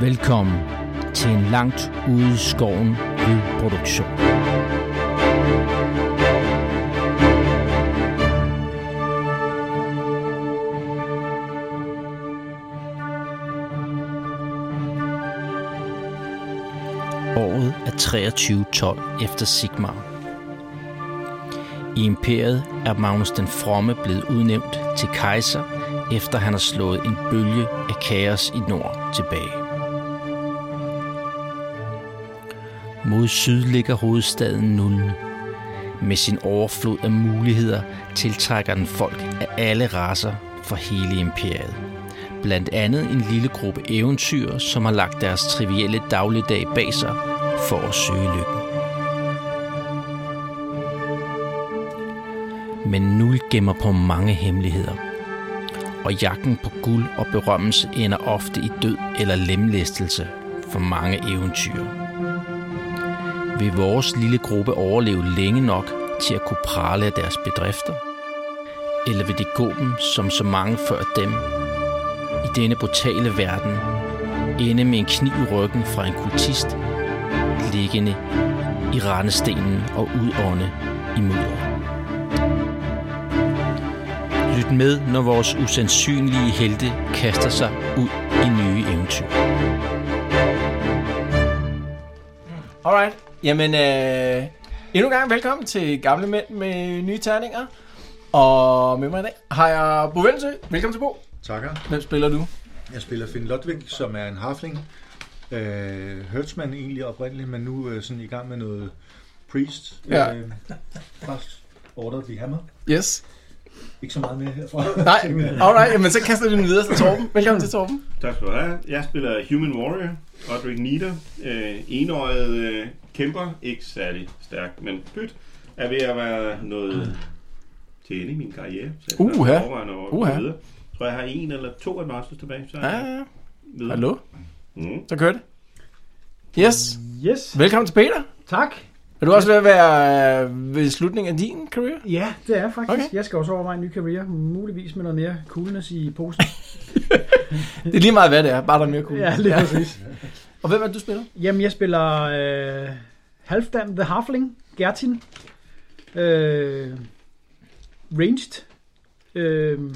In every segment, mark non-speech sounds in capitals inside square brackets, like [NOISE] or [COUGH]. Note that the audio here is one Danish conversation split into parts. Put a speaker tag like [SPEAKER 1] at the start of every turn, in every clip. [SPEAKER 1] Velkommen til en langt ude i skoven lydproduktion. Året er 2312 efter Sigmar. I imperiet er Magnus den Fromme blevet udnævnt til kejser, efter han har slået en bølge af kaos i nord tilbage. Mod syd ligger hovedstaden Nullen. Med sin overflod af muligheder tiltrækker den folk af alle raser fra hele imperiet. Blandt andet en lille gruppe eventyr, som har lagt deres trivielle dagligdag bag sig for at søge lykken. Men Nul gemmer på mange hemmeligheder. Og jagten på guld og berømmelse ender ofte i død eller lemlæstelse for mange eventyr. Vil vores lille gruppe overleve længe nok til at kunne prale af deres bedrifter? Eller vil det gå dem, som så mange før dem, i denne brutale verden, ende med en kniv i ryggen fra en kultist, liggende i rendestenen og udånde i mudder? Lyt med, når vores usandsynlige helte kaster sig ud i nye eventyr.
[SPEAKER 2] Alright, jamen øh, endnu en gang velkommen til Gamle Mænd med Nye Terninger. Og med mig i dag har jeg Bo Velsø. Velkommen til Bo.
[SPEAKER 3] Takker.
[SPEAKER 2] Hvem spiller du?
[SPEAKER 3] Jeg spiller Finn Lodvig, som er en harfling. Øh, Hertzmann egentlig oprindeligt, men nu øh, sådan i gang med noget priest.
[SPEAKER 2] Ja.
[SPEAKER 3] Øh, præst. Order of the Hammer.
[SPEAKER 2] Yes.
[SPEAKER 3] Ikke så meget mere herfra.
[SPEAKER 2] Nej, alright, jamen så kaster vi den videre til Torben. Velkommen til Torben.
[SPEAKER 4] Tak skal du have. Jeg spiller Human Warrior, Roderick Nieder. Øh, enøjet øh, kæmper, ikke særlig stærk, men pyt, er ved at være noget til ende i min karriere. Så jeg
[SPEAKER 2] Uha.
[SPEAKER 4] er overvejende over at gå
[SPEAKER 2] Uha.
[SPEAKER 4] videre. Jeg tror, jeg har en eller to advarsels tilbage, så er jeg
[SPEAKER 2] Ja,
[SPEAKER 4] videre.
[SPEAKER 2] hallo.
[SPEAKER 4] Mm.
[SPEAKER 2] Så kører det. Yes.
[SPEAKER 5] Yes,
[SPEAKER 2] Velkommen til Peter.
[SPEAKER 5] tak.
[SPEAKER 2] Er du også ved at være øh, ved slutningen af din karriere?
[SPEAKER 5] Ja, det er faktisk.
[SPEAKER 2] Okay.
[SPEAKER 5] Okay. Jeg skal også overveje en ny karriere, muligvis med noget mere coolness i posen.
[SPEAKER 2] Det er lige meget, hvad det er. Bare der er mere cool.
[SPEAKER 5] [LAUGHS] ja, lige præcis.
[SPEAKER 2] Og hvem er det, du spiller?
[SPEAKER 5] Jamen, jeg spiller øh, Halfdan the Halfling, Gertin. Øh, ranged. Øh,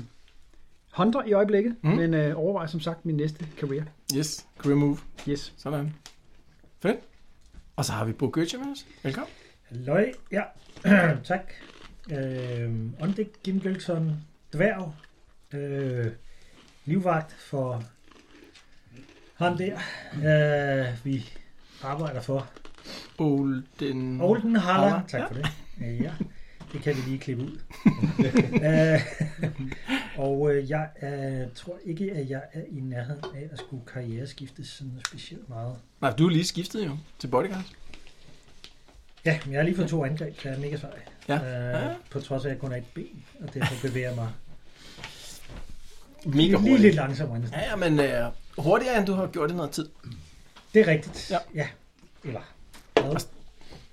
[SPEAKER 5] hunter i øjeblikket,
[SPEAKER 2] Mm.
[SPEAKER 5] mm. men øh, overvejer som sagt min næste karriere.
[SPEAKER 2] Yes, career move.
[SPEAKER 5] Yes.
[SPEAKER 2] Sådan. Fedt. Og så har vi Bo Gøtje med os. Velkommen.
[SPEAKER 6] Løg, ja. [CLEARS THROAT] tak. Øh, Ondik Gimbelson, dværg, øh, livvagt for ham der, øh, vi arbejder for.
[SPEAKER 2] Olden.
[SPEAKER 6] Olden
[SPEAKER 2] Haller,
[SPEAKER 6] Haller, tak
[SPEAKER 2] ja.
[SPEAKER 6] for det. Øh, ja, det kan vi lige klippe ud. [LAUGHS] øh, og øh, jeg øh, tror ikke, at jeg er i nærheden af at skulle karriereskifte sådan specielt meget.
[SPEAKER 2] Nej, du er lige skiftet jo til bodyguard.
[SPEAKER 6] Ja, men jeg har lige fået to angreb, så jeg er mega sej.
[SPEAKER 2] Ja.
[SPEAKER 6] Øh, på trods af, at jeg kun er et ben, og derfor bevæger jeg mig
[SPEAKER 2] Mega
[SPEAKER 6] lige
[SPEAKER 2] hurtigt.
[SPEAKER 6] lidt langsommere. end-
[SPEAKER 2] Ja, ja, men øh, hurtigere end du har gjort i noget tid.
[SPEAKER 6] Det er rigtigt.
[SPEAKER 2] Ja.
[SPEAKER 6] ja. Eller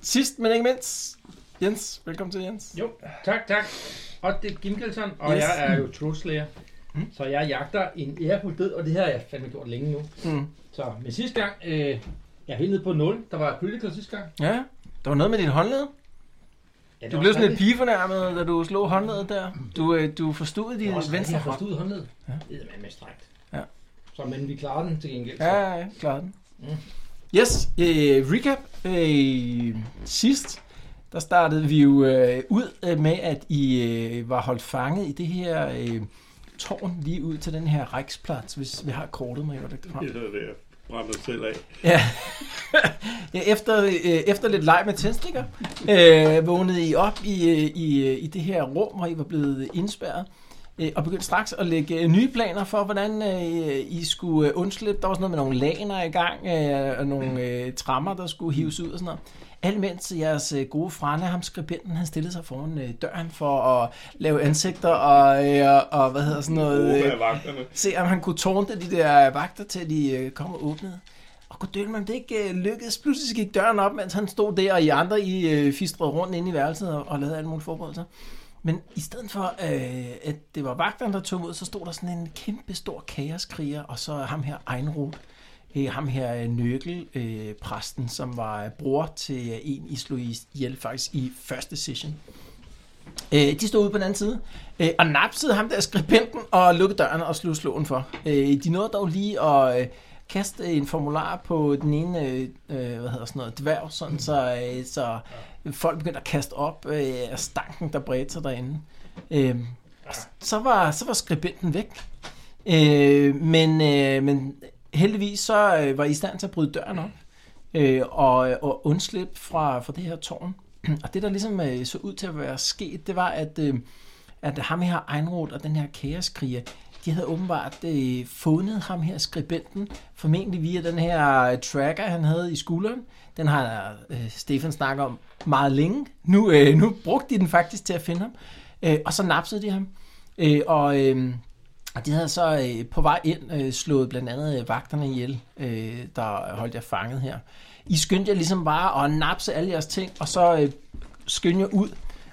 [SPEAKER 2] Sidst, men ikke mindst, Jens. Velkommen til, Jens.
[SPEAKER 7] Jo, tak, tak. Og det er Gimkelson, og
[SPEAKER 2] Yes.
[SPEAKER 7] yes. jeg er jo truslæger. Mm. Så jeg jagter en ærefuld død, og det her har jeg fandme gjort længe nu.
[SPEAKER 2] Mm.
[SPEAKER 7] Så med sidste gang, øh, jeg er helt nede på 0. Der var critical sidste gang.
[SPEAKER 2] Ja, der var noget med dit håndled.
[SPEAKER 7] Ja,
[SPEAKER 2] Du blev sådan lidt pigefornærmet, da du slog håndledet der. Du, øh, du forstod
[SPEAKER 7] i
[SPEAKER 2] din venstre
[SPEAKER 7] venstre
[SPEAKER 2] hånd.
[SPEAKER 7] forstod håndled.
[SPEAKER 2] Ja.
[SPEAKER 7] Ja. Det er med strækt.
[SPEAKER 2] Ja.
[SPEAKER 7] Så men vi klarer den til gengæld.
[SPEAKER 2] Ja,
[SPEAKER 7] Ja.
[SPEAKER 2] ja, ja, klar den.
[SPEAKER 7] Mm.
[SPEAKER 2] Yes, øh, recap. Øh, sidst, der startede vi jo øh, ud øh, med, at I øh, var holdt fanget i det her øh, tårn lige ud til den her Riksplads, hvis vi har kortet med, jeg det frem.
[SPEAKER 4] Det er det, jeg brænder mig selv af.
[SPEAKER 2] Ja. [LAUGHS] ja efter, øh, efter lidt leg med tændstikker, øh, vågnede I op i, øh, i, øh, i det her rum, hvor I var blevet indspærret, øh, og begyndte straks at lægge øh, nye planer for, hvordan øh, I skulle øh, undslippe. Der var sådan noget med nogle laner i gang, øh, og nogle øh, trammer, der skulle hives ud og sådan noget. Alt mens jeres øh, gode frænde, ham skribenten, han stillede sig foran øh, døren for at lave ansigter og, øh, og, og hvad hedder sådan noget...
[SPEAKER 4] Råber
[SPEAKER 2] Øh,
[SPEAKER 4] af vagterne.
[SPEAKER 2] Se om han kunne tårne de der vagter, til de øh, kom og åbnede. Og goddag, man det ikke øh, lykkedes. Pludselig gik døren op, mens han stod der, og I andre I øh, fistrede rundt inde i værelset og, og lavede alle mulige forberedelser. Men i stedet for, øh, at det var vagterne, der tog ud, så stod der sådan en kæmpe stor kaoskriger, og så ham her Einrud, øh, ham her øh, Nøgel, øh, præsten, som var øh, bror til øh, en, I slog i- ihjel faktisk i første session. Øh, de stod ude på den anden side, øh, og napsede ham der skribenten og lukkede døren og slog slåen for. Øh, de nåede dog lige at øh, kaste en formular på den ene, øh, øh, hvad hedder sådan noget, dværg, sådan, så, øh, så folk begyndte at kaste op øh, af stanken, der bredte sig derinde. Øh, og s- så, var, så var skribenten væk. Øh, men, øh, men heldigvis så øh, var I i stand til at bryde døren op øh, og, og undslippe fra, fra det her tårn. [CLEARS THROAT] Og det, der ligesom øh, så ud til at være sket, det var, at, øh, at ham her Einroth og den her kaoskriger, de havde åbenbart øh, fundet ham her, skribenten, formentlig via den her øh, tracker, han havde i skulderen. Den har øh, Stefan snakket om meget længe. Nu, øh, nu brugte de den faktisk til at finde ham. Øh, og så napsede de ham. Øh, og... Øh, og de havde så øh, på vej ind øh, slået blandt andet øh, vagterne ihjel, øh, der holdt jer fanget her. I skyndte jer ligesom bare at napse alle jeres ting, og så øh, skyndte jer ud.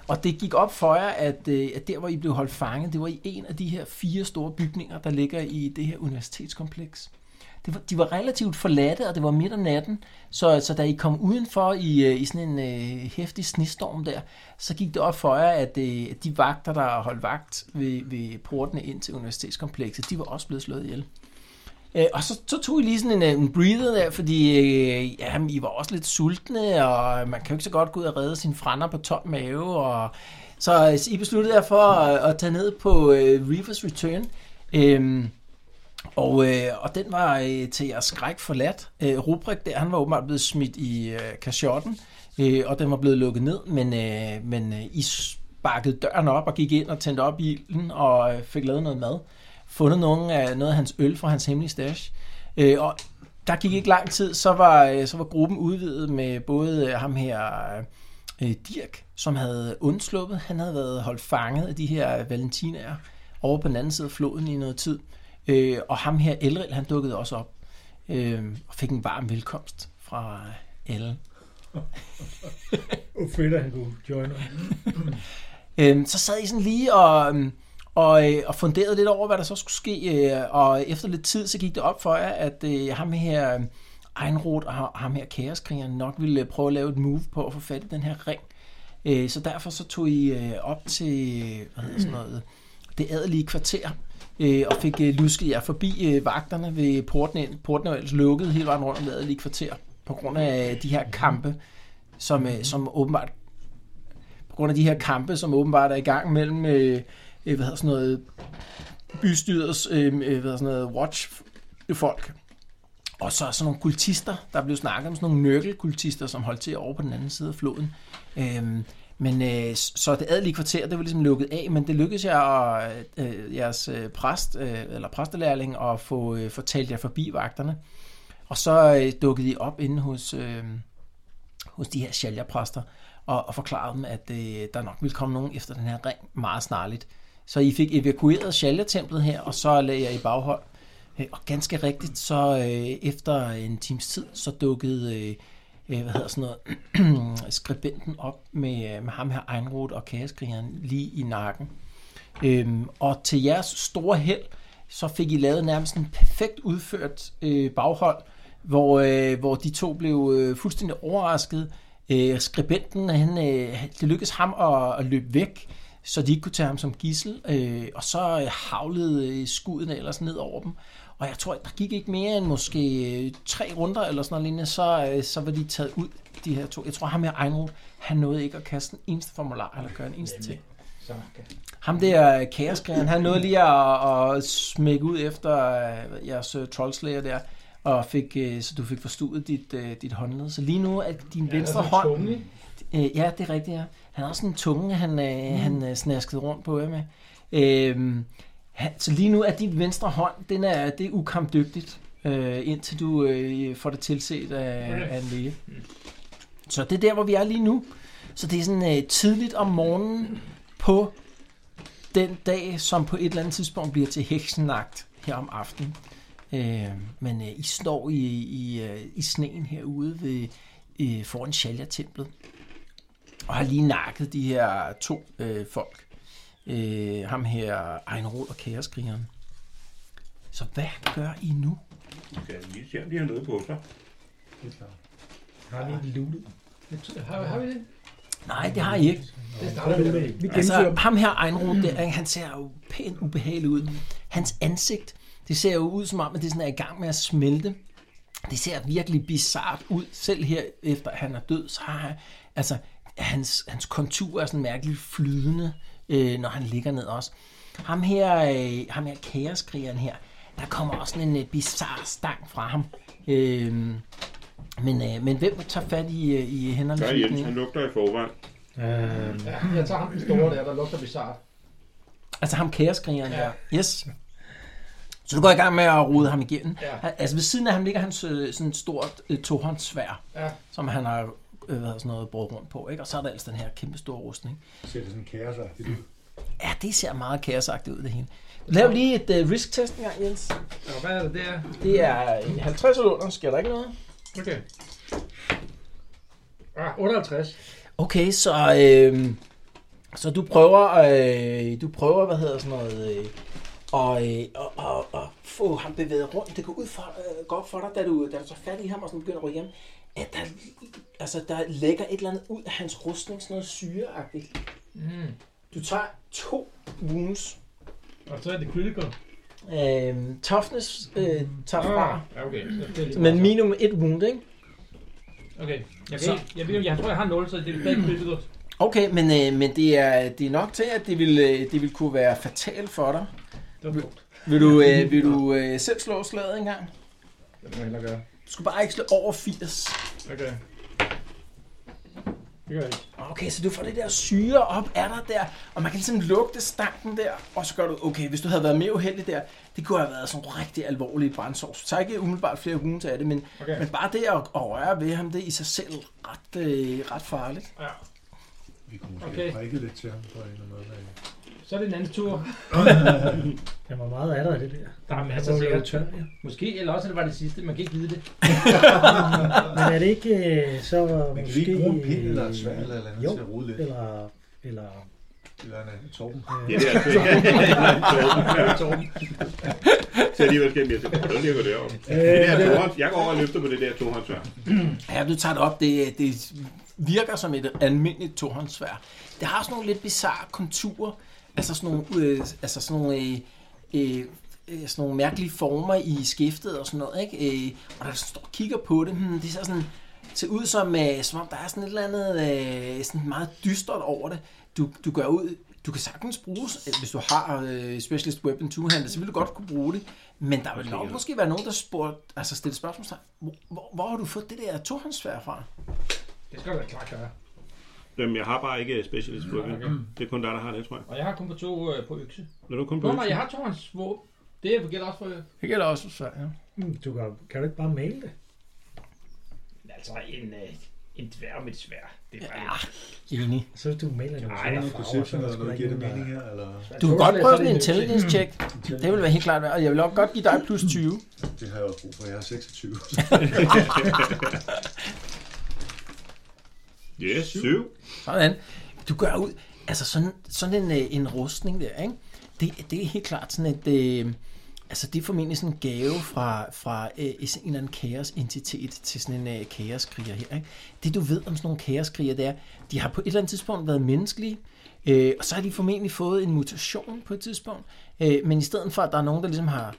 [SPEAKER 2] Og det gik op for jer, at, øh, at der hvor I blev holdt fanget, det var i en af de her fire store bygninger, der ligger i det her universitetskompleks. Det var, de var relativt forladte, og det var midt om natten, så, så da I kom udenfor i, øh, i sådan en øh, hæftig snestorm der, så gik det op for jer, at øh, at de vagter, der holdt vagt ved, ved portene ind til universitetskomplekset, de var også blevet slået ihjel. Øh, og så, så tog I lige sådan en, øh, en breather der, fordi øh, jamen, I var også lidt sultne, og man kan jo ikke så godt gå ud og redde sine frænder på tom mave. Og, så, øh, så I besluttede jer for at, at tage ned på øh, Reavers Return. Øh, og, øh, og den var øh, til jeres skræk forladt. Øh, Rubrik der, han var åbenbart blevet smidt i øh, kashotten, øh, og den var blevet lukket ned, men, øh, men øh, I sparkede døren op og gik ind og tændte op i ilden og øh, fik lavet noget mad. Fundet nogen af, noget af hans øl fra hans hemmelige stash. Øh, og der gik ikke lang tid, så var, øh, så var gruppen udvidet med både øh, ham her... Øh, øh, Dirk, som havde undsluppet. Han havde været holdt fanget af de her valentinaer over på den anden side af floden i noget tid. Øh, og ham her, Elril, han dukkede også op øh, og fik en varm velkomst fra alle.
[SPEAKER 6] Og fedt, at han kunne join os.
[SPEAKER 2] Øhm, så sad I sådan lige og, øhm, og, øh, og funderede lidt over, hvad der så skulle ske, øh, og efter lidt tid, så gik det op for jer, at øh, ham her Einroth og ha- ham her Kaoskrigeren nok ville øh, prøve at lave et move på at få fat i den her ring. Øh, så derfor så tog I øh, op til hvad hedder sådan noget, det adelige kvarter, øh, og fik øh, lusket jer forbi øh, vagterne ved porten ind. Porten var ellers lukket hele vejen rundt om det adelige kvarter, på grund af de her kampe, som, øh, som åbenbart på grund af de her kampe, som åbenbart er i gang mellem øh, øh, hvad hedder sådan noget, bystyrets øh, øh, hvad hedder sådan noget, watch-folk. Og så er sådan nogle kultister, der blev snakket om sådan nogle nørkelkultister, som holdt til over på den anden side af floden. Øhm, men øh, s- så det adelige kvarter, det var ligesom lukket af, men det lykkedes jer og øh, jeres øh, præst, øh, eller præstelærling, at få øh, fortalt jer forbi vagterne. Og så øh, dukkede I op inde hos, øh, hos de her shalja-præster, og, og forklarede dem, at øh, der nok ville komme nogen efter den her ring meget snarligt. Så I fik evakueret Shalya-templet her, og så lagde jeg i baghold. Øh, og ganske rigtigt, så øh, efter en times tid, så dukkede øh, øh, hvad hedder sådan noget, [CLEARS THROAT] skribenten op med, øh, med ham her Einroth og kaoskrigeren lige i nakken. Øhm, og til jeres store held, så fik I lavet nærmest en perfekt udført øh, baghold, hvor, øh, hvor de to blev øh, fuldstændig overrasket. Øh, skribenten, han, øh, det lykkedes ham at, at løbe væk, så de ikke kunne tage ham som gissel, øh, og så øh, havlede øh, skuddene ellers ned over dem. Og jeg tror, at der gik ikke mere end måske øh, tre runder eller sådan noget lignende, så, øh, så var de taget ud, de her to. Jeg tror, ham her Einroth, han nåede ikke at kaste en eneste formular eller gøre en eneste ting. Ham der øh, kaoskrigeren, han nåede lige at, at smække ud efter øh, jeres øh, troldslager der, og fik, øh, så du fik forstuet dit, øh, dit håndled. Så lige nu er din ja, venstre hånd... Øh, ja, det er rigtigt, ja. Han har sådan en tunge, han, øh, mm. han øh, snaskede rundt på jer med. Øh, han, så lige nu er din venstre hånd, den er, det er ukampdygtigt, øh, indtil du øh, får det tilset af, okay. af en læge. Så det er der, hvor vi er lige nu. Så det er sådan øh, tidligt om morgenen på den dag, som på et eller andet tidspunkt bliver til heksenagt her om aftenen. Øh, men øh, I står i, i, øh, i sneen herude ved, øh, foran Shalya-templet og har lige nakket de her to øh, folk. Øh, ham her, Ejnerod og Kæreskrigeren. Så hvad gør I nu?
[SPEAKER 4] Du kan lige se, om de har noget på sig.
[SPEAKER 6] Har vi ikke lootet?
[SPEAKER 7] Har, har vi det?
[SPEAKER 2] Nej, det har I ikke.
[SPEAKER 7] Det starter vi med.
[SPEAKER 6] Vi gennemfører
[SPEAKER 2] Altså, ham her, Ejnrud, der, han ser jo pænt ubehagelig ud. Hans ansigt, det ser jo ud som om, at det sådan er i gang med at smelte. Det ser virkelig bizart ud. Selv her, efter han er død, så har han, altså, hans, hans kontur er sådan mærkeligt flydende, øh, når han ligger ned også. Ham her, øh, ham her kaoskrigeren her, der kommer også sådan en øh, bizarre stang fra ham. Øh, men, øh, men hvem tager fat i, øh, i hænderne?
[SPEAKER 4] Der er Jens, han lugter i forvejen.
[SPEAKER 7] Ja, jeg tager ham den store der, der lugter bizarrt.
[SPEAKER 2] Altså ham kæreskrigeren ja.
[SPEAKER 7] Ja.
[SPEAKER 2] der. Yes. Så du går i gang med at rode ham igennem.
[SPEAKER 7] Ja.
[SPEAKER 2] Ja. Altså ved siden af ham ligger hans øh, sådan et stort øh, tohåndssvær,
[SPEAKER 7] Ja.
[SPEAKER 2] som han har øh, hvad hedder sådan noget, brugt rundt på. Ikke? Og så er der altså den her kæmpe store rustning.
[SPEAKER 3] Ser det sådan kaosagtigt ud.
[SPEAKER 2] Ja, det ser meget kaosagtigt ud det hele. Lav lige et øh, risk-test engang, Jens.
[SPEAKER 7] Nå, hvad er det der?
[SPEAKER 2] Det er en 50 under, sker der ikke noget?
[SPEAKER 7] Okay. Ah, 58.
[SPEAKER 2] Okay, så, øh, så du prøver, øh, du prøver, hvad hedder sådan noget, øh, og, øh, og, og, og få ham bevæget rundt. Det går ud for, øh, går op for dig, da du, da du tager fat i ham og sådan begynder at ryge hjem, at der, altså, der lægger et eller andet ud af hans rustning, sådan noget syreagtigt.
[SPEAKER 7] Mm.
[SPEAKER 2] Du tager to wounds.
[SPEAKER 7] Og så er det critical. Mm.
[SPEAKER 2] Øh, toughness øh, tager fra,
[SPEAKER 7] Ja, okay. Så Ah, det er lige
[SPEAKER 2] men
[SPEAKER 7] meget.
[SPEAKER 2] minimum et wound, ikke?
[SPEAKER 7] Okay. Jeg, kan
[SPEAKER 2] Så-
[SPEAKER 7] ikke, jeg, ved, jeg tror, jeg har 0, så det er stadig critical.
[SPEAKER 2] Okay, men, øh, men det, er, det er nok til, at det ville, øh, det ville kunne være fatalt for dig.
[SPEAKER 7] Det var dumt.
[SPEAKER 2] Vil du,
[SPEAKER 7] [LAUGHS]
[SPEAKER 2] øh, vil du øh, selv slå slaget engang?
[SPEAKER 7] Det må jeg hellere gøre.
[SPEAKER 2] Du skal bare ikke slå over 80.
[SPEAKER 7] Okay. Det gør jeg ikke.
[SPEAKER 2] Okay, så du får det der syre op af dig der, og man kan ligesom lugte stanken der, og så gør du, okay, hvis du havde været mere uheldig der, det kunne have været sådan nogle rigtig alvorlige brandsår. Så tager ikke umiddelbart flere hunde af det, men,
[SPEAKER 7] Okay.
[SPEAKER 2] men bare det at, at røre ved ham, det er i sig selv ret, øh, ret farligt.
[SPEAKER 7] Ja.
[SPEAKER 3] Vi kunne måske
[SPEAKER 7] Okay.
[SPEAKER 3] okay. have prikket lidt til ham på en eller anden måde.
[SPEAKER 7] Så er det en anden tur.
[SPEAKER 6] Der var meget af dig i det der.
[SPEAKER 7] Der er
[SPEAKER 6] Altså,
[SPEAKER 7] masser
[SPEAKER 6] det
[SPEAKER 7] af
[SPEAKER 6] var jo
[SPEAKER 7] sikkert.
[SPEAKER 6] tør, ja.
[SPEAKER 7] Måske, eller også, at det var det sidste. Man kan ikke vide det.
[SPEAKER 6] Men er det ikke øh, så
[SPEAKER 3] Men kan vi
[SPEAKER 6] måske...
[SPEAKER 3] ikke bruge en pind eller et svær eller et eller andet
[SPEAKER 6] Jo.
[SPEAKER 3] til at rode lidt?
[SPEAKER 6] Eller, eller
[SPEAKER 3] Eller en torben?
[SPEAKER 4] Det [LAUGHS] er altså ikke. Torben. Så alligevel skal jeg lige tænke, hvordan ligger det over? Det der tohånds, jeg går over og løfter på det der tohåndsvær.
[SPEAKER 2] Ja, du tager det op, det, det virker som et almindeligt tohåndssvær. Det har sådan nogle lidt bizarre konturer, altså sådan nogle, øh, altså sådan nogle øh, øh, øh, sådan nogle mærkelige former i skiftet og sådan noget, ikke? Øh, og der står og kigger på det, hmm, det ser sådan ser ud som, øh, som om der er sådan et eller andet øh, sådan meget dystert over det. Du, du gør ud, du kan sagtens bruges, øh, hvis du har øh, Specialist Weapon 2 handler, så vil du godt kunne bruge det, men der vil nok måske være nogen, der spurgte, altså stille spørgsmålstegn, hvor, hvor, hvor har du fået det der tohåndssvær fra?
[SPEAKER 7] Det skal du da klart gøre.
[SPEAKER 4] Jamen, jeg har bare ikke specialist på Det er kun dig, der har det, tror jeg.
[SPEAKER 7] Og jeg har kun på to øh, på økse.
[SPEAKER 4] Når du kun på
[SPEAKER 7] Nå, nej, jeg har to hans våben. Det gælder også for...
[SPEAKER 2] Det gælder også svær, ja.
[SPEAKER 6] hmm, du kan, kan du ikke bare male det?
[SPEAKER 7] Altså, en, øh, en dværg med et svær. Det er
[SPEAKER 2] Ja, enig.
[SPEAKER 6] Så hvis du maler det med
[SPEAKER 7] Ej,
[SPEAKER 6] sådan
[SPEAKER 3] Noget
[SPEAKER 6] nogle farver, så
[SPEAKER 3] perception
[SPEAKER 6] er
[SPEAKER 3] eller
[SPEAKER 6] der sgu da
[SPEAKER 3] noget, giver
[SPEAKER 6] ikke
[SPEAKER 3] det
[SPEAKER 6] nogen,
[SPEAKER 3] mening
[SPEAKER 6] der-
[SPEAKER 3] her? Eller?
[SPEAKER 2] Du kan godt prøve sådan en intelligence check. Det vil være helt klart værd, og jeg vil også godt give dig plus 20.
[SPEAKER 3] Det har jeg også brug for. Jeg er 26.
[SPEAKER 4] Ja, syv.
[SPEAKER 2] Sådan. Du gør ud, altså sådan, sådan en, øh, en rustning der, ikke? Det, det er helt klart sådan et, øh, altså det er formentlig sådan en gave fra, fra øh, en eller anden kaosentitet til sådan en øh, kaoskriger her, ikke? Det du ved om sådan nogle kaoskriger, det er, de har på et eller andet tidspunkt været menneskelige, øh, og så har de formentlig fået en mutation på et tidspunkt, øh, men i stedet for, at der er nogen, der ligesom har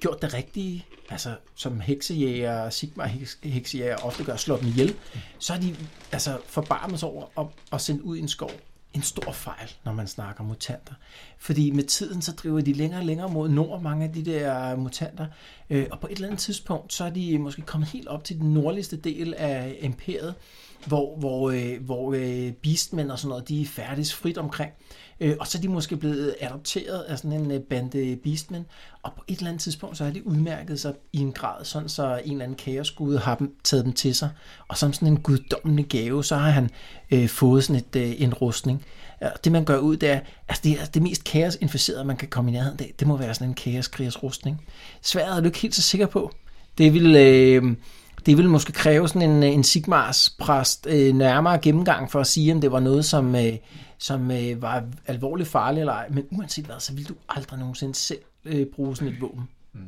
[SPEAKER 2] gjort det rigtige, altså som heksejæger, Sigmar heks- heksejæger ofte gør, slår dem ihjel, så er de altså forbarmet sig over og, og sendt ud i en skov. En stor fejl, når man snakker mutanter. Fordi med tiden, så driver de længere og længere mod nord, mange af de der mutanter. Øh, og på et eller andet tidspunkt, så er de måske kommet helt op til den nordligste del af imperiet, hvor, hvor, øh, hvor øh, beastmen og sådan noget, de er færdes frit omkring. Øh, og så er de måske blevet adopteret af sådan en øh, bande beastmen, og på et eller andet tidspunkt, så har de udmærket sig i en grad, sådan så en eller anden kaosgud har dem, taget dem til sig. Og som sådan en guddommende gave, så har han øh, fået sådan et, øh, en rustning. Ja, det man gør ud, det er, altså det, er det mest kaosinficerede, man kan komme i nærheden af, det må være sådan en kaoskrigers rustning. Sværet er du ikke helt så sikker på. Det vil... Øh, det ville måske kræve sådan en, øh, en Sigmars præst øh, nærmere gennemgang for at sige, om det var noget, som, øh, som øh, var alvorligt farligt eller ej. Men uanset hvad, så ville du aldrig nogensinde selv øh, bruge sådan et våben.
[SPEAKER 3] Mm.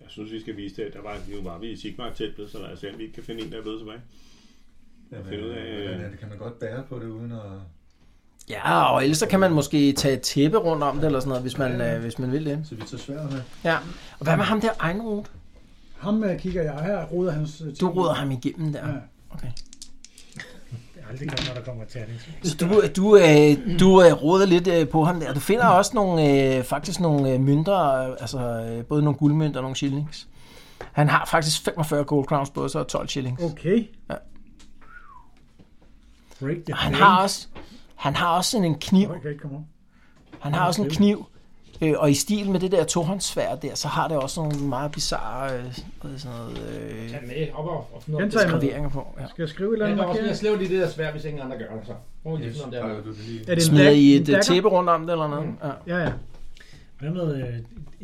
[SPEAKER 4] Jeg synes, vi skal vise det. Der var, nu var vi i Sigmar-templet, så lad os se, om vi ikke kan finde en, der er blevet tilbage.
[SPEAKER 3] Ja,
[SPEAKER 4] Finde ud af-
[SPEAKER 3] øh, hvordan er det? Kan man godt bære på det uden at...
[SPEAKER 2] Ja, og ellers så kan man måske tage et tæppe rundt om det, eller sådan noget, hvis man, øh, hvis man vil det.
[SPEAKER 3] Så vi tager sværet med.
[SPEAKER 2] Ja. Og hvad med ham der Einrod?
[SPEAKER 8] Ham øh, kigger jeg her, roder hans... øh,
[SPEAKER 2] Du
[SPEAKER 8] ting.
[SPEAKER 2] råder ham igennem der.
[SPEAKER 8] Ja.
[SPEAKER 6] Det er aldrig godt, når der kommer terning.
[SPEAKER 2] Så du, du, øh, du øh, råder lidt øh, på ham der. Du finder
[SPEAKER 5] Mm.
[SPEAKER 2] også nogle, øh, faktisk nogle øh, mønter, øh, altså øh, både nogle guldmønter og nogle shillings. Han har faktisk 45 gold crowns på sig og 12 shillings.
[SPEAKER 5] Okay.
[SPEAKER 6] Break the
[SPEAKER 2] Og han
[SPEAKER 6] bank.
[SPEAKER 2] har også, han har også sådan en kniv.
[SPEAKER 8] Nå, jeg kan ikke komme op.
[SPEAKER 2] Han har også en kniv. Øh, og i stil med det der tohåndssvær der, så har det også nogle meget bizarre øh, hvad er det, sådan noget, øh,
[SPEAKER 7] Tag med op og, og finde ud af,
[SPEAKER 5] Den tager
[SPEAKER 7] om
[SPEAKER 5] jeg
[SPEAKER 7] det.
[SPEAKER 5] med.
[SPEAKER 2] graveringer på. Ja.
[SPEAKER 5] Skal jeg skrive et eller
[SPEAKER 7] Jeg
[SPEAKER 5] andet
[SPEAKER 7] kan også lige
[SPEAKER 5] markering?
[SPEAKER 7] at slæve det i det der svært, hvis ingen andre gør det, så. Prøv lige at finde, om det er noget.
[SPEAKER 3] du kan lige...
[SPEAKER 5] Er det en
[SPEAKER 2] Smider
[SPEAKER 5] dag-
[SPEAKER 2] I
[SPEAKER 5] en
[SPEAKER 2] et
[SPEAKER 5] Mm.
[SPEAKER 2] øh,
[SPEAKER 5] dagger?
[SPEAKER 2] tæppe rundt om det eller noget? Ja.
[SPEAKER 5] Ja, ja.
[SPEAKER 6] Hvad med øh,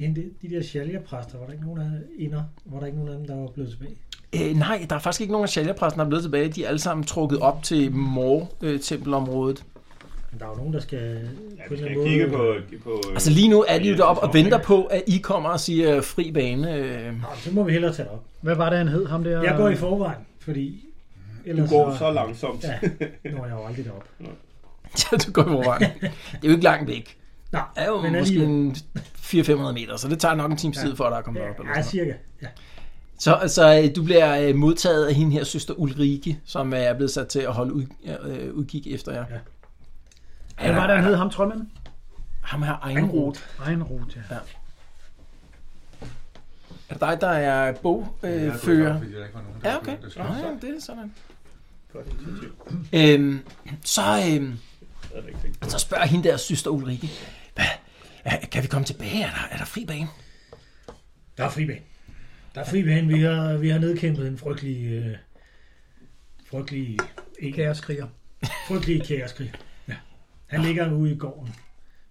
[SPEAKER 6] en, de- de der sjalgerpræster? Var der ikke nogen af inder? Var der ikke nogen af dem, der var blevet tilbage?
[SPEAKER 2] Øh, nej, der er faktisk ikke nogen af sælgerpræsten, der er blevet tilbage. De er alle sammen trukket op til øh, Mor-tempelområdet.
[SPEAKER 6] Men der er jo nogen, der skal
[SPEAKER 4] Ja,
[SPEAKER 6] på
[SPEAKER 4] vi
[SPEAKER 6] en eller
[SPEAKER 4] skal
[SPEAKER 6] anden måde...
[SPEAKER 4] kigge på... på
[SPEAKER 2] Altså lige nu er de jo
[SPEAKER 4] Ja,
[SPEAKER 2] deroppe og
[SPEAKER 4] det er
[SPEAKER 2] venter
[SPEAKER 4] så.
[SPEAKER 2] på, at I kommer og siger øh, fri bane. Øh. [LAUGHS]
[SPEAKER 6] Nå, så må vi hellere tage det op.
[SPEAKER 5] Hvad var det, han hed? Ham der...
[SPEAKER 6] Jeg går i forvejen, fordi...
[SPEAKER 4] Øh. du
[SPEAKER 6] Ellers
[SPEAKER 4] går så langsomt.
[SPEAKER 6] Ja, når jeg jo aldrig derop.
[SPEAKER 2] Ja, du går i forvejen. Det er jo ikke langt væk.
[SPEAKER 6] Nej,
[SPEAKER 2] Det er jo
[SPEAKER 6] men
[SPEAKER 2] måske en 400-500 meter, så det tager nok en times tid, for at der er kommet op. Eller
[SPEAKER 6] Ja,
[SPEAKER 2] sådan noget.
[SPEAKER 6] cirka. Ja.
[SPEAKER 2] Så, så øh, du bliver øh, modtaget af hende her søster Ulrike, som øh, er blevet sat til at holde ud, øh, udkig efter jer.
[SPEAKER 6] Ja.
[SPEAKER 5] Hvad var det, han hed? Ham trømmanden?
[SPEAKER 2] Ham her Einrod.
[SPEAKER 5] Egenrot, ja.
[SPEAKER 2] Er det dig, der er
[SPEAKER 3] Ja, det var
[SPEAKER 2] bogfører?
[SPEAKER 3] klart, fordi der ikke var nogen, der
[SPEAKER 2] Øh, Ja,
[SPEAKER 3] skulle-
[SPEAKER 2] okay.
[SPEAKER 3] der skulle-
[SPEAKER 2] Ah, ja, det er sådan.
[SPEAKER 4] Godt initiativ.
[SPEAKER 2] Øhm, så, øhm,
[SPEAKER 4] Det er rigtigt.
[SPEAKER 2] så spørger hende der søster Ulrike, Hvad, er, kan vi komme tilbage? Er der, er der fri bane?
[SPEAKER 6] Der er fribane. Der er fribane. Vi har, vi har nedkæmpet en frygtelig... Øh, frygtelig... En,
[SPEAKER 5] Kæreskriger.
[SPEAKER 6] frygtelig kæreskrig. Ja. Han ligger ude i gården.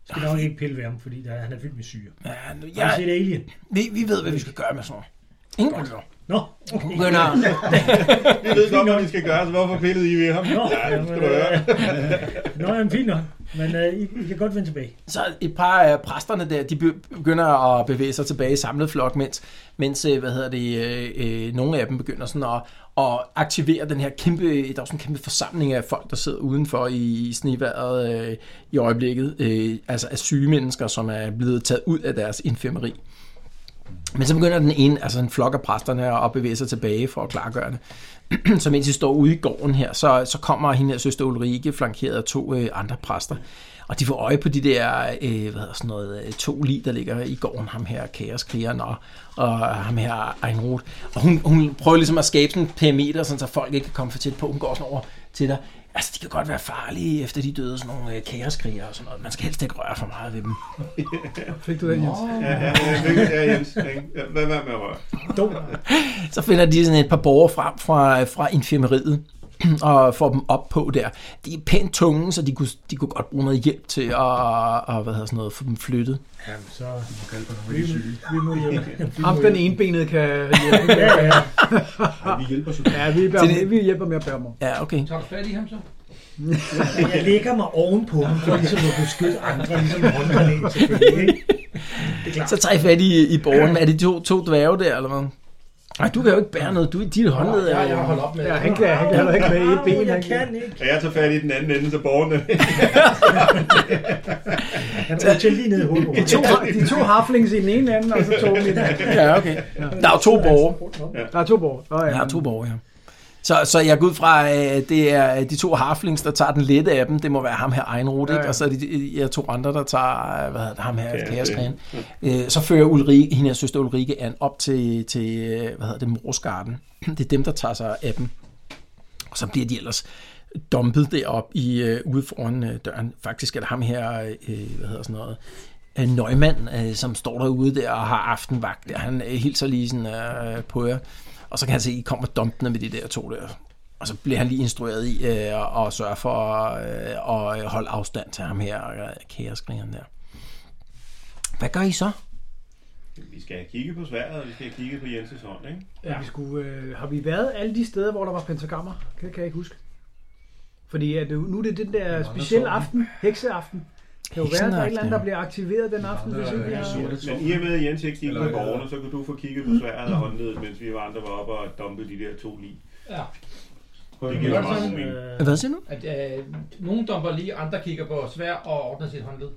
[SPEAKER 6] Skal nok ikke pille ved ham, fordi der, han er fyldt med syre.
[SPEAKER 2] Ja, nu-
[SPEAKER 6] Ja. Har du
[SPEAKER 2] Ah. ja,
[SPEAKER 6] set Alien?
[SPEAKER 2] vi, vi ved, hvad vi skal gøre med sådan noget. Ingen problemer.
[SPEAKER 6] Nå, okay.
[SPEAKER 2] Hun begynder,
[SPEAKER 4] Vi ved godt, hvad vi skal gøre, så hvorfor pillede I ved ham?
[SPEAKER 6] Nå,
[SPEAKER 4] Ja, det skal du
[SPEAKER 6] øh,
[SPEAKER 4] høre.
[SPEAKER 6] Nå, jamen, fint nok. Men øh, I, I, kan godt vende tilbage.
[SPEAKER 2] så et par af præsterne der, de be- begynder at bevæge sig tilbage i samlet flok, mens, mens øh, hvad hedder det, øh, øh, nogle af dem begynder sådan at, at aktivere den her kæmpe, der er jo sådan en kæmpe forsamling af folk, der sidder udenfor i, i sneværet øh, i øjeblikket, øh, altså af syge mennesker, som er blevet taget ud af deres infirmeri. Men så begynder den ene, altså en flok af præsterne, at bevæge sig tilbage for at klargøre det. [CLEARS THROAT] så mens de står ude i gården her, så, så kommer hende her søster Ulrike, flankeret af to øh, andre præster. Og de får øje på de der, øh, hvad hedder sådan noget, øh, to lig, der ligger i gården, ham her kaoskrigeren og, og ham her Einrod. Og hun, hun prøver ligesom at skabe sådan en perimeter, sådan, så folk ikke kan komme for tæt på. Hun går sådan over til dig. Altså, de kan godt være farlige, efter de døde sådan nogle øh, kaoskrigere og sådan noget. Man skal helst ikke røre for meget ved dem.
[SPEAKER 5] Fik du den, Jens?
[SPEAKER 4] Ja, ja, ja, virkelig, ja, Jens. Ja, Hvad hvad med at røre?
[SPEAKER 6] Dum.
[SPEAKER 2] Så finder de sådan et par borgere frem fra, fra infirmeriet [CLEARS THROAT] og får dem op på der. De er pænt tunge, så de kunne, de kunne godt bruge noget hjælp til at og, hvad hedder sådan noget, få dem flyttet.
[SPEAKER 6] Jamen, så
[SPEAKER 3] Man kan kalde på nogle af de syge.
[SPEAKER 6] vi må hjem.
[SPEAKER 4] [LAUGHS]
[SPEAKER 5] Ham den enbenede kan hjælpe.
[SPEAKER 6] Ja, ja.
[SPEAKER 3] Ja, vi hjælper så
[SPEAKER 5] Ja, vi, bærer,
[SPEAKER 2] Til det-
[SPEAKER 5] vi hjælper med at bære dem om.
[SPEAKER 2] Ja, okay.
[SPEAKER 7] Tager du fat i ham så?
[SPEAKER 6] Men jeg lægger mig ovenpå ham, for ligesom at beskytte andre, ligesom en håndgranat selvfølgelig. Ikke? Det er klart.
[SPEAKER 2] Så tager I fat i, i borgeren. Er det de to, to dværge der, eller hvad? Nej, du kan jo ikke bære noget. Du, dit håndled er
[SPEAKER 7] Ja, jeg
[SPEAKER 2] jo...
[SPEAKER 7] har holdt op med
[SPEAKER 5] Ja, han kan, han kan heller ikke med et ben.
[SPEAKER 6] Au, jeg
[SPEAKER 5] han kan-
[SPEAKER 6] kan ikke.
[SPEAKER 4] Ja, jeg tager fat i den anden ende, så borgerne...
[SPEAKER 6] Han tager lige ned i hovedet.
[SPEAKER 5] De to, [LAUGHS] de to harflings i den ene anden, og så to i den anden.
[SPEAKER 2] Ja, okay. Der er jo to borgere.
[SPEAKER 5] Der er to borg. Oh, ja.
[SPEAKER 2] Jeg har to borgere, ja. Så, så jeg går ud fra, at det er øh, de to harflings, der tager den lette af dem. Det må være ham her Einrud,
[SPEAKER 5] Ja,
[SPEAKER 2] ja,
[SPEAKER 5] ja.
[SPEAKER 2] ja. og så er det de, jeg to andre, der tager øh, hvad hedder det, ham her
[SPEAKER 4] Ja,
[SPEAKER 2] Kæreskræn. Øh, så fører Ulrike, hende her søster Ulrike an op til, til øh, hvad hedder det, Morsgarden. Det er dem, der tager sig af dem. Og så bliver de ellers dumpet derop i, øh, ude foran øh, døren. Faktisk er det ham her, øh, hvad hedder sådan noget, øh, Nøgmand, øh, som står derude der og har aftenvagt. Der. Han øh, hilser lige sådan, øh, på jer. Og så kan han se, at I kommer dumpende med de der to der. Og så bliver han lige instrueret i øh, at at sørge for øh, at holde afstand til ham her, øh, kæreskrigeren der. Hvad gør I så?
[SPEAKER 4] Vi skal kigge på sværet, og vi skal kigge på Jenses hånd, ikke?
[SPEAKER 5] Ja. Vi skulle, øh, har vi været alle de steder, hvor der var pentagrammer? Kan, kan jeg ikke huske. Fordi at øh, nu er det den der
[SPEAKER 3] Mange
[SPEAKER 5] specielle
[SPEAKER 3] tårne.
[SPEAKER 5] aften, hekseaften, Kan jo være, at der er et eller andet, der bliver aktiveret den aften,
[SPEAKER 9] Nå,
[SPEAKER 5] hvis
[SPEAKER 9] det er
[SPEAKER 5] ikke vi
[SPEAKER 9] jeg
[SPEAKER 5] har...
[SPEAKER 9] sur.
[SPEAKER 4] Men i og med, at Jens ikke gik
[SPEAKER 9] Eller-
[SPEAKER 4] med borgerne, så kunne du få kigget på sværet og håndledet, mens vi andre var oppe og dumpede de der to lige.
[SPEAKER 1] Ja.
[SPEAKER 4] Det
[SPEAKER 1] Det
[SPEAKER 4] giver
[SPEAKER 1] var
[SPEAKER 4] meget god
[SPEAKER 1] sådan,
[SPEAKER 4] mening.
[SPEAKER 1] øh,
[SPEAKER 2] Hvad siger du?
[SPEAKER 1] at øh, nogen dumper lige, andre kigger på svær og ordner sit håndled.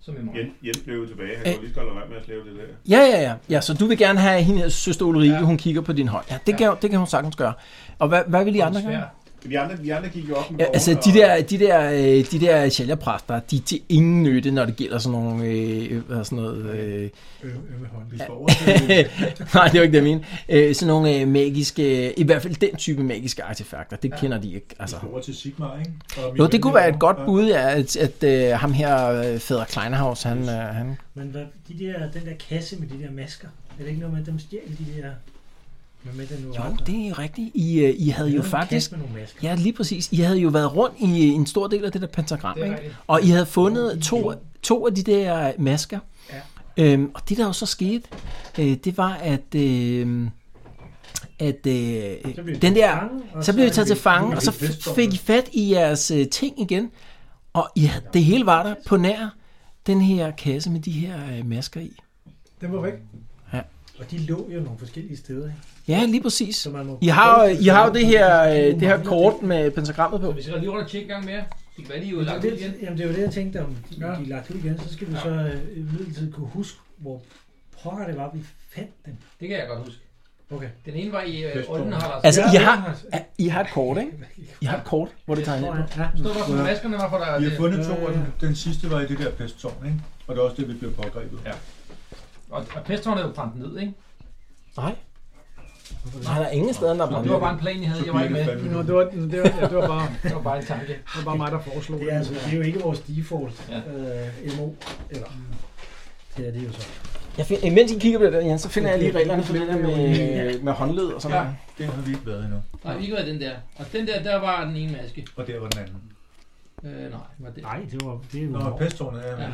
[SPEAKER 1] Som i morgen.
[SPEAKER 4] Jens, Jens blev jo tilbage. Han kunne lige så godt lade være med at slæve det der.
[SPEAKER 2] Ja, ja, ja. ja så du vil gerne have hende her søster Ulrike, ja.
[SPEAKER 1] Ja.
[SPEAKER 2] hun kigger på din hånd. Ja, det,
[SPEAKER 1] Ja.
[SPEAKER 2] kan, det kan hun sagtens gøre. Og hvad, hvad vil de andre gøre?
[SPEAKER 1] Sværd.
[SPEAKER 4] Vi andre, vi andre gik jo op med
[SPEAKER 2] Ja,
[SPEAKER 4] borgerne,
[SPEAKER 2] altså, de der, de der, øh, de der sjælgerpræster, de er til ingen nytte, når det gælder sådan nogle... Øh, øh, hvad er sådan noget, øh, [LAUGHS]
[SPEAKER 9] Vi skal over til
[SPEAKER 2] nej, det var ikke det, jeg mente. Øh, sådan nogle øh, magiske... I hvert fald den type magiske artefakter, det ja. kender de ikke. Altså.
[SPEAKER 9] Vi skal over til Sigmar, ikke? Og
[SPEAKER 2] Jo,
[SPEAKER 9] Michael
[SPEAKER 2] det kunne være et godt
[SPEAKER 9] Ja.
[SPEAKER 2] bud, ja, at, at øh, ham her, øh, Fædre Kleinerhaus, han... Øh, han
[SPEAKER 6] Men hvad, de der, den der kasse med de der masker, er det ikke noget med, at dem stjæler de der... Med med den
[SPEAKER 2] jo, det er rigtigt. I, øh, I havde jo faktisk...
[SPEAKER 6] Kasse med nogle masker.
[SPEAKER 2] Ja, lige præcis. I havde jo været rundt i øh, en stor del af det der pentagram,
[SPEAKER 1] Det er
[SPEAKER 2] ikke?
[SPEAKER 1] rigtigt.
[SPEAKER 2] Og I havde fundet to, to af de der øh, masker.
[SPEAKER 1] Ja.
[SPEAKER 2] Øhm, og det, der jo så skete, øh, det var, at... Øh, at øh,
[SPEAKER 6] Så blev de
[SPEAKER 2] den der...
[SPEAKER 6] taget til fange, og
[SPEAKER 2] Så blev I
[SPEAKER 6] er
[SPEAKER 2] taget til fange,
[SPEAKER 9] vi
[SPEAKER 2] og så
[SPEAKER 9] fik fest for
[SPEAKER 2] fik I
[SPEAKER 9] det.
[SPEAKER 2] fat i jeres øh, ting igen. Og I, havde- det hele var der på nær den her kasse med de her øh, masker i.
[SPEAKER 10] Den var væk.
[SPEAKER 6] Og de lå jo nogle forskellige steder, ikke?
[SPEAKER 2] Ja, lige præcis.
[SPEAKER 6] Så man må
[SPEAKER 2] I har, I har jo det her, øh, det her kort med pentagrammet
[SPEAKER 1] Så
[SPEAKER 2] på.
[SPEAKER 1] vi skal lige rundt og tjekke en gang mere. Det kan være, de er jo
[SPEAKER 6] Det er
[SPEAKER 1] lagt ud igen.
[SPEAKER 6] det, jamen, det er jo det, jeg tænkte, om de,
[SPEAKER 10] Ja.
[SPEAKER 6] ja. de er lagt ud igen, så skal vi så øh, midlertidigt kunne huske, hvor pokker det var, vi fandt dem.
[SPEAKER 1] Det kan jeg godt huske.
[SPEAKER 6] Okay.
[SPEAKER 1] Den ene var i øh,
[SPEAKER 9] Festbogen.
[SPEAKER 1] Oldenhallers.
[SPEAKER 2] Altså, I har,
[SPEAKER 6] har-
[SPEAKER 2] I har et kort, ikke? I har et kort, hvor det tegner ind på.
[SPEAKER 6] Ja,
[SPEAKER 1] Stod der på maskerne, hvorfor der...
[SPEAKER 9] Vi har
[SPEAKER 1] Det,
[SPEAKER 9] fundet to, og den,
[SPEAKER 6] Ja,
[SPEAKER 9] den sidste var i det der pesttårn, ikke? Og det er også det, vi blev pågrebet.
[SPEAKER 4] Ja.
[SPEAKER 1] og, og pesthånden er jo brændt ned, ikke?
[SPEAKER 2] Nej. Nej, der er ingen steder, der er
[SPEAKER 1] Nå,
[SPEAKER 2] brændt.
[SPEAKER 1] det var bare en plan, I havde. Jeg var ikke med.
[SPEAKER 5] Nå, det var, det var, ja, det var, bare,
[SPEAKER 1] Det var bare en tanke.
[SPEAKER 5] det var bare mig, der foreslog
[SPEAKER 6] det, er, altså, det er jo ikke vores default
[SPEAKER 1] Ja.
[SPEAKER 6] ja. øh, MO, eller det er det jo så.
[SPEAKER 2] Jeg find, imens I kigger på det der, Jens, så finder jeg lige reglerne for det der med, med håndled og sådan
[SPEAKER 1] Ja.
[SPEAKER 2] noget.
[SPEAKER 9] Den har vi ikke været endnu.
[SPEAKER 1] Nej, ikke været den der. Og den der, der var den ene maske.
[SPEAKER 9] Og der var den anden.
[SPEAKER 1] Øh, nej, var det.
[SPEAKER 6] Nej, det var det er jo
[SPEAKER 9] Nå, pesttårnet
[SPEAKER 1] Ja.
[SPEAKER 9] er ja.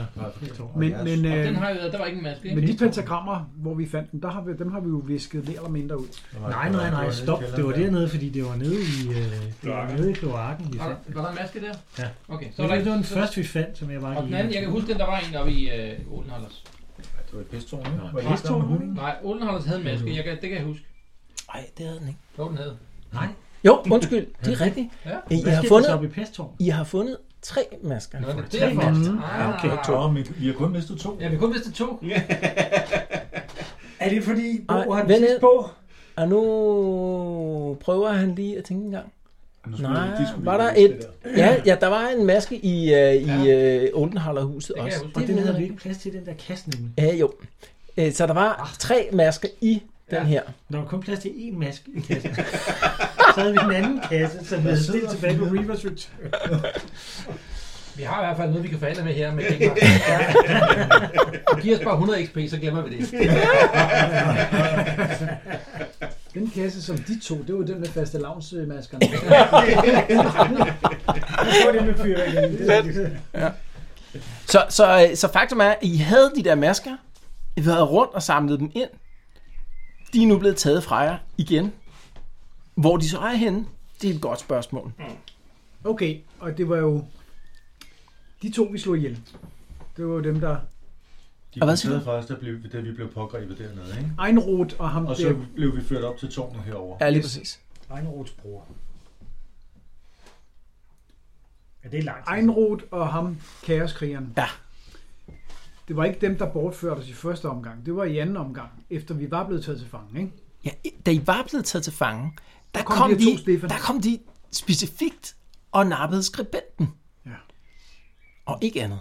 [SPEAKER 5] Men, men,
[SPEAKER 1] Og
[SPEAKER 5] øh,
[SPEAKER 1] den har jo været, der var ikke en maske,
[SPEAKER 5] men
[SPEAKER 1] ikke?
[SPEAKER 5] de pentagrammer, hvor vi fandt dem, der har vi, dem har vi jo visket mere eller mindre ud.
[SPEAKER 6] Nej, nej, nej, stop. Det var dernede, fordi det var nede i, øh, det var
[SPEAKER 4] Kloakken.
[SPEAKER 6] nede i kloakken, vi
[SPEAKER 1] Var
[SPEAKER 6] fandt.
[SPEAKER 1] der, var der en maske der?
[SPEAKER 6] Ja.
[SPEAKER 1] Okay, så
[SPEAKER 6] Så
[SPEAKER 1] var der
[SPEAKER 6] det
[SPEAKER 1] ikke
[SPEAKER 6] var den
[SPEAKER 1] så-
[SPEAKER 6] første, vi fandt, som jeg bare
[SPEAKER 1] Og den anden, jeg kan huske den, der var en oppe i øh, Oldenholders.
[SPEAKER 9] Det var et pesttårn, ikke? Var det
[SPEAKER 6] Pesttårn?
[SPEAKER 9] pesttårn? Hunden?
[SPEAKER 1] Nej, Oldenholders havde en maske, jeg kan, det kan jeg huske.
[SPEAKER 2] Nej, det havde den ikke.
[SPEAKER 1] Jo, den havde.
[SPEAKER 6] Nej,
[SPEAKER 2] Jo, undskyld, det er rigtigt.
[SPEAKER 1] Ja.
[SPEAKER 2] I,
[SPEAKER 6] hvad
[SPEAKER 2] har
[SPEAKER 6] skete der så
[SPEAKER 2] fundet,
[SPEAKER 6] op i pesttårn?
[SPEAKER 2] I har fundet tre masker.
[SPEAKER 1] Nå, det er
[SPEAKER 6] tre
[SPEAKER 1] derfor.
[SPEAKER 6] masker.
[SPEAKER 1] Ah, okay.
[SPEAKER 9] Nå, men vi har kun mistet to.
[SPEAKER 1] Ja, vi kunne miste to.
[SPEAKER 6] Er det fordi, Bo
[SPEAKER 2] Ej,
[SPEAKER 6] har den
[SPEAKER 2] vent
[SPEAKER 6] sidste
[SPEAKER 2] lidt.
[SPEAKER 6] på?
[SPEAKER 2] Og nu prøver han lige at tænke en gang.
[SPEAKER 9] Nu skulle
[SPEAKER 2] Nej,
[SPEAKER 9] vi- de skulle
[SPEAKER 2] var
[SPEAKER 9] vi
[SPEAKER 2] der
[SPEAKER 9] vise
[SPEAKER 2] et-
[SPEAKER 9] det der.
[SPEAKER 2] Ja, ja der var en maske i, uh, i uh, Oldenhallerhuset
[SPEAKER 1] Det kan
[SPEAKER 2] også.
[SPEAKER 1] jeg huske.
[SPEAKER 6] Og den
[SPEAKER 2] ved
[SPEAKER 6] havde vi
[SPEAKER 2] jeg.
[SPEAKER 6] ikke plads til, den der kasse nemlig.
[SPEAKER 2] Ja, jo. Øh, Så der var tre masker i den
[SPEAKER 1] Ah. Ja.
[SPEAKER 2] her.
[SPEAKER 6] Der var kun plads til én maske i kassen. så havde vi den anden kasse, som vi havde stillet tilbage på Reverse Return.
[SPEAKER 1] Vi har i hvert fald noget, vi kan forhandle med her med
[SPEAKER 2] [LAUGHS]
[SPEAKER 1] Denmark. Og giver os bare 100 XP, så glemmer vi det.
[SPEAKER 5] Den kasse, som de tog, det var den med faste lavnsmaskerne. [LAUGHS]
[SPEAKER 6] Det var det med fyrværkeri. Det er rigtigt.
[SPEAKER 2] Så, så, øh, så faktum er, at I havde de der masker, I havde rundt og samlet dem ind. De er nu blevet taget fra jer igen. Hvor de så er henne, det er et godt spørgsmål.
[SPEAKER 5] Okay, og det var jo... De to, vi slog ihjel. Det var jo dem, der...
[SPEAKER 9] De
[SPEAKER 2] Og hvad
[SPEAKER 9] og
[SPEAKER 2] siger
[SPEAKER 9] hvad fra os, da, blev, da vi blev pågrebet dernede, ikke?
[SPEAKER 5] Einroth og ham
[SPEAKER 9] Og
[SPEAKER 5] der.
[SPEAKER 9] så blev vi ført op til tårnet herover.
[SPEAKER 2] Ja, lige præcis.
[SPEAKER 6] Einroths bror. Ja, det er langt.
[SPEAKER 5] Einroth og ham, kaoskrigeren.
[SPEAKER 2] Ja.
[SPEAKER 5] Det var ikke dem, der bortførte os i første omgang. Det var i anden omgang, efter vi var blevet taget til fange. Ikke?
[SPEAKER 2] Ja, i- da I var blevet taget til fange, der,
[SPEAKER 5] kom
[SPEAKER 2] kom,
[SPEAKER 5] de her to,
[SPEAKER 2] de,
[SPEAKER 5] Stefan.
[SPEAKER 2] der kom de specifikt og nappede skribenten.
[SPEAKER 5] Ja.
[SPEAKER 2] Og ikke andet.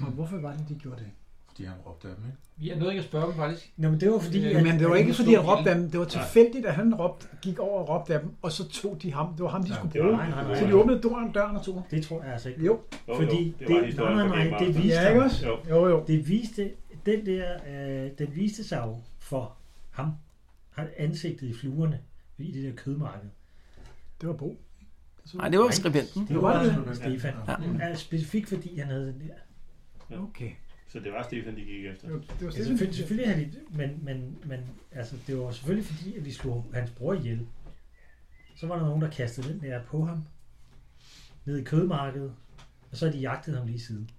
[SPEAKER 5] Og hvorfor var det, de gjorde det?
[SPEAKER 9] Fordi han råbte af dem, ikke?
[SPEAKER 1] Vi har noget, jeg spørger dem faktisk.
[SPEAKER 6] Nå, men det var fordi...
[SPEAKER 1] Jamen,
[SPEAKER 6] at-
[SPEAKER 5] Jamen, det var
[SPEAKER 6] at
[SPEAKER 5] ikke,
[SPEAKER 6] hun
[SPEAKER 5] fordi
[SPEAKER 6] stod-
[SPEAKER 5] han råbte af dem. Det var tilfældigt, at han råbte, gik over og råbte af dem, og så tog de ham. Det var ham, de skulle
[SPEAKER 4] det var
[SPEAKER 5] bruge.
[SPEAKER 4] ham, de skulle
[SPEAKER 5] Så de
[SPEAKER 4] bruge.
[SPEAKER 5] åbnede døren, døren og tog ham.
[SPEAKER 6] Det tror jeg altså ikke.
[SPEAKER 5] Jo,
[SPEAKER 4] Jo,
[SPEAKER 6] Fordi
[SPEAKER 4] jo, det,
[SPEAKER 6] det-
[SPEAKER 4] var historien
[SPEAKER 6] nej,
[SPEAKER 4] for
[SPEAKER 6] nej,
[SPEAKER 4] Game
[SPEAKER 6] det
[SPEAKER 4] Master.
[SPEAKER 6] viste
[SPEAKER 5] ja, ikke også?
[SPEAKER 4] Jo.
[SPEAKER 5] Jo, jo.
[SPEAKER 6] Det viste, den der, øh, den viste sig jo for ham. Han ansigtet i fluerne i det der kødmarked.
[SPEAKER 5] Det var Bo.
[SPEAKER 2] Nej, det var skribenten.
[SPEAKER 6] Det
[SPEAKER 5] var
[SPEAKER 6] var
[SPEAKER 5] det.
[SPEAKER 6] det. Stefan.
[SPEAKER 2] Ja.
[SPEAKER 6] Ja, specifikt fordi han havde den der. Altså,
[SPEAKER 5] Okay.
[SPEAKER 4] Så det var Stefan, de gik efter.
[SPEAKER 5] Det var, det var
[SPEAKER 6] Ja,
[SPEAKER 5] Stefan.
[SPEAKER 6] selvfølgelig, selvfølgelig havde de, men, men, men altså, det var selvfølgelig fordi, at de slog hans bror ihjel. Så var der nogen, der kastede den der på ham. Ned i kødmarkedet. Og så har de jagtet ham lige siden.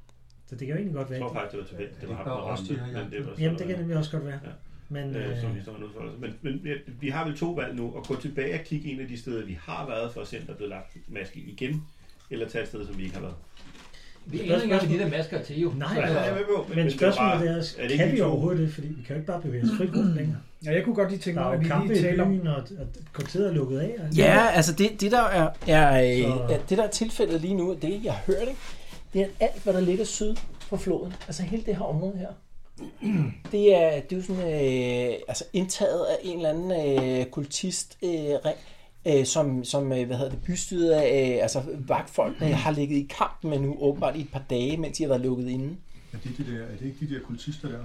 [SPEAKER 6] Så det kan jo egentlig godt
[SPEAKER 4] Jeg
[SPEAKER 6] være.
[SPEAKER 4] tror faktisk, det var tilfældigt. Det var ham,
[SPEAKER 3] Og
[SPEAKER 4] der var
[SPEAKER 3] også de
[SPEAKER 4] ham,
[SPEAKER 3] her, ja.
[SPEAKER 4] men var så-
[SPEAKER 6] Jamen, det kan nemlig også godt være.
[SPEAKER 4] Ja.
[SPEAKER 6] Men
[SPEAKER 4] øh, som
[SPEAKER 6] øh,
[SPEAKER 4] historien udfolder sig. Men, men ja, vi har vel to valg nu, at gå tilbage og kigge en af de steder, vi har været, for at se, om der er blevet lagt maske igen, eller tage et sted, som vi ikke har været.
[SPEAKER 7] Vi aner ikke engang, om de der masker er til jo.
[SPEAKER 6] nej,
[SPEAKER 4] Så jeg er
[SPEAKER 6] altså,
[SPEAKER 4] med på,
[SPEAKER 6] men
[SPEAKER 4] det var
[SPEAKER 6] spørgsmålet
[SPEAKER 4] bare-
[SPEAKER 6] er,
[SPEAKER 4] er det
[SPEAKER 6] også,
[SPEAKER 4] ikke
[SPEAKER 6] kan
[SPEAKER 4] de
[SPEAKER 6] vi
[SPEAKER 4] to?
[SPEAKER 6] overhovedet det? Fordi vi kan jo ikke bare bevæge os frit rundt længere.
[SPEAKER 5] Ja, jeg kunne godt lige tænke
[SPEAKER 6] Der
[SPEAKER 5] mig,
[SPEAKER 6] er
[SPEAKER 5] at
[SPEAKER 6] jo
[SPEAKER 5] vi
[SPEAKER 6] kampe
[SPEAKER 5] lige
[SPEAKER 6] i
[SPEAKER 5] taler om...
[SPEAKER 6] byen, og, og kvarteret er lukket af. og-
[SPEAKER 2] Ja, altså det, det der er, er, øh,
[SPEAKER 6] Så-
[SPEAKER 2] er, det der er tilfældet lige nu, og det jeg har hørt, ikke? det er at alt, hvad der ligger syd for floden, altså hele det her område her, [CLEARS THROAT] det er, det er jo sådan, øh, altså indtaget af en eller anden øh, kultist, øh, ring, øh, som, som øh, hvad hedder det, bystyret af, øh, altså vagtfolkene har ligget i kamp med nu åbenbart i et par dage, mens de har været lukket inde.
[SPEAKER 3] Er det, de der, er det ikke de der kultister der?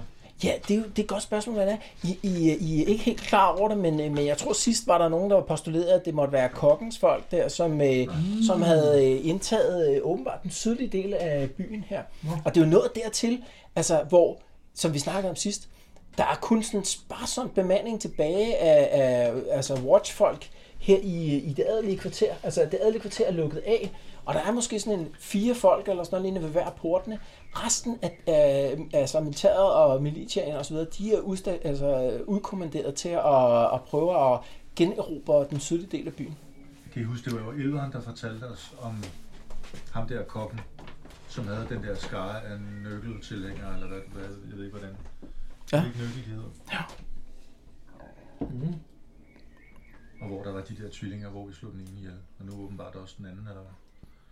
[SPEAKER 2] Ja, det er, jo, det er et godt spørgsmål, hvad det er. I, I, øh, I er ikke helt klar over det, men, øh, men jeg tror sidst var der nogen, der var postuleret, at det måtte være kokkens folk der, som, øh, som havde øh, indtaget øh, åbenbart den sydlige del af byen her. Og det er jo nået dertil, altså, hvor, som vi snakkede om sidst, der er kun sådan en sparsom bemanding tilbage af, af altså watchfolk her i, i det adelige kvarter. Altså det adelige kvarter er lukket af, og der er måske sådan en fire folk eller sådan noget lignende ved hver af portene. Resten af, af altså militæret og militæren og så videre, de er udsta- altså, udkommanderet til at, at prøve at generobre den sydlige del af byen.
[SPEAKER 3] Kan I huske, det var jo Elveren, der fortalte os om ham der kokken, som havde den der skare af nøkkeltilhængere, eller hvad, hvad jeg ved ikke hvordan.
[SPEAKER 2] Ja.
[SPEAKER 3] Hvilken nøkkel de hedder.
[SPEAKER 2] Ja.
[SPEAKER 7] Mhm.
[SPEAKER 3] Og hvor der var de der tvillinger, hvor vi slog den ene ihjel, og nu åbenbart også den anden, eller hvad?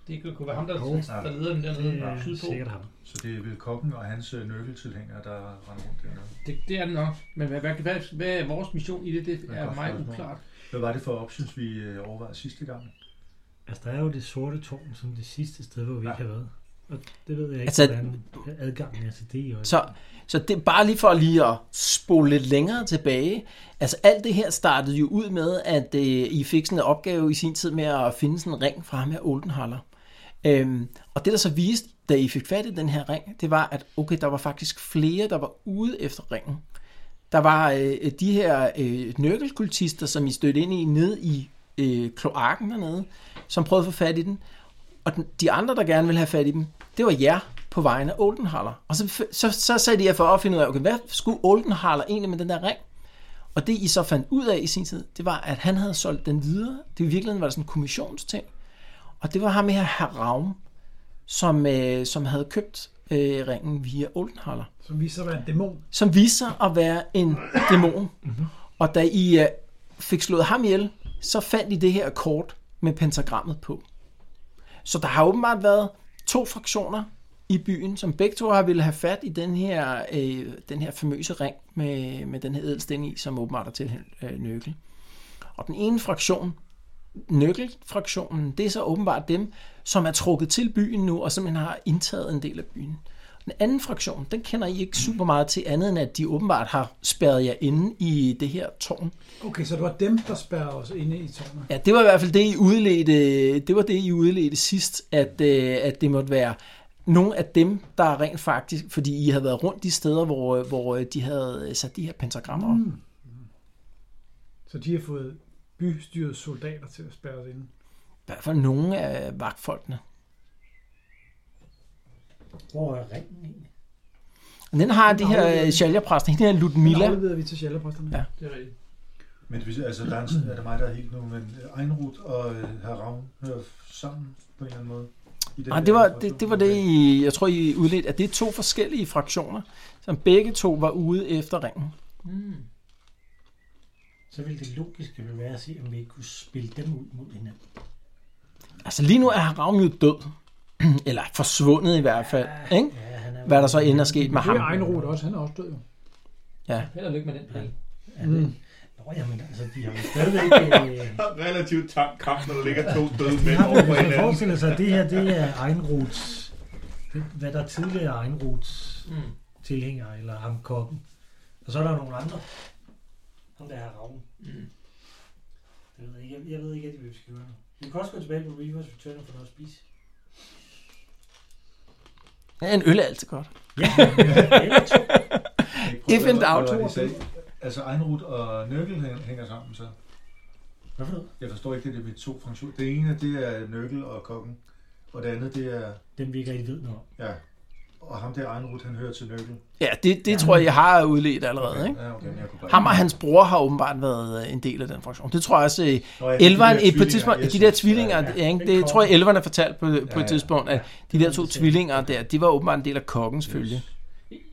[SPEAKER 7] Det kunne- kunne være ham, der, der leder dem dernede
[SPEAKER 6] Det er
[SPEAKER 7] sydpå.
[SPEAKER 6] sikkert ham.
[SPEAKER 3] Så det er vel kokken og hans øh, nøkkeltilhængere, der render rundt dernede.
[SPEAKER 7] Det, det er det nok. Men hvad, hvad, hvad, hvad er vores mission i det? Det
[SPEAKER 3] er
[SPEAKER 7] er
[SPEAKER 3] godt
[SPEAKER 7] meget
[SPEAKER 3] spørgsmål.
[SPEAKER 7] uklart.
[SPEAKER 3] Hvad var det for options, vi øh, overvejede sidste gang?
[SPEAKER 6] Altså, der er jo det sorte tårn som det sidste sted, hvor vi
[SPEAKER 3] Ja.
[SPEAKER 6] ikke har været. Og det ved jeg ikke,
[SPEAKER 2] Altså-
[SPEAKER 6] altså, hvordan adgangen er til det. i øjeblikket.
[SPEAKER 2] Så, så det er bare lige for lige at spole lidt længere tilbage. Altså alt det her startede jo ud med, at øh, I fik sådan en opgave i sin tid med at finde sådan en ring fra ham her Oldenhaller. Øhm, og det der så viste, da I fik fat i den her ring, det var, at okay, der var faktisk flere, der var ude efter ringen. Der var øh, de her øh, nøkkelkultister, som I stødte ind i nede i øh, kloakken dernede, som prøvede at få fat i den. Og den, de andre, der gerne ville have fat i dem, det var jer på vegne af Oldenhaller. Og så, så, så sagde de jer for at finde ud af, okay, hvad skulle Oldenhaller egentlig med den der ring? Og det, I så fandt ud af i sin tid, det var, at han havde solgt den videre. Det i virkeligheden var det sådan en kommissionsting. Og det var ham her, herr Raum, som, øh, som havde købt øh, ringen via Oldenhaller
[SPEAKER 5] Som viser at være en dæmon.
[SPEAKER 2] som viste sig at være en dæmon. Og da I øh, fik slået ham ihjel, så fandt I det her kort med pentagrammet på. Så der har åbenbart været to fraktioner i byen, som begge to har ville have fat i den her, øh, den her famøse ring med, med den her ædelsten i, som åbenbart er til øh, nøgle. Og den ene fraktion, nøkkelfraktionen, det er så åbenbart dem, som er trukket til byen nu, og simpelthen har indtaget en del af byen. Den anden fraktion, den kender I ikke super meget til andet, end at de åbenbart har spærret jer inde i det her tårn.
[SPEAKER 5] Okay, så det var dem, der spærrede os inde i tårnet.
[SPEAKER 2] Ja, det var i hvert fald det, I udledte, det var det, I udledte sidst, at, øh, at det måtte være nogle af dem, der rent faktisk, fordi I havde været rundt de steder, hvor, øh, hvor øh, de havde sat de her pentagrammer op.
[SPEAKER 5] Mm. Så de har fået bystyrets soldater til at spærre os inde.
[SPEAKER 2] I hvert fald nogle af vagtfolkene.
[SPEAKER 6] Hvor er ringen egentlig?
[SPEAKER 2] Og den har de her øh,
[SPEAKER 5] Afleveret.
[SPEAKER 2] shalja-præsten, hende her
[SPEAKER 5] Mila.
[SPEAKER 2] Ludmilla.
[SPEAKER 5] afleverede vi til sjælderposterne.
[SPEAKER 2] Ja.
[SPEAKER 7] Det er rigtigt.
[SPEAKER 3] Men hvis, altså, der er, en, er det mig, der er helt nu, men Ejnrud og øh, herr Ravn hører sammen på en eller anden måde? I den
[SPEAKER 2] Nej,
[SPEAKER 3] der
[SPEAKER 2] Ah, det var,
[SPEAKER 3] operation.
[SPEAKER 2] det, det var det, I, jeg tror, I udledte, at det er to forskellige fraktioner, som begge to var ude efter ringen.
[SPEAKER 7] Mm.
[SPEAKER 6] Så ville det logiske vel være at se, om vi ikke kunne spille dem ud mod hinanden.
[SPEAKER 2] Altså lige nu er Haram jo død, [CLEARS THROAT] eller forsvundet i hvert fald, ikke?
[SPEAKER 6] Ja, han er
[SPEAKER 2] Hvad der så end er sket med
[SPEAKER 5] Det
[SPEAKER 2] ham.
[SPEAKER 5] er egen rot også, han er også død jo.
[SPEAKER 7] Held og lykke med den plan.
[SPEAKER 6] Er det-
[SPEAKER 5] Mm.
[SPEAKER 6] Nå, jamen, altså, de har jo stadigvæk... øh,
[SPEAKER 4] Relativt tam kamp, når der ligger to døde
[SPEAKER 6] de
[SPEAKER 4] mænd
[SPEAKER 6] har
[SPEAKER 4] over
[SPEAKER 6] jo
[SPEAKER 4] for
[SPEAKER 6] altså
[SPEAKER 4] hinanden.
[SPEAKER 6] forestillet sig, at det her, det er Egenruts... det- Hvad der tidligere er Egenruts
[SPEAKER 7] Mm.
[SPEAKER 6] tilhængere, eller ham kokken. Og så er der nogle andre. Ham der her Ravn.
[SPEAKER 7] Mm.
[SPEAKER 6] Jeg ved ikke, jeg, jeg ved ikke, rigtig, hvad vi skal gøre nu. Vi kan også gå tilbage på Reavers Return og få noget at spise.
[SPEAKER 2] Ja, en øl er altid godt.
[SPEAKER 6] Ja, eller to.
[SPEAKER 3] Kan I ikke prøve
[SPEAKER 2] If
[SPEAKER 3] at-
[SPEAKER 2] and out.
[SPEAKER 3] hvad var det, I sagde? Altså Ejnrud og Nøkkel hæ- hænger sammen, så
[SPEAKER 6] Hvad for noget?
[SPEAKER 3] jeg forstår ikke det der med to funktioner. Det ene, det er Nøkkel og kokken, og det andet, det er
[SPEAKER 6] Dem vi ikke rigtig ved noget om.
[SPEAKER 3] ja, Og ham der Arnrud, han hører til Nøkkel.
[SPEAKER 2] Ja, det, det tror jeg, jeg har udledt allerede. Ikke?
[SPEAKER 3] Ja, okay, men jeg kunne bare...
[SPEAKER 2] Ham og hans bror har åbenbart været øh, en del af den fraktion. Det tror jeg også, øh,
[SPEAKER 3] Nå, ja, de
[SPEAKER 2] Elveren,
[SPEAKER 3] der
[SPEAKER 2] et på et
[SPEAKER 3] tvillinger,
[SPEAKER 2] tidspunkt,
[SPEAKER 3] yes,
[SPEAKER 2] de der
[SPEAKER 3] yes.
[SPEAKER 2] tvillinger,
[SPEAKER 3] Ja, ja.
[SPEAKER 2] ja, ikke? det tror jeg, elverne fortalte på, på
[SPEAKER 3] Ja,
[SPEAKER 2] et
[SPEAKER 3] ja.
[SPEAKER 2] tidspunkt, at de der to tvillinger der, de var åbenbart en del af kokkens følge.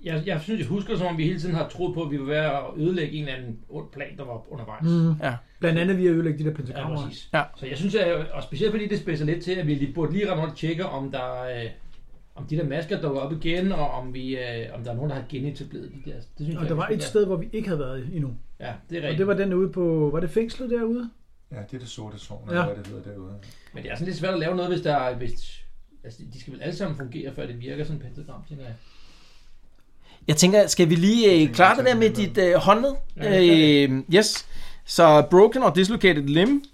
[SPEAKER 7] Jeg, jeg synes, jeg husker, som om vi hele tiden har troet på, at vi var ved at ødelægge en eller anden ond plan, der var undervejs. Mm.
[SPEAKER 2] Ja.
[SPEAKER 5] Blandt andet ved at ødelægge de der
[SPEAKER 7] Ja,
[SPEAKER 5] pentagrammer.
[SPEAKER 7] præcis.
[SPEAKER 2] Ja.
[SPEAKER 7] Så jeg synes, at, og specielt fordi det spidser lidt til, at vi lige burde lige ramme rundt og tjekke, om der øh, om de der masker dukker op igen, og om, vi, øh, om der er nogen, der har genetableret de der. Det synes
[SPEAKER 5] og
[SPEAKER 7] jeg,
[SPEAKER 5] der
[SPEAKER 7] vi
[SPEAKER 5] var
[SPEAKER 7] skulle
[SPEAKER 5] et
[SPEAKER 7] gøre.
[SPEAKER 5] sted, hvor vi ikke havde været endnu.
[SPEAKER 7] Ja, det
[SPEAKER 5] Og
[SPEAKER 7] er rigtigt.
[SPEAKER 5] det var den ude på... Var det fængslet derude?
[SPEAKER 3] Ja, det er det sorte tårn,
[SPEAKER 5] Ja.
[SPEAKER 3] eller hvad det hedder derude.
[SPEAKER 7] Men det er sådan lidt svært at lave noget, hvis der er... Hvis, altså, de skal vel alle sammen fungere, før det virker sådan et pentagram, tænker jeg.
[SPEAKER 2] Jeg tænker, skal vi lige øh, klare det der med dit øh, håndled?
[SPEAKER 7] Ja, det
[SPEAKER 2] Øh, yes. Så broken or dislocated limb.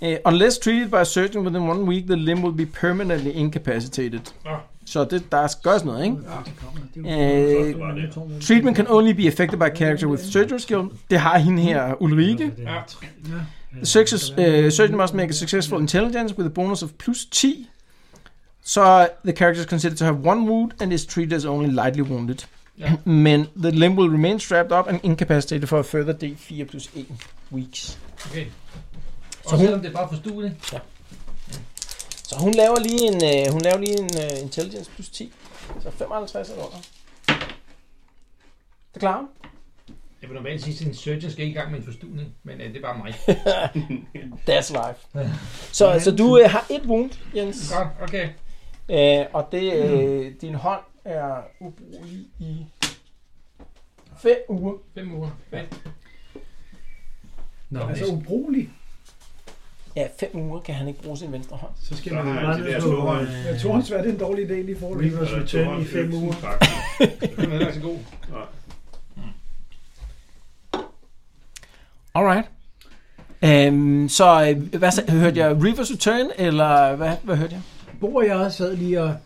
[SPEAKER 2] Uh, unless treated by a surgeon within one week, the limb will be permanently incapacitated.
[SPEAKER 7] Nå.
[SPEAKER 2] Så det, der skal gøres noget, ikke?
[SPEAKER 4] Så
[SPEAKER 2] Øh,
[SPEAKER 4] det var det.
[SPEAKER 2] treatment can only be affected by character with surgery skill. Det har hende her, Ulrike.
[SPEAKER 7] Ja.
[SPEAKER 2] Success, uh, surgeon must make a successful intelligence with a bonus of plus 10. Så the character is considered to have one wound and is treated as only lightly wounded.
[SPEAKER 7] Ja.
[SPEAKER 2] [CLEARS THROAT] Men the limb will remain strapped up and incapacitated for a further d4 plus 1 weeks.
[SPEAKER 7] Okay. Og
[SPEAKER 2] Så hun-
[SPEAKER 7] selvom det er bare for stuende.
[SPEAKER 2] Så hun laver lige en, øh, hun laver lige en øh, intelligence plus 10. Så 55 eller under. Det klarer hun.
[SPEAKER 7] Jeg vil normalt sige, at en surgeon skal ikke i gang med en forstuning, men øh, det er bare mig.
[SPEAKER 2] That's life. så, så du øh, har et wound, Jens.
[SPEAKER 7] Godt, okay.
[SPEAKER 2] Øh, og det, øh, din hånd er ubrugelig i 5 uger.
[SPEAKER 7] Fem uger. Fedt.
[SPEAKER 5] Nå,
[SPEAKER 7] Nå,
[SPEAKER 5] altså
[SPEAKER 7] næsten.
[SPEAKER 5] ubrugelig.
[SPEAKER 2] Ja, 5 uger kan han ikke bruge sin venstre hånd.
[SPEAKER 8] Så skal
[SPEAKER 4] Så
[SPEAKER 8] man
[SPEAKER 4] har
[SPEAKER 8] jo
[SPEAKER 4] han
[SPEAKER 8] bare
[SPEAKER 4] det
[SPEAKER 8] ned
[SPEAKER 4] der
[SPEAKER 8] på...
[SPEAKER 4] tohånd.
[SPEAKER 8] øh,
[SPEAKER 5] Jeg tror, han svært, det er en dårlig idé lige for det.
[SPEAKER 8] Reavers Return i fem uger.
[SPEAKER 7] Den er altså god.
[SPEAKER 2] Alright. Øhm, så øh, hvad så, hørte jeg? Reverse Return, eller hvad, hvad hørte jeg?
[SPEAKER 5] Bo og jeg sad lige og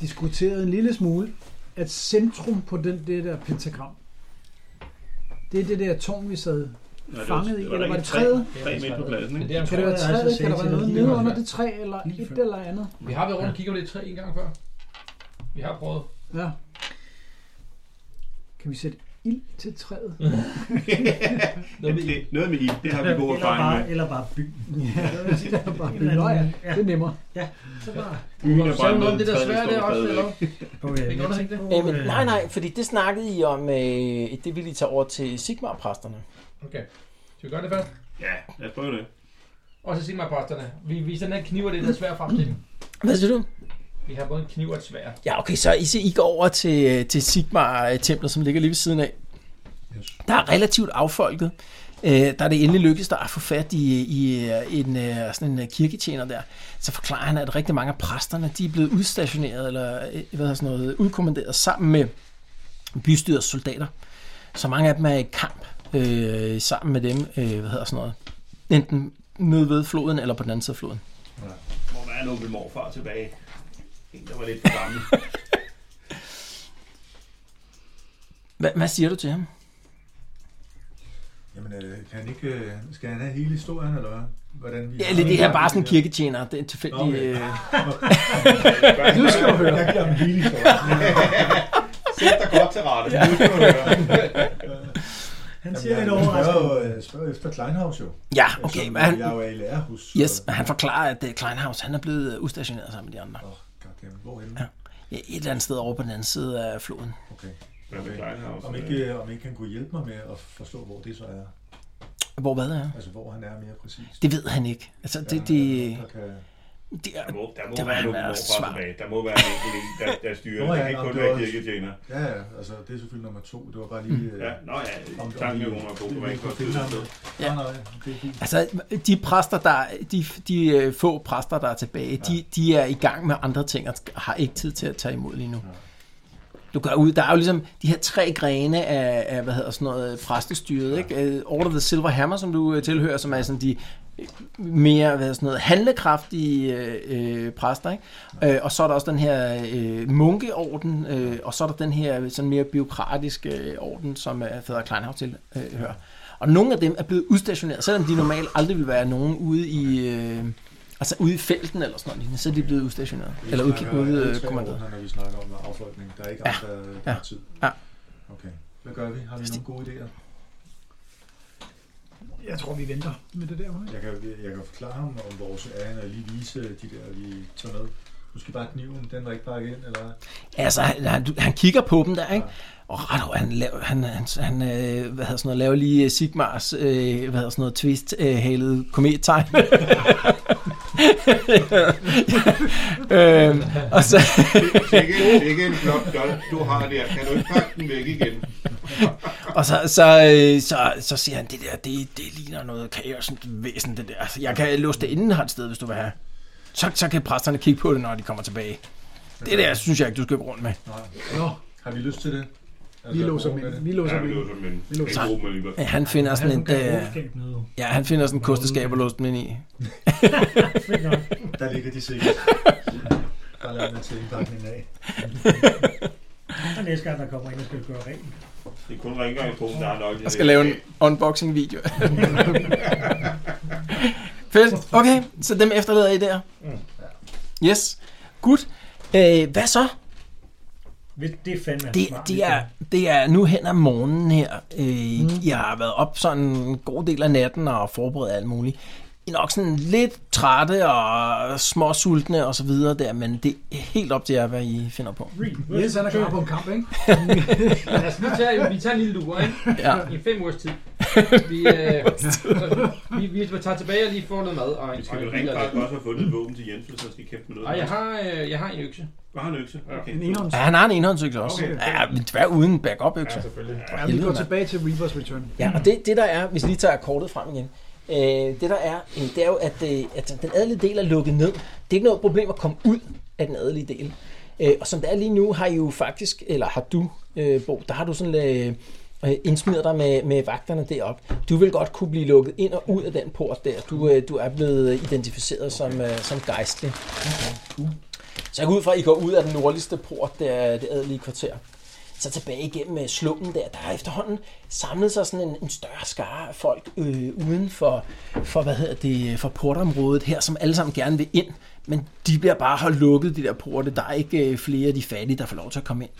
[SPEAKER 5] diskuterede en lille smule, at centrum på den, det der pentagram, det er det der tårn, vi sad fanget i, eller var det træet?
[SPEAKER 4] Tre midt på pladsen,
[SPEAKER 7] Men
[SPEAKER 4] ikke?
[SPEAKER 7] det er
[SPEAKER 5] Kan det være
[SPEAKER 8] Jeg tror, jeg
[SPEAKER 5] træet?
[SPEAKER 8] altså
[SPEAKER 5] Kan der være
[SPEAKER 8] sagde
[SPEAKER 5] noget
[SPEAKER 8] til
[SPEAKER 5] nede
[SPEAKER 8] dig.
[SPEAKER 5] under det træ, eller
[SPEAKER 8] Lige
[SPEAKER 5] et
[SPEAKER 8] før.
[SPEAKER 5] eller andet?
[SPEAKER 7] Vi har været rundt og kigget på det træ en gang før. Vi har prøvet.
[SPEAKER 5] Ja. Kan vi sætte ild til træet?
[SPEAKER 7] Noget med
[SPEAKER 4] Det- Noget med ild, det har vi god
[SPEAKER 6] Eller
[SPEAKER 4] erfaring
[SPEAKER 6] bare,
[SPEAKER 4] med.
[SPEAKER 6] eller bare byen. [LAUGHS]
[SPEAKER 5] Ja, det er bare bygget. Nå ja, det er nemmere.
[SPEAKER 6] Så bare.
[SPEAKER 4] Byen er
[SPEAKER 7] Selv
[SPEAKER 4] bare
[SPEAKER 7] noget
[SPEAKER 4] med
[SPEAKER 7] af det der svære der også, eller? hvad?
[SPEAKER 6] Okay,
[SPEAKER 7] Det
[SPEAKER 6] jeg
[SPEAKER 7] gør der
[SPEAKER 6] tænker
[SPEAKER 7] ikke
[SPEAKER 6] på,
[SPEAKER 2] Øh, men,
[SPEAKER 6] øh,
[SPEAKER 2] nej, nej, fordi det snakkede I om, øh, det ville I tage over til Sigmar-præsterne.
[SPEAKER 7] Okay. Skal vi gøre det først?
[SPEAKER 4] Ja, lad os prøve det.
[SPEAKER 7] Og så sig mig posterne. Vi viser den her kniv og det der svær frem til dem.
[SPEAKER 2] Hvad siger du?
[SPEAKER 7] Vi har både en kniv og et svær.
[SPEAKER 2] Ja, okay, så I, I går over til, øh, til Sigmar-templet, som ligger lige ved siden af.
[SPEAKER 3] Yes.
[SPEAKER 2] Der er relativt affolket. Øh, der er det endelig lykkedes dig at få fat i, i øh, en, øh, sådan en øh, kirketjener der. Så forklarer han, at rigtig mange af præsterne de er blevet udstationeret, eller øh, hvad hedder sådan noget, udkommanderet sammen med bystyrets soldater. Så mange af dem er i kamp øh, sammen med dem, øh, hvad hedder sådan noget, enten nede ved floden eller på den anden side af floden.
[SPEAKER 4] Må være en onkel morfar tilbage. En, der var lidt for
[SPEAKER 3] [LAUGHS]
[SPEAKER 4] gammel.
[SPEAKER 2] Hva, hvad siger du til ham?
[SPEAKER 3] Jamen, øh, kan han ikke, øh, skal han have hele historien, eller hvad? Hvordan vi
[SPEAKER 2] Ja, eller det her bare sådan en kirketjener, det er en tilfældig...
[SPEAKER 3] Okay.
[SPEAKER 2] Øh,
[SPEAKER 5] Nu skal du høre.
[SPEAKER 3] Jeg giver ham hele historien.
[SPEAKER 4] Sæt dig godt til rette. Nu skal du høre.
[SPEAKER 6] Han
[SPEAKER 3] Jamen,
[SPEAKER 6] siger
[SPEAKER 3] jeg
[SPEAKER 6] lidt
[SPEAKER 3] spørger,
[SPEAKER 6] overraskende.
[SPEAKER 3] jo, øh, spørger efter Kleinhaus jo.
[SPEAKER 2] ja, okay,
[SPEAKER 3] som,
[SPEAKER 2] men han,
[SPEAKER 3] Jeg er jo i lærer hos.
[SPEAKER 2] Yes, men han forklarer, at øh, Kleinhaus han er blevet øh, udstationeret sammen med de andre.
[SPEAKER 3] Åh, goddammit, hvorhenne?
[SPEAKER 2] Ja. Ja, et eller andet sted over på den anden side af floden.
[SPEAKER 3] Okay.
[SPEAKER 4] Hvad med Kleinhaus?
[SPEAKER 3] Om ikke, øh, om ikke han kunne hjælpe mig med at forstå, hvor det så er.
[SPEAKER 2] Hvor hvad er?
[SPEAKER 3] Altså, hvor han er mere præcis.
[SPEAKER 2] Det ved han ikke. Altså,
[SPEAKER 3] Ja,
[SPEAKER 2] det, det,
[SPEAKER 3] der kan-
[SPEAKER 2] det,
[SPEAKER 4] Der
[SPEAKER 2] er-
[SPEAKER 4] må, der må
[SPEAKER 2] Det var
[SPEAKER 4] være en
[SPEAKER 2] han,
[SPEAKER 4] onkel
[SPEAKER 2] der
[SPEAKER 4] morfar
[SPEAKER 2] svar.
[SPEAKER 4] tilbage. Der må være en enkelt en, der, der styrer.
[SPEAKER 3] Nå ja,
[SPEAKER 4] Det kan ikke
[SPEAKER 3] nå,
[SPEAKER 4] kun
[SPEAKER 3] det
[SPEAKER 4] være
[SPEAKER 3] var også-
[SPEAKER 4] kirketjener.
[SPEAKER 3] Ja, ja, altså, det er selvfølgelig nummer to. Det var bare lige... øh,
[SPEAKER 4] Ja, nå ja,
[SPEAKER 3] om- om
[SPEAKER 4] tanken
[SPEAKER 3] vi-
[SPEAKER 4] er jo, hun er god. Det var
[SPEAKER 3] vi
[SPEAKER 4] ikke
[SPEAKER 3] kunne
[SPEAKER 4] godt
[SPEAKER 3] finde ham.
[SPEAKER 4] sted.
[SPEAKER 2] Ja.
[SPEAKER 3] Nej, nej, det er fint.
[SPEAKER 2] altså, de præster, der, de, de øh, få præster, der er tilbage, de, de er i gang med andre ting og har ikke tid til at tage imod lige nu. Du går ud, der er jo ligesom de her tre grene af, af hvad hedder sådan noget, præstestyret, ikke? Øh, Order of the Silver Hammer, som du øh, tilhører, som er sådan de øh, mere hvad hedder sådan noget, handlekraftige øh, øh, præster, ikke? Øh, og så er der også den her øh, munkeorden, øh, og så er der den her sådan mere byråkratiske øh, orden, som øh, Fader Kleinhav tilhører. Øh, hører. og nogle af dem er blevet udstationeret, selvom de normalt aldrig vil være nogen ude i... Øh, Altså ude i felten eller sådan noget, lignende, så er de blevet udstationeret. Eller udk- ude, øh, kommanderet.
[SPEAKER 3] Når vi snakker om affolkning, der er ikke
[SPEAKER 2] Ja.
[SPEAKER 3] andre
[SPEAKER 2] Ja.
[SPEAKER 3] ja. tid.
[SPEAKER 2] Ja.
[SPEAKER 3] Okay. Hvad gør vi? Har vi nogle gode idéer?
[SPEAKER 5] Jeg tror, vi venter med det der. hva'?
[SPEAKER 3] Jeg kan, jeg kan forklare ham om vores ærende og lige vise de der, vi tager med. Måske bare kniven, den var ikke pakket ind, eller hvad?
[SPEAKER 2] Altså, han, han, han kigger på dem der, ikke? Og ret over, han, laver, han, han, han øh, hvad hedder sådan noget, laver lige øh, Sigmars, øh, hvad hedder sådan noget, twist øh, halet komettegn. [LAUGHS] øhm, og så,
[SPEAKER 4] Sikke, sikke en flot jold, du har der. Kan du ikke pakke den væk igen?
[SPEAKER 2] og så, så, øh, så, så siger han, det der, det, det ligner noget kaosvæsen, det der. Altså, jeg kan låse det inden her et sted, hvis du vil have. Så, så kan præsterne kigge på det, når de kommer tilbage. Det der, synes jeg ikke, du skal gå rundt med.
[SPEAKER 3] Nej.
[SPEAKER 5] Nå,
[SPEAKER 3] Har vi lyst til det?
[SPEAKER 5] vi
[SPEAKER 3] Altså,
[SPEAKER 5] låser
[SPEAKER 3] hvor
[SPEAKER 5] med
[SPEAKER 3] er
[SPEAKER 5] det.
[SPEAKER 3] det?
[SPEAKER 5] Vi låser
[SPEAKER 4] Ja,
[SPEAKER 5] med
[SPEAKER 4] vi
[SPEAKER 5] det.
[SPEAKER 4] låser dem inde.
[SPEAKER 5] Vi låser
[SPEAKER 4] Ikke åbne alligevel.
[SPEAKER 2] Ja, han finder sådan et, øh,
[SPEAKER 6] noget.
[SPEAKER 2] ja, han finder sådan et kosteskab og låser dem ind i.
[SPEAKER 6] Fedt nok.
[SPEAKER 3] Der ligger de
[SPEAKER 5] [LAUGHS]
[SPEAKER 3] sikkert. Bare lad mig til indpakningen af.
[SPEAKER 6] Og næste gang, der kommer ind og skal gøre rent.
[SPEAKER 4] Det er kun rengøringsposen, der er nok.
[SPEAKER 2] Jeg skal lave en [LAUGHS] unboxing-video. Fedt. Okay, så dem efterlader I der. Yes. Godt. Øh, hvad så?
[SPEAKER 6] Hvis Det er fandme
[SPEAKER 2] Det,
[SPEAKER 6] smart,
[SPEAKER 2] det,
[SPEAKER 6] ligesom.
[SPEAKER 2] er, det er nu hen ad morgenen her. Øh, mm. Jeg har været op sådan en god del af natten og forberedt alt muligt. I er nok sådan lidt trætte og småsultne og så videre der, men det er helt op til jer, hvad I finder på.
[SPEAKER 5] Jens han er klar på en kamp, ikke?
[SPEAKER 7] Lad os lige tage, vi Altså, tager en lille lur, ikke?
[SPEAKER 2] Ja.
[SPEAKER 7] I fem ugers
[SPEAKER 2] [LAUGHS]
[SPEAKER 7] tid. Vi, øh, vi, vi, vi tager tilbage og lige får noget mad. Og,
[SPEAKER 4] Vi skal
[SPEAKER 7] og
[SPEAKER 4] vel
[SPEAKER 7] en
[SPEAKER 4] rent
[SPEAKER 7] bil og
[SPEAKER 4] faktisk
[SPEAKER 7] lidt.
[SPEAKER 4] også have fundet et våben til Jens, hvis han skal kæmpe med noget.
[SPEAKER 7] Ej, jeg har, øh, jeg har en økse.
[SPEAKER 4] Du har en økse? Okay.
[SPEAKER 5] En enhånds.
[SPEAKER 2] Ja, han har en enhåndsøkse også.
[SPEAKER 4] Okay.
[SPEAKER 2] Ja, men dværg uden backup økse.
[SPEAKER 7] selvfølgelig.
[SPEAKER 5] Ja, vi
[SPEAKER 2] helvede,
[SPEAKER 5] går
[SPEAKER 2] mand.
[SPEAKER 5] tilbage til Reapers Return.
[SPEAKER 2] Ja, og det, det der er, hvis vi lige tager kortet frem igen, øh, det der er, øh, det er jo, at, øh, at den adelige del er lukket ned. Det er ikke noget problem at komme ud af den adelige del. Øh, og som det er lige nu, har I jo faktisk, eller har du, øh, Bo, der har du sådan øh, øh, indsmider dig med, med vagterne deroppe. Du vil godt kunne blive lukket ind og ud af den port der. Du, øh, du er blevet identificeret som, øh, som gejstlig. Så jeg går ud fra, at I går ud af den nordligste port, der det adelige kvarter. Så tilbage igennem øh, slummen der, der er efterhånden samlet sig sådan en, en større skare af folk øh, uden for, for, hvad hedder det, øh, for portområdet her, som alle sammen gerne vil ind. Men de bliver bare holdt lukket, de der porte. Der er ikke øh, flere af de fattige, der får lov til at komme ind.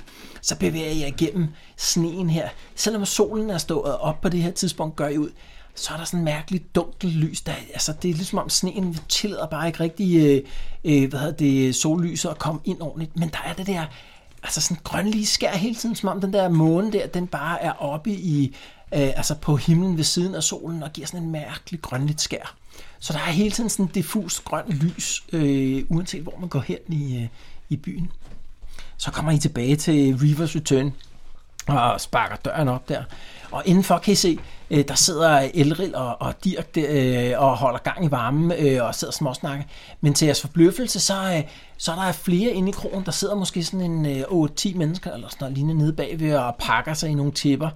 [SPEAKER 2] Så bevæger jeg igennem sneen her. Selvom solen er stået op på det her tidspunkt, gør I ud, så er der sådan en mærkelig dunkelt lys. Der, altså, det er ligesom om sneen tillader bare ikke rigtig øh, øh, hvad hedder det, sollyset at komme ind ordentligt. Men der er det der altså sådan grønlige skær hele tiden, som om den der måne der, den bare er oppe i, øh, altså på himlen ved siden af solen og giver sådan en mærkelig grønligt skær. Så der er hele tiden sådan diffust grønt lys, øh, uanset hvor man går hen i, øh, i byen. Så kommer I tilbage til Reavers Return og sparker døren op der. Og indenfor kan I se, øh, der sidder Elril og, og Dirk der, øh, og holder gang i varmen øh, og sidder og småsnakker. Men til jeres forbløffelse, så, øh, så er der flere inde i krogen, der sidder måske sådan en øh, 8-10 mennesker eller sådan noget lignende nede bagved og pakker sig i nogle tipper.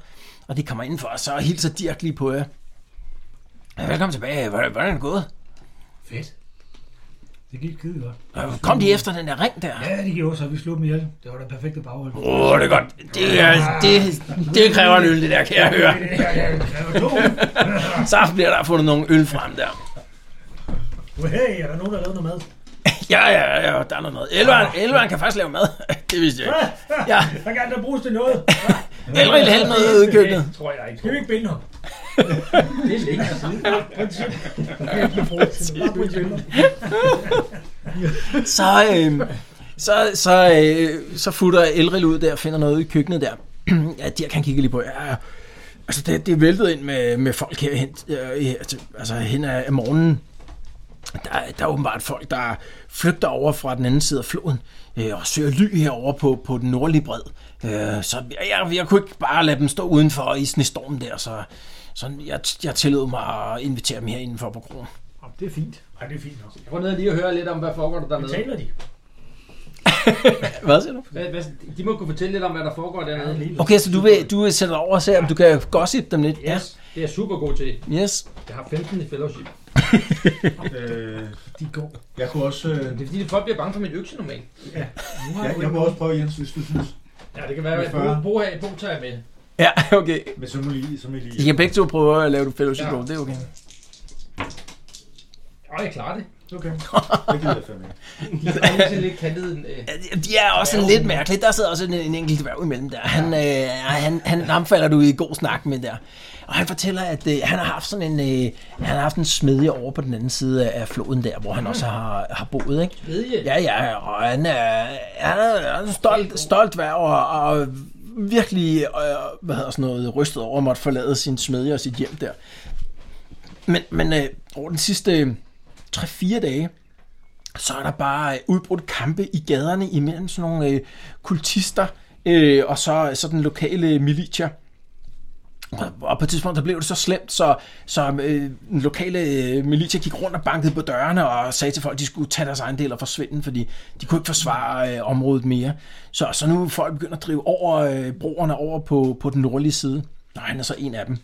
[SPEAKER 2] Og de kommer indenfor, og så hilser Dirk lige på jer. Ja, velkommen tilbage. Hvordan, hvordan er det gået?
[SPEAKER 6] Fedt. Det gik skide godt.
[SPEAKER 2] Øh, Kom de efter den der ring der?
[SPEAKER 6] Ja, det gjorde så. Vi slog dem ihjel. Det var da perfekte baghold.
[SPEAKER 2] Åh, oh, det er godt. Det, er, det, det kræver en øl, det der, kan jeg høre.
[SPEAKER 6] Det er- det er- det er jo to.
[SPEAKER 2] Så bliver der fundet nogle øl frem der.
[SPEAKER 6] Hey, er der nogen, der lavede noget mad?
[SPEAKER 2] Ja, ja, ja, der er noget mad. Elveren, elveren kan faktisk lave mad. [LAUGHS] Det vidste jeg
[SPEAKER 5] Ah.
[SPEAKER 2] ikke. Ja,
[SPEAKER 6] Der kan der bruges til noget.
[SPEAKER 2] Elril hældte noget ud i køkkenet.
[SPEAKER 7] Det tror jeg ikke.
[SPEAKER 6] Skal vi ikke binde ham?
[SPEAKER 7] Det er længe siden.
[SPEAKER 6] [LAUGHS]
[SPEAKER 2] Så, øh, så, så, øh, så futter Elril ud der og finder noget ud i køkkenet der. [CLEARS THROAT] ja, der kan kigge lige på. Ja, ja. altså det, det er væltet ind med, med folk her hen, øh, her til- altså hen af af morgenen. Der, er- der er åbenbart folk, der flygter over fra den anden side af floden øh, og søger ly herover på, på den nordlige bred. Øh, så jeg, jeg kunne ikke bare lade dem stå udenfor i snestormen der, så, så jeg, jeg tillod mig at invitere dem her indenfor på krogen.
[SPEAKER 5] Nå, Det er fint.
[SPEAKER 6] Ej, det er fint nok.
[SPEAKER 7] Jeg går ned og lige og høre lidt om, hvad foregår der dernede.
[SPEAKER 6] Betaler de?
[SPEAKER 2] Hvad siger du?
[SPEAKER 7] Hvad, hvad, de må kunne fortælle lidt om, hvad der foregår dernede.
[SPEAKER 2] Okay, så du vil, du vil sende dig over og se, om du kan gossip dem lidt?
[SPEAKER 7] Yes, det er jeg super god til.
[SPEAKER 2] Ja. Yes.
[SPEAKER 7] Jeg har 15 i fellowship.
[SPEAKER 3] Øh,
[SPEAKER 5] De går.
[SPEAKER 3] jeg kunne også... Øh,
[SPEAKER 7] Det er fordi, folk bliver bange for min økse normalt.
[SPEAKER 3] jeg, jeg må også prøve, Jens, hvis du synes.
[SPEAKER 7] Ja, det kan være, at
[SPEAKER 3] Med fyrre.
[SPEAKER 7] Bo, Bo, her- Bo tager jeg med.
[SPEAKER 2] Ja, okay.
[SPEAKER 3] Men så må I lige... Så må I
[SPEAKER 2] I
[SPEAKER 3] lige
[SPEAKER 2] kan begge to prøve at lave et fellowship
[SPEAKER 7] Ja.
[SPEAKER 2] roll, det er okay.
[SPEAKER 7] Ja, Åh, jeg klarer det.
[SPEAKER 3] Okay. Det gider jeg fandme ikke.
[SPEAKER 7] De er altid lidt kantet. Øh,
[SPEAKER 2] Ja, De er også sådan lidt mærkelige. Der sidder også en, en enkelt dværg imellem der. Han, øh, han, han, ham falder du i god snak med der. Og han fortæller, at øh, han har haft sådan en, øh, han har haft en smedje over på den anden side af af floden der, hvor han også har, har boet, ikke?
[SPEAKER 7] Smedje?
[SPEAKER 2] Ja, ja, og han er, han er, han er en stolt, stolt dværg og, og virkelig, øh, hvad hedder sådan noget, rystet over at måtte forlade sin smedje og sit hjem der. Men, men øh, over den sidste øh, 3-4 dage, så er der bare øh, udbrudt kampe i gaderne imellem sådan nogle øh, kultister øh, og så, så den lokale militia. Og- Og på et tidspunkt, der blev det så slemt, så, så øh, den lokale øh, militia gik rundt og bankede på dørene og sagde til folk, at de skulle tage deres egen del og forsvinde, fordi de kunne ikke forsvare øh, området mere. Så, så nu er folk begyndt at drive over øh, broerne over på, på den nordlige side. Og han er så en af dem.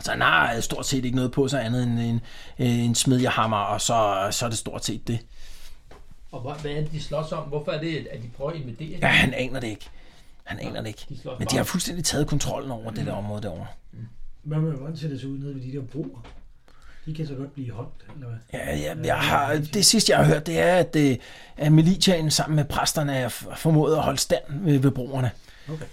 [SPEAKER 2] Så han har øh, stort set ikke noget på sig andet end en, øh, en smedjehammer, og så, så er det stort set det.
[SPEAKER 7] Og hvor, hvad er det, de slås om? Hvorfor er det, at de prøver at invadere?
[SPEAKER 2] Ja, han aner det ikke. Han aner det ikke.
[SPEAKER 7] De slås
[SPEAKER 2] Men de
[SPEAKER 7] bare.
[SPEAKER 2] har fuldstændig taget kontrollen over det der område derovre.
[SPEAKER 6] Hvad med, hvordan ser det så ud nede ved de der broer? De kan så godt blive holdt, eller hvad?
[SPEAKER 2] Ja, jeg, jeg har, det sidste, jeg har hørt, det er, at, øh, at militiaen sammen med præsterne er f- formået at holde stand ved, ved broerne. Okay.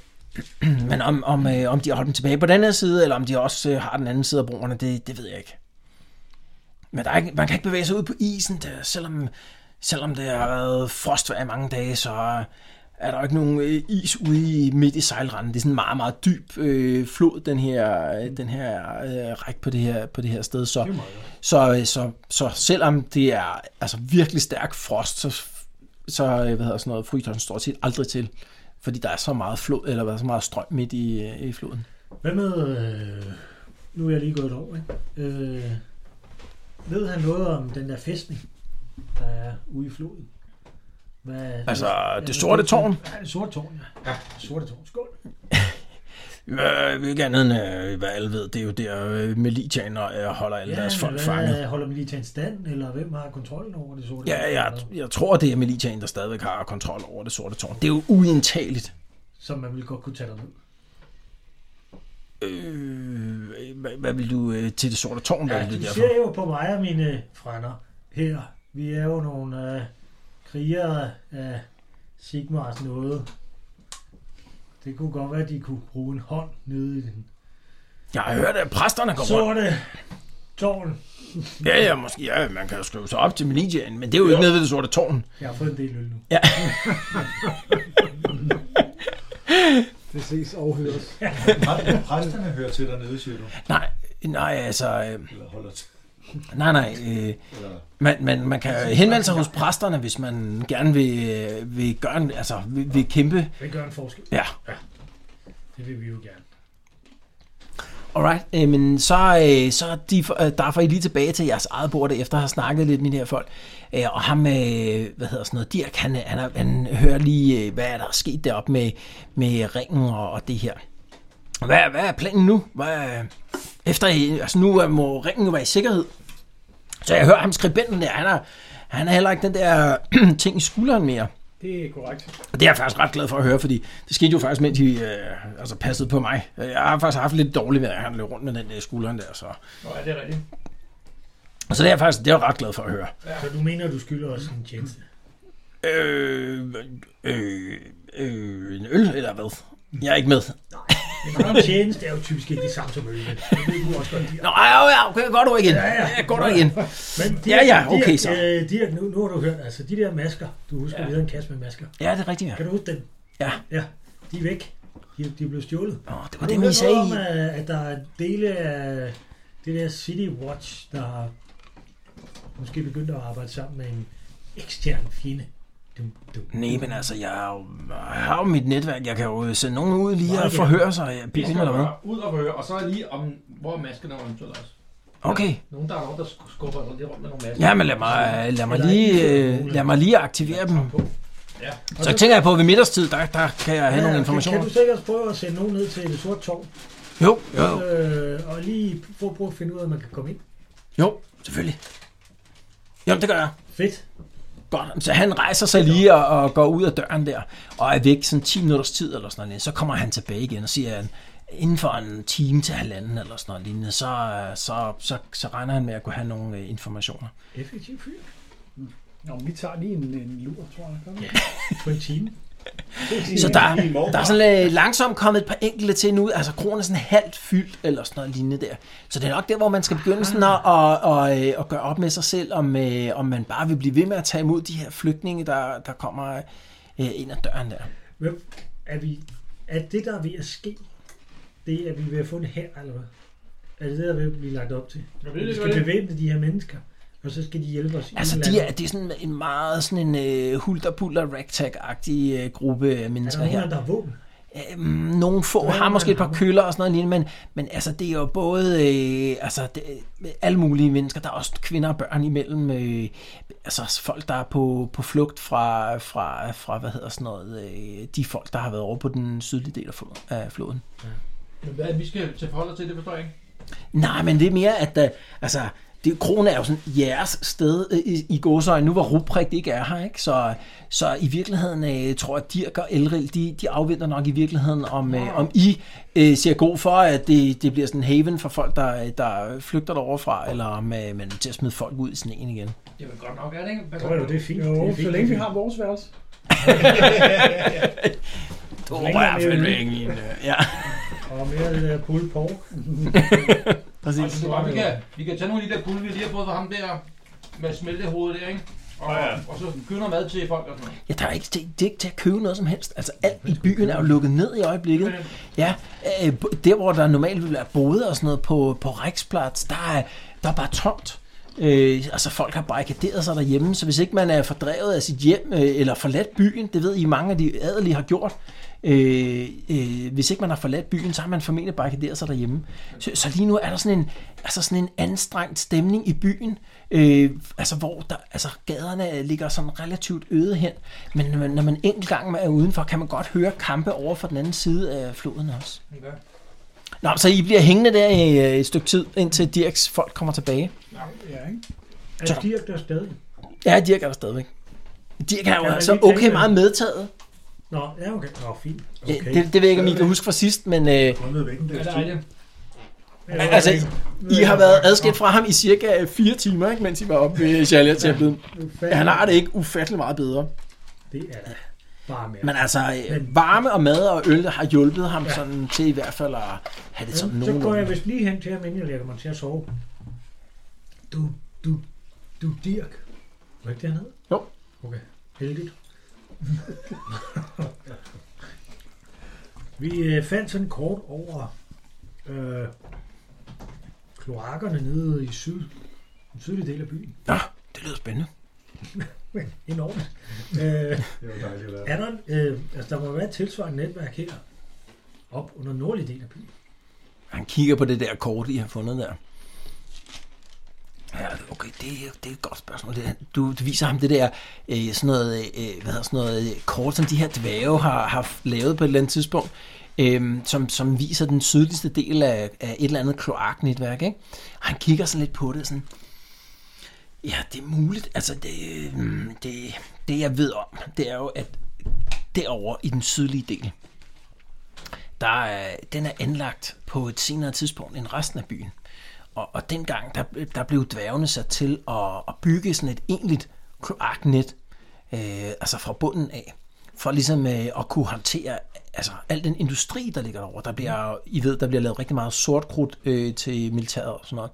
[SPEAKER 2] [CLEARS THROAT] Men om, om, øh, om de har holdt dem tilbage på den anden side, eller om de også øh, har den anden side af broerne, det, det ved jeg ikke. Men der er ikke, man kan ikke bevæge sig ud på isen, der, selvom, selvom det har været frostvejr i mange dage, så er der jo ikke nogen øh, is ude i, midt i sejlranden. Det er sådan en meget, meget dyb øh, flod, den her, øh, den her øh, række på det her, på det her sted. Så, så, øh, så, så selvom det er altså virkelig stærk frost, så, så øh, hvad hedder sådan noget, fryser den stort set aldrig til. Fordi der er så meget flod, eller hvad, så meget strøm midt i, øh, i floden.
[SPEAKER 6] Hvad med... Øh, nu er jeg lige gået over, ikke? Øh, ved han noget om den der fæstning, der er ude i floden? Hvad,
[SPEAKER 2] Altså,
[SPEAKER 6] Ja,
[SPEAKER 2] det sorte tårn.
[SPEAKER 6] Ja, det sorte tårn, ja. ja. Sorte tårn. Skål.
[SPEAKER 2] Øh, ikke andet end, øh, hvad alle ved, det er jo der, øh, militiaen øh, holder alle ja, deres
[SPEAKER 6] men
[SPEAKER 2] folk
[SPEAKER 6] hvad,
[SPEAKER 2] fanget.
[SPEAKER 6] Holder vi lige til en stand, eller hvem har kontrollen over det sorte tårn?
[SPEAKER 2] Ja, jeg,
[SPEAKER 6] eller hvad?
[SPEAKER 2] jeg tror, det er militiaen, der stadigvæk har kontrol over det sorte tårn. Det er jo uindtageligt.
[SPEAKER 6] Som man ville godt kunne tage derned.
[SPEAKER 2] Øh, hvad, hvad vil du øh, til det sorte tårn? Hvad
[SPEAKER 6] Ja,
[SPEAKER 2] vil
[SPEAKER 6] du
[SPEAKER 2] du derfor?
[SPEAKER 6] ser jo på mig og mine frænder her. Vi er jo nogle øh, krigere af Sigmars noget. Det kunne godt være, at de kunne bruge en hånd nede i den
[SPEAKER 2] Jeg har hørt, at præsterne går rundt.
[SPEAKER 6] sorte tårn.
[SPEAKER 2] Ja, ja, måske, ja, man kan jo skrive sig op til militiaen, men det er jo ikke nede ved det sorte tårn.
[SPEAKER 6] Jeg har fået en del øl nu.
[SPEAKER 5] Det ses og høres.
[SPEAKER 3] Præ- [LAUGHS] Præsterne hører til dernede, siger du.
[SPEAKER 2] Nej, nej, altså... Øh,
[SPEAKER 3] Eller holder til.
[SPEAKER 2] nej, nej. Øh,
[SPEAKER 3] Eller,
[SPEAKER 2] man, man, Altså, man kan henvende sig hos præsterne, hvis man gerne vil, øh, vil gøre en, altså, vil, vil kæmpe.
[SPEAKER 6] Det gør en forskel.
[SPEAKER 2] Ja,
[SPEAKER 6] Det vil vi jo gerne.
[SPEAKER 2] alright. Øh, men så, øh, så er de, for- øh, der får I lige tilbage til jeres eget bord, efter at have snakket lidt med de her folk. Øh, og ham, øh, hvad hedder sådan noget, Dirk, han, øh, han, er- han hører lige, øh, hvad er der er sket deroppe med, med ringen og, og det her. Hvad, hvad er planen nu? Hvad, er- efter, I- altså nu er- må ringen jo være i sikkerhed. Så jeg hører ham skribenten der, han er, han er heller ikke den der [CLEARS THROAT] ting i skulderen mere.
[SPEAKER 5] Det er korrekt.
[SPEAKER 2] Og det er jeg faktisk ret glad for at høre, fordi det skete jo faktisk, mens de øh, altså passede på mig. Jeg har faktisk haft lidt dårligt ved, at han løb rundt med den der skulderen der. Så.
[SPEAKER 7] Nå, ja, det er rigtigt.
[SPEAKER 2] så det er jeg faktisk det er jeg ret glad for at høre.
[SPEAKER 6] Så du mener, du skylder os en tjeneste?
[SPEAKER 2] Øh, øh, øh, en øl eller hvad? Jeg er ikke med.
[SPEAKER 6] Men en tjeneste er jo typisk ikke det samme som øl. Det ved du også godt, Dirk.
[SPEAKER 2] Nå, ja, ja, okay, går du igen.
[SPEAKER 6] Ja, ja.
[SPEAKER 2] ja går du igen.
[SPEAKER 6] Men Dirk,
[SPEAKER 2] Ja, ja, okay, så.
[SPEAKER 6] Dirk, øh, Dirk, nu, nu har du hørt, altså de der masker, du husker, ja. vi havde en kasse med masker.
[SPEAKER 2] Ja, det er rigtigt, ja.
[SPEAKER 6] Kan du huske dem?
[SPEAKER 2] Ja.
[SPEAKER 6] Ja, de er væk. De, de er blevet stjålet.
[SPEAKER 2] Nå, det var
[SPEAKER 6] Har
[SPEAKER 2] det,
[SPEAKER 6] du
[SPEAKER 2] vi
[SPEAKER 6] hørt
[SPEAKER 2] sagde.
[SPEAKER 6] noget
[SPEAKER 2] i-
[SPEAKER 6] om, øh, at- at der er dele af det der City Watch, der har måske begyndt at arbejde sammen med en ekstern fjende? Dum, dum.
[SPEAKER 2] Nej, men altså, jeg, er jo, jeg har jo mit netværk. Jeg kan jo sende nogen ud lige og
[SPEAKER 6] Meget gerne.
[SPEAKER 2] forhøre sig. Jeg
[SPEAKER 7] Vi
[SPEAKER 2] bilen
[SPEAKER 7] skal
[SPEAKER 2] eller hvad?
[SPEAKER 7] bare ud og høre, og så er lige om, hvor er maskerne og eventuelt også.
[SPEAKER 2] Okay.
[SPEAKER 7] Nogen, der er nogen, der sk- skubber rundt rundt med nogle masker.
[SPEAKER 2] Ja, men lad mig, lad mig, lige, øh, lad mig lige aktivere dem.
[SPEAKER 7] Ja.
[SPEAKER 2] Så tænker jeg på, at ved middagstid, der, der kan jeg have ja, nogle
[SPEAKER 6] det
[SPEAKER 2] informationer.
[SPEAKER 6] Kan du sikkert prøve at sende nogen ned til det sorte tårn,
[SPEAKER 2] Jo, jo,
[SPEAKER 6] øh, og lige prøve, prøve at finde ud af, at man kan komme ind?
[SPEAKER 2] jo, selvfølgelig. Jo, det gør jeg.
[SPEAKER 6] Fedt.
[SPEAKER 2] Godt. Så han rejser sig lige og, og går ud af døren der, og er væk sådan 10 minutters tid eller sådan noget. Så kommer han tilbage igen og siger, at inden for en time til halvanden eller sådan noget lignende, så, øh, så, så, så regner han med at kunne have nogle øh, informationer.
[SPEAKER 6] Effektiv fyr.
[SPEAKER 8] Nå, men vi tager lige en, en lur, tror jeg. Gør vi?
[SPEAKER 6] På en time.
[SPEAKER 2] Så der, der er sådan øh, langsomt kommet et par enkelte til nu. Altså kronen er sådan halvt fyldt, eller sådan noget lignende der. Så det er nok der, hvor man skal begynde sådan
[SPEAKER 6] Ah.
[SPEAKER 2] at, at, at, øh, at gøre op med sig selv, om, øh, om man bare vil blive ved med at tage imod de her flygtninge, der, der kommer øh, ind ad døren der.
[SPEAKER 6] Hvem er vi... Er det, der er ved at ske, det er, at vi er ved at få en her, eller hvad? Er det det, der er ved at blive lagt op til?
[SPEAKER 7] Jeg ved
[SPEAKER 6] Vi
[SPEAKER 7] det
[SPEAKER 6] skal
[SPEAKER 7] godt.
[SPEAKER 6] bevæbne de her mennesker, og så skal de hjælpe os. i
[SPEAKER 2] Altså,
[SPEAKER 6] et
[SPEAKER 2] de
[SPEAKER 6] eller
[SPEAKER 2] er,
[SPEAKER 6] andet.
[SPEAKER 2] det er sådan en meget sådan en øh, hulterpuller ragtag-agtig øh, gruppe øh,
[SPEAKER 6] Er
[SPEAKER 2] mennesker
[SPEAKER 6] der
[SPEAKER 2] her.
[SPEAKER 6] nogen, der har våben?
[SPEAKER 2] Øhm, nogle få
[SPEAKER 6] Hvad
[SPEAKER 2] har
[SPEAKER 6] er
[SPEAKER 2] måske et par
[SPEAKER 6] navnet?
[SPEAKER 2] køller og sådan noget lignende, men, men altså, det er jo både øh, altså, det, øh, alle mulige mennesker. Der er også kvinder og børn imellem. Øh, altså folk, der er på, på flugt fra, fra, fra, hvad hedder sådan noget, øh, de folk, der har været over på den sydlige del af flo- af floden.
[SPEAKER 7] Men hvad er det, vi skal tage forhold til, det forstår jeg ikke.
[SPEAKER 2] Nej, men det er mere, at der, altså, det, kronen er jo sådan jeres sted øh, i, i gåsøjne, nu hvor Ruprecht ikke er her, ikke? Så, så i virkeligheden øh, tror jeg, at Dirk og Elril, de, de afventer nok i virkeligheden, om, øh, om I øh, ser god for, at det, det bliver sådan en haven for folk, der, øh, der flygter derover fra, eller om øh, man er til at smide folk ud i sneen igen.
[SPEAKER 7] Det er vel godt nok, er det ikke? Pas
[SPEAKER 6] Jo, jo, det er fint.
[SPEAKER 8] Jo,
[SPEAKER 6] det er fint.
[SPEAKER 8] så længe vi har vores værelse.
[SPEAKER 2] Du
[SPEAKER 6] ringer jeg med fandme
[SPEAKER 2] ingen. Ja,
[SPEAKER 6] Og mere af det der pulled pork.
[SPEAKER 7] Altså,
[SPEAKER 2] præcis.
[SPEAKER 7] det er godt, vi, kan, vi kan tage nogle af de der kulde, vi lige har fået fra ham der med smeltehovedet der, ikke? Og,
[SPEAKER 4] Ja, ja.
[SPEAKER 7] og så købe noget mad til folk og sådan noget.
[SPEAKER 2] Ja, der er ikke, det, det er ikke til at købe noget som helst. Altså alt i byen er jo lukket ned i øjeblikket. Ja, øh, der hvor der normalt ville være boder og sådan noget på, på Riksplads, der er, der er bare tomt. Øh, altså folk har barrikaderet sig derhjemme, så hvis ikke man er fordrevet af sit hjem øh, eller forladt byen, det ved I mange af de adelige har gjort, øh, øh, hvis ikke man har forladt byen, så har man formentlig barrikaderet sig derhjemme. Så, så lige nu er der sådan en, altså sådan en anstrengt stemning i byen, øh, altså hvor der, altså gaderne ligger sådan relativt øde hen, men når man, når man enkelt gang er udenfor, kan man godt høre kampe over for den anden side af floden også.
[SPEAKER 7] Okay.
[SPEAKER 2] Nå, så I bliver hængende der i øh, et stykke tid, indtil Dirks folk kommer tilbage.
[SPEAKER 8] Ja, ikke?
[SPEAKER 6] Er Dirk der stadig?
[SPEAKER 2] Ja, Dirk er der stadigvæk. Dirk er jo
[SPEAKER 6] Ja,
[SPEAKER 2] altså
[SPEAKER 6] lige tænke
[SPEAKER 2] okay
[SPEAKER 6] det.
[SPEAKER 2] meget medtaget.
[SPEAKER 6] Nå, ja, okay. Nå, fint.
[SPEAKER 2] Okay. Det, det ved jeg ikke, om I kan huske fra sidst, men øh,
[SPEAKER 3] Kommet væk en
[SPEAKER 7] Ja,
[SPEAKER 3] dags
[SPEAKER 7] der er
[SPEAKER 3] tid.
[SPEAKER 7] det.
[SPEAKER 2] altså, I har været adskilt fra ham i cirka 4 timer, ikke, mens I var oppe ved Chalia Templet. Ja, han har det ikke ufattelig meget bedre.
[SPEAKER 6] Det er da bare mere.
[SPEAKER 2] Men altså, øh, varme og mad og øl har hjulpet ham sådan til i hvert fald at have det sådan
[SPEAKER 6] så går jeg
[SPEAKER 2] nogenlunde.
[SPEAKER 6] vist lige hen til ham, inden jeg lægger mig til at sove.
[SPEAKER 8] Du, du, du Dirk.
[SPEAKER 6] Var ikke det, han hed?
[SPEAKER 2] Jo.
[SPEAKER 6] Okay. Heldigt. [LAUGHS] vi øh, fandt sådan kort over øh, kloakkerne nede i syd, den sydlige del af byen.
[SPEAKER 2] Det lyder spændende.
[SPEAKER 6] Enormt. øh,
[SPEAKER 3] Det var dejligt at være.
[SPEAKER 6] er der, øh, altså, der må være et tilsvarende netværk her, op under nordlige del af byen.
[SPEAKER 2] Han kigger på det der kort, I har fundet der. Ja, okay, det, er- det er et godt spørgsmål. Det, er- du, du viser ham det der, øh, sådan noget, øh, hvad hedder sådan noget øh, kort, som de her dværge har, har lavet på et eller andet tidspunkt, øh, som, som viser den sydligste del af, af et eller andet kloaknetværk, ikke? Og han kigger sådan lidt på det, sådan, ja, det er muligt. Altså, det, øh, det, det jeg ved om, det er jo, at derovre i den sydlige del, der er, den er anlagt på et senere tidspunkt end resten af byen. Og, og dengang, der, der blev dværgene sat til at, at bygge sådan et egentligt kloaknet, øh, altså fra bunden af, for ligesom øh, at kunne håndtere altså, al den industri, der ligger derovre. Der bliver, I ved, der bliver lavet rigtig meget sort krudt øh, til militæret og sådan noget.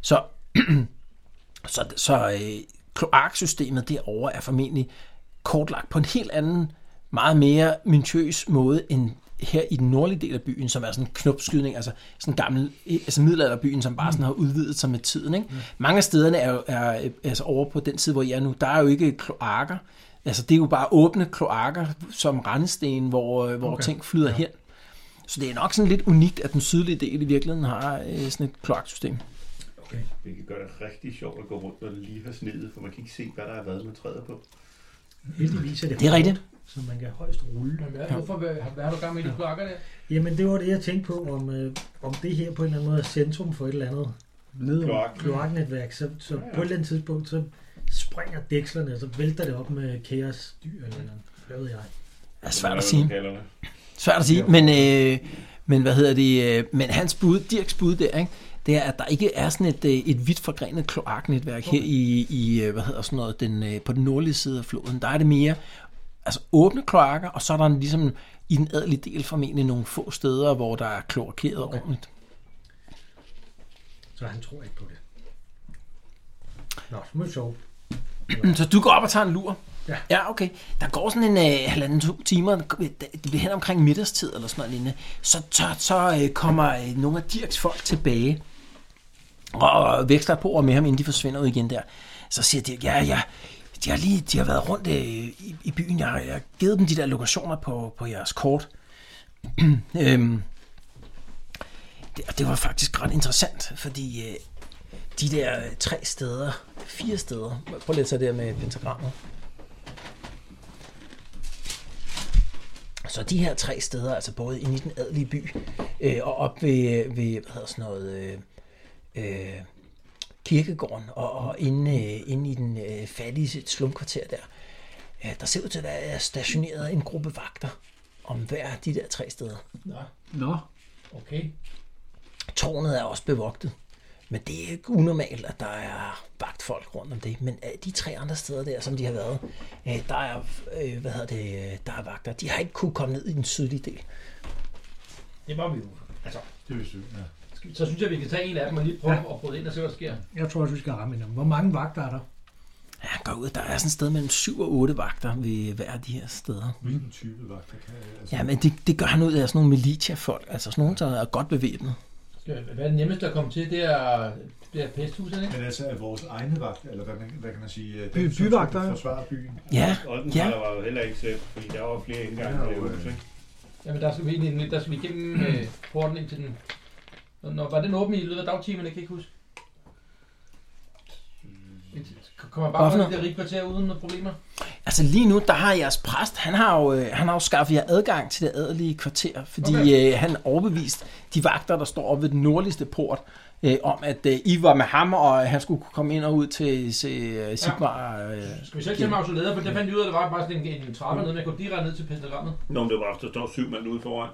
[SPEAKER 2] Så, så, så øh, kloaksystemet derovre er formentlig kortlagt på en helt anden, meget mere minutiøs måde end her i den nordlige del af byen, som er sådan en knopskydning, altså sådan en gammel, altså middelalderbyen, som bare sådan har udvidet sig med tiden. Ikke? Mange af stederne er, jo- er øh, altså over på den side, hvor jeg er nu, der er jo ikke kloakker. Altså det er jo bare åbne kloakker som rendesten, hvor, øh, hvor okay. ting flyder ja. hen. Så det er nok sådan lidt unikt, at den sydlige del i virkeligheden har øh, sådan et kloaksystem.
[SPEAKER 4] Det kan gøre det rigtig sjovt at gå rundt og lige have snedet, for man kan ikke se, hvad der er været, man træder på.
[SPEAKER 6] Heldigvis er det,
[SPEAKER 2] Det er rigtigt.
[SPEAKER 6] så man kan højst rulle.
[SPEAKER 7] Men hvad, hvorfor, hvad, hvad har du gang med i de kloakker der?
[SPEAKER 6] Jamen, det var det, jeg tænkte på, om, øh, om det her på en eller anden måde er centrum for et eller andet
[SPEAKER 8] Nede
[SPEAKER 4] Kloak.
[SPEAKER 6] kloaknetværk, så, så
[SPEAKER 4] Ja, ja.
[SPEAKER 6] på et eller andet tidspunkt, så springer dækslerne, og så vælter det op med kaosdyr eller noget. Hvad ved jeg?
[SPEAKER 2] Det er svært at sige.
[SPEAKER 4] Kalderne.
[SPEAKER 2] Svært at sige, men, øh, Men hvad hedder det? øh, Men hans bud, Dirks bud der, ikke? det er, at der ikke er sådan et, øh, et vidt forgrenet kloaknetværk her i, i øh, hvad hedder sådan noget, den, øh, på den nordlige side af floden. Der er det mere altså åbne kloakker, og så er der en, ligesom i den adelige del formentlig nogle få steder, hvor der er kloakeret okay. ordentligt.
[SPEAKER 6] Så han tror ikke på det. Nå, så må vi sove.
[SPEAKER 2] Så du går op og tager en lur?
[SPEAKER 6] Ja.
[SPEAKER 2] Ja, okay. Der går sådan en øh, halvanden to timer, det bliver hen omkring middagstid eller sådan noget lignende. Så, så, så øh, kommer øh, nogle af Dirks folk tilbage og veksler på og med ham, inden de forsvinder ud igen der. Så siger Dirk, ja, ja, de har lige de har været rundt øh, i, i byen, jeg har, jeg har givet dem de der lokationer på, på jeres kort. [CLEARS THROAT] øhm, det, og det var faktisk ret interessant, fordi øh, de der øh, tre steder, fire steder, prøv lige at tage det her med pentagrammet. Så de her tre steder, altså både inde i den adelige by øh, og op ved, øh, ved hvad hedder sådan noget, øh, øh, kirkegården og, og inde, øh, inde i den øh, fattige slumkvarter der, øh, der ser ud til at være stationeret en gruppe vagter om hver af de der tre steder.
[SPEAKER 7] Nå,
[SPEAKER 5] Nå,
[SPEAKER 7] okay.
[SPEAKER 2] Tårnet er også bevogtet. Men det er ikke unormalt, at der er vagtfolk rundt om det. Men af de tre andre steder der, som de har været, øh, der er, øh, hvad hedder det, øh, der er vagter. De har ikke kunne komme ned i den sydlige del.
[SPEAKER 7] Det var vi jo. Altså,
[SPEAKER 3] Det er vi sygt, ja.
[SPEAKER 7] skal vi- så synes jeg, vi kan tage en af dem og lige prøve ja. at bryde ind og se, hvad der sker.
[SPEAKER 5] jeg tror også, vi skal ramme hende. Hvor mange vagter er der?
[SPEAKER 2] Ja, går ud. Der er sådan et sted mellem 7 og 8 vagter ved hver af de her steder.
[SPEAKER 3] Hvilken type vagt, der kan... Altså,
[SPEAKER 2] Ja, men det, det gør han ud af sådan nogle militia-folk. Altså sådan nogle, der er godt bevæbnet.
[SPEAKER 7] Skal, hvad er det nemmeste at komme til? Det er, det er pesthuset, ikke?
[SPEAKER 3] Men altså, er vores egne vagt, eller hvad, man, hvad kan man sige? øh,
[SPEAKER 5] By-
[SPEAKER 3] dem, som
[SPEAKER 5] byvagter,
[SPEAKER 3] skal
[SPEAKER 5] ja.
[SPEAKER 3] Forsvare byen.
[SPEAKER 2] Ja,
[SPEAKER 4] Oldenhaler ja. var jo heller ikke selv, fordi der var flere indgange
[SPEAKER 3] Ja,
[SPEAKER 4] til det
[SPEAKER 3] jo,
[SPEAKER 4] hus,
[SPEAKER 3] ja.
[SPEAKER 4] ikke?
[SPEAKER 7] Jamen, der skal vi, egentlig- der skal vi igennem øh, porten ind til den. Når, når var den åben i løbet af dagtimerne, kan jeg ikke huske.
[SPEAKER 3] Mm.
[SPEAKER 7] Indtil- Kommer bare
[SPEAKER 2] Hvorfor?
[SPEAKER 7] rundt i det rige kvarter uden noget problemer?
[SPEAKER 2] altså lige nu, der har jeres præst, han har jo, øh, han har jo skaffet jer adgang til det adelige kvarter, fordi okay.
[SPEAKER 7] Okay.
[SPEAKER 2] øh, han overbevist de vagter, der står oppe ved den nordligste port, øh, om at øh, I var med ham, og han skulle kunne komme ind og ud til, til øh, Sigmar. Øh.
[SPEAKER 7] Skal vi selv til mausoleder, for der fandt vi ud af, at der var bare sådan en, en trappe ned, man kunne direkte ned til pentagrammet.
[SPEAKER 4] Nå, men det var, der står syv mand ude foran.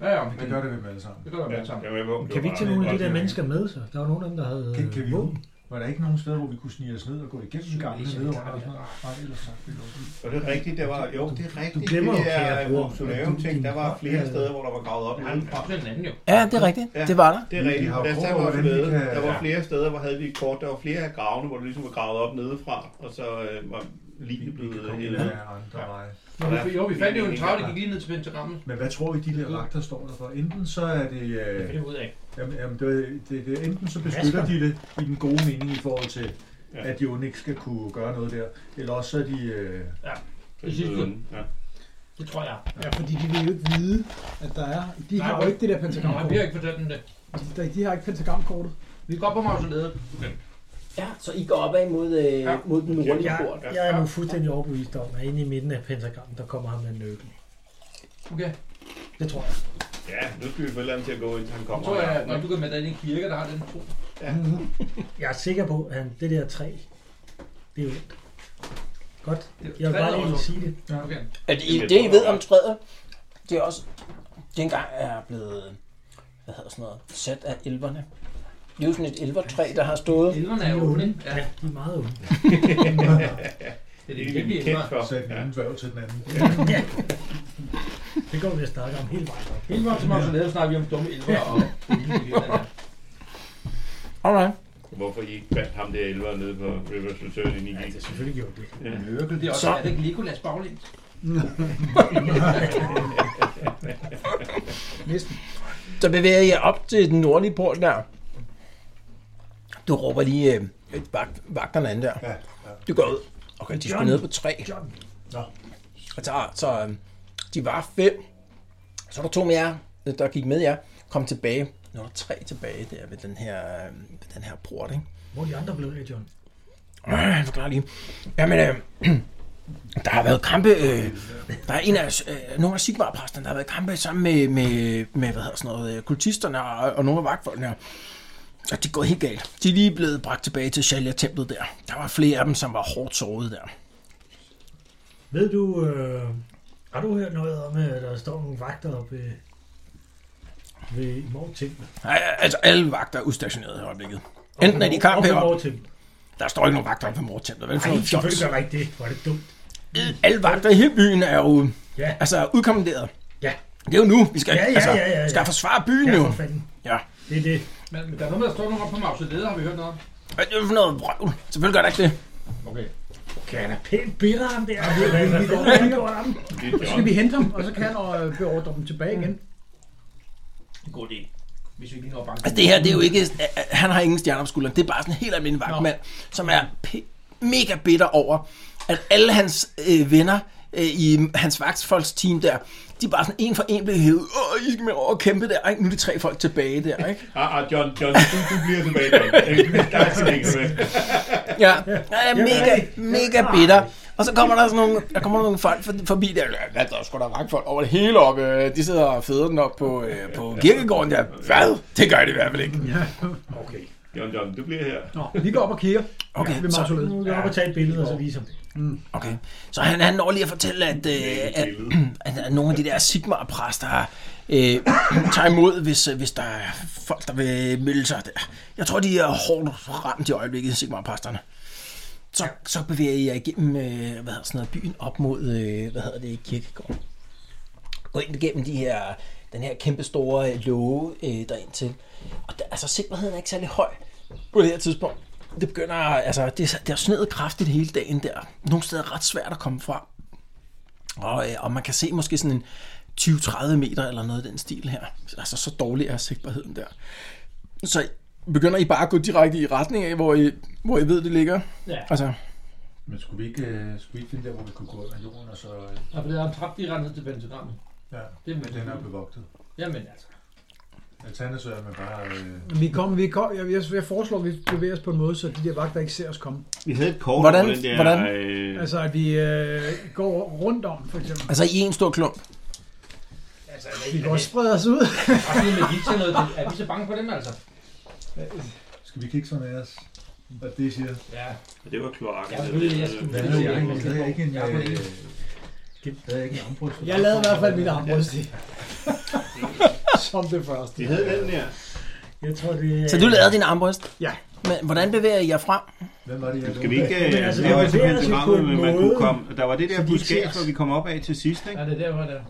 [SPEAKER 7] Ja, ja, men
[SPEAKER 3] Hvad gør det ved dem alle sammen?
[SPEAKER 7] det gør der
[SPEAKER 4] Ja,
[SPEAKER 7] med sammen.
[SPEAKER 4] jeg er med på.
[SPEAKER 6] Kan vi ikke tage nogle af de der mennesker med, så? Der var nogen af dem, der havde
[SPEAKER 3] Kan, kan vi
[SPEAKER 6] våben.
[SPEAKER 3] åbne? Var der ikke nogen steder, hvor vi kunne snige os ned og gå igennem gangen ned under? og sådan noget? Nej, ellers tak. vi lukker.
[SPEAKER 4] Og det er rigtigt, der var, jo, det er rigtigt.
[SPEAKER 6] du glemmer
[SPEAKER 4] det
[SPEAKER 6] jo, kære bror.
[SPEAKER 4] der Sonarum-ting, der var flere steder, hvor der var gravet op i
[SPEAKER 7] Ja, men
[SPEAKER 4] den.
[SPEAKER 7] der er også en anden jo.
[SPEAKER 2] Ja, det er rigtigt. Ja.
[SPEAKER 4] Ja.
[SPEAKER 2] Det var der.
[SPEAKER 4] Det er rigtigt.
[SPEAKER 3] Vi har jo
[SPEAKER 4] Der,
[SPEAKER 3] kort
[SPEAKER 4] sagde
[SPEAKER 3] over,
[SPEAKER 4] også
[SPEAKER 3] hvordan vi
[SPEAKER 4] med.
[SPEAKER 3] kan-
[SPEAKER 4] der var
[SPEAKER 3] Ja.
[SPEAKER 4] flere steder, hvor havde vi et kort. Der var flere af gravene, hvor det ligesom var gravet op nedefra, og så øh, var
[SPEAKER 3] Vi,
[SPEAKER 4] ligene
[SPEAKER 3] vi kan
[SPEAKER 4] blevet
[SPEAKER 3] komme
[SPEAKER 4] hele
[SPEAKER 3] ind ad andre veje.
[SPEAKER 7] Nå, vi, jo, vi fandt jo en trappe, der gik lige ned til pentagrammet.
[SPEAKER 3] Men hvad tror I, de der vagter står der for? Enten så er det...
[SPEAKER 7] Det
[SPEAKER 3] Øh,
[SPEAKER 7] finder vi ud af.
[SPEAKER 3] jamen, jamen, det, det, det, enten så beskytter de det i den gode mening i forhold til,
[SPEAKER 4] Ja.
[SPEAKER 3] at de onde ikke skal kunne gøre noget der. Eller også så er de... Øh,
[SPEAKER 7] Det sidste.
[SPEAKER 4] Ja.
[SPEAKER 7] Det tror jeg.
[SPEAKER 5] Ja, fordi de vil jo ikke vide, at der er... De
[SPEAKER 7] Nej,
[SPEAKER 5] har jo
[SPEAKER 7] hvor-
[SPEAKER 5] ikke det der
[SPEAKER 7] Nej, vi
[SPEAKER 5] pentagramkort.
[SPEAKER 7] har ikke fortalt dem det.
[SPEAKER 5] Altså, De, de har ikke pentagramkortet.
[SPEAKER 7] Vi går op på mausoleet.
[SPEAKER 2] Ja, så I går opad mod, øh,
[SPEAKER 7] Ja.
[SPEAKER 2] mod den nordlige
[SPEAKER 6] Jeg,
[SPEAKER 2] port.
[SPEAKER 6] jeg er nu fuldstændig overbevist om, at inde i midten af pentagrammet, der kommer ham med en nøgle.
[SPEAKER 7] Okay.
[SPEAKER 6] Det tror jeg.
[SPEAKER 4] ja, nu skal vi få et eller andet til at gå, indtil han
[SPEAKER 7] Jeg
[SPEAKER 4] kommer.
[SPEAKER 7] tror jeg, når du går med dig ind i en kirke, der har den tro.
[SPEAKER 6] Jeg er sikker på, at han- det der træ, det er ondt. Godt. Jeg vil bare lige sige det.
[SPEAKER 7] Okay.
[SPEAKER 2] At I,
[SPEAKER 4] Jamen,
[SPEAKER 2] det,
[SPEAKER 4] jeg
[SPEAKER 2] I
[SPEAKER 4] tror,
[SPEAKER 2] ved
[SPEAKER 4] der
[SPEAKER 2] om
[SPEAKER 4] var-
[SPEAKER 2] træet, det er også dengang er blevet hvad hedder sådan noget, sat af elverne. Det er jo sådan et elvertræ, der har stået.
[SPEAKER 7] Elverne
[SPEAKER 6] De
[SPEAKER 7] er
[SPEAKER 6] er
[SPEAKER 7] jo
[SPEAKER 6] onde.
[SPEAKER 7] onde. Ja,
[SPEAKER 6] Ja, de er meget onde.
[SPEAKER 7] det er
[SPEAKER 4] Det
[SPEAKER 7] det,
[SPEAKER 4] er
[SPEAKER 7] vi
[SPEAKER 4] det, vi er
[SPEAKER 7] elver.
[SPEAKER 4] kendt for.
[SPEAKER 3] så er den
[SPEAKER 4] Ja.
[SPEAKER 3] ene dværg til den anden.
[SPEAKER 6] Det går vi at snakke om hele vejen. op.
[SPEAKER 7] Hele vejen til mausoleet snakker vi om dumme elver og [LAUGHS]
[SPEAKER 2] Alright.
[SPEAKER 4] Hvorfor I ikke fandt ham der elver nede på Rivers Return, inden I gik?
[SPEAKER 6] Det er selvfølgelig gjort det.
[SPEAKER 7] Mørkel, det er også,
[SPEAKER 2] Så-
[SPEAKER 7] er det ikke Legolas baglæns?
[SPEAKER 2] Så bevæger jeg op til den nordlige port der. Du råber lige øh, vagt, vagterne an der.
[SPEAKER 3] Ja, ja.
[SPEAKER 2] Du går ud. Okay, de skulle ned på tre.
[SPEAKER 6] John.
[SPEAKER 2] Og så, så øh, de var fem. Så var der to med jer, der gik med jer, kom tilbage. Nu er der tre tilbage der ved den her, øh, ved den her port, ikke?
[SPEAKER 6] Hvor er de andre blevet af, John?
[SPEAKER 2] Øh, jeg forklarer lige. Jamen, øh, [CLEARS THROAT] der har været kampe... Øh, der er en af øh, nogle af Sigmar-præsterne, der har været i kampe sammen med, med, med hvad hedder sådan noget, øh, kultisterne og, og nogle af vagtfolkene her. Så det er gået helt galt. De er lige blevet bragt tilbage til Shalia-templet der. Der var flere af dem, som var hårdt såret der.
[SPEAKER 6] Ved du, øh, har du hørt noget om, at der står nogle vagter oppe øh, ved Mortemple.
[SPEAKER 2] Ej, Altså, alle vagter er udstationeret i øjeblikket. Enten er de i kamp heroppe.
[SPEAKER 6] Mortemple.
[SPEAKER 2] Der står ikke nogen vagter oppe på Mortemple. Vel, for
[SPEAKER 6] Nej,
[SPEAKER 2] noget fjols.
[SPEAKER 6] selvfølgelig gør der ikke det. Hvor er det dumt.
[SPEAKER 2] Alle vagter i hele byen er jo
[SPEAKER 6] Ja,
[SPEAKER 2] altså, udkommanderet.
[SPEAKER 6] Ja.
[SPEAKER 2] Det er jo nu. Vi skal,
[SPEAKER 6] Ja, ja,
[SPEAKER 2] altså,
[SPEAKER 6] ja, ja, ja.
[SPEAKER 2] skal forsvare byen
[SPEAKER 6] ja
[SPEAKER 2] jo.
[SPEAKER 6] for fanden.
[SPEAKER 2] Ja.
[SPEAKER 6] Det er det.
[SPEAKER 7] Men men der er noget med, der står nogen op på mausoleder, har vi hørt noget om.
[SPEAKER 2] Hvad er det for noget vrøvl? Selvfølgelig gør der ikke det.
[SPEAKER 7] Okay.
[SPEAKER 6] Okay, han er pænt bitter, ham der. Hvad, hvad,
[SPEAKER 5] Vi
[SPEAKER 6] hvad,
[SPEAKER 5] går
[SPEAKER 6] hvad,
[SPEAKER 5] over og over ham.
[SPEAKER 4] Det
[SPEAKER 5] Så
[SPEAKER 4] er
[SPEAKER 5] skal
[SPEAKER 4] John.
[SPEAKER 5] vi hente ham, og så kan han øh, beordre dem tilbage igen.
[SPEAKER 7] God idé. Hvis vi ikke lige når banken.
[SPEAKER 2] Altså det her, det er jo ikke... Han har ingen stjerner på skulderen. Det er bare sådan en helt almindelig vagtmand, som er p- mega bitter over, at alle hans øh, venner øh, i hans vagtfolksteam der, de er bare sådan en for en blevet hævet. Åh, I skal med over og kæmpe der. Ej, nu er de tre folk tilbage der, ikke?
[SPEAKER 4] Ah, ah, John, John, du, du bliver tilbage, [LAUGHS] John. Der er sådan ikke med.
[SPEAKER 2] Ja, han er mega, mega bitter. Og så kommer der sådan nogle, der kommer nogle folk for- forbi der. Ja, der er sgu da vagtfolk over det hele op. øh, De sidder og føder den op på, øh, på kirkegården der. Hvad? Det gør de i hvert fald ikke.
[SPEAKER 5] Ja.
[SPEAKER 6] Okay.
[SPEAKER 4] John, John, du bliver her.
[SPEAKER 5] Nå, vi går op og kigger
[SPEAKER 2] Okay,
[SPEAKER 5] ved
[SPEAKER 2] så,
[SPEAKER 5] mausoleet.
[SPEAKER 6] Nu vil jeg op og tage et billede, og så vise ham det.
[SPEAKER 2] Okay. Så han, han når lige at fortælle, at, øh, at, [CLEARS THROAT] at, at nogle af de der Sigmar-præster har, øh, [CLEARS THROAT] tager imod, hvis, øh, hvis der er folk, der vil melde sig der. Jeg tror, de er hårdt ramt i øjeblikket, Sigmar-præsterne. Så, så bevæger jeg igennem øh, hvad hedder sådan noget, byen op mod øh, hvad hedder det, kirkegården. Gå ind igennem de her, den her kæmpe store øh, låge øh, derind til. Og der, altså, sikkerheden er ikke særlig høj på det her tidspunkt. Det begynder, altså, det, er- det har sneet kraftigt hele dagen der. Nogle steder er ret svært at komme fra. Og, øh, og man kan se måske sådan en 20-30 meter eller noget af den stil her. Altså, så dårlig er sigtbarheden der. Så begynder I bare at gå direkte i retning af, hvor I, hvor I ved, det ligger?
[SPEAKER 7] Ja.
[SPEAKER 2] Altså,
[SPEAKER 3] Men skulle vi ikke, øh, skulle vi ikke finde der, hvor vi kunne gå under jorden, og så... øh,
[SPEAKER 7] Og altså, for det er en trap direkte ned til pentagrammet.
[SPEAKER 3] Ja,
[SPEAKER 7] Det er med
[SPEAKER 3] den er bevogtet.
[SPEAKER 7] Jamen altså.
[SPEAKER 3] Alternativt er man bare... Øh,
[SPEAKER 5] Vi kommer, vi kommer, jeg, jeg- jeg foreslår, at vi bevæger os på en måde, så de der vagter ikke ser os komme.
[SPEAKER 4] Vi havde et kort
[SPEAKER 2] Hvordan-
[SPEAKER 4] på den der...
[SPEAKER 2] hvordan?
[SPEAKER 4] Øh,
[SPEAKER 5] Altså, at vi øh, går rundt om, for eksempel.
[SPEAKER 2] altså i en stor klump.
[SPEAKER 7] Altså,
[SPEAKER 5] Vi
[SPEAKER 7] er
[SPEAKER 5] kan også
[SPEAKER 7] også...
[SPEAKER 5] sprede os ud.
[SPEAKER 7] Og det med Gita noget, det- er vi så bange for dem altså?
[SPEAKER 3] skal vi kigge sådan af os? Hvad det siger?
[SPEAKER 7] Ja.
[SPEAKER 4] det var kloakken.
[SPEAKER 7] Jeg ved det, jeg skulle
[SPEAKER 3] Jeg
[SPEAKER 7] være
[SPEAKER 3] havde
[SPEAKER 7] det.
[SPEAKER 3] ikke en... Jeg havde ikke en...
[SPEAKER 7] Jeg er på
[SPEAKER 3] øh, Jeg
[SPEAKER 7] det ene.
[SPEAKER 3] havde ikke en armbryst.
[SPEAKER 5] Jeg lavede i hvert fald mit armbrust i. [LAUGHS] Som det første.
[SPEAKER 4] Vi havde den der.
[SPEAKER 6] Jeg tror, det er...
[SPEAKER 2] Så du lavede din armbryst?
[SPEAKER 5] Øh, Ja.
[SPEAKER 2] Men hvordan bevæger I jer frem?
[SPEAKER 3] Hvem var det, jeg
[SPEAKER 4] Skal vi ikke...
[SPEAKER 6] Men
[SPEAKER 4] Øh,
[SPEAKER 6] altså,
[SPEAKER 4] det
[SPEAKER 6] det
[SPEAKER 4] var
[SPEAKER 6] var
[SPEAKER 4] simpelthen
[SPEAKER 6] altså
[SPEAKER 4] det
[SPEAKER 6] på en
[SPEAKER 4] ramme, øh, man kunne
[SPEAKER 6] måde,
[SPEAKER 4] komme. Der var det
[SPEAKER 6] så
[SPEAKER 4] der
[SPEAKER 6] de
[SPEAKER 4] buskab,
[SPEAKER 6] ser os.
[SPEAKER 4] hvor vi kom op af til sidst, ikke?
[SPEAKER 7] Ja, det er der, hvor der.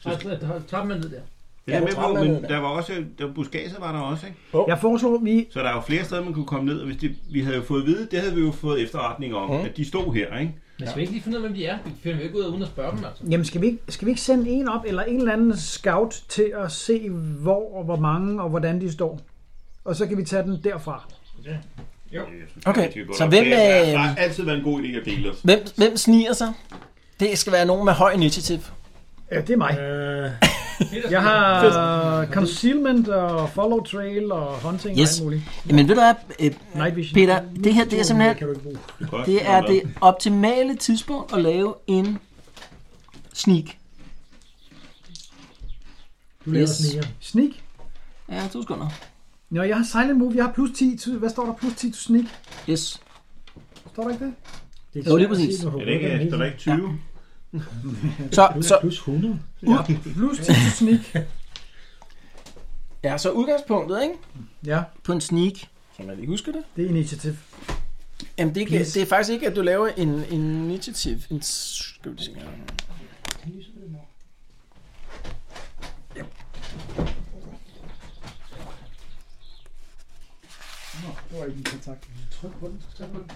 [SPEAKER 7] Så der- trappen er ned der.
[SPEAKER 4] Det er jeg med
[SPEAKER 2] hvor
[SPEAKER 4] på,
[SPEAKER 2] trappen er nede
[SPEAKER 4] men
[SPEAKER 2] der.
[SPEAKER 4] der var også... Der buskaget var der også, ikke?
[SPEAKER 5] Jeg foreslår, at vi...
[SPEAKER 4] Så der er jo flere steder, man kunne komme ned, og hvis det, vi havde jo fået at vide, det havde vi jo fået efterretning om,
[SPEAKER 2] Mhm.
[SPEAKER 4] at de stod her, ikke?
[SPEAKER 7] Men skal vi ikke lige finde ud af, hvem de er? Vi finder jo ikke ud af, uden at spørge dem altså.
[SPEAKER 5] Jamen, skal vi, ikke, skal vi ikke sende en op, eller en eller anden scout til at se, hvor og hvor mange, og hvordan de står? Og så kan vi tage den derfra.
[SPEAKER 4] Jeg synes,
[SPEAKER 2] Okay,
[SPEAKER 4] det er godt
[SPEAKER 2] så
[SPEAKER 4] nok.
[SPEAKER 2] hvem,
[SPEAKER 4] Det er- Der har
[SPEAKER 2] øh,
[SPEAKER 4] altid været en god idé at dele os.
[SPEAKER 2] Hvem, hvem sniger sig? Det skal være nogen med høj initiativ.
[SPEAKER 5] Ja, det er mig.
[SPEAKER 6] Øh,
[SPEAKER 5] Jeg har concealment og follow trail og hunting
[SPEAKER 2] Yes.
[SPEAKER 5] og alt muligt.
[SPEAKER 2] Men ved du hvad, øh,
[SPEAKER 5] Night vision.
[SPEAKER 2] Peter, det her det er simpelthen
[SPEAKER 6] kan du ikke bruge.
[SPEAKER 4] Godt,
[SPEAKER 2] det, er
[SPEAKER 4] hvad?
[SPEAKER 2] det optimale tidspunkt at lave en sneak.
[SPEAKER 6] Du laver
[SPEAKER 2] Yes.
[SPEAKER 6] yes. sneer.
[SPEAKER 5] Sneak.
[SPEAKER 2] Ja, to sekunder.
[SPEAKER 5] Nå, jeg har silent move. Jeg har plus 10. til- Hvad står der? Plus 10 til sneak.
[SPEAKER 2] Yes.
[SPEAKER 5] Står der ikke det?
[SPEAKER 6] Det
[SPEAKER 2] Jo, lige præcis.
[SPEAKER 4] Er det ikke, øh, der er der ikke 20?
[SPEAKER 2] Så, så,
[SPEAKER 6] Så... Plus 100.
[SPEAKER 5] Plus 10 til sneak.
[SPEAKER 2] ja, så udgangspunktet, ikke?
[SPEAKER 5] Ja,
[SPEAKER 2] På en sneak. Som jeg lige husker det.
[SPEAKER 5] det er initiativ.
[SPEAKER 2] Jamen, det er, ikke,
[SPEAKER 5] Yes.
[SPEAKER 2] det er faktisk ikke, at du laver en, en initiativ. En, s- skal vi lige se her.
[SPEAKER 5] Det var ikke en kontakt. Tryk på den. Tryk på den.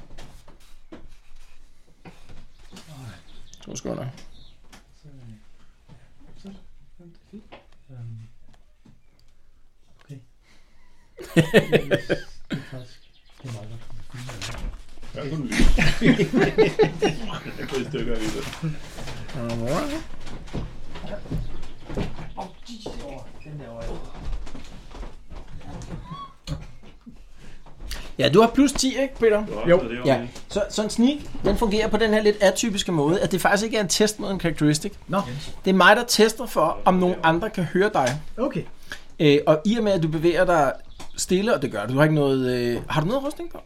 [SPEAKER 2] To sekunder.
[SPEAKER 6] Det er faktisk det er meget godt.
[SPEAKER 4] Hvad kunne vi? Jeg kunne i stykker i det.
[SPEAKER 2] Alright. Ja, du har plus 10, ikke, Peter?
[SPEAKER 4] Det var
[SPEAKER 5] Jo.
[SPEAKER 4] også, det var
[SPEAKER 2] Ja.
[SPEAKER 4] det.
[SPEAKER 2] Så, så en sneak, den fungerer på den her lidt atypiske måde, at det faktisk ikke er en test mod en characteristic.
[SPEAKER 5] Nå.
[SPEAKER 2] Det er mig, der tester for, om nogen andre kan høre dig.
[SPEAKER 5] Okay.
[SPEAKER 2] Øh, og i og med, at du bevæger dig stille, og det gør du, du har ikke noget... Øh, har du noget rustning på?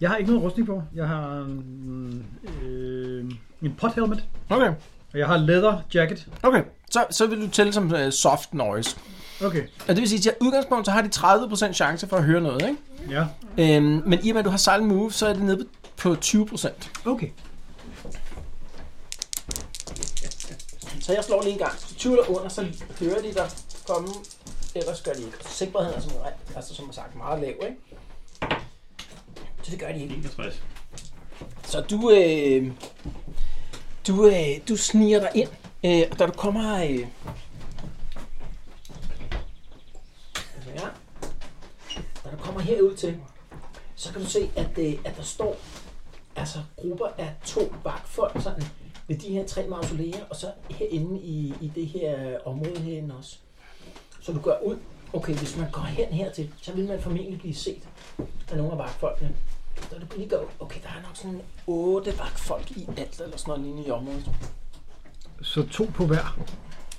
[SPEAKER 5] Jeg har ikke noget rustning på. Jeg har mm, øh, en pothelmet,
[SPEAKER 2] Okay.
[SPEAKER 5] og jeg har leather jacket.
[SPEAKER 2] Okay, så, så vil du tælle som øh, soft noise.
[SPEAKER 5] Okay.
[SPEAKER 2] Og det vil sige, at i udgangspunkt, så har de 30% chance for at høre noget, ikke?
[SPEAKER 5] Ja.
[SPEAKER 2] Øhm, men i og med, at du har silent move, så er det nede på 20%.
[SPEAKER 5] Okay.
[SPEAKER 2] Så jeg slår lige en gang. 20 eller under, så hører de dig komme. Ellers gør de ikke. Sikkerheden er som, re- altså, som sagt meget lav, ikke? Så det gør de ikke.
[SPEAKER 4] 61.
[SPEAKER 2] Så du, øh, du, øh, du sniger dig ind, øh, og da du kommer... Øh, altså, ja, da du kommer herud til, så kan du se, at, øh, at der står altså, grupper af to vagtfolk sådan, ved de her tre mausoleer, og så herinde i, i det her øh, område herinde også. Så du går ud. Okay, hvis man går hen hertil, så vil man formentlig blive set af nogle af vagtfolkene. Så du kan lige gå, okay, der er nok sådan otte vagtfolk i alt, eller sådan noget lignende i området.
[SPEAKER 5] Så to på hver.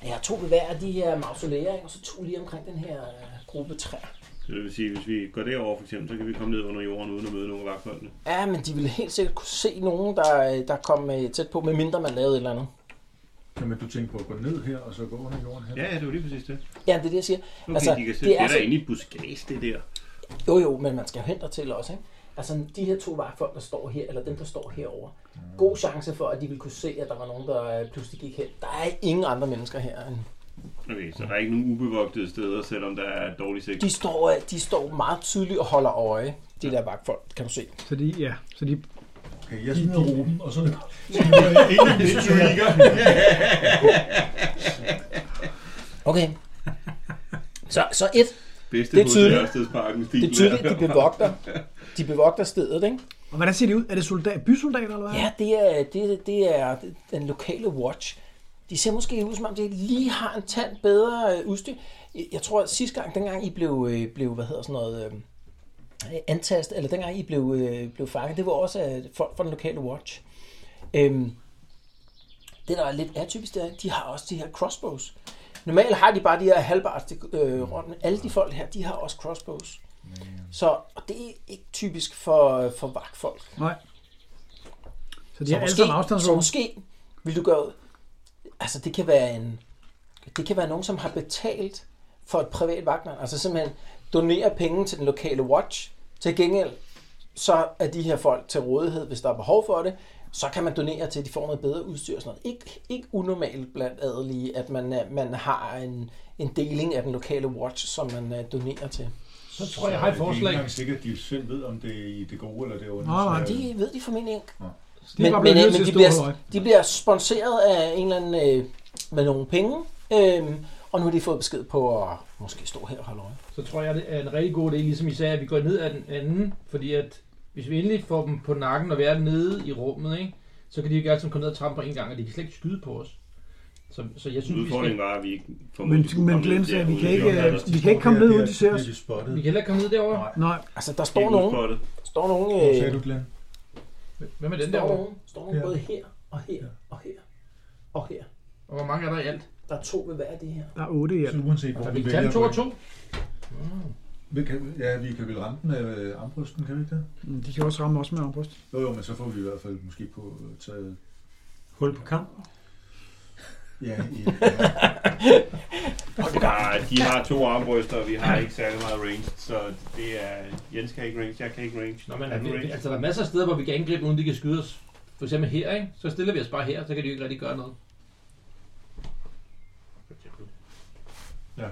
[SPEAKER 2] Jeg har to ved hver af de her mausoleer, ikke? og så to lige omkring den her øh, gruppe træer.
[SPEAKER 4] Så det vil sige, at hvis vi går derover for eksempel, så kan vi komme ned under jorden uden at møde nogen af vagtfolkene.
[SPEAKER 2] Ja, men de ville helt sikkert kunne se nogen, der, øh, der kom øh, tæt på, medmindre man lavede et eller andet.
[SPEAKER 3] Jamen, du tænker på at gå ned her, og så gå under jorden her?
[SPEAKER 4] Ja, ja, det var lige præcis det.
[SPEAKER 2] Ja, det er det, jeg siger.
[SPEAKER 4] Okay,
[SPEAKER 2] Altså,
[SPEAKER 4] altså, de kan se,
[SPEAKER 2] det er
[SPEAKER 4] det er,
[SPEAKER 2] altså-
[SPEAKER 4] der inde i buskage, det der.
[SPEAKER 2] Jo, jo, men man skal jo hen dertil også, ikke? Altså, de her to vagtfolk, der står her, eller dem, der står herover. God chance for, at de ville kunne se, at der var nogen, der øh, pludselig gik hen. Der er ingen andre mennesker her. End.
[SPEAKER 4] Okay, så der er ikke nogen ubevogtede steder, selvom der er dårlig [LAUGHS] sigt.
[SPEAKER 2] De, står, øh, de står meget tydeligt og holder øje, de der vagtfolk, kan du se.
[SPEAKER 5] Så de, ja, så de...
[SPEAKER 3] Okay, jeg smider roben, og så løber
[SPEAKER 2] Okay. Så, så et,
[SPEAKER 4] Bedste
[SPEAKER 2] Det er tydeligt.
[SPEAKER 4] Ørstedsparken stil.
[SPEAKER 2] Det er tydeligt, at de bevogter, de bevogter stedet, ikke?
[SPEAKER 5] Og hvordan ser det ud? Er det soldat, bysoldater, eller hvad?
[SPEAKER 2] Ja, det er, det, det er den lokale watch. De ser måske ud, som om de lige har en tand bedre øh, udstyr. Jeg- Jeg tror, at sidste gang, dengang I blev, øh, blev hvad hedder sådan noget, øh, antastet, eller dengang I blev, øh, blev fanget, det var også øh, folk fra den lokale watch. Øhm, det, der er lidt atypisk, det er, at de har også de her crossbows. Normalt har de bare de her halvbart øh, runde. Alle de folk her, de har også crossbows. Så og det er ikke typisk for, for vagtfolk.
[SPEAKER 5] Nej. Så de
[SPEAKER 2] Så
[SPEAKER 5] har alle
[SPEAKER 2] måske,
[SPEAKER 5] sammen
[SPEAKER 2] så
[SPEAKER 5] afstandsrum.
[SPEAKER 2] måske vil du gøre... Altså, det kan være en... Det kan være nogen, som har betalt for et privat vagtnavn. Altså simpelthen donere penge til den lokale watch. Til gengæld, så er de her folk til rådighed, hvis der er behov for det. Så kan man donere til, at de får noget bedre udstyr og sådan noget. Ikke, ikke unormalt blandt adelige, at man, øh, man har en, en deling af den lokale watch, som man øh, donerer til.
[SPEAKER 8] Så tror jeg, jeg har et forslag.
[SPEAKER 3] Det er ikke engang sikkert, at de selv ved, om det er i det gode eller det onde.
[SPEAKER 5] Nej, nej,
[SPEAKER 3] Så- øh,
[SPEAKER 2] Det ved de formentlig ikke.
[SPEAKER 5] De er bare
[SPEAKER 2] men,
[SPEAKER 5] blevet
[SPEAKER 2] men,
[SPEAKER 5] nødt
[SPEAKER 2] men
[SPEAKER 5] til
[SPEAKER 2] de,
[SPEAKER 5] at stå
[SPEAKER 2] bliver,
[SPEAKER 5] og holde øje.
[SPEAKER 2] de bliver sponsoreret af en eller anden øh, med nogle penge, øh, og nu har de fået besked på at måske stå her og holde øje.
[SPEAKER 7] så tror jeg, det er en rigtig god idé, ligesom I sagde, at vi går ned ad den anden, fordi at hvis vi endelig får dem på nakken og være nede i rummet, ikke, så kan de ikke altid komme ned og trampe på en gang, og de kan slet ikke skyde på os. Så, så jeg synes, vi, skal,
[SPEAKER 4] Udfordringen var, at vi ikke
[SPEAKER 5] Men,
[SPEAKER 4] formodentlig kunne
[SPEAKER 5] men
[SPEAKER 4] komme
[SPEAKER 5] Glenn
[SPEAKER 4] ned
[SPEAKER 5] sagde,
[SPEAKER 4] der
[SPEAKER 5] vi kan
[SPEAKER 4] uden
[SPEAKER 5] ikke,
[SPEAKER 4] at
[SPEAKER 5] øh,
[SPEAKER 4] jorden.
[SPEAKER 5] vi kan ikke komme ned, uden de ser os.
[SPEAKER 3] Bliver de spottet?
[SPEAKER 7] vi kan heller ikke komme ned derover.
[SPEAKER 3] Nej.
[SPEAKER 5] Nej,
[SPEAKER 2] Altså, der
[SPEAKER 4] Det
[SPEAKER 2] står
[SPEAKER 4] er
[SPEAKER 2] nogen,
[SPEAKER 4] udspottet.
[SPEAKER 2] står nogen,
[SPEAKER 3] Hvor sagde
[SPEAKER 2] øh,
[SPEAKER 3] du, Glenn?
[SPEAKER 7] Hvem er den
[SPEAKER 2] står
[SPEAKER 7] derovre?
[SPEAKER 2] nogen, står nogen
[SPEAKER 3] Ja.
[SPEAKER 2] både her og her og her og her.
[SPEAKER 7] Og hvor mange er der i alt?
[SPEAKER 2] Der er to ved hver af de her.
[SPEAKER 5] der er otte i
[SPEAKER 3] Så
[SPEAKER 5] alt.
[SPEAKER 3] uanset hvor
[SPEAKER 7] Så
[SPEAKER 3] vi
[SPEAKER 7] vi kan tage
[SPEAKER 3] vælger
[SPEAKER 7] dem to og
[SPEAKER 3] at
[SPEAKER 7] to.
[SPEAKER 3] gå ind- Vi kan, ja, vi kan vel ramme den med øh, armbrysten, kan vi ikke det?
[SPEAKER 5] Mm, De kan også ramme os med armbryst.
[SPEAKER 3] Jo, jo, men så får vi i hvert fald måske på øh, taget...
[SPEAKER 6] Hul på kamp.
[SPEAKER 3] Ja, i,
[SPEAKER 6] [LAUGHS]
[SPEAKER 4] Nej, de har to armbryster, og vi har ikke særlig meget range, så det er... Jens kan ikke range, jeg kan ikke range.
[SPEAKER 7] Nå, men,
[SPEAKER 4] er du
[SPEAKER 7] vi,
[SPEAKER 4] range?
[SPEAKER 7] altså, der er masser af steder, hvor vi kan angribe, uden de kan skyde os. For eksempel her, ikke? Så stiller vi os bare her, så kan de jo ikke rigtig gøre noget.
[SPEAKER 3] ja.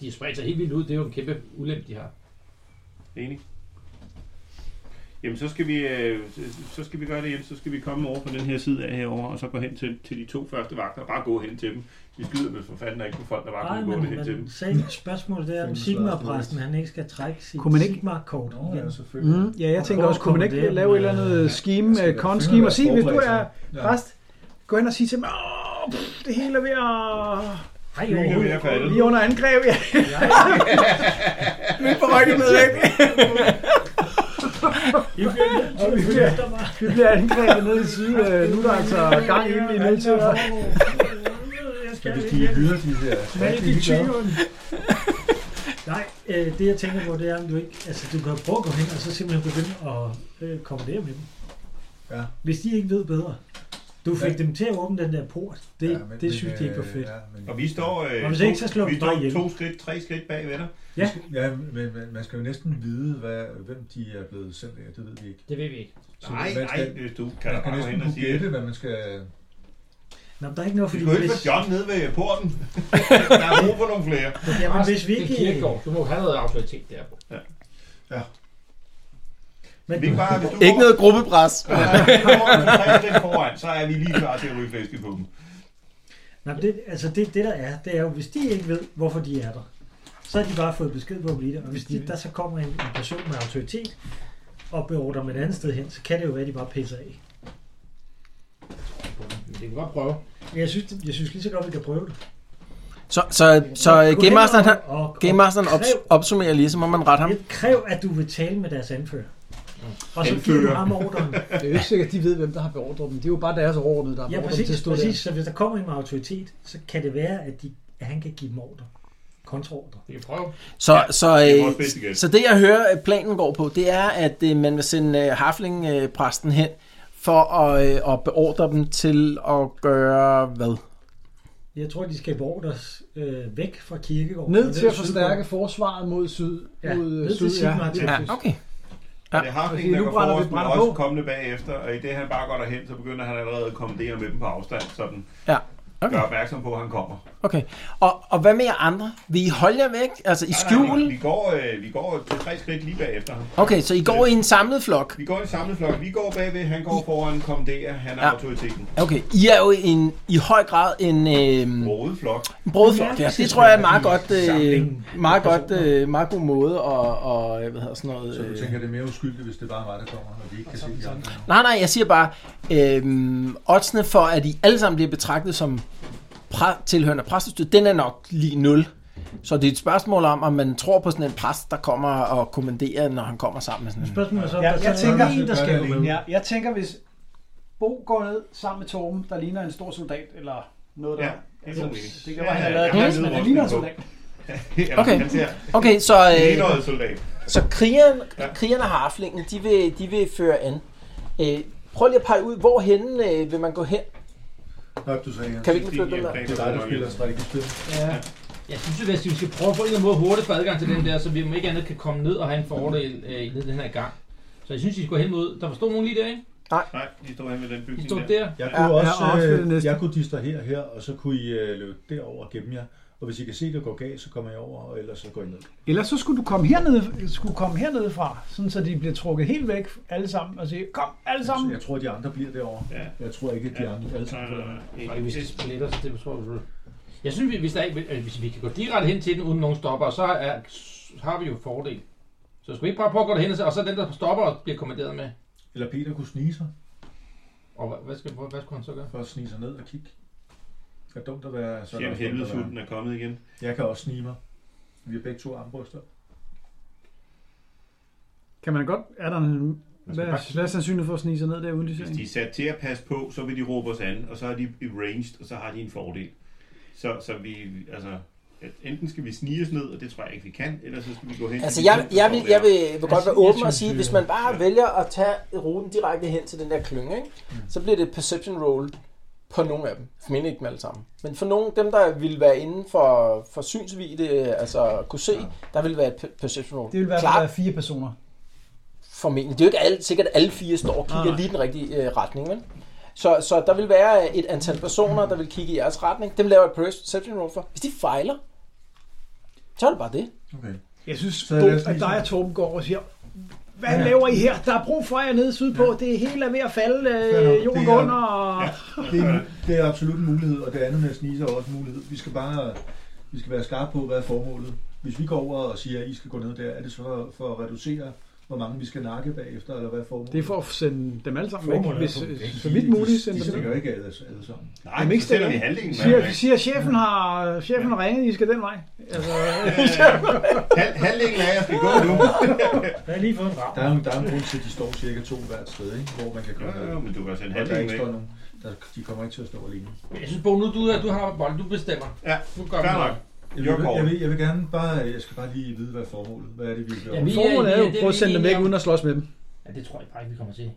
[SPEAKER 7] De er spredt sig helt vildt ud, det er jo en kæmpe ulempe, de har.
[SPEAKER 4] Enig. Jamen, så skal, vi, øh, så skal vi gøre det, Jens. Så skal vi komme over på den her side af herover og så gå hen til, til de to første vagter, og bare gå hen til dem. Vi skyder vel for fanden ikke på folk, der bare
[SPEAKER 6] Nej,
[SPEAKER 4] kan gå
[SPEAKER 6] men
[SPEAKER 4] hen til dem.
[SPEAKER 6] man sagde et spørgsmål
[SPEAKER 4] [LAUGHS]
[SPEAKER 6] der om
[SPEAKER 3] Fem
[SPEAKER 6] Sigmar-præsten, han ikke skal trække sit Altså.
[SPEAKER 5] Kunne man ikke-
[SPEAKER 6] Sigmar-kort
[SPEAKER 3] Nå,
[SPEAKER 6] igen.
[SPEAKER 3] ja, selvfølgelig.
[SPEAKER 5] Mm, ja, jeg
[SPEAKER 6] Hvor
[SPEAKER 5] tænker også, kunne man
[SPEAKER 6] kommer
[SPEAKER 5] ikke
[SPEAKER 6] det?
[SPEAKER 5] lave et eller andet scheme,
[SPEAKER 3] Jeg skal
[SPEAKER 5] øh,
[SPEAKER 3] da finde
[SPEAKER 5] con-scheme,
[SPEAKER 3] ud af
[SPEAKER 5] og sige, hvis du er
[SPEAKER 3] forberedt sig. Ja.
[SPEAKER 5] præst, gå ind og sige til mig, åh, pff, det hele er ved at
[SPEAKER 6] Nej,
[SPEAKER 4] Lykke med jer, faldet.
[SPEAKER 5] Lige under angreb, ja. [LAUGHS] Vi får rykket med væk. Og vi bliver, vi bliver angrebet ned i syd. øh, Nu er der altså gang i den, vi er nødt til at...
[SPEAKER 6] Jeg
[SPEAKER 3] Men
[SPEAKER 6] skal
[SPEAKER 3] hvis de
[SPEAKER 6] ikke.
[SPEAKER 3] hylder de her...
[SPEAKER 6] Hvad er
[SPEAKER 3] de
[SPEAKER 6] det,
[SPEAKER 3] er glade.
[SPEAKER 6] tyven? Nej, øh, det jeg tænker på, det er, om du ikke... Altså, du kan jo prøve at gå hen, og så simpelthen begynde at øh, komme der med dem.
[SPEAKER 3] Ja.
[SPEAKER 6] Hvis de ikke ved bedre. Du fik dem til at åbne den der port. Det,
[SPEAKER 9] Ja,
[SPEAKER 6] ja, det synes de ikke var
[SPEAKER 9] øh,
[SPEAKER 6] fedt.
[SPEAKER 9] Ja, men,
[SPEAKER 4] Og vi står, øh,
[SPEAKER 6] Og hvis ikke, så slår
[SPEAKER 4] vi
[SPEAKER 6] vi bare
[SPEAKER 4] står
[SPEAKER 6] ihjel.
[SPEAKER 4] to skridt, tre skridt bag ved dig.
[SPEAKER 9] ja, men, men man skal jo næsten vide, hvad, hvem de er blevet sendt af. Det ved vi ikke.
[SPEAKER 7] Det ved vi ikke.
[SPEAKER 9] Så
[SPEAKER 4] Nej,
[SPEAKER 9] man
[SPEAKER 4] nej,
[SPEAKER 9] skal-
[SPEAKER 4] hvis du kan da
[SPEAKER 9] Man kan
[SPEAKER 4] bare gå
[SPEAKER 9] næsten
[SPEAKER 4] hen og
[SPEAKER 9] kunne
[SPEAKER 4] sige,
[SPEAKER 9] gætte, hvad man skal...
[SPEAKER 6] Nå, men der er ikke noget,
[SPEAKER 4] vi
[SPEAKER 6] fordi
[SPEAKER 4] skulle ikke
[SPEAKER 6] hvis,
[SPEAKER 4] få John nede ved
[SPEAKER 2] [LAUGHS]
[SPEAKER 4] porten. der er brug for nogle flere.
[SPEAKER 6] jamen, hvis vi
[SPEAKER 7] Det
[SPEAKER 6] ikke...
[SPEAKER 7] er Kirkegaard. Du må have noget autoritet der.
[SPEAKER 6] Men,
[SPEAKER 4] Vi er bare, hvis du
[SPEAKER 2] Ikke noget gruppepres.
[SPEAKER 4] Hvis du går tre skridt foran, så er vi lige klar til at ryge flæske på dem.
[SPEAKER 6] Nå, men det, altså det, det der er, det er jo, hvis de ikke ved, hvorfor de er der, så har de bare fået besked på at blive der. Og hvis de, der så kommer en, en person med autoritet og beordrer dem et andet sted hen, så kan det jo være, at de bare pisser af.
[SPEAKER 7] Men det kan vi godt prøve.
[SPEAKER 6] Men jeg synes, det- jeg synes lige så godt, vi kan prøve det.
[SPEAKER 2] Så, så, så
[SPEAKER 6] Gå
[SPEAKER 2] øh,
[SPEAKER 6] hen
[SPEAKER 2] Game Masteren, han,
[SPEAKER 6] og, og,
[SPEAKER 2] Game Masteren ops- opsummerer lige, så må man rette ham.
[SPEAKER 6] Jeg kræv, at du vil tale med deres anfører. Og så giver du
[SPEAKER 4] Anfører.
[SPEAKER 6] ham ordren.
[SPEAKER 11] Det er jo ikke sikkert, at de ved, hvem der har beordret dem. Det er jo bare deres overordnede, der har
[SPEAKER 6] Ja,
[SPEAKER 11] beordret dem til at
[SPEAKER 6] præcis,
[SPEAKER 11] stå der.
[SPEAKER 6] præcis. Så hvis der kommer en med autoritet, så kan det være, at, de, at han kan give dem ordre. Kontraordre.
[SPEAKER 7] Vi kan prøve.
[SPEAKER 2] Så, ja, så,
[SPEAKER 4] det er
[SPEAKER 2] øh,
[SPEAKER 4] vores bedste gæt.
[SPEAKER 2] så det jeg hører, at planen går på, det er, at øh, man vil sende øh, Hafling-præsten hen for at, øh, at beordre dem til at gøre hvad?
[SPEAKER 6] Jeg tror, de skal beordres øh, væk fra kirkegården.
[SPEAKER 11] Ned til at forstærke forsvaret mod syd.
[SPEAKER 6] Ja,
[SPEAKER 11] mod øh,
[SPEAKER 6] ned til
[SPEAKER 11] syd,
[SPEAKER 6] Sigmar til-
[SPEAKER 11] præcis.
[SPEAKER 2] okay. Ja.
[SPEAKER 4] Ja. Det har
[SPEAKER 11] Fordi
[SPEAKER 4] han, der
[SPEAKER 11] nu
[SPEAKER 4] går
[SPEAKER 11] brænder vi-
[SPEAKER 4] forrest, men
[SPEAKER 11] brænder
[SPEAKER 4] også
[SPEAKER 11] på.
[SPEAKER 4] kommende bagefter. Og i det, han bare går derhen, så begynder han allerede at kommandere med dem på afstand, så den
[SPEAKER 2] Ja. Okay.
[SPEAKER 4] gør opmærksom på, at han kommer.
[SPEAKER 2] Okay. Og, og hvad med jer andre? Vil I holde jer væk? Altså i
[SPEAKER 4] Nej, nej,
[SPEAKER 2] skjul?
[SPEAKER 4] Vi går, øh, vi går to, tre skridt lige bagefter ham.
[SPEAKER 2] Okay, så I går i en samlet flok.
[SPEAKER 4] Vi går i samlet flok. Vi går bagved, han går foran, kommanderer, han er
[SPEAKER 2] Ja.
[SPEAKER 4] ja. autoriteten.
[SPEAKER 2] Okay, I er jo en, i høj grad en øh,
[SPEAKER 4] Rode flok. [LAUGHS]
[SPEAKER 2] brødflok. Ja, det tror jeg er meget godt, øh,
[SPEAKER 6] Samling af
[SPEAKER 2] meget, godt,
[SPEAKER 6] personer.
[SPEAKER 2] øh, meget god måde og, og hvad hedder sådan noget...
[SPEAKER 9] Så du
[SPEAKER 2] øh,
[SPEAKER 9] tænker, det er mere uskyldigt, hvis det bare er mig, der kommer, og vi ikke kan se de andre.
[SPEAKER 2] Nej, nej, jeg siger bare, øhm, oddsene for, at I alle sammen bliver betragtet som præ- tilhørende præstestød, den er nok lige 0. Så det er et spørgsmål om, om man tror på sådan en præst, der kommer og kommanderer, når han kommer sammen med sådan en...
[SPEAKER 6] Spørgsmålet er så, om
[SPEAKER 5] Ja,
[SPEAKER 6] der så
[SPEAKER 5] jeg
[SPEAKER 6] er
[SPEAKER 5] tænker-
[SPEAKER 6] en, der skal gå med.
[SPEAKER 5] Ja, jeg tænker, hvis Bo går ned sammen med Torben, der ligner en stor soldat, eller noget der...
[SPEAKER 4] Ja, det er god mening.
[SPEAKER 5] det kan være,
[SPEAKER 4] Ja,
[SPEAKER 5] han har
[SPEAKER 4] ja,
[SPEAKER 5] lavet
[SPEAKER 4] jeg har
[SPEAKER 5] det,
[SPEAKER 4] en
[SPEAKER 5] men han
[SPEAKER 4] hvid
[SPEAKER 5] ligner en
[SPEAKER 4] rustning
[SPEAKER 5] soldat.
[SPEAKER 4] Jamen,
[SPEAKER 2] Okay.
[SPEAKER 4] Han ser
[SPEAKER 2] Okay, så, øh,
[SPEAKER 4] enøjet soldat.
[SPEAKER 2] så krigeren,
[SPEAKER 4] Ja.
[SPEAKER 2] krigeren og harflingen, de vil, de vil føre an. Øh, prøv lige at pege ud, hvor øh, vil man gå hen?
[SPEAKER 9] Nå, du sagde, Jens.
[SPEAKER 2] Kan vi ikke flytte den der?
[SPEAKER 9] Det er dig, der spiller strategispil.
[SPEAKER 7] Ja. Jeg synes, at hvis vi skal prøve at få en eller anden måde hurtigt for adgang til den der, så vi om ikke andet kan komme ned og have en fordel øh, ned den her gang. Så jeg synes, I skulle hen mod... Der forstod nogen lige der, ikke?
[SPEAKER 4] Nej, de står hen ved den
[SPEAKER 7] I
[SPEAKER 4] bygning
[SPEAKER 7] stod
[SPEAKER 4] der.
[SPEAKER 7] der.
[SPEAKER 9] Jeg
[SPEAKER 2] Ja,
[SPEAKER 9] kunne,
[SPEAKER 11] ja,
[SPEAKER 9] også,
[SPEAKER 11] og også ved det
[SPEAKER 9] øh,
[SPEAKER 11] næste.
[SPEAKER 9] jeg kunne distrahere her, og så kunne I øh, løbe derover og gemme jer. Og hvis I kan se, det går galt, så kommer jeg over, og ellers så går I ned.
[SPEAKER 5] Ellers så skulle du komme hernede, skulle komme hernede fra, sådan så de bliver trukket helt væk alle sammen og sige, kom alle
[SPEAKER 9] Så
[SPEAKER 5] sammen.
[SPEAKER 9] jeg tror, de andre bliver derovre.
[SPEAKER 4] Ja.
[SPEAKER 9] Jeg tror ikke, at de andre alle sammen
[SPEAKER 4] Nej,
[SPEAKER 9] går
[SPEAKER 4] nej, nej.
[SPEAKER 9] derned.
[SPEAKER 7] Og hvis de
[SPEAKER 4] Et-
[SPEAKER 7] splitter, så det tror jeg, du- jeg synes, vi- hvis, der ikke, øh, hvis vi kan gå direkte hen til den, uden nogen stopper, så er, så har vi jo fordel. Så skal vi ikke bare prøve at gå derhen, og så, og så den, der stopper, og bliver kommanderet med.
[SPEAKER 9] Eller Peter kunne snige sig,
[SPEAKER 7] Og hvad, hvad, skal, hvad, hvad skulle han så gøre?
[SPEAKER 9] for at snige sig ned og kigge. Det er dumt at være sådan. også
[SPEAKER 4] Jamen,
[SPEAKER 9] dumt at være.
[SPEAKER 4] helvedeshulten er kommet igen.
[SPEAKER 9] Jeg kan også snige mig. Vi har begge to armbryster.
[SPEAKER 11] Kan man godt... Er der en... Hvad,
[SPEAKER 4] Man skal
[SPEAKER 11] er-
[SPEAKER 4] bare-
[SPEAKER 11] hvad er sandsynligheden for at snige sig ned der uden de ser
[SPEAKER 4] Hvis
[SPEAKER 11] en?
[SPEAKER 4] de er sat til at passe på, så vil de råbe os an, og så er de ranged, og så har de en fordel. Så, så vi, altså, at enten skal vi snige os ned, og det tror jeg ikke, vi kan, eller så skal vi gå hen
[SPEAKER 2] Altså,
[SPEAKER 4] til de
[SPEAKER 2] jeg,
[SPEAKER 4] to, der
[SPEAKER 2] jeg,
[SPEAKER 4] står
[SPEAKER 2] vil,
[SPEAKER 4] der.
[SPEAKER 2] jeg vil, vil godt være
[SPEAKER 6] synes,
[SPEAKER 2] åben og sige,
[SPEAKER 6] øh,
[SPEAKER 2] hvis man bare
[SPEAKER 4] ja. Mm.
[SPEAKER 2] vælger at tage ruten direkte hen til den der klynge, ikke? så bliver det et perception roll på nogle af dem. Formentlig ikke dem alle sammen. Men for nogle, dem der ville være inden for, for synsvide, altså kunne se, der ville være et per- perception roll.
[SPEAKER 5] Det vil være,
[SPEAKER 2] Klart,
[SPEAKER 5] være fire personer.
[SPEAKER 2] formentlig. Det er jo ikke alle, sikkert alle fire står og kigger lige i den rigtige øh, retning, vel? Så, så der vil være et antal personer, der vil kigge i jeres retning. Dem laver jeg et perception roll for. Hvis de fejler, så er det bare det.
[SPEAKER 9] Okay.
[SPEAKER 5] Jeg synes,
[SPEAKER 9] Så
[SPEAKER 5] Bo,
[SPEAKER 9] lad os lige
[SPEAKER 5] at dig
[SPEAKER 9] se.
[SPEAKER 5] og Torben går over og siger, hvad ligesom- ja. laver I her? Der er brug for jer nede sydpå. Ja. Det hele er ved at falde.
[SPEAKER 9] Fair nok.
[SPEAKER 5] Øh, jorden
[SPEAKER 9] Det er-
[SPEAKER 5] går under. Og...
[SPEAKER 4] Ja.
[SPEAKER 5] Ja.
[SPEAKER 9] Det er, det er absolut en mulighed, og det andet med at snige sig er også en mulighed. Vi skal bare vi skal være skarpe på, hvad er formålet. Hvis vi går over og siger, at I skal gå ned der, er det så for at reducere, hvor mange vi skal nakke bagefter, eller hvad er formålet?
[SPEAKER 11] Det er for at sende dem alle sammen væk.
[SPEAKER 6] Formålet er
[SPEAKER 11] Hvis, øh,
[SPEAKER 6] at få dem væk.
[SPEAKER 11] så vidt muligt
[SPEAKER 9] De,
[SPEAKER 11] sende
[SPEAKER 9] de
[SPEAKER 11] dem
[SPEAKER 9] stikker
[SPEAKER 11] væk.
[SPEAKER 9] jo ikke alle, alle sammen.
[SPEAKER 4] Nej,
[SPEAKER 11] Jamen,
[SPEAKER 4] Jamen,
[SPEAKER 11] ikke
[SPEAKER 4] ikke så sender
[SPEAKER 11] stille.
[SPEAKER 4] vi halvdelen af
[SPEAKER 5] Siger,
[SPEAKER 4] dem.
[SPEAKER 5] siger, chefen har, chefen har ringet, I skal den vej. Altså,
[SPEAKER 4] Hal, halvdelen af jer skal gå nu.
[SPEAKER 6] Jeg har lige fået en rav.
[SPEAKER 9] Der er jo der er en grund til, at de står cirka to hvert sted, ikke? hvor man kan komme
[SPEAKER 4] Jo,
[SPEAKER 9] ned.
[SPEAKER 4] jo, men du kan sende
[SPEAKER 9] Og der
[SPEAKER 4] halvdelen
[SPEAKER 9] ikke
[SPEAKER 4] af.
[SPEAKER 9] står nogen. Der, de kommer ikke til at stå alene.
[SPEAKER 7] Men Jeg synes, Bo, nu du, er- du har bolden, du bestemmer.
[SPEAKER 4] Ja,
[SPEAKER 7] Nu gør vi
[SPEAKER 4] fair
[SPEAKER 7] noget.
[SPEAKER 4] nok.
[SPEAKER 9] Jeg vil,
[SPEAKER 4] Your call.
[SPEAKER 9] jeg, vil, jeg vil gerne bare, jeg skal bare lige vide, hvad er formålet. Hvad er det, vi vil gøre?
[SPEAKER 7] Ja, vi-
[SPEAKER 11] Formålet er jo
[SPEAKER 7] det
[SPEAKER 11] at
[SPEAKER 7] er
[SPEAKER 11] prøve at
[SPEAKER 7] vi
[SPEAKER 11] sende dem
[SPEAKER 7] enige
[SPEAKER 11] væk
[SPEAKER 7] om.
[SPEAKER 11] uden at slås med dem.
[SPEAKER 7] Ja, det tror jeg bare ikke, vi kommer til.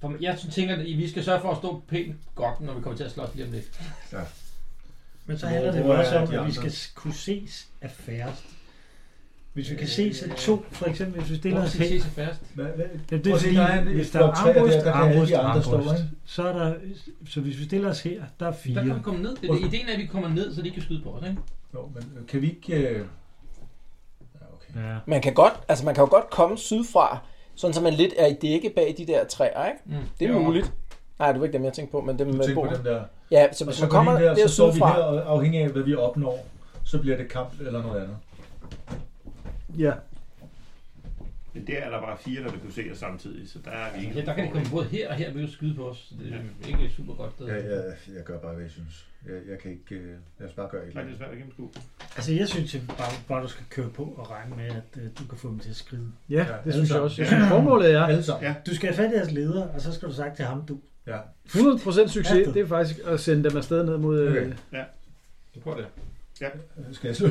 [SPEAKER 7] For jeg tænker, at vi skal sørge for at stå pænt godt, når vi kommer til at slås lige om lidt.
[SPEAKER 6] Men så
[SPEAKER 12] Hvor-
[SPEAKER 6] handler det jo
[SPEAKER 12] hvor er
[SPEAKER 6] også om,
[SPEAKER 12] de
[SPEAKER 6] at vi
[SPEAKER 12] andre?
[SPEAKER 6] skal s- kunne ses af færrest. Hvis vi kan ses af to, for eksempel, hvis vi stiller
[SPEAKER 7] Prøv at
[SPEAKER 6] os
[SPEAKER 7] se-
[SPEAKER 6] hen.
[SPEAKER 7] se sig fast.
[SPEAKER 12] Hvad, hvad,
[SPEAKER 6] Ja, det
[SPEAKER 12] Prøv
[SPEAKER 6] er
[SPEAKER 12] at se,
[SPEAKER 6] fordi,
[SPEAKER 12] der er en-
[SPEAKER 6] hvis
[SPEAKER 12] et
[SPEAKER 6] der er
[SPEAKER 12] blok træer der,
[SPEAKER 6] armbrust,
[SPEAKER 12] der kan alle de
[SPEAKER 6] armbrust,
[SPEAKER 12] andre stå,
[SPEAKER 6] armbrust,
[SPEAKER 12] ikke?
[SPEAKER 6] så er der, så hvis vi stiller os her, der er
[SPEAKER 7] Der kan vi
[SPEAKER 6] fire.
[SPEAKER 7] komme ned. Det er det. Ideen er, at vi kommer ned, så de kan skyde på os, ikke?
[SPEAKER 12] jo, men øh, kan vi ikke... Øh... Ja, okay.
[SPEAKER 6] Ja.
[SPEAKER 2] Man kan, godt, altså man kan jo godt komme sydfra, sådan så man lidt er i dække bag de der træer, ikke?
[SPEAKER 7] Mm.
[SPEAKER 2] Det er
[SPEAKER 7] Jo.
[SPEAKER 2] muligt. Nej, det var ikke dem, jeg tænkte på, men dem
[SPEAKER 12] Du
[SPEAKER 2] med
[SPEAKER 12] tænker
[SPEAKER 2] bor.
[SPEAKER 12] på dem der.
[SPEAKER 2] Ja, så
[SPEAKER 12] Og
[SPEAKER 2] hvis
[SPEAKER 12] så,
[SPEAKER 2] man
[SPEAKER 12] kommer
[SPEAKER 2] kommer
[SPEAKER 12] der,
[SPEAKER 2] der,
[SPEAKER 12] så står vi
[SPEAKER 2] sydfra,
[SPEAKER 12] her, og afhængig af, hvad vi opnår, så bliver det kamp eller noget andet.
[SPEAKER 5] Ja.
[SPEAKER 4] Men der er der bare fire, der vil kunne se os samtidig, så der er vi ikke...
[SPEAKER 7] Ja, der kan de komme både her og her, vi kan skyde på os. Det er ikke et super godt sted.
[SPEAKER 9] Jeg, jeg, jeg gør bare, hvad jeg synes. Jeg, jeg kan ikke... Øh, lad os bare gøre et eller
[SPEAKER 4] Nej, det er
[SPEAKER 9] andet.
[SPEAKER 4] svært at gennemskue.
[SPEAKER 6] Altså, jeg synes at bare, bare, du skal køre på og regne med, at øh, du kan få dem til at skride.
[SPEAKER 5] Ja,
[SPEAKER 12] Ja,
[SPEAKER 5] det synes jeg
[SPEAKER 6] alle
[SPEAKER 5] også. Jeg synes, formålet er
[SPEAKER 12] Alle sammen.
[SPEAKER 4] Ja.
[SPEAKER 6] Du skal have fat i deres leder, og så skal du sagt til ham, du.
[SPEAKER 5] 100% succes. Det er faktisk at sende dem afsted ned mod... Øh,
[SPEAKER 9] Okay.
[SPEAKER 7] Du prøver det.
[SPEAKER 12] Skal jeg slå?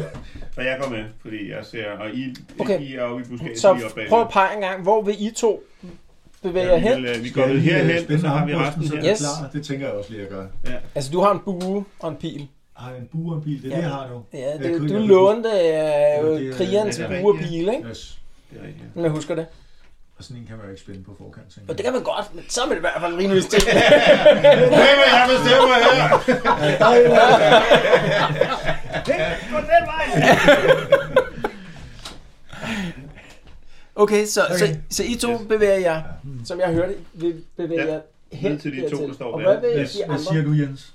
[SPEAKER 4] Og jeg går med, fordi jeg ser... Og I,
[SPEAKER 2] Okay.
[SPEAKER 4] I er jo i buskaget,
[SPEAKER 2] så
[SPEAKER 4] vi er oppe bagved.
[SPEAKER 2] prøv at pege en gang, hvor vil I to bevæge jer
[SPEAKER 4] vi,
[SPEAKER 2] hen?
[SPEAKER 4] vil, øh, vi går vel herhen, og så har vi resten her.
[SPEAKER 2] Yes.
[SPEAKER 9] Yes. Klar, det tænker jeg også lige at gøre.
[SPEAKER 2] Altså, du har en bue og en pil.
[SPEAKER 12] Har en buerbil, det er
[SPEAKER 2] Ja.
[SPEAKER 12] det, jeg har nu.
[SPEAKER 2] Ja,
[SPEAKER 12] Ja,
[SPEAKER 2] det,
[SPEAKER 12] kun
[SPEAKER 2] du
[SPEAKER 12] jeg-
[SPEAKER 2] lånte
[SPEAKER 12] det er-
[SPEAKER 2] øh, krigerens
[SPEAKER 4] det er
[SPEAKER 2] bue og
[SPEAKER 4] rigtigt,
[SPEAKER 2] pil, ikke?
[SPEAKER 9] Yes.
[SPEAKER 4] Det er rigtigt, [LAUGHS] ja.
[SPEAKER 2] Om jeg husker det.
[SPEAKER 9] Og sådan en kan man jo ikke spænde på forkant, tænker
[SPEAKER 2] Og det kan man godt, men så er man i hvert fald rimelig stil.
[SPEAKER 4] Hvem er jeg bestemmer her?
[SPEAKER 2] Okay, så, okay. Så, så I to bevæger jer, som jeg hørte, vil bevæge
[SPEAKER 4] Ja.
[SPEAKER 2] jer hen
[SPEAKER 4] Ned til de to,
[SPEAKER 2] dertil.
[SPEAKER 4] der står
[SPEAKER 2] Og
[SPEAKER 4] bag.
[SPEAKER 2] hvad vil
[SPEAKER 12] Hvad,
[SPEAKER 2] de
[SPEAKER 12] hvad
[SPEAKER 2] andre?
[SPEAKER 12] siger du, Jens?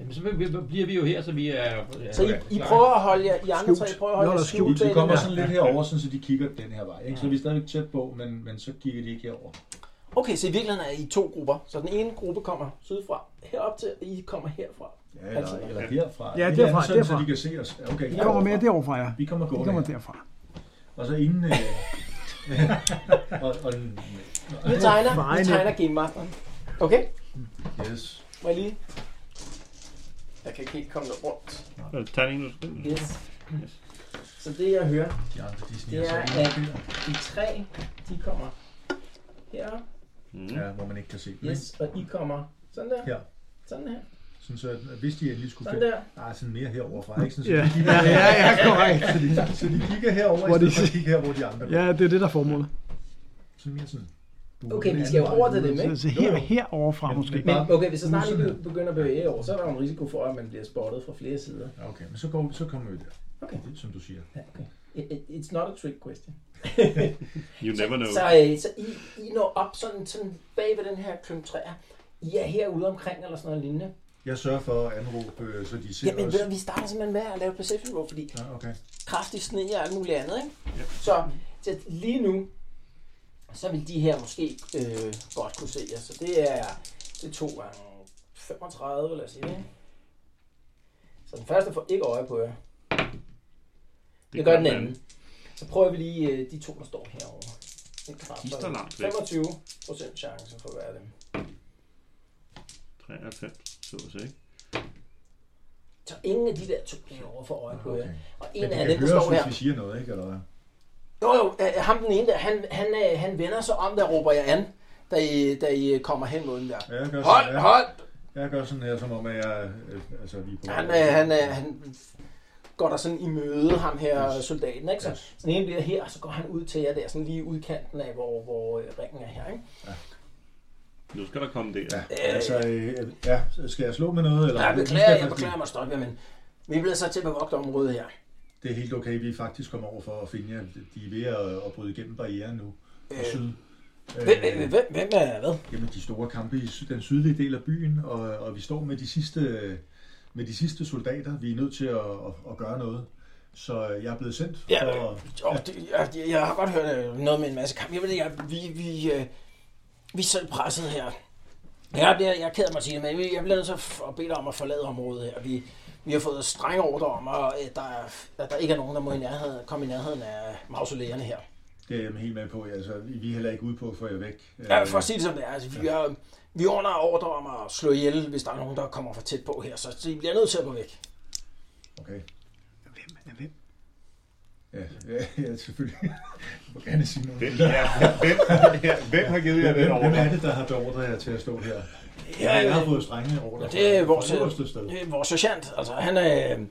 [SPEAKER 7] Jamen, så bliver- bliver vi jo her, så vi er... Ja,
[SPEAKER 2] Så I, I prøver at holde jer, I andre tre prøver at holde jer
[SPEAKER 5] Nå, der er skjult.
[SPEAKER 2] skjult.
[SPEAKER 12] Vi
[SPEAKER 2] bag den
[SPEAKER 12] kommer
[SPEAKER 2] her.
[SPEAKER 12] sådan lidt herover, sådan, så de kigger den her vej. Ikke? Så vi er stadigvæk tæt på, men, men så kigger de ikke herover.
[SPEAKER 2] Okay, så i virkeligheden er I to grupper. Så den ene gruppe kommer sydfra herop til, og I kommer herfra.
[SPEAKER 9] Ja, eller,
[SPEAKER 2] Altså-
[SPEAKER 9] eller,
[SPEAKER 12] Eller derfra.
[SPEAKER 5] Ja,
[SPEAKER 12] Et
[SPEAKER 5] derfra,
[SPEAKER 12] eller andet, sådan,
[SPEAKER 5] derfra.
[SPEAKER 12] Så de kan se os. Ja, okay.
[SPEAKER 5] I kommer med derovre fra jer.
[SPEAKER 12] Vi kommer
[SPEAKER 5] I
[SPEAKER 12] gående.
[SPEAKER 5] kommer derfra.
[SPEAKER 12] Og så inden...
[SPEAKER 2] [LAUGHS]
[SPEAKER 12] Øh, og, og, den-
[SPEAKER 2] I tegner, I
[SPEAKER 5] Vejene.
[SPEAKER 2] tegner Game Masteren. Okay,
[SPEAKER 9] yes.
[SPEAKER 2] må jeg lige... Jeg kan ikke helt komme det rundt.
[SPEAKER 4] Er det terningen, du skal
[SPEAKER 2] Yes. Så det jeg hører,
[SPEAKER 9] De andre, de
[SPEAKER 2] det
[SPEAKER 9] sniger
[SPEAKER 2] er,
[SPEAKER 9] sig ind.
[SPEAKER 2] at de tre, de kommer herop.
[SPEAKER 4] Mm.
[SPEAKER 9] Ja, hvor man ikke kan se dem. ikke?
[SPEAKER 2] Yes, og I kommer sådan der.
[SPEAKER 9] Her.
[SPEAKER 2] Sådan her.
[SPEAKER 9] Sådan så, at hvis de endelig skulle
[SPEAKER 2] Sådan
[SPEAKER 9] finde...
[SPEAKER 2] der.
[SPEAKER 12] Ah,
[SPEAKER 9] Nej, sådan mere herovre fra. Ikke? Sådan, så,
[SPEAKER 5] Ja,
[SPEAKER 9] de kigger,
[SPEAKER 5] ja, ja, ja korrekt.
[SPEAKER 9] så, de, så de kigger herover, i
[SPEAKER 5] Hvor de-
[SPEAKER 9] stedet for
[SPEAKER 5] [LAUGHS]
[SPEAKER 9] at kigge her, hvor de andre går.
[SPEAKER 5] Ja, det er det, der er formålet.
[SPEAKER 9] Sådan mere sådan...
[SPEAKER 2] Okay, vi skal jo over til dem,
[SPEAKER 5] Så,
[SPEAKER 2] ikke?
[SPEAKER 5] så her, herovre fra måske.
[SPEAKER 2] Men okay, hvis så snart I begynder at bevæge jer over, så er der jo en risiko for, at man bliver spottet fra flere sider.
[SPEAKER 9] Ja, Okay, men så, går, vi- så kommer vi der.
[SPEAKER 2] Okay.
[SPEAKER 9] Det, som du siger.
[SPEAKER 2] Ja, okay. It- it- It's not a trick question.
[SPEAKER 4] You never know.
[SPEAKER 2] Så, øh, så I, I når op sådan, sådan bag ved den her klump træer. I er herude omkring eller sådan noget lignende.
[SPEAKER 9] Jeg sørger for at anråbe, øh, så de ser
[SPEAKER 2] Jamen,
[SPEAKER 9] os.
[SPEAKER 2] ved du, vi starter simpelthen med at lave perception roll, fordi
[SPEAKER 9] Ja, okay.
[SPEAKER 2] kraftig sne og alt muligt andet, ikke? Ja. Så, så lige nu, så vil de her måske øh, godt kunne se jer. Så det er, det er 2 gange 35, lad os sige det. ikke? Så den første får ikke øje på jer. Det, det gør den anden. Så prøver vi lige øh, de to, der står herovre. Det
[SPEAKER 4] De står
[SPEAKER 2] kræfter
[SPEAKER 4] langt væk.
[SPEAKER 2] 25 procent chance for hver af dem.
[SPEAKER 4] 93, så at sige.
[SPEAKER 2] Så ingen af de der to herovre får øje på jer.
[SPEAKER 9] Ah,
[SPEAKER 2] Og
[SPEAKER 9] Okay. Men
[SPEAKER 2] en
[SPEAKER 9] de
[SPEAKER 2] af
[SPEAKER 9] kan
[SPEAKER 2] dem, der
[SPEAKER 9] høre os,
[SPEAKER 2] står
[SPEAKER 9] hvis
[SPEAKER 2] her.
[SPEAKER 9] vi siger noget, ikke? Eller hvad?
[SPEAKER 2] Jo, jo, øh, ham den ene der, han, han, øh, han vender sig om, der råber jeg an, da I, da I øh, kommer hen mod den der.
[SPEAKER 9] Ja, jeg gør
[SPEAKER 2] Hold,
[SPEAKER 9] sådan,
[SPEAKER 2] hold!
[SPEAKER 9] Jeg, jeg gør sådan her, som om at jeg... Øh, altså, vi er på
[SPEAKER 2] Han, øh, han, øh, han går der sådan i møde, ham her yes. soldaten, ikke? Så
[SPEAKER 9] Yes.
[SPEAKER 2] den ene bliver her, og så går han ud til jer der, sådan lige i udkanten af, hvor, hvor øh, ringen er her, ikke?
[SPEAKER 4] Nu skal der komme der.
[SPEAKER 9] Ja,
[SPEAKER 2] Øh,
[SPEAKER 9] altså, øh, ja, så skal jeg slå med noget? Eller?
[SPEAKER 2] Nej, jeg
[SPEAKER 9] Nu skal
[SPEAKER 2] beklager, jeg
[SPEAKER 9] faktisk-
[SPEAKER 2] beklager mig stoppe, men vi bliver så til at bevogte området her.
[SPEAKER 9] Det er helt okay, vi er faktisk kommet over for at finde jer. De er ved at, at bryde igennem barrieren nu.
[SPEAKER 2] Øh,
[SPEAKER 9] Øh, syd. Øh,
[SPEAKER 2] Hvem, hvem, hvem, hvem er hvad?
[SPEAKER 9] Jamen, de store kampe i sy- den sydlige del af byen, og, og vi står med de sidste øh, med de sidste soldater. Vi er nødt til at, at, at gøre noget. Så øh, jeg er blevet sendt
[SPEAKER 2] Ja,
[SPEAKER 9] for...
[SPEAKER 2] Oh, det, jeg, jeg har godt hørt øh, noget med en masse kamp. Jeg ved ikke, jeg- vi, vi, øh, vi er selv presset her. Jeg, bliver, jeg keder mig til det, men vi- jeg bliver nødt til at f- at bede dig om at forlade området her. Vi, vi har fået strenge ordre om, at øh, der, er- at der ikke er nogen, der må i nærheden, komme i nærheden af mausolæerne her.
[SPEAKER 9] Det er jeg helt med på. Altså, vi vi er heller ikke ude på at få jer væk. Øh,
[SPEAKER 2] Ja, for at sige det som det er, altså, vi, er, vi er under ordre om at slå ihjel, hvis der er nogen, der kommer for tæt på her. Så, så I bliver nødt til at gå væk.
[SPEAKER 9] Okay.
[SPEAKER 5] Hvem er hvem?
[SPEAKER 13] Ja, ja, ja
[SPEAKER 9] [LAUGHS]
[SPEAKER 13] selvfølgelig. Jeg må gerne sige noget.
[SPEAKER 4] Hvem, ja, hvem, ja, hvem har givet jer den
[SPEAKER 13] Hvem, hvem
[SPEAKER 4] ordre?
[SPEAKER 13] er det, der har beordret jer til at stå her? Ja, jeg har fået strenge ordre.
[SPEAKER 2] Det er
[SPEAKER 13] fra-
[SPEAKER 2] vores,
[SPEAKER 13] fra øverste sted.
[SPEAKER 2] øh, vores sergeant. Altså, han, øh,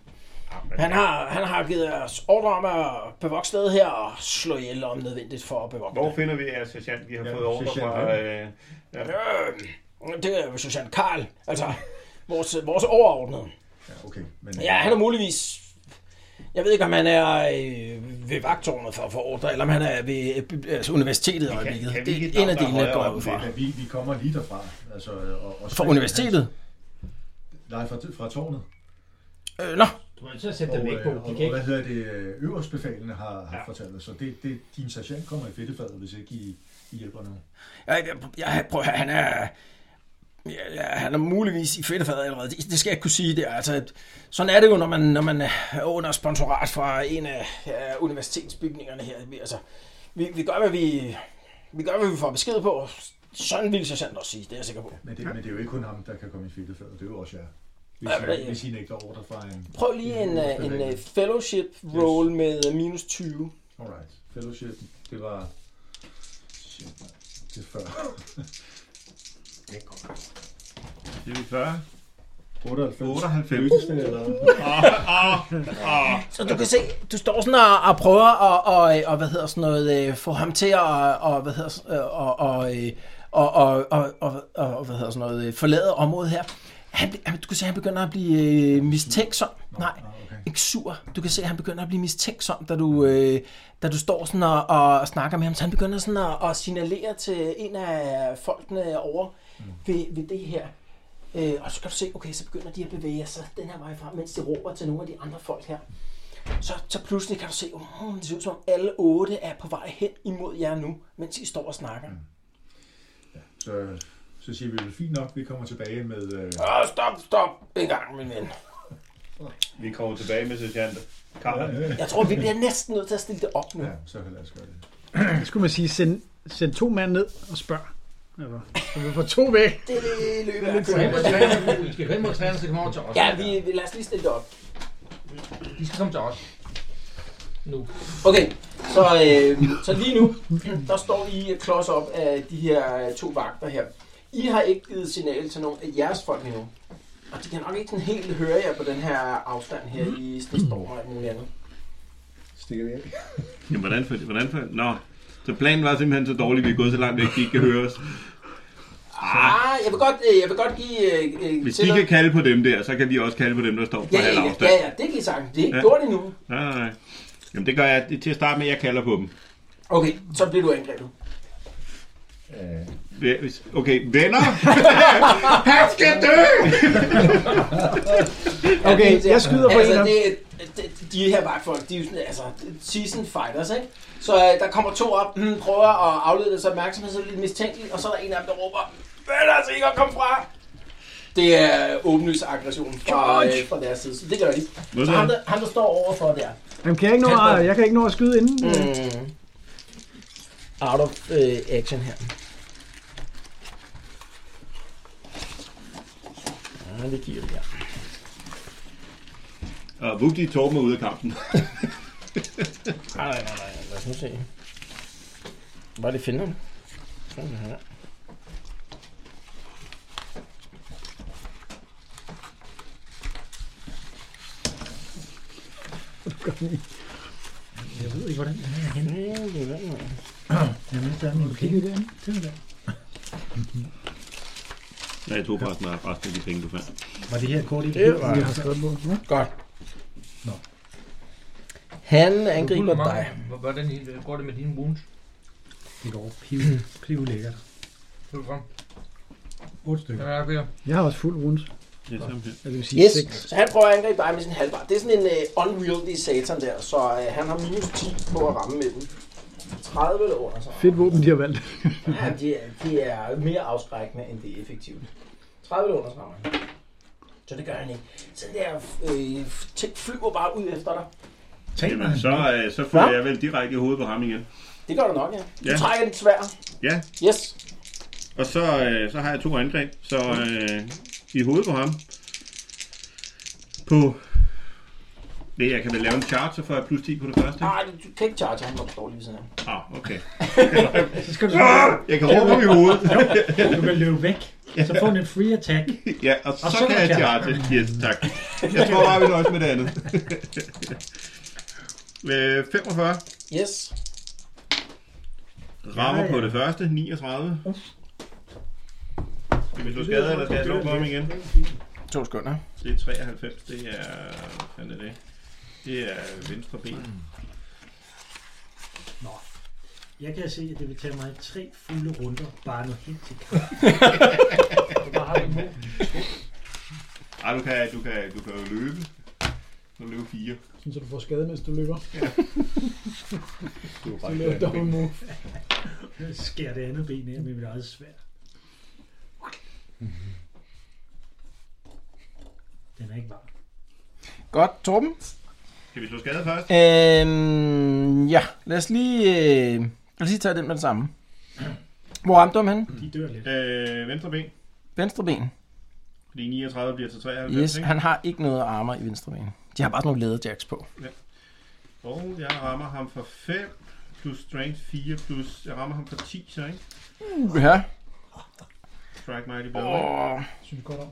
[SPEAKER 2] han, har, han har givet os ordre om at bevogte stedet her og slå ihjel om nødvendigt for at bevogte
[SPEAKER 4] Hvor
[SPEAKER 2] det.
[SPEAKER 4] finder vi jer, sergeant? Vi har
[SPEAKER 13] Ja,
[SPEAKER 4] fået ordre
[SPEAKER 13] sergeant
[SPEAKER 4] fra... Øh, ja.
[SPEAKER 2] Øh, det er jo sergeant Karl, altså vores, vores overordnede.
[SPEAKER 13] Ja, okay. Men,
[SPEAKER 2] Ja, han er muligvis... Jeg ved ikke, om han er øh, ved vagtårnet for at få ordre, eller om han er ved øh, bi- altså, universitetet i øjeblikket.
[SPEAKER 4] kan vi ikke
[SPEAKER 2] Det er en af
[SPEAKER 4] drage
[SPEAKER 2] delene, jeg går
[SPEAKER 4] højere
[SPEAKER 2] jeg
[SPEAKER 4] op
[SPEAKER 2] ud
[SPEAKER 4] end
[SPEAKER 2] fra.
[SPEAKER 13] Ja, vi, vi kommer lige derfra. Altså, og, og
[SPEAKER 2] For universitetet?
[SPEAKER 13] Nej, fra, fra tårnet.
[SPEAKER 2] Øh, nå,
[SPEAKER 7] Du er nødt til at sætte
[SPEAKER 13] Og,
[SPEAKER 7] dem væk på.
[SPEAKER 13] øh, og,
[SPEAKER 7] De
[SPEAKER 13] og,
[SPEAKER 7] kan ikke
[SPEAKER 13] hvad hedder det, øh, øverstbefalende har, har ja. fortalt os, så det, det, din sergeant kommer i fedtefadet, hvis ikke I, I hjælper nogen.
[SPEAKER 2] jeg, jeg, jeg, prøv at høre, han er... Ja, ja, han er muligvis i fedtefadet allerede. Det, det skal jeg ikke kunne sige. Det er, altså, at- sådan er det jo, når man, når man er under sponsorat fra en af ja, universitetsbygningerne her. Vi, altså, vi, vi, gør, hvad vi, vi gør, hvad vi får besked på. Sådan ville sergeant også sige, det er jeg sikker på.
[SPEAKER 13] Men det, men det er jo ikke kun ham, der kan komme i fedtefadet, det er jo også jer. Hvis,
[SPEAKER 2] Ja, men-
[SPEAKER 13] I, hvis I nægter ordre fra en...
[SPEAKER 2] Prøv lige en, øh, en øh, fellowship roll med øh, minus 20.
[SPEAKER 13] Alright, fellowship, det var... Shit, mand. det er 40.
[SPEAKER 4] Det er vi 40.
[SPEAKER 13] 98.
[SPEAKER 4] 98.
[SPEAKER 13] Eller,
[SPEAKER 2] Så du kan se, du står sådan og, og prøver at og, og, hvad hedder sådan noget, øh, få ham til at og, hvad hedder, sådan- øh, og, og, øh, og, og, og, og, og, hvad hedder sådan noget, øh, forlade området her. Han, bl- han- du kan se, at han begynder at blive øh, mistænksom. Nej,
[SPEAKER 13] Ah,
[SPEAKER 2] ikke sur. Du kan se, at han begynder at blive mistænksom, da du, øh, da du står sådan og, og snakker med ham. Så han begynder sådan at, at signalere til en af folkene over ved, ved det her. Øh, og så kan du se, okay, så begynder de at bevæge sig den her vej frem, mens de råber til nogle af de andre folk her. Så, så pludselig kan du se, oh, det ser ud som om alle otte er på vej hen imod jer nu, mens I står og snakker.
[SPEAKER 13] så, så siger vi, vel fint nok, vi kommer tilbage med... Øh,
[SPEAKER 2] Åh, oh, stop, stop, en gang, min ven.
[SPEAKER 4] Vi kommer tilbage med sergeant Karl.
[SPEAKER 2] Jeg tror, vi bliver næsten nødt til at stille det op nu.
[SPEAKER 13] ja, så lad os gøre det.
[SPEAKER 5] Skulle man sige, send, send to mænd ned og spørg. Eller, så vi får to væk.
[SPEAKER 2] Det er det løbet af
[SPEAKER 7] gå hen mod trænerne. Vi skal gå hen mod trænerne, så de kommer over til os.
[SPEAKER 2] Ja, vi, vi, lad os lige stille det op.
[SPEAKER 7] De skal komme til os. Nu.
[SPEAKER 2] Okay, så, øh, så lige nu, der står I klods op af de her øh, to vagter her. I har ikke givet signal til nogen af jeres folk endnu. Og de kan nok ikke sådan helt høre jer på den her afstand her i Snestorm og alt muligt andet.
[SPEAKER 13] Stikker vi af.
[SPEAKER 4] Jamen, hvordan for, hvordan for, Nå, så planen var simpelthen så dårlig, vi er gået så langt væk, de ikke kan høre os.
[SPEAKER 2] Ah, jeg vil godt, øh, jeg vil godt give... Øh, øh,
[SPEAKER 4] Hvis de
[SPEAKER 2] tillad-
[SPEAKER 4] kan kalde på dem der, så kan vi også kalde på dem, der står på
[SPEAKER 2] Ja,
[SPEAKER 4] halv
[SPEAKER 2] ja, ja,
[SPEAKER 4] afstand.
[SPEAKER 2] ja, ja, det kan I sagtens. Det er ikke
[SPEAKER 4] Ja.
[SPEAKER 2] ja. gjort endnu.
[SPEAKER 4] Nej, nej, nej. Jamen, det gør jeg. Det- Til at starte med, jeg kalder på dem.
[SPEAKER 2] Okay, så bliver du angrebet.
[SPEAKER 4] Hva- hvis- Okay,
[SPEAKER 2] [LAUGHS]
[SPEAKER 4] venner! Han skal dø!
[SPEAKER 5] Okay, jeg skyder på en
[SPEAKER 2] altså,
[SPEAKER 5] af dem.
[SPEAKER 2] det, det, de her vagtfolk, de er jo sådan, altså, season fighters, ikke? Så øh, der kommer to op, hmm, prøver at aflede deres opmærksomhed, så er det lidt mistænkeligt, og så er der en af dem, der råber, Vend altså ikke at komme fra! Det er åbenlys aggression fra, øh, fra deres side, så det gør de.
[SPEAKER 4] Hvad
[SPEAKER 2] Så
[SPEAKER 4] så?
[SPEAKER 2] ham, der, ham, der står overfor der,
[SPEAKER 5] Jamen, kan jeg, ikke nå at, jeg kan ikke nå at skyde inden. Mm.
[SPEAKER 2] Mm. Out of øh, action her. Ja, det giver det her.
[SPEAKER 4] Og vupti, Torben er ude af kampen.
[SPEAKER 2] Nej, nej, nej, nej. Lad os nu se. Var det finder? Sådan her.
[SPEAKER 6] Jeg ved ikke, hvordan den er henne.
[SPEAKER 2] Mm, det er den her.
[SPEAKER 6] Jamen, der er den. Okay.
[SPEAKER 5] Kigger den?
[SPEAKER 4] Nej, jeg tog faktisk meget resten af de penge, du fandt.
[SPEAKER 6] Var det her kort i
[SPEAKER 2] Det var-
[SPEAKER 5] Jeg har skrevet på. Ja.
[SPEAKER 2] Godt.
[SPEAKER 6] Nå.
[SPEAKER 2] Han angriber dig.
[SPEAKER 7] Hvor- Hvordan går det med dine wounds?
[SPEAKER 6] Det går piv, piv lækkert.
[SPEAKER 7] Prøv frem.
[SPEAKER 6] Otte stykker.
[SPEAKER 7] Den er nok ved at-
[SPEAKER 5] Jeg har også fuld rundt.
[SPEAKER 4] Ja, sammen her.
[SPEAKER 5] Ja, det vil sige yes.
[SPEAKER 2] Yes,
[SPEAKER 5] seks.
[SPEAKER 2] så han prøver at angribe dig med sin halvbar. Det er sådan en uh, unwieldy satan der, så uh, han har minus 10 på at ramme med den. 30 eller under, så.
[SPEAKER 5] Fedt våben, de har valgt.
[SPEAKER 2] Ja, det er, de er mere afskrækkende, end det er effektivt. 30 låner rammer han. Så det gør han ikke. Så den der øh, ting flyver bare ud efter dig.
[SPEAKER 4] Jamen, så, øh, så får
[SPEAKER 2] Hva?
[SPEAKER 4] jeg vel direkte i hovedet på ham igen.
[SPEAKER 2] Det gør du nok, ja. Du
[SPEAKER 4] Ja.
[SPEAKER 2] trækker den svær.
[SPEAKER 4] Ja,
[SPEAKER 2] Yes.
[SPEAKER 4] og så, øh, så har jeg to angreb. Så øh, i hovedet på ham. På Det, jeg kan vel lave en charge, så får jeg plus 10 på det første.
[SPEAKER 2] Nej, Ah, du du kan ikke charge ham, når du står lige ved siden af.
[SPEAKER 4] Ah, okay.
[SPEAKER 6] Så skal du,
[SPEAKER 4] Ah, jeg kan råbe i hovedet.
[SPEAKER 6] du kan løbe væk. Så får du en free attack.
[SPEAKER 4] Ja, og så,
[SPEAKER 6] Og
[SPEAKER 4] så
[SPEAKER 6] så
[SPEAKER 4] kan jeg
[SPEAKER 6] kan jeg.
[SPEAKER 4] charge. Yes, tak. Jeg tror bare, vi nøjes med det andet. [LAUGHS] Øh, 45.
[SPEAKER 2] Yes.
[SPEAKER 4] Rammer
[SPEAKER 6] Ja, ja.
[SPEAKER 4] på det første. 39. Skal vi slå skader, eller skal jeg slå på ham igen?
[SPEAKER 2] To sekunder.
[SPEAKER 4] Det er 93, det er... Hvad fanden er det? Det er venstre ben.
[SPEAKER 6] Jeg kan se, at det vil tage mig tre fulde runder, bare nå helt til kamp.
[SPEAKER 4] Ej, du kan, du kan, du kan jo løbe. Du kan løbe fire.
[SPEAKER 5] Sådan, så du får skade, mens du løber.
[SPEAKER 4] Du kan
[SPEAKER 5] Du laver double move.
[SPEAKER 6] Jeg skærer det andet ben af med mit eget svært. Den er ikke varm.
[SPEAKER 2] Godt, Torben.
[SPEAKER 4] Skal vi slå skade først?
[SPEAKER 2] Øhm, ja, lad os lige, øh, lad os lige tage den med det samme. Hvor ramte du ham henne?
[SPEAKER 6] De dør lidt.
[SPEAKER 4] Øh, venstre ben.
[SPEAKER 2] Venstre ben.
[SPEAKER 4] Fordi 39 bliver til 93,
[SPEAKER 2] Yes,
[SPEAKER 4] ikke?
[SPEAKER 2] han har ikke noget armor i venstre ben. De har bare sådan nogle læderjacks på.
[SPEAKER 4] Og jeg rammer ham for 5, plus strength 4, plus... Jeg rammer ham for 10, så ikke?
[SPEAKER 2] Ja.
[SPEAKER 4] Strike mighty blow, ikke?
[SPEAKER 2] Oh.
[SPEAKER 5] Synes godt om.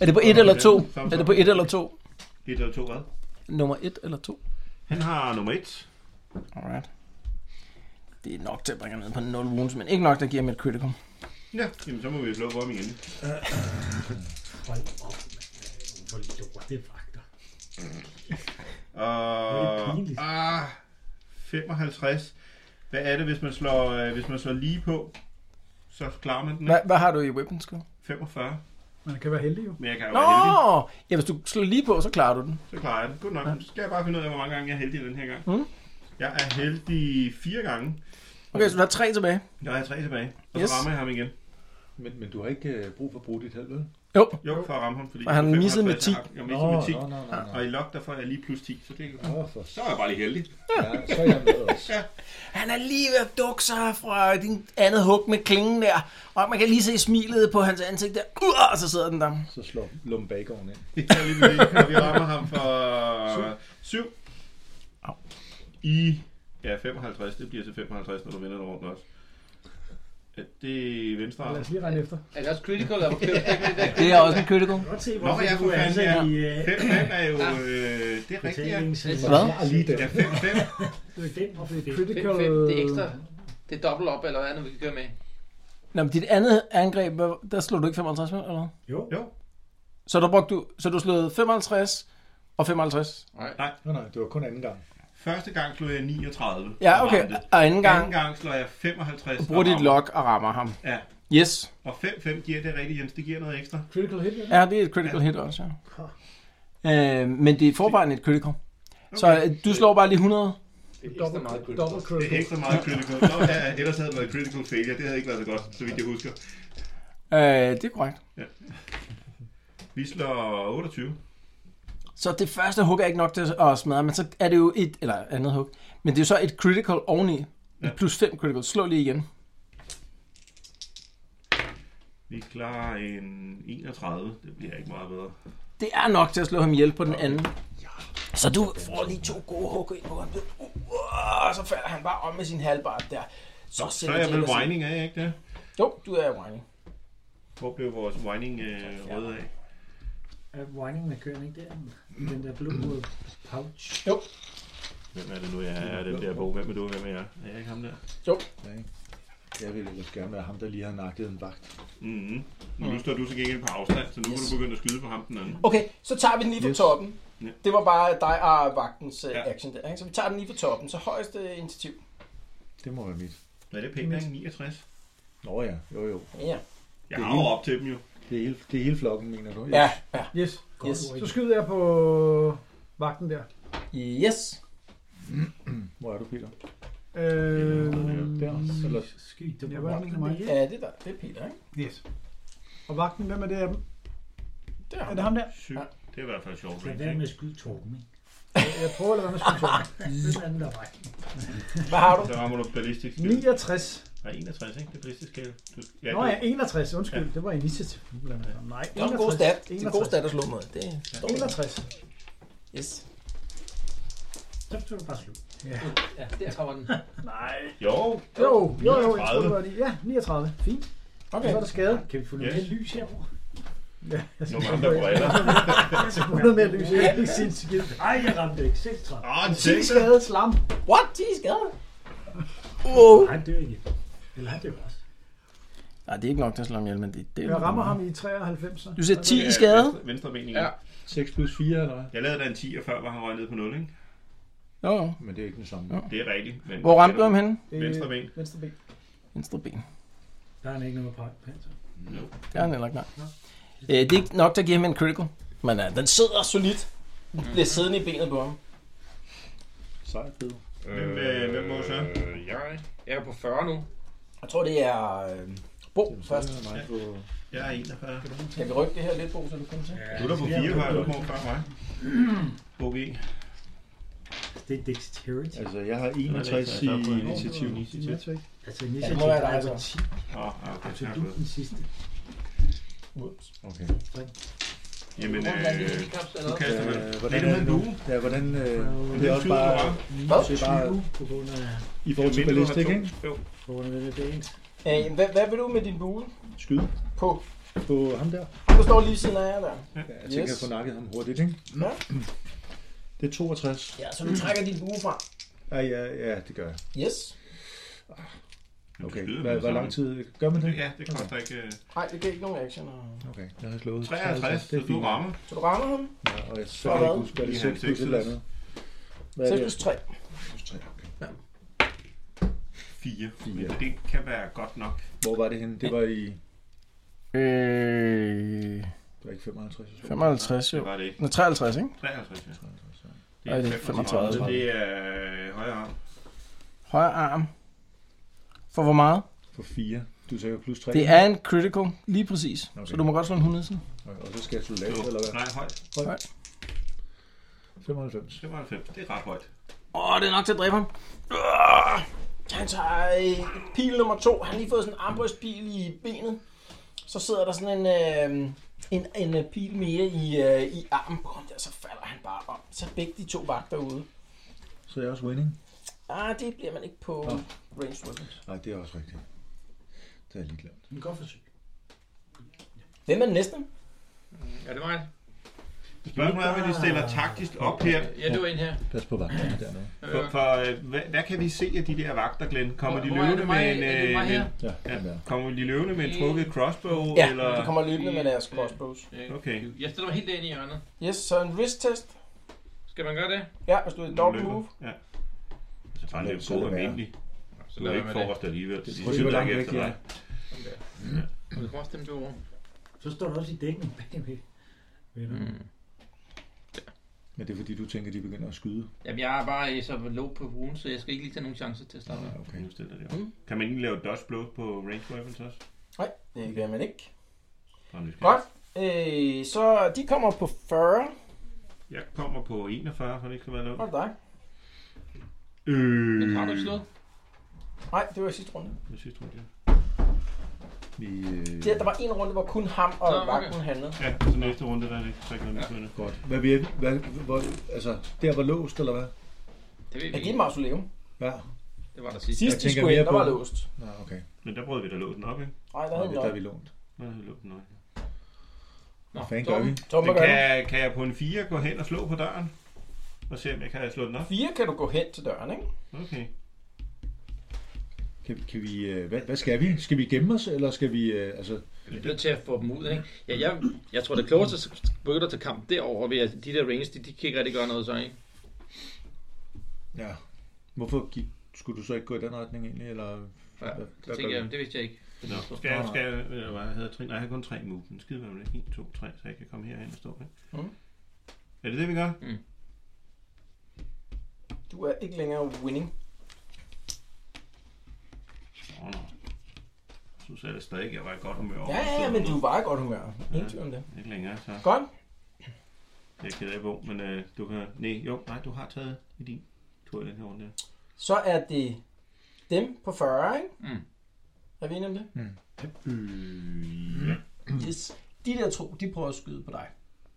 [SPEAKER 2] Er det på et eller to? Er det på et eller to?
[SPEAKER 4] Et eller to, hvad?
[SPEAKER 2] Nummer et eller to?
[SPEAKER 4] Han har nummer 1.
[SPEAKER 2] Alright. Det er nok til at bringe ham ned på 0 wounds, men ikke nok, der giver mig et critical.
[SPEAKER 4] Ja, jamen så må vi jo slå på ham igen.
[SPEAKER 6] Hold op, mand. Hvor lorte vagter. Det er
[SPEAKER 4] Og...
[SPEAKER 6] pinligt.
[SPEAKER 4] Ah, 55. Hvad er det, hvis man slår, øh, hvis man slår lige på? Så klarer man den,
[SPEAKER 2] Hvad,
[SPEAKER 4] ikke?
[SPEAKER 2] hvad har du i weapon skill?
[SPEAKER 4] 45.
[SPEAKER 5] Man kan være heldig jo.
[SPEAKER 4] Men jeg kan jo
[SPEAKER 2] Nå!
[SPEAKER 4] være heldig.
[SPEAKER 2] Ja, hvis du slår lige på, så klarer du den.
[SPEAKER 4] Så klarer jeg den. Godt nok. Så skal jeg bare finde ud af, hvor mange gange jeg er heldig den her gang.
[SPEAKER 2] Mm.
[SPEAKER 4] Jeg er heldig fire gange.
[SPEAKER 2] Okay, så du har tre tilbage.
[SPEAKER 4] Jeg er tre tilbage. Og så
[SPEAKER 2] Yes.
[SPEAKER 4] rammer jeg ham igen.
[SPEAKER 13] Men, men du har ikke øh, brug for at bruge dit held, vel?
[SPEAKER 2] Jo,
[SPEAKER 4] Jo, for at ramme ham. Fordi
[SPEAKER 2] Og han
[SPEAKER 4] jeg er
[SPEAKER 2] missede med
[SPEAKER 4] 55. Jeg missede med 10.
[SPEAKER 13] nå, nå, nå, Mm.
[SPEAKER 4] Og i lock, der får jeg lige plus 10. Så, det,
[SPEAKER 13] Nå, for
[SPEAKER 4] så er jeg bare lige heldig. [LAUGHS]
[SPEAKER 13] ja, så er jeg med også.
[SPEAKER 2] Han er lige ved at dukke sig fra din andet hug med klingen der. Og man kan lige se smilet på hans ansigt der. Uh, og så sidder den der.
[SPEAKER 13] Så slår lumbagoen ind.
[SPEAKER 4] Ja, lige præcis. Og vi rammer ham for 7.
[SPEAKER 2] Au.
[SPEAKER 4] I ja, 55. Det bliver til 55, når du vender den rundt også. Ja, det er venstre arm.
[SPEAKER 5] Lad os lige regne efter.
[SPEAKER 7] Er det også critical, eller hvor kæft?
[SPEAKER 2] Det er også en critical.
[SPEAKER 6] Godt se,
[SPEAKER 4] Nå,
[SPEAKER 6] hvorfor
[SPEAKER 4] jeg
[SPEAKER 6] du
[SPEAKER 4] kunne
[SPEAKER 6] er
[SPEAKER 4] fanden,
[SPEAKER 6] ansat
[SPEAKER 4] ja.
[SPEAKER 6] i øh,
[SPEAKER 4] 5 er jo... Øh, det er rigtigt, ja.
[SPEAKER 6] betalings...
[SPEAKER 2] Hvad?
[SPEAKER 13] Jeg er Ah, lige der.
[SPEAKER 4] Ja, 5-5.
[SPEAKER 6] Det er den, og det er det.
[SPEAKER 5] Critical...
[SPEAKER 7] 5-5, det er ekstra. Det er dobbelt op, eller hvad andet, vi kan gøre med.
[SPEAKER 2] Nå, men dit andet angreb, hvad- der slog du ikke 55 med, eller hvad?
[SPEAKER 6] Jo.
[SPEAKER 4] Jo.
[SPEAKER 2] Så der brugte du, så du slog 55 og 55.
[SPEAKER 13] Nå, nej, det var kun anden gang.
[SPEAKER 4] Første gang slog jeg 39.
[SPEAKER 2] Ja,
[SPEAKER 4] og
[SPEAKER 2] okay.
[SPEAKER 4] ramte.
[SPEAKER 2] Og anden
[SPEAKER 4] Anden
[SPEAKER 2] gang
[SPEAKER 4] gang slår jeg 55.
[SPEAKER 2] bruger
[SPEAKER 4] og
[SPEAKER 2] dit
[SPEAKER 4] rammer.
[SPEAKER 2] lock og rammer ham.
[SPEAKER 4] Ja.
[SPEAKER 2] Yes.
[SPEAKER 4] Og 5-5 giver det rigtigt, Jens. Det giver noget ekstra.
[SPEAKER 5] Critical hit, ja.
[SPEAKER 2] Ja, det er et critical hit også, ja. Øh, men det er i forvejen et critical. Så øh, du slår bare lige 100.
[SPEAKER 7] Det er
[SPEAKER 5] Double,
[SPEAKER 7] ekstra meget
[SPEAKER 5] double
[SPEAKER 7] critical.
[SPEAKER 4] Det er
[SPEAKER 5] critical.
[SPEAKER 4] ekstra meget critical. Nå, ja, ellers havde det været critical failure. Det havde ikke været så godt, så vidt jeg husker.
[SPEAKER 2] Øh, det er korrekt.
[SPEAKER 4] Vi slår 28.
[SPEAKER 2] Så det første hug er ikke nok til at smadre, men så er det jo et, eller andet hug. Men det er jo så et critical oveni.
[SPEAKER 4] Ja.
[SPEAKER 2] Ja. Plus 5 critical. Slå lige igen.
[SPEAKER 4] Vi klarer en 31. Det bliver ikke meget bedre.
[SPEAKER 2] Det er nok til at slå ham ihjel på den anden. Så du får lige to gode hug ind på ham. Uh, uh, og så falder han bare om med sin halvbart der. Så,
[SPEAKER 4] Så er jeg vel whining, er jeg ikke det?
[SPEAKER 2] Jo, du er whining.
[SPEAKER 4] Hvor blev vores whining øh, rød af?
[SPEAKER 6] Er windingen af køren ikke der? Den der blå pouch.
[SPEAKER 4] Hvem er det nu, jeg er? Er det der bog? Hvem er du? Hvem er jeg? Er jeg ikke ham der?
[SPEAKER 13] Ja, ikke? Jeg ville ellers gerne være ham, der lige har nakket en vagt.
[SPEAKER 4] Mhm. Men nu står du så gengæld på afstand, så nu kan du begynde at skyde på ham den anden.
[SPEAKER 2] Okay, så tager vi den lige fra
[SPEAKER 13] Yes.
[SPEAKER 2] toppen.
[SPEAKER 4] Ja.
[SPEAKER 2] Det var bare dig og vagtens øh,
[SPEAKER 4] Ja.
[SPEAKER 2] action der. Ikke? Så vi tager den lige fra toppen. Så højeste initiativ.
[SPEAKER 13] Det må være mit.
[SPEAKER 4] Hvad er det pænt, ikke? 69?
[SPEAKER 13] Nå ja, jo jo.
[SPEAKER 2] Ja.
[SPEAKER 4] Jeg
[SPEAKER 13] Det er
[SPEAKER 4] arver op til dem jo.
[SPEAKER 13] Det er hele, det er hele flokken, mener du?
[SPEAKER 2] Ja, ja.
[SPEAKER 5] Yes.
[SPEAKER 2] Yes.
[SPEAKER 5] Så skyder jeg på vagten der.
[SPEAKER 2] Yes.
[SPEAKER 13] Hvor er du, Peter?
[SPEAKER 5] Øh,
[SPEAKER 13] Der. Eller,
[SPEAKER 6] Skyt, det
[SPEAKER 5] Ja,
[SPEAKER 6] var
[SPEAKER 5] hvad er
[SPEAKER 6] vagten
[SPEAKER 5] det for mig?
[SPEAKER 6] der.
[SPEAKER 2] Ja, det er, der. det er Peter, ikke?
[SPEAKER 5] yes. Og vagten, hvem er det af dem?
[SPEAKER 2] Det er
[SPEAKER 5] Er
[SPEAKER 2] ham.
[SPEAKER 5] det ham der?
[SPEAKER 4] Syg. Det er i hvert fald sjovt.
[SPEAKER 6] Lad være med at skyde Torben, ikke?
[SPEAKER 5] Jeg prøver at lade være med at skyde Torben.
[SPEAKER 6] Hvem er den, der er vagten?
[SPEAKER 2] Hvad har du?
[SPEAKER 4] Så rammer du ballistisk skill.
[SPEAKER 5] 69.
[SPEAKER 4] Nej, 61, ikke? Det er ballistisk skill. Du, ja,
[SPEAKER 5] Nå
[SPEAKER 4] du,
[SPEAKER 5] ja, 61. Undskyld, det var initiativ. blander jeg sammen. Nej,
[SPEAKER 2] Det er en god stat. Det er en god
[SPEAKER 5] 61.
[SPEAKER 2] stat at slå mod. Det er
[SPEAKER 5] 61.
[SPEAKER 2] Yes.
[SPEAKER 6] Så skal du bare slå.
[SPEAKER 7] Ja, der kommer den.
[SPEAKER 5] Nej.
[SPEAKER 4] Jo,
[SPEAKER 5] Jo, jo, jo, jeg
[SPEAKER 4] 39.
[SPEAKER 5] tror, det var de. Ja, 39. Fint. Okay. Så er der skade.
[SPEAKER 6] Kan vi få
[SPEAKER 4] noget
[SPEAKER 6] noget
[SPEAKER 4] mere
[SPEAKER 6] yes. lys herovre?
[SPEAKER 5] Ja, jeg
[SPEAKER 4] nogle andre
[SPEAKER 9] [LAUGHS]
[SPEAKER 4] briller.
[SPEAKER 5] jeg skal få noget mere lys. Jeg er ikke sindssygt.
[SPEAKER 6] Ej, jeg ramte ikke. 36.
[SPEAKER 4] Åh, en
[SPEAKER 5] 10
[SPEAKER 4] sekser.
[SPEAKER 5] skade slam.
[SPEAKER 2] What? De er skadet? Wow.
[SPEAKER 6] Nej, han dør igen. Eller han dør også.
[SPEAKER 2] Nej, det er ikke nok til at slå ham ihjel, men det, det er...
[SPEAKER 5] Jeg rammer ham i 93.
[SPEAKER 2] Du ser 10 i
[SPEAKER 4] Ja,
[SPEAKER 2] skade.
[SPEAKER 4] venstre- Venstre ben igen.
[SPEAKER 1] Ja.
[SPEAKER 9] 6 plus 4, eller hvad?
[SPEAKER 4] Jeg lavede da en 10, og før var han røget ned på 0, ikke?
[SPEAKER 2] Jo, jo.
[SPEAKER 9] Men det er ikke den samme.
[SPEAKER 4] Det er rigtigt. Men
[SPEAKER 2] Hvor ramte du ham henne?
[SPEAKER 4] Venstre ben.
[SPEAKER 5] Øh, Venstre ben.
[SPEAKER 2] Venstre ben.
[SPEAKER 6] Der er han ikke noget på panser.
[SPEAKER 2] Det er han heller ikke, nej. Øh, det er ikke nok til at give ham en critical, men uh, den sidder solidt. Den bliver siddende i benet på ham.
[SPEAKER 9] Sejt, Peter.
[SPEAKER 4] Hvem, øh, hvem må så?
[SPEAKER 1] Øh, jeg, jeg er på 40 nu.
[SPEAKER 2] Jeg tror, det er øh, Bo først.
[SPEAKER 9] Nej, på...
[SPEAKER 4] Jeg er 41.
[SPEAKER 2] Kan vi rykke det her lidt, Bo, så du kommer til?
[SPEAKER 4] Du er der på 4, var du på før mig.
[SPEAKER 1] [CLEARS THROAT]
[SPEAKER 4] OG.
[SPEAKER 6] Det er dexterity.
[SPEAKER 9] Altså, jeg har 61 i initiativ.
[SPEAKER 4] Initiativ.
[SPEAKER 6] Altså,
[SPEAKER 2] Ja,
[SPEAKER 6] initiativ,
[SPEAKER 2] det må være
[SPEAKER 6] der er
[SPEAKER 2] dig,
[SPEAKER 6] på
[SPEAKER 2] så.
[SPEAKER 6] 10.
[SPEAKER 4] Åh, ah, okay.
[SPEAKER 6] Så
[SPEAKER 4] tak
[SPEAKER 6] du
[SPEAKER 4] for
[SPEAKER 6] er
[SPEAKER 4] det.
[SPEAKER 6] den sidste.
[SPEAKER 9] Okay.
[SPEAKER 4] Jamen,
[SPEAKER 7] Rundt af en
[SPEAKER 4] øh,
[SPEAKER 7] handicap, eller
[SPEAKER 4] du
[SPEAKER 7] hvad?
[SPEAKER 4] kaster med.
[SPEAKER 9] Øh,
[SPEAKER 4] Det
[SPEAKER 9] hvordan er det
[SPEAKER 4] er det med en
[SPEAKER 9] nu?
[SPEAKER 4] bue.
[SPEAKER 9] Ja, hvordan... Øh, det
[SPEAKER 4] Det
[SPEAKER 9] er
[SPEAKER 4] er
[SPEAKER 9] også
[SPEAKER 4] 20,
[SPEAKER 9] bare...
[SPEAKER 4] du har.
[SPEAKER 9] Det er bare
[SPEAKER 6] 20 på grund af,
[SPEAKER 9] i forhold til
[SPEAKER 4] Mindre, du har
[SPEAKER 9] ballistik,
[SPEAKER 4] to.
[SPEAKER 9] ikke?
[SPEAKER 4] Jo.
[SPEAKER 6] på grund af det dagens.
[SPEAKER 2] Øh, hvad, hvad vil du med din bue
[SPEAKER 9] Skyde
[SPEAKER 2] på?
[SPEAKER 9] på ham der.
[SPEAKER 2] Du står lige siden af jer der.
[SPEAKER 9] Ja, jeg tænker,
[SPEAKER 2] Yes.
[SPEAKER 9] jeg får nakket ham hurtigt, ikke?
[SPEAKER 2] Ja.
[SPEAKER 9] Det er 62.
[SPEAKER 2] Ja, så du trækker din bue fra.
[SPEAKER 9] Ja, ja, ja, det gør jeg.
[SPEAKER 2] Yes.
[SPEAKER 4] Du
[SPEAKER 9] Okay,
[SPEAKER 4] skyder
[SPEAKER 9] hvor,
[SPEAKER 4] med
[SPEAKER 9] hvor
[SPEAKER 4] sådan.
[SPEAKER 9] lang tid gør man det?
[SPEAKER 4] Ja, det koster ikke... øh,
[SPEAKER 2] Nej, det giver ikke nogen action.
[SPEAKER 9] Okay, jeg har slået
[SPEAKER 4] 53, så
[SPEAKER 9] det er
[SPEAKER 4] du
[SPEAKER 9] fint.
[SPEAKER 4] rammer.
[SPEAKER 2] Så du rammer ham.
[SPEAKER 9] Ja, og jeg så
[SPEAKER 2] For
[SPEAKER 9] kan jeg
[SPEAKER 2] hvad?
[SPEAKER 9] ikke huske, hvad det
[SPEAKER 4] I
[SPEAKER 9] er 6 plus et
[SPEAKER 4] halvtredstusind.
[SPEAKER 9] eller andet. Hvad er
[SPEAKER 2] 6
[SPEAKER 9] det?
[SPEAKER 2] plus 3.
[SPEAKER 9] 6 okay.
[SPEAKER 4] 4. Men
[SPEAKER 9] Fire.
[SPEAKER 4] det kan være godt nok.
[SPEAKER 9] Hvor var det henne? Det var i...
[SPEAKER 2] Øh,
[SPEAKER 9] Det var ikke 55. jeg så.
[SPEAKER 2] 55
[SPEAKER 4] Det
[SPEAKER 2] jo.
[SPEAKER 4] var det ikke.
[SPEAKER 2] Nå, 53, ikke?
[SPEAKER 4] 53, ja.
[SPEAKER 2] Ej, det er 35.
[SPEAKER 4] Så det er øh, højre arm.
[SPEAKER 2] Højre arm. For hvor meget?
[SPEAKER 9] På 4. Du sagde jo plus 3.
[SPEAKER 2] Det er en critical, lige præcis. Okay. Så
[SPEAKER 9] Okay.
[SPEAKER 2] du må godt slå en 100 siden.
[SPEAKER 9] Og så skal jeg slå
[SPEAKER 4] Jo.
[SPEAKER 9] lavt, eller hvad?
[SPEAKER 4] Nej, højt.
[SPEAKER 9] 95.
[SPEAKER 4] 95. Det er ret højt.
[SPEAKER 2] Åh, det er nok til at dræbe ham. Øh, Han tager øh, pil nummer to. Han har lige fået sådan en armbrystpil i benet. Så sidder der sådan en, øh, en, en øh, pil mere i, øh, i armen på ham der, så falder han bare om. Så er begge de to vagter ude.
[SPEAKER 9] Så er jeg også winning.
[SPEAKER 2] Ah, det bliver man ikke på
[SPEAKER 9] Nå.
[SPEAKER 2] range weapons.
[SPEAKER 9] Nej, det er også rigtigt. Det er jeg lige glemt.
[SPEAKER 6] Men godt forsøg.
[SPEAKER 2] Hvem er den næste?
[SPEAKER 1] Er det mig?
[SPEAKER 4] Spørgsmålet er, hvad de stiller taktisk op her.
[SPEAKER 7] Ja, det var en her.
[SPEAKER 9] Pas på vagterne dernede.
[SPEAKER 4] For, for øh, hvad, hvad, kan vi se af de der vagter, Glenn? Kommer de
[SPEAKER 7] Hvor er det
[SPEAKER 4] løvende med
[SPEAKER 7] mig?
[SPEAKER 4] en...
[SPEAKER 7] Er det mig
[SPEAKER 4] øh,
[SPEAKER 7] her?
[SPEAKER 4] en-
[SPEAKER 9] Ja,
[SPEAKER 4] ja.
[SPEAKER 9] den der.
[SPEAKER 4] Kommer de løvende med en trukket crossbow?
[SPEAKER 2] Ja,
[SPEAKER 4] eller?
[SPEAKER 2] de kommer løbende med deres crossbows.
[SPEAKER 4] Okay.
[SPEAKER 7] Jeg stiller mig helt ind i hjørnet.
[SPEAKER 2] Yes, så en wrist test.
[SPEAKER 7] Skal man gøre det?
[SPEAKER 2] Ja, hvis du er i dog move.
[SPEAKER 4] Ja. Så bare
[SPEAKER 9] Lad
[SPEAKER 4] løb
[SPEAKER 9] det
[SPEAKER 4] god
[SPEAKER 9] selv være.
[SPEAKER 4] almindelig.
[SPEAKER 7] Så
[SPEAKER 4] Du er ikke forrest alligevel. De
[SPEAKER 9] er
[SPEAKER 4] synes
[SPEAKER 9] hvor
[SPEAKER 4] ikke
[SPEAKER 9] langt
[SPEAKER 4] efter
[SPEAKER 9] væk de
[SPEAKER 4] dig.
[SPEAKER 9] er.
[SPEAKER 7] Du kan også stemme det over.
[SPEAKER 6] Så står der også i dækken bagved. Venner. Mm.
[SPEAKER 7] Hmm.
[SPEAKER 9] Men det er fordi, du tænker, de begynder at skyde.
[SPEAKER 7] Jamen, jeg er bare øh, så low på runen, så jeg skal ikke lige tage nogen chancer til at starte med.
[SPEAKER 9] Okay.
[SPEAKER 4] Nu stiller de op.
[SPEAKER 2] Mm.
[SPEAKER 4] Kan man ikke lave dodge blow på range weapons også?
[SPEAKER 2] Nej, det gør man ikke.
[SPEAKER 4] Bare nysgerrig.
[SPEAKER 2] Godt. Øh, så de kommer på 40.
[SPEAKER 4] Jeg kommer på 41, så det ikke skal være noget.
[SPEAKER 2] Hvor er det dig?
[SPEAKER 4] Øh.
[SPEAKER 7] Men har du ikke slået?
[SPEAKER 2] Nej, det var i sidste runde.
[SPEAKER 4] Jeg synes, du det.
[SPEAKER 9] Vi, øh,
[SPEAKER 2] Det, der var en runde, hvor kun ham og
[SPEAKER 7] Nå, okay.
[SPEAKER 2] vagten handlede.
[SPEAKER 4] Ja, så næste runde, der er det. Så kan man ja.
[SPEAKER 9] Godt. Hvad, vi er, hvad, hvor, altså, der var låst, eller hvad?
[SPEAKER 7] Det ved vi
[SPEAKER 2] Jeg giver
[SPEAKER 7] ikke.
[SPEAKER 2] mig også leve.
[SPEAKER 9] Ja.
[SPEAKER 7] Det var der sidst.
[SPEAKER 2] Sidst
[SPEAKER 9] Jeg
[SPEAKER 2] de
[SPEAKER 9] tænker
[SPEAKER 2] skulle ind,
[SPEAKER 9] mere
[SPEAKER 2] der
[SPEAKER 9] på-
[SPEAKER 2] var låst.
[SPEAKER 9] Nå, okay.
[SPEAKER 4] Men der brød vi da låsen op, ikke?
[SPEAKER 2] Nej, der
[SPEAKER 9] Nå,
[SPEAKER 2] havde
[SPEAKER 9] det
[SPEAKER 2] vi
[SPEAKER 9] er der,
[SPEAKER 2] nok.
[SPEAKER 9] vi lånt.
[SPEAKER 4] Nå, der havde vi låsen op.
[SPEAKER 7] Nå,
[SPEAKER 9] Hvad fanden
[SPEAKER 7] så-
[SPEAKER 9] gør vi?
[SPEAKER 2] Tom,
[SPEAKER 4] Men
[SPEAKER 2] hvad gør du?
[SPEAKER 4] kan, kan jeg på en 4 gå hen og slå på døren? Og se, om jeg kan slå den op?
[SPEAKER 2] Fire kan du gå hen til døren, ikke?
[SPEAKER 4] Okay.
[SPEAKER 9] Kan, kan vi, øh, hvad, hvad skal vi? Skal vi gemme os, eller skal vi... Øh, altså,
[SPEAKER 7] Vi er nødt til at få dem ud, ikke? Ja, jeg, jeg tror, det klogeste er at begynde at tage kamp derover ved at de der range, de, de kan ikke rigtig gøre noget så, ikke?
[SPEAKER 9] ja. Hvorfor gik, skulle du så ikke gå i den retning egentlig? Eller,
[SPEAKER 7] Ja,
[SPEAKER 9] hvad-
[SPEAKER 7] det
[SPEAKER 9] hvad
[SPEAKER 7] tænker
[SPEAKER 9] gør
[SPEAKER 7] jeg,
[SPEAKER 9] vi?
[SPEAKER 7] det vidste jeg ikke.
[SPEAKER 4] Nå, skal jeg, skal jeg, eller hvad, jeg havde tre, nej, jeg havde kun tre move. Men skide hvad med det. 1, 2, 3, så jeg kan komme herhen og stå, ikke?
[SPEAKER 2] Mm.
[SPEAKER 4] Er det det, vi gør?
[SPEAKER 2] Du er ikke længere winning.
[SPEAKER 4] Åh, oh, Jeg synes jeg da stadig, jeg var i godt humør over.
[SPEAKER 2] Ja,
[SPEAKER 4] at
[SPEAKER 2] ja,
[SPEAKER 4] stå
[SPEAKER 2] ja, men du
[SPEAKER 4] dernede.
[SPEAKER 2] var i godt humør. Ingen
[SPEAKER 4] Ja.
[SPEAKER 2] tvivl om det.
[SPEAKER 4] Ikke længere, så
[SPEAKER 2] Godt.
[SPEAKER 4] jeg er ked af, Bo, men øh, du kan... Nej, jo, nej, du har taget i din tur i den her
[SPEAKER 9] Mm.
[SPEAKER 4] runde. der.
[SPEAKER 2] Så er det dem på 40, ikke?
[SPEAKER 7] Mm.
[SPEAKER 2] Er vi enige om det?
[SPEAKER 4] Øh, ja.
[SPEAKER 2] Yes. De der to, de prøver at skyde på dig.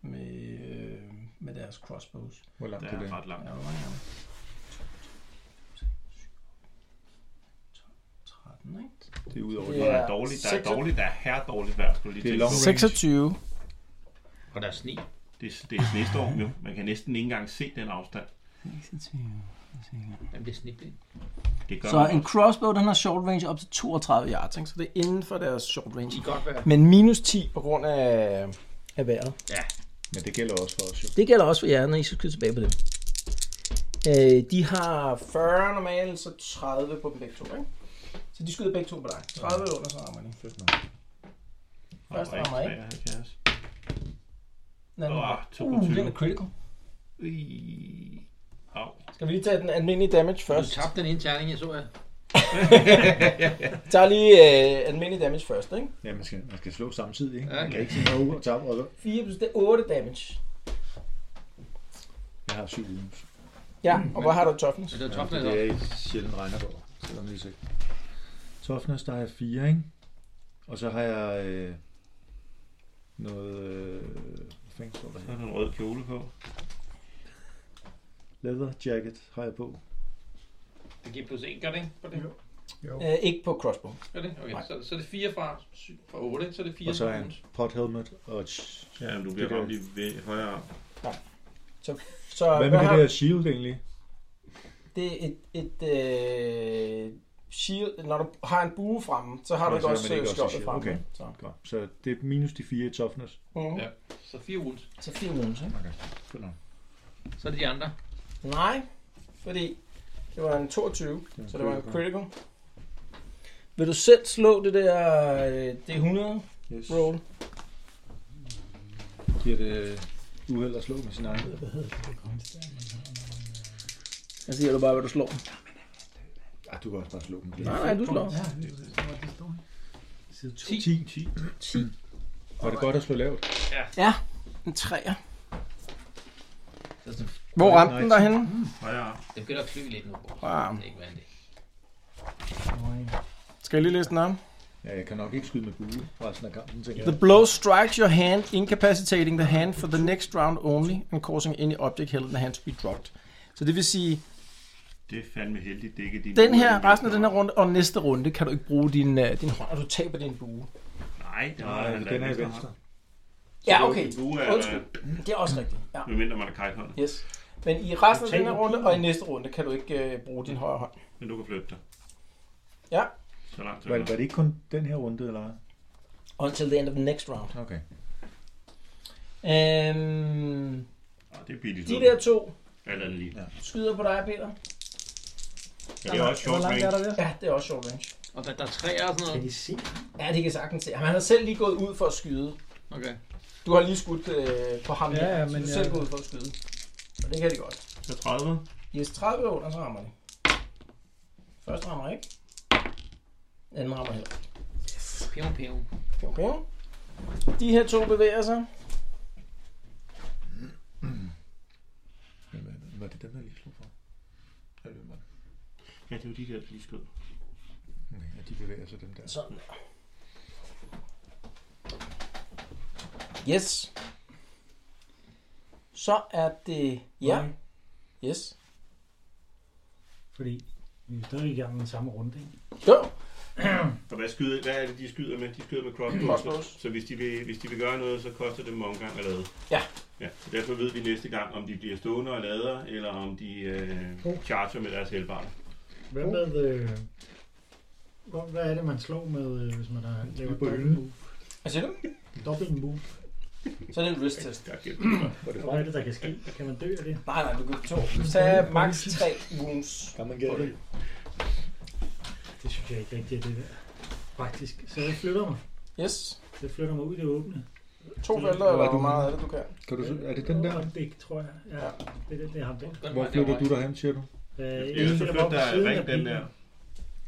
[SPEAKER 2] Med, øh, med deres crossbows.
[SPEAKER 9] Hvor langt
[SPEAKER 4] Der
[SPEAKER 9] er det?
[SPEAKER 4] er ret langt.
[SPEAKER 2] Ja, hvor mange er der?
[SPEAKER 4] Det er udover,
[SPEAKER 2] Det
[SPEAKER 4] når der er
[SPEAKER 2] er
[SPEAKER 4] dårligt, der er
[SPEAKER 2] seks-
[SPEAKER 4] dårligt, der er her dårligt vejr, skulle jeg
[SPEAKER 9] Det
[SPEAKER 4] lige
[SPEAKER 9] er long
[SPEAKER 4] tænke på.
[SPEAKER 9] range.
[SPEAKER 2] 26.
[SPEAKER 7] Og der er sne.
[SPEAKER 4] Det, er- det er snestorm jo. Man kan næsten ikke engang se den afstand.
[SPEAKER 7] Jamen, det er sneblind.
[SPEAKER 4] Det gør
[SPEAKER 2] Så
[SPEAKER 4] man
[SPEAKER 2] en
[SPEAKER 4] også.
[SPEAKER 2] crossbow, den har short range op til 32 yards, ikke? så det er inden for deres short
[SPEAKER 7] I
[SPEAKER 2] range.
[SPEAKER 7] kan godt være.
[SPEAKER 2] Men minus 10 på grund af, af vejret.
[SPEAKER 9] Men det gælder også for os jo.
[SPEAKER 2] Det gælder også for jer, når I skal skyde tilbage på dem. Øh, de har 40 normalt, så 30 på dem begge to, ikke? Så de skyder begge to på dig. 30 under, så rammer de.
[SPEAKER 4] Og
[SPEAKER 2] Første rammer ikke.
[SPEAKER 4] 73.
[SPEAKER 2] Den anden-
[SPEAKER 4] Åh,
[SPEAKER 2] Uh, den er
[SPEAKER 4] 22.
[SPEAKER 2] critical.
[SPEAKER 4] Ui. Au.
[SPEAKER 2] Skal vi lige tage den almindelige damage
[SPEAKER 7] Du
[SPEAKER 2] først?
[SPEAKER 7] tabte den ene terning, jeg så jeg.
[SPEAKER 2] Vi tager lige øh, almindelig damage først, ikke?
[SPEAKER 9] Ja, man skal, man skal slå samtidig, ikke?
[SPEAKER 7] Ja.
[SPEAKER 9] Man kan ikke sige over og tabe rykker.
[SPEAKER 2] 4 plus det er 8 damage.
[SPEAKER 9] Jeg har syv ugen.
[SPEAKER 2] Mm. Ja, og hvor har du toughness?
[SPEAKER 7] Så det var toppen
[SPEAKER 9] Det er sjældent regner på, selvom lige sikkert. Toughness, der har jeg fire, ikke? Og så har jeg øh, noget... Øh, hvad fanden står der
[SPEAKER 4] Så
[SPEAKER 9] her?
[SPEAKER 4] er der en rød kjole på.
[SPEAKER 9] Leather jacket har jeg på.
[SPEAKER 7] Det giver plus 1, gør det ikke? På det?
[SPEAKER 2] Øh, ikke på crossbow.
[SPEAKER 7] Gør det? Okay, så, så er det 4 fra, syv- fra 8, så er det 4
[SPEAKER 9] Og så
[SPEAKER 7] fra
[SPEAKER 9] er en
[SPEAKER 7] bonus.
[SPEAKER 9] pot helmet og et sh-
[SPEAKER 4] Ja, men du
[SPEAKER 9] Det
[SPEAKER 4] bliver
[SPEAKER 9] der-
[SPEAKER 4] ramt i ve- højre arm.
[SPEAKER 2] Så
[SPEAKER 9] Hvad med
[SPEAKER 2] har-
[SPEAKER 9] det der shield egentlig?
[SPEAKER 2] Det er et, et øh, shield. Når du har en bue fremme, så har
[SPEAKER 9] Nå,
[SPEAKER 2] du ikke
[SPEAKER 9] så har
[SPEAKER 2] også
[SPEAKER 9] man ikke
[SPEAKER 2] øh,
[SPEAKER 9] også
[SPEAKER 2] skjoldet
[SPEAKER 9] shield.
[SPEAKER 2] fremme.
[SPEAKER 9] Okay.
[SPEAKER 2] Så,
[SPEAKER 9] Godt. Så det er minus de fire i toughness.
[SPEAKER 2] mm.
[SPEAKER 7] Ja. Så 4 wounds.
[SPEAKER 2] så fire wounds, ikke?
[SPEAKER 7] Så er det de andre.
[SPEAKER 2] Nej, fordi det var en 22, så det var en critical. Vil du selv slå det der øh, D100
[SPEAKER 9] Yes.
[SPEAKER 2] roll?
[SPEAKER 9] Giver det øh, uheld at slå med sin egen.
[SPEAKER 2] Jeg siger du bare, hvad du slår.
[SPEAKER 9] Ja, Ah, du kan også bare slå dem.
[SPEAKER 2] Nej, nej, du slår.
[SPEAKER 5] Ja, det er det, står her. Side 2.
[SPEAKER 9] 10. 10. Var det godt at slå lavt?
[SPEAKER 2] En 3'er. Hvor ramte den derhenne?
[SPEAKER 4] Højre arm.
[SPEAKER 7] Det begynder at flyve lidt nu.
[SPEAKER 2] Wow.
[SPEAKER 7] Det er ikke vanligt.
[SPEAKER 2] Skal jeg lige læse den om?
[SPEAKER 9] Ja, jeg kan nok ikke skyde med bue resten af kampen, tænker
[SPEAKER 2] The
[SPEAKER 9] jeg.
[SPEAKER 2] blow strikes your hand, incapacitating the hand for the next round only, and causing any object held in the hand to be dropped. Så det vil sige,
[SPEAKER 4] Det er fandme heldigt, det ikke er din
[SPEAKER 2] den
[SPEAKER 4] bue,
[SPEAKER 2] her,
[SPEAKER 4] det er
[SPEAKER 2] resten af den her
[SPEAKER 4] venstre
[SPEAKER 2] runde og næste runde, kan du ikke bruge din, øh, din hånd, og du taber din bue.
[SPEAKER 4] arm. Nej, det var
[SPEAKER 9] Nej, den er i venstre.
[SPEAKER 2] Ja, okay.
[SPEAKER 4] Du er, øh,
[SPEAKER 2] Undskyld. Det er også rigtigt. Ja.
[SPEAKER 4] medmindre man er kajthånd,
[SPEAKER 2] Mm. Yes. Men i resten af den her runde og i næste runde, kan du ikke øh, bruge din højre hånd.
[SPEAKER 4] men du kan flytte dig.
[SPEAKER 2] Ja.
[SPEAKER 4] Så langt så
[SPEAKER 9] Var,
[SPEAKER 4] godt.
[SPEAKER 9] var det ikke kun den her runde, eller hvad?
[SPEAKER 2] Until the end of the next round.
[SPEAKER 9] Okay.
[SPEAKER 2] Øhm,
[SPEAKER 4] Ah, det er billigt.
[SPEAKER 2] de der to
[SPEAKER 4] Eller lige.
[SPEAKER 9] Ja.
[SPEAKER 2] skyder på dig, Peter.
[SPEAKER 4] Ja, det er også
[SPEAKER 5] Hvor
[SPEAKER 4] sjovt,
[SPEAKER 5] langt
[SPEAKER 4] men
[SPEAKER 5] er der der?
[SPEAKER 2] Ja, det er også short range.
[SPEAKER 7] Og der, der er 3 og sådan noget.
[SPEAKER 5] Kan de se?
[SPEAKER 2] Ja, det kan jeg sagtens se. Han har selv lige gået ud for at skyde.
[SPEAKER 7] Okay.
[SPEAKER 2] Du har lige skudt øh, på ham
[SPEAKER 5] Ja,
[SPEAKER 2] her,
[SPEAKER 5] ja,
[SPEAKER 2] så
[SPEAKER 5] men
[SPEAKER 2] du
[SPEAKER 5] jeg-
[SPEAKER 2] selv går ud for at skyde. Og det kan de godt.
[SPEAKER 4] så 30.
[SPEAKER 2] Yes, 30 under, så rammer de. Første rammer ikke. Anden rammer heller.
[SPEAKER 7] Pium, pium.
[SPEAKER 2] ikke. Okay. De her to bevæger sig.
[SPEAKER 9] Jamen, var det dem, jeg lige slog for? Ja, det var det.
[SPEAKER 4] Ja, det er jo de der, der lige skød.
[SPEAKER 9] Okay, ja, de bevæger sig dem der.
[SPEAKER 2] Sådan der. Yes. Så er det... Ja. Yes.
[SPEAKER 5] Fordi vi er stadig i gang med den samme runde, ikke?
[SPEAKER 2] Jo.
[SPEAKER 4] Og hvad, skyder, hvad er det, de skyder med? De skyder med crossbows.
[SPEAKER 2] Mm. Crossbows.
[SPEAKER 4] Så, så hvis, de vil, hvis de vil gøre noget, så koster det dem omgang at lade.
[SPEAKER 2] Ja.
[SPEAKER 4] ja. Så derfor ved vi næste gang, om de bliver stående og lader, eller om de
[SPEAKER 2] Oh.
[SPEAKER 4] øh, charger med deres helbart.
[SPEAKER 6] Hvad med... Øh, hvor, hvad er det, man slår med, øh, hvis man har lavet
[SPEAKER 9] på
[SPEAKER 6] dobbelt
[SPEAKER 9] hylden.
[SPEAKER 6] move?
[SPEAKER 2] Hvad siger du?
[SPEAKER 6] Dobbelt move.
[SPEAKER 2] Så er det en wrist test.
[SPEAKER 4] Der giver
[SPEAKER 6] Hvad er det, der kan ske? Kan man dø af det?
[SPEAKER 2] Nej, nej, du kan to. Tag max 3 wounds.
[SPEAKER 9] Kan man gætte det?
[SPEAKER 6] Det synes jeg ikke rigtigt, at det der. Faktisk. Så jeg flytter mig.
[SPEAKER 2] Yes.
[SPEAKER 6] Jeg flytter mig ud i det åbne.
[SPEAKER 2] To felter, eller hvor meget er det, du kan?
[SPEAKER 9] Kan du, så- Altså, er det den der?
[SPEAKER 6] Og Det tror jeg. Ja, det er, den, det er ham der.
[SPEAKER 7] Den
[SPEAKER 9] Hvor
[SPEAKER 7] vej
[SPEAKER 9] flytter du
[SPEAKER 7] derovre.
[SPEAKER 9] derhen, siger du?
[SPEAKER 6] Øh,
[SPEAKER 4] Ellers så
[SPEAKER 6] flytter mig op
[SPEAKER 4] flytter
[SPEAKER 6] på siden af
[SPEAKER 4] ring den
[SPEAKER 6] bilen.
[SPEAKER 4] der.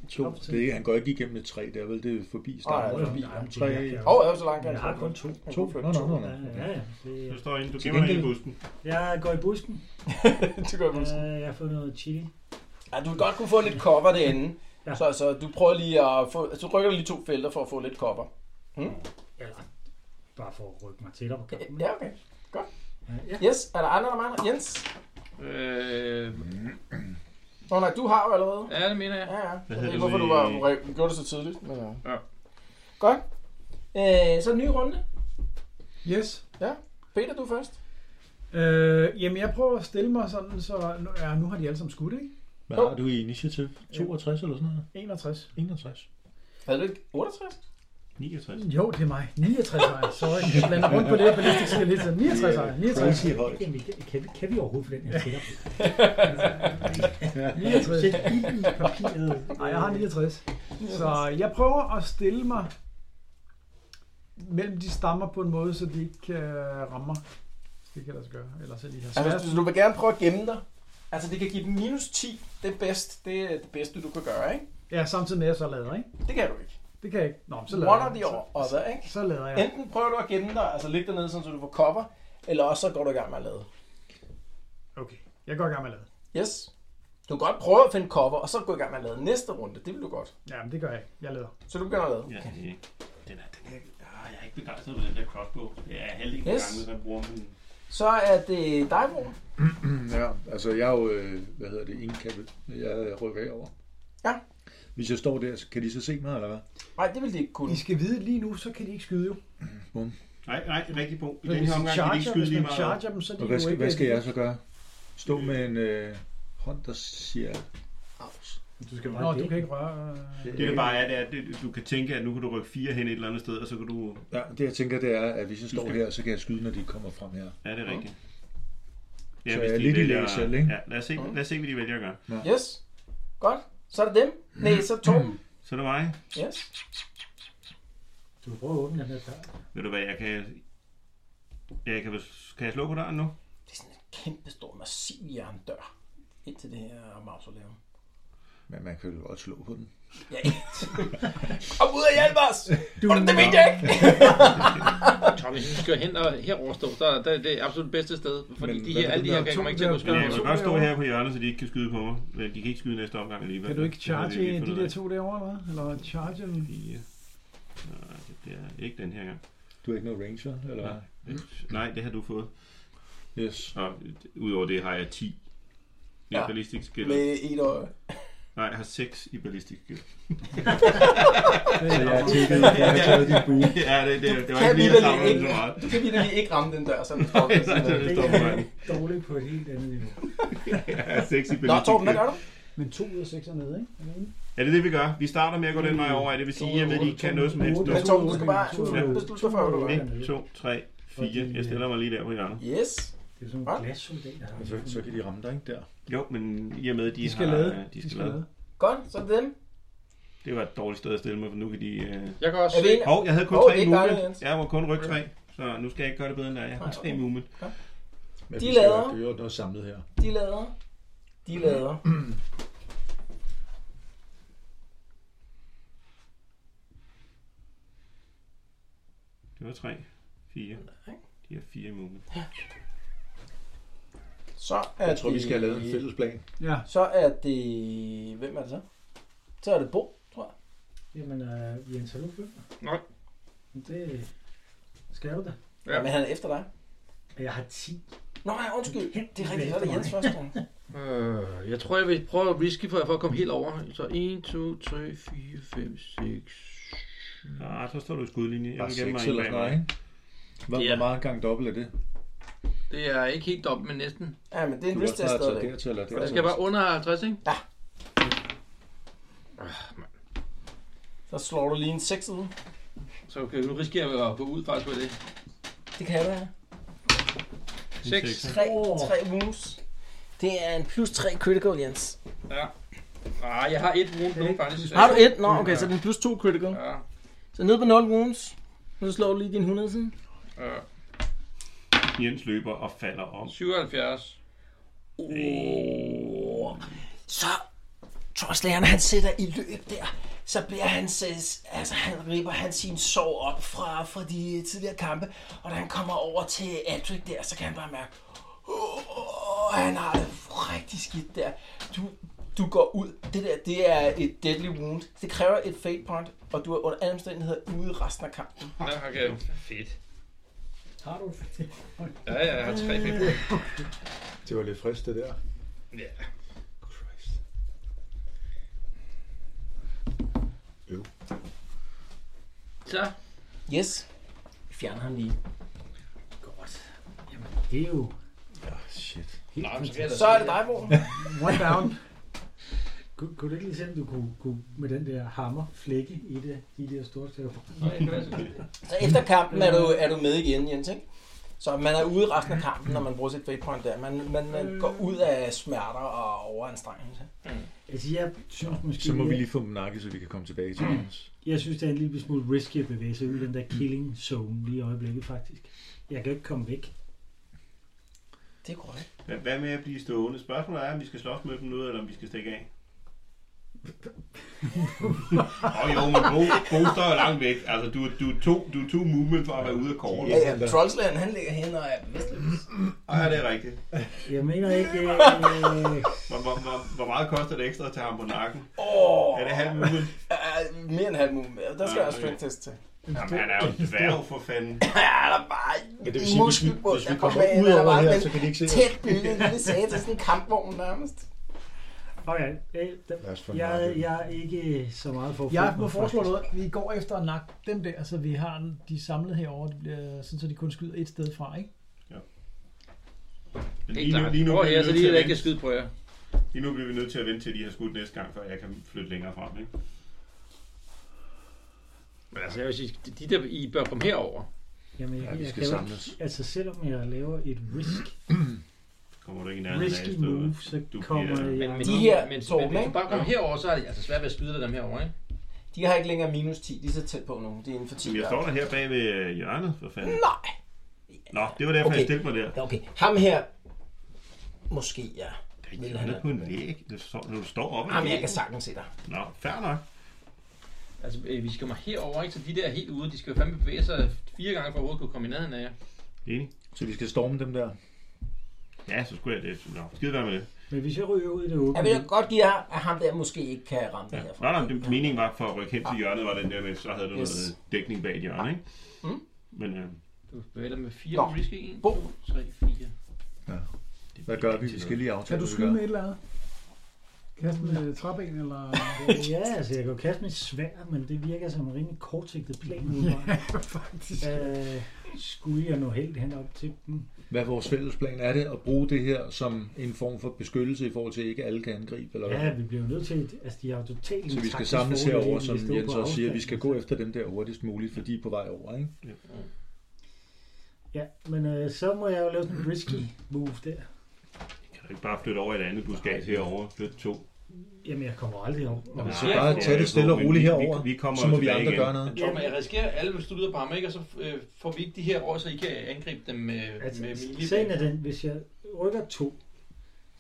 [SPEAKER 9] To.
[SPEAKER 6] Op til-
[SPEAKER 9] Det er, ikke- han går ikke igennem et træ der, vel? Det er forbi
[SPEAKER 2] Nej,
[SPEAKER 9] starten.
[SPEAKER 2] det er forbi.
[SPEAKER 6] Nej, men det
[SPEAKER 9] Tre.
[SPEAKER 6] er- jeg-
[SPEAKER 2] Åh, oh, er jo så langt.
[SPEAKER 6] Jeg har kun to.
[SPEAKER 9] To? Nå, nå, nå. nå.
[SPEAKER 6] Ja, ja, ja. Det-
[SPEAKER 4] Så står inde, du
[SPEAKER 9] Til
[SPEAKER 4] gemmer dig i
[SPEAKER 9] gengæld-
[SPEAKER 4] busken.
[SPEAKER 6] Jeg går i busken.
[SPEAKER 2] [LAUGHS] det gør jeg
[SPEAKER 6] Øh, Jeg har fået noget chili.
[SPEAKER 2] Ja, du vil godt kunne få lidt cover derinde.
[SPEAKER 6] Ja.
[SPEAKER 2] Ja. Så, så du prøver lige at få... Så rykker du lige to felter for at få lidt cover.
[SPEAKER 6] Eller bare for at rykke mig tættere på kampen.
[SPEAKER 2] Ja, okay.
[SPEAKER 6] Ja.
[SPEAKER 2] Yes, er der andre, der mangler? Jens?
[SPEAKER 7] Øh,
[SPEAKER 2] Nå nej, du har jo allerede.
[SPEAKER 7] Ja, det mener jeg.
[SPEAKER 2] Ja, ja.
[SPEAKER 4] Hvad
[SPEAKER 2] Jeg ved
[SPEAKER 4] hedder
[SPEAKER 2] ikke, hvorfor
[SPEAKER 4] det
[SPEAKER 2] du
[SPEAKER 4] nu
[SPEAKER 2] var,
[SPEAKER 4] i-
[SPEAKER 2] re- gjorde det så tidligt. Men, ja.
[SPEAKER 4] Ja.
[SPEAKER 2] Godt. Øh, så en ny runde.
[SPEAKER 5] Yes.
[SPEAKER 2] Peter, du først.
[SPEAKER 5] Øh, jamen, jeg prøver at stille mig sådan, så... nu- Ja, nu har de alle sammen skudt, ikke?
[SPEAKER 9] Hvad har du i initiativ? 62 eller sådan noget?
[SPEAKER 5] 61.
[SPEAKER 9] 61.
[SPEAKER 2] Havde du ikke 68?
[SPEAKER 4] 69.
[SPEAKER 5] Jo, det er mig. 69 ejer. Sorry, jeg blander rundt på det her ballistiske lidt. 69 ejer. 69.
[SPEAKER 9] Crazy højt.
[SPEAKER 6] Jamen, kan, kan, vi, kan vi overhovedet få den her sikker?
[SPEAKER 5] 69.
[SPEAKER 6] Sæt ild i papiret.
[SPEAKER 5] Nej, jeg har 69. Så jeg prøver at stille mig mellem de stammer på en måde, så de ikke kan ramme mig. Det kan lade sig gøre. Eller så de har
[SPEAKER 2] Altså,
[SPEAKER 5] svært.
[SPEAKER 2] hvis du vil gerne prøve at gemme dig. Altså, det kan give dem minus 10. Det er bedst. Det er det bedste, du kan gøre, ikke?
[SPEAKER 5] Ja, samtidig med at jeg så lader, ikke?
[SPEAKER 2] Det kan du ikke.
[SPEAKER 5] Det kan jeg ikke. Nå, men så lader
[SPEAKER 2] One or the
[SPEAKER 5] jeg. Så,
[SPEAKER 2] other, ikke?
[SPEAKER 5] så lader jeg.
[SPEAKER 2] Enten prøver du at gemme dig, altså ligge dernede, sådan, så du får cover, eller også så går du i gang med at lade.
[SPEAKER 5] Okay, jeg går i gang med at lade.
[SPEAKER 2] Yes. Du kan godt prøve at finde cover, og så gå i gang med at lade næste runde. Det vil du godt.
[SPEAKER 5] Jamen, det gør jeg ikke. Jeg lader.
[SPEAKER 2] Så du begynder at lade.
[SPEAKER 4] Ja, det er ikke. Den er, den er, ah, jeg er ikke begejstret for den der crossbow. Det er halvdelen
[SPEAKER 2] Yes.
[SPEAKER 4] yes. gange, man bruger den.
[SPEAKER 2] Så er det dig, Bro.
[SPEAKER 9] Ja, altså jeg er jo, øh, hvad hedder det, indkappet. Jeg rykker herover.
[SPEAKER 2] Ja.
[SPEAKER 9] Hvis jeg står der, så kan de så se mig, eller hvad?
[SPEAKER 2] Nej, det vil de ikke kunne.
[SPEAKER 5] I skal vide, lige nu, så kan de ikke skyde jo.
[SPEAKER 4] Nej, nej, det er rigtigt punkt. I
[SPEAKER 5] Men
[SPEAKER 4] den
[SPEAKER 5] hvis
[SPEAKER 4] her
[SPEAKER 5] de
[SPEAKER 4] omgang kan de ikke
[SPEAKER 5] charger,
[SPEAKER 4] skyde
[SPEAKER 5] hvis
[SPEAKER 4] lige
[SPEAKER 5] man
[SPEAKER 4] meget.
[SPEAKER 5] charger dem, så er de
[SPEAKER 9] Og hvad
[SPEAKER 5] jo
[SPEAKER 9] skal,
[SPEAKER 5] ikke...
[SPEAKER 9] hvad skal jeg så gøre? Stå med en øh, hånd, der siger...
[SPEAKER 6] Du skal
[SPEAKER 5] Nå,
[SPEAKER 6] bare
[SPEAKER 5] du
[SPEAKER 6] det.
[SPEAKER 5] kan ikke røre... øh,
[SPEAKER 4] Det der bare er, det er, at du kan tænke, at nu kan du rykke fire hen et eller andet sted, og så kan du...
[SPEAKER 9] Ja, det jeg tænker, det er, at hvis jeg
[SPEAKER 4] Du
[SPEAKER 9] står
[SPEAKER 4] skal-
[SPEAKER 9] her, så kan jeg skyde, når de kommer frem her.
[SPEAKER 4] Ja, det er rigtigt.
[SPEAKER 9] Så jeg er lidt i læge selv, ikke?
[SPEAKER 4] Ja, lad os, se, lad os se, hvad de vælger at gøre.
[SPEAKER 2] Yes. Godt. Så er det dem. Nej, så er det Torben.
[SPEAKER 4] Så er det mig.
[SPEAKER 2] Yes.
[SPEAKER 6] Du kan prøve at åbne den her dør.
[SPEAKER 4] Ved du hvad, jeg kan... Jeg kan, kan jeg slå på døren nu?
[SPEAKER 2] Det er sådan en kæmpe stor, massiv jerndør ind til det her mausoleum.
[SPEAKER 9] Men man kan jo godt slå på den.
[SPEAKER 2] Ja, Kom ud og hjælp os! Du, det, det mente jeg ikke!
[SPEAKER 7] Tommy, hvis du skal hen og herover stå, så er det det absolut bedste sted. Fordi
[SPEAKER 9] Men
[SPEAKER 7] de
[SPEAKER 9] hvad
[SPEAKER 7] her,
[SPEAKER 9] vil
[SPEAKER 7] alle
[SPEAKER 9] du
[SPEAKER 7] de her
[SPEAKER 9] lave?
[SPEAKER 7] gange
[SPEAKER 5] To
[SPEAKER 7] kommer ikke til at
[SPEAKER 4] Men
[SPEAKER 7] kunne skyde
[SPEAKER 4] jeg
[SPEAKER 7] mig.
[SPEAKER 4] kan godt stå her på hjørnet, så de ikke kan skyde på mig. Men de kan ikke skyde næste omgang alligevel.
[SPEAKER 5] Kan du ikke
[SPEAKER 4] Det har vi
[SPEAKER 5] charge
[SPEAKER 4] fundet ud
[SPEAKER 5] de
[SPEAKER 4] af.
[SPEAKER 5] der to derovre, eller hvad? Eller charge dem?
[SPEAKER 4] Fire. Nej, det bliver ikke den her gang.
[SPEAKER 9] Du er ikke noget ranger, eller hvad?
[SPEAKER 4] Nej, det har du fået.
[SPEAKER 9] Yes.
[SPEAKER 4] Og udover det har jeg 10 i
[SPEAKER 2] Ja.
[SPEAKER 4] ja. ballistisk skill.
[SPEAKER 2] Med et øje.
[SPEAKER 4] Nej, jeg har 6 i ballistisk
[SPEAKER 2] [LAUGHS]
[SPEAKER 4] skill.
[SPEAKER 9] Så jeg har tækket, jeg har taget din bue.
[SPEAKER 4] ja, det, det, det var
[SPEAKER 2] kan
[SPEAKER 4] ikke lige,
[SPEAKER 2] alligevel
[SPEAKER 4] jeg savnede den
[SPEAKER 2] ikke.
[SPEAKER 4] så meget.
[SPEAKER 2] Du kan lige, lige ikke ramme den dør, så den står på
[SPEAKER 4] Nej,
[SPEAKER 2] siden.
[SPEAKER 4] det er stopper mig.
[SPEAKER 6] Dårligt på et helt andet niveau.
[SPEAKER 4] Jeg har 6 i
[SPEAKER 2] Nå,
[SPEAKER 4] ballistisk
[SPEAKER 2] Torben, hvad
[SPEAKER 4] skill.
[SPEAKER 2] gør du?
[SPEAKER 5] Men to ud af seks er nede, ikke? Er det ikke?
[SPEAKER 4] Ja, det er det, vi gør. Vi starter med at gå den vej over, det vil sige, at de ikke kan noget som helst.
[SPEAKER 6] Otte.
[SPEAKER 4] Nu.
[SPEAKER 2] Men Torben, du skal bare
[SPEAKER 6] To-
[SPEAKER 4] Ja.
[SPEAKER 2] beslutte dig for, hvad du gør.
[SPEAKER 4] 1, 2, 3, 4. Jeg stiller mig lige der på hjørnet.
[SPEAKER 2] Yes.
[SPEAKER 6] Det er sådan
[SPEAKER 2] Hvad?
[SPEAKER 6] nogle glassoldater.
[SPEAKER 9] Og Så, så kan de ramme dig, ikke der?
[SPEAKER 4] Jo, men i og med, at de,
[SPEAKER 5] De skal
[SPEAKER 4] har,
[SPEAKER 5] lade.
[SPEAKER 4] øh, de skal lade.
[SPEAKER 2] Godt, så er det dem.
[SPEAKER 4] Det var et dårligt sted at stille mig, for nu kan de... Øh...
[SPEAKER 7] Jeg kan også
[SPEAKER 2] Er vi
[SPEAKER 7] se,
[SPEAKER 2] enige?
[SPEAKER 4] Hov, jeg havde kun
[SPEAKER 2] Hov, det er
[SPEAKER 4] 3
[SPEAKER 2] ikke dejligt,
[SPEAKER 4] movement.
[SPEAKER 2] Jens.
[SPEAKER 4] Jeg var kun rykke 3, så nu skal jeg ikke gøre det bedre end dig. Jeg har 3 movement.
[SPEAKER 9] Men
[SPEAKER 2] De
[SPEAKER 9] vi skal
[SPEAKER 2] lader.
[SPEAKER 9] have gjort noget samlet her.
[SPEAKER 2] De lader. De lader.
[SPEAKER 4] Det var 3, 4. De har 4 movement.
[SPEAKER 2] Så er
[SPEAKER 9] Jeg tror, vi
[SPEAKER 2] det-
[SPEAKER 9] skal have lavet en fælles plan.
[SPEAKER 5] Ja.
[SPEAKER 2] Så er det... Hvem er det så? Så er det Bo, tror jeg.
[SPEAKER 6] Jamen, øh, Jens, har du bønder?
[SPEAKER 7] Nej.
[SPEAKER 6] Det skal du da.
[SPEAKER 7] Ja.
[SPEAKER 2] Ja. Men han er efter dig.
[SPEAKER 6] Og Jeg har 10.
[SPEAKER 2] Nå, nej, undskyld. Det er rigtigt, så er det
[SPEAKER 6] Efter
[SPEAKER 2] Jens
[SPEAKER 6] mig.
[SPEAKER 2] først. ja.
[SPEAKER 7] Øh, jeg tror, jeg vil prøve at whisky for, for at komme helt over. Så 1, 2, 3, 4, 5, 6...
[SPEAKER 4] Ah, så står du i skudlinje. Jeg
[SPEAKER 9] Bare
[SPEAKER 4] vil gemme mig
[SPEAKER 9] seks
[SPEAKER 4] ind
[SPEAKER 9] eller
[SPEAKER 4] bag
[SPEAKER 9] sådan noget,
[SPEAKER 4] mig.
[SPEAKER 9] ikke? Hvor,
[SPEAKER 7] Ja.
[SPEAKER 9] hvor meget gang dobbelt er det?
[SPEAKER 7] Det er ikke helt dobbelt, men næsten.
[SPEAKER 2] Ja, men det er
[SPEAKER 9] Du
[SPEAKER 2] en
[SPEAKER 9] kan
[SPEAKER 2] lyst
[SPEAKER 9] også
[SPEAKER 2] til
[SPEAKER 9] bare tage
[SPEAKER 2] stadigvæk.
[SPEAKER 9] dertil eller
[SPEAKER 7] Og det
[SPEAKER 9] dertil.
[SPEAKER 7] skal være under 50, ikke?
[SPEAKER 2] Så slår du lige en 6 ud.
[SPEAKER 7] Så okay, nu risikerer jeg at gå ud faktisk på det.
[SPEAKER 2] Det kan være.
[SPEAKER 4] En
[SPEAKER 7] 6.
[SPEAKER 4] sekser.
[SPEAKER 2] 3, 3 moves. Det er en plus 3 critical, Jens.
[SPEAKER 7] Ja. Ah, jeg har et wound nu, faktisk.
[SPEAKER 2] Har du et? Nå, okay, så det er en plus 2 critical.
[SPEAKER 7] Ja,
[SPEAKER 2] Så ned på 0 wounds. Nu slår du lige din 100 siden.
[SPEAKER 7] ja.
[SPEAKER 4] Jens løber og falder om.
[SPEAKER 7] 77.
[SPEAKER 2] Oh. Så Torslærerne, han sætter i løb der. Så bliver han, altså han ripper han sin sorg op fra, fra de tidligere kampe. Og da han kommer over til Adric der, så kan han bare mærke, oh, han har det rigtig skidt der. Du, du går ud. Det der, det er et deadly wound. Det kræver et fate point, og du er under alle omstændigheder ude resten af kampen.
[SPEAKER 7] Ja, okay. Fedt.
[SPEAKER 6] Har du det?
[SPEAKER 7] Ja, ja, jeg har 3 fem.
[SPEAKER 9] Det var lidt frist, det der.
[SPEAKER 7] Ja. Så,
[SPEAKER 2] Yes. Vi fjerner ham lige.
[SPEAKER 6] Godt. Jamen, det er jo...
[SPEAKER 2] Så er det dig, Morten.
[SPEAKER 6] One [LAUGHS] down. kunne, kunne du ikke lige se, om du kunne, kunne med den der hammer flække i det, de der store stykker?
[SPEAKER 7] Nå, jeg kan være så
[SPEAKER 2] Så efter kampen er du, er du med igen, Jens, ikke? Så man er ude resten af kampen, når man bruger sit fate point der. Man, man, man går ud af smerter og overanstrengelse.
[SPEAKER 6] Altså, jeg synes måske...
[SPEAKER 9] Så må vi
[SPEAKER 6] jeg-
[SPEAKER 9] lige få dem nakket, så vi kan komme tilbage til hans.
[SPEAKER 6] Jeg synes, det er en lille smule risky at bevæge sig ud i den der killing zone lige i øjeblikket, faktisk. Jeg kan ikke komme væk.
[SPEAKER 2] Det er korrekt.
[SPEAKER 4] Hvad- Hvad med at blive stående? Spørgsmålet er, om vi skal slås med dem nu, eller om vi skal
[SPEAKER 9] [LAUGHS]
[SPEAKER 4] stikke af. Åh oh, jo, men Bo, Bo står jo langt væk. Altså, du, du, er to, du er to movement for at være ude af kortet.
[SPEAKER 2] Ja, ja, Trollsland, han ligger hen og er vestløs.
[SPEAKER 4] Ej, ja, det er rigtigt.
[SPEAKER 6] Jeg mener ikke... Øh,
[SPEAKER 4] Hvor, hvor, hvor, hvor meget koster det ekstra at tage ham på nakken?
[SPEAKER 2] Åh,
[SPEAKER 4] Er det halv movement?
[SPEAKER 2] øh, mere end halv move. Der skal
[SPEAKER 4] Ah,
[SPEAKER 2] jeg også
[SPEAKER 4] okay.
[SPEAKER 2] strength test til.
[SPEAKER 4] Jamen, han er jo en dværg for fanden.
[SPEAKER 2] Ja, der er bare
[SPEAKER 9] Men det vil sige, hvis vi,
[SPEAKER 2] muskelbund,
[SPEAKER 9] hvis vi
[SPEAKER 2] der
[SPEAKER 9] kommer
[SPEAKER 2] banen,
[SPEAKER 9] ud
[SPEAKER 2] der er
[SPEAKER 9] over
[SPEAKER 2] bare
[SPEAKER 9] her,
[SPEAKER 2] sådan
[SPEAKER 9] så kan de ikke se
[SPEAKER 2] en
[SPEAKER 9] os.
[SPEAKER 2] Tæt bygget en lille sag til sådan en kampvogn nærmest.
[SPEAKER 6] okay, øh, der,
[SPEAKER 9] Lad os få den
[SPEAKER 6] jeg,
[SPEAKER 9] nakket.
[SPEAKER 6] jeg er ikke øh, så meget for at
[SPEAKER 5] Jeg
[SPEAKER 6] flytte
[SPEAKER 5] må
[SPEAKER 6] mig,
[SPEAKER 5] foreslå
[SPEAKER 6] faktisk.
[SPEAKER 5] noget. Vi går efter at nakke dem der, så vi har en- de samlet herover, det bliver, sådan, så de kun skyder et sted fra, ikke?
[SPEAKER 4] Men
[SPEAKER 7] Det er
[SPEAKER 4] lige nu,
[SPEAKER 7] klart.
[SPEAKER 4] lige nu,
[SPEAKER 7] Prøv
[SPEAKER 4] bliver
[SPEAKER 7] her,
[SPEAKER 4] vi
[SPEAKER 7] så
[SPEAKER 4] nødt til
[SPEAKER 7] lige er der
[SPEAKER 4] at
[SPEAKER 7] ikke
[SPEAKER 4] vente.
[SPEAKER 7] skide på jer.
[SPEAKER 4] lige nu bliver vi nødt til at vente til, de har skudt næste gang, før jeg kan flytte længere frem. Ikke?
[SPEAKER 7] Men altså, jeg vil sige, de- de der, I bør komme herover.
[SPEAKER 6] Jamen, jeg,
[SPEAKER 9] Ja,
[SPEAKER 6] ja,
[SPEAKER 9] vi
[SPEAKER 6] jeg
[SPEAKER 9] skal
[SPEAKER 6] kan jo
[SPEAKER 9] samles.
[SPEAKER 6] ikke, altså, selvom jeg laver et risk,
[SPEAKER 4] Kommer du ikke i nærheden af
[SPEAKER 6] risky
[SPEAKER 4] et
[SPEAKER 6] move,
[SPEAKER 4] sted?
[SPEAKER 6] så
[SPEAKER 4] Du
[SPEAKER 6] kommer
[SPEAKER 4] bliver-
[SPEAKER 6] jeg...
[SPEAKER 7] Men, men,
[SPEAKER 2] De her
[SPEAKER 7] men,
[SPEAKER 2] to,
[SPEAKER 7] men, hvis
[SPEAKER 2] ikke?
[SPEAKER 7] du bare kommer herover, så er det altså svært ved at skyde dig dem herover, ikke?
[SPEAKER 2] De har ikke længere minus 10, de er så tæt på nu. Det er inden for 10.
[SPEAKER 4] Jamen,
[SPEAKER 2] der.
[SPEAKER 4] jeg står der her bag ved øh, hjørnet, for fanden.
[SPEAKER 2] Nej.
[SPEAKER 4] Nå, det var derfor, okay.
[SPEAKER 2] Okay.
[SPEAKER 4] jeg stillede mig der.
[SPEAKER 2] Ja, okay. Ham her, måske ja. Vil han
[SPEAKER 4] Han er på
[SPEAKER 2] have.
[SPEAKER 4] en væg. Det står, når du står oppe.
[SPEAKER 2] Ham jeg kan sagtens se dig.
[SPEAKER 4] Nå, fair nok.
[SPEAKER 7] Altså, øh, vi skal komme herover, ikke? Så de der helt ude, de skal jo fandme bevæge sig fire gange, for at overhovedet kunne komme i nærheden af jer.
[SPEAKER 4] Enig.
[SPEAKER 9] Så vi skal storme dem der.
[SPEAKER 4] Ja, så skulle jeg det. Nå, skide være med det.
[SPEAKER 6] Men hvis jeg ryger ud i det åbne,
[SPEAKER 2] Jeg vil godt give jer, at ham der måske ikke kan ramme det herfra.
[SPEAKER 4] Nå, nå, det meningen var for at rykke hen til hjørnet, var den der med, så havde du
[SPEAKER 2] Yes.
[SPEAKER 4] noget dækning bag et hjørne, ikke?
[SPEAKER 2] Mm.
[SPEAKER 4] Men øh,
[SPEAKER 7] Du bevæger dig med fire,
[SPEAKER 2] Nå.
[SPEAKER 7] Nå. risky. En,
[SPEAKER 2] Bo.
[SPEAKER 7] to, tre, fire.
[SPEAKER 9] Hvad gør vi? Vi skal lige
[SPEAKER 5] Kan
[SPEAKER 9] aftale,
[SPEAKER 5] du
[SPEAKER 9] hvad vi
[SPEAKER 5] skyde
[SPEAKER 9] gør.
[SPEAKER 5] med et eller andet? Kaste med træben, eller...
[SPEAKER 6] ja, altså, jeg kan jo kaste mit svær, men det virker som en rimelig kortsigtet plan. Ja, faktisk. Øh, skulle jeg nå helt hen op til dem?
[SPEAKER 9] Hvad er vores fælles plan er det at bruge det her som en form for beskyttelse i forhold til, at ikke alle kan angribe? Eller hvad?
[SPEAKER 6] Ja, vi bliver jo nødt til, altså de har jo totalt en
[SPEAKER 9] Så vi skal
[SPEAKER 6] taktisk
[SPEAKER 9] samles
[SPEAKER 6] fordel,
[SPEAKER 9] herover,
[SPEAKER 6] hvis vi
[SPEAKER 9] som
[SPEAKER 6] står
[SPEAKER 9] Jens
[SPEAKER 6] på
[SPEAKER 9] også siger,
[SPEAKER 6] afstand.
[SPEAKER 9] vi skal gå efter dem der hurtigst muligt, for de er på vej over, ikke?
[SPEAKER 6] Ja, men øh, så må jeg jo lave sådan en risky move der.
[SPEAKER 4] kan du ikke bare flytte over i et andet buskage herover? Flytte to.
[SPEAKER 6] Jamen, jeg kommer aldrig over.
[SPEAKER 9] Nå, men
[SPEAKER 7] Nej,
[SPEAKER 9] så
[SPEAKER 7] ja,
[SPEAKER 9] bare
[SPEAKER 7] det er
[SPEAKER 9] tage det
[SPEAKER 4] jo
[SPEAKER 9] stille og
[SPEAKER 4] på, men
[SPEAKER 9] roligt
[SPEAKER 4] vi-
[SPEAKER 9] herover,
[SPEAKER 4] vi- vi kommer
[SPEAKER 9] så må vi
[SPEAKER 4] tilbage
[SPEAKER 9] andre
[SPEAKER 4] igen.
[SPEAKER 9] gøre noget.
[SPEAKER 7] Men Tom, jeg risikerer alle, hvis du lyder på ham, ikke? Og så øh, får vi ikke de her over, så I kan angribe dem øh,
[SPEAKER 6] Altså,
[SPEAKER 7] med melee.
[SPEAKER 6] sagen er den, hvis jeg rykker to,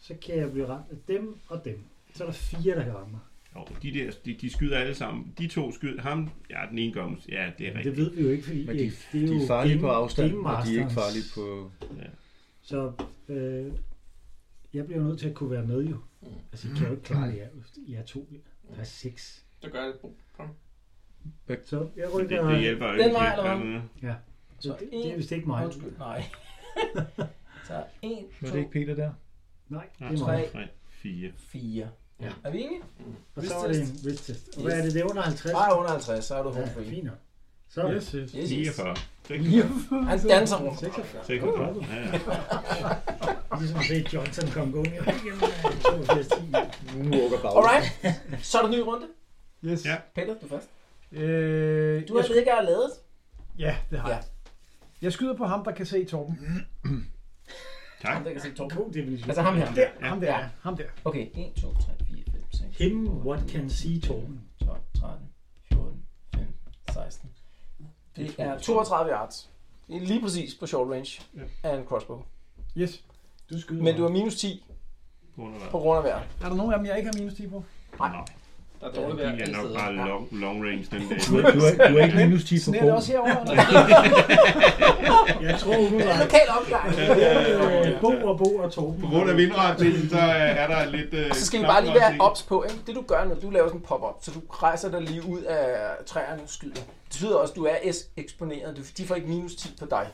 [SPEAKER 6] så kan jeg blive ramt af dem og dem. Så er der fire, der kan ramme mig.
[SPEAKER 4] Jo, de der, de, de skyder alle sammen. De to skyder ham. Ja, den ene gør mus- Ja, det er
[SPEAKER 6] Men det
[SPEAKER 4] rigtigt.
[SPEAKER 6] ved vi jo ikke, fordi
[SPEAKER 9] Men de,
[SPEAKER 6] det er
[SPEAKER 9] de
[SPEAKER 6] jo
[SPEAKER 9] er farlige på
[SPEAKER 6] game-
[SPEAKER 9] afstand,
[SPEAKER 6] game
[SPEAKER 9] og de er ikke
[SPEAKER 6] masters.
[SPEAKER 9] farlige på...
[SPEAKER 6] [LAUGHS] Så øh, jeg bliver jo nødt til at kunne være med jo.
[SPEAKER 7] Mm.
[SPEAKER 6] Altså, I kan jo ikke klare det, jer, jer to. Der er seks.
[SPEAKER 7] Så gør jeg det. Bo, Kom.
[SPEAKER 6] Så jeg
[SPEAKER 4] Det,
[SPEAKER 6] rykker...
[SPEAKER 4] det hjælper jo ikke.
[SPEAKER 2] vej,
[SPEAKER 4] til,
[SPEAKER 2] eller hvad?
[SPEAKER 4] men, øh,
[SPEAKER 6] Så det, det er vist ikke mig.
[SPEAKER 2] Undskyld, nej. så 1,
[SPEAKER 9] Var det
[SPEAKER 2] 2,
[SPEAKER 9] ikke Peter der?
[SPEAKER 6] Nej,
[SPEAKER 4] nej,
[SPEAKER 6] det er mig.
[SPEAKER 2] tre.
[SPEAKER 4] tre, fire.
[SPEAKER 2] 4.
[SPEAKER 6] Ja.
[SPEAKER 2] Er vi enige?
[SPEAKER 6] Og så er det en wrist test. Og hvad er det, det er under 50?
[SPEAKER 2] Bare under 50, så er du home
[SPEAKER 6] Ja,
[SPEAKER 2] free.
[SPEAKER 6] fint nok. Så er det.
[SPEAKER 14] Yes, yes.
[SPEAKER 2] Yes, yes.
[SPEAKER 4] 49. 46.
[SPEAKER 2] Han danser rundt.
[SPEAKER 4] 46. Ja, ja.
[SPEAKER 6] Ligesom at se Johnson komme gående. Jamen, øh, 82, 10.
[SPEAKER 9] Nu walker bag.
[SPEAKER 2] Alright, så er der ny runde.
[SPEAKER 14] yes.
[SPEAKER 4] Ja.
[SPEAKER 2] Peter, du først.
[SPEAKER 5] Øh,
[SPEAKER 2] Du
[SPEAKER 5] jeg
[SPEAKER 2] har
[SPEAKER 5] skyder-
[SPEAKER 2] ligget og lavet.
[SPEAKER 5] Ja, det har
[SPEAKER 2] Ja.
[SPEAKER 5] jeg. Jeg skyder på ham, der kan se Torben.
[SPEAKER 4] Tak.
[SPEAKER 2] Ham der kan se Torben.
[SPEAKER 6] God definition.
[SPEAKER 2] Altså ham her.
[SPEAKER 5] Der,
[SPEAKER 4] Ja.
[SPEAKER 5] ham der, ja. ham der.
[SPEAKER 2] Okay, 1, 2, 3, 4, 5, 6,
[SPEAKER 6] Him, what can see, Torben.
[SPEAKER 2] 12, 13, 14, 15, 16. Det er 32 yards. Det er Lige præcis på short range af en crossbow.
[SPEAKER 5] Yes.
[SPEAKER 6] Du skyder.
[SPEAKER 2] Men du har minus 10
[SPEAKER 4] Under hvad?
[SPEAKER 2] på grund af vejret.
[SPEAKER 5] Er der nogen af dem, jeg ikke har minus 10 på?
[SPEAKER 4] Nå,
[SPEAKER 7] Der er dårligt vejr
[SPEAKER 4] de er
[SPEAKER 7] alle
[SPEAKER 4] nok
[SPEAKER 7] steder.
[SPEAKER 4] bare long, long range, den der.
[SPEAKER 9] Du er, du er, du er ikke minus 10 på
[SPEAKER 5] Sådan er det
[SPEAKER 9] bogen.
[SPEAKER 5] også herovre.
[SPEAKER 9] [LAUGHS]
[SPEAKER 5] eller?
[SPEAKER 6] Jeg tror, hun
[SPEAKER 2] Det
[SPEAKER 6] var...
[SPEAKER 2] er lokal opgang.
[SPEAKER 6] Øh, Bo og Bo og Torben.
[SPEAKER 4] På grund af vindretningen, så øh, er der lidt... Øh,
[SPEAKER 2] Så skal vi
[SPEAKER 4] knap
[SPEAKER 2] bare lige
[SPEAKER 4] nok
[SPEAKER 2] være
[SPEAKER 4] ting.
[SPEAKER 2] ops på, ikke? Det du gør nu, du laver sådan en pop-up, så du rejser dig lige ud af træerne og skyder. betyder også, at du er S eksponeret. Du, de får ikke minus 10 på dig.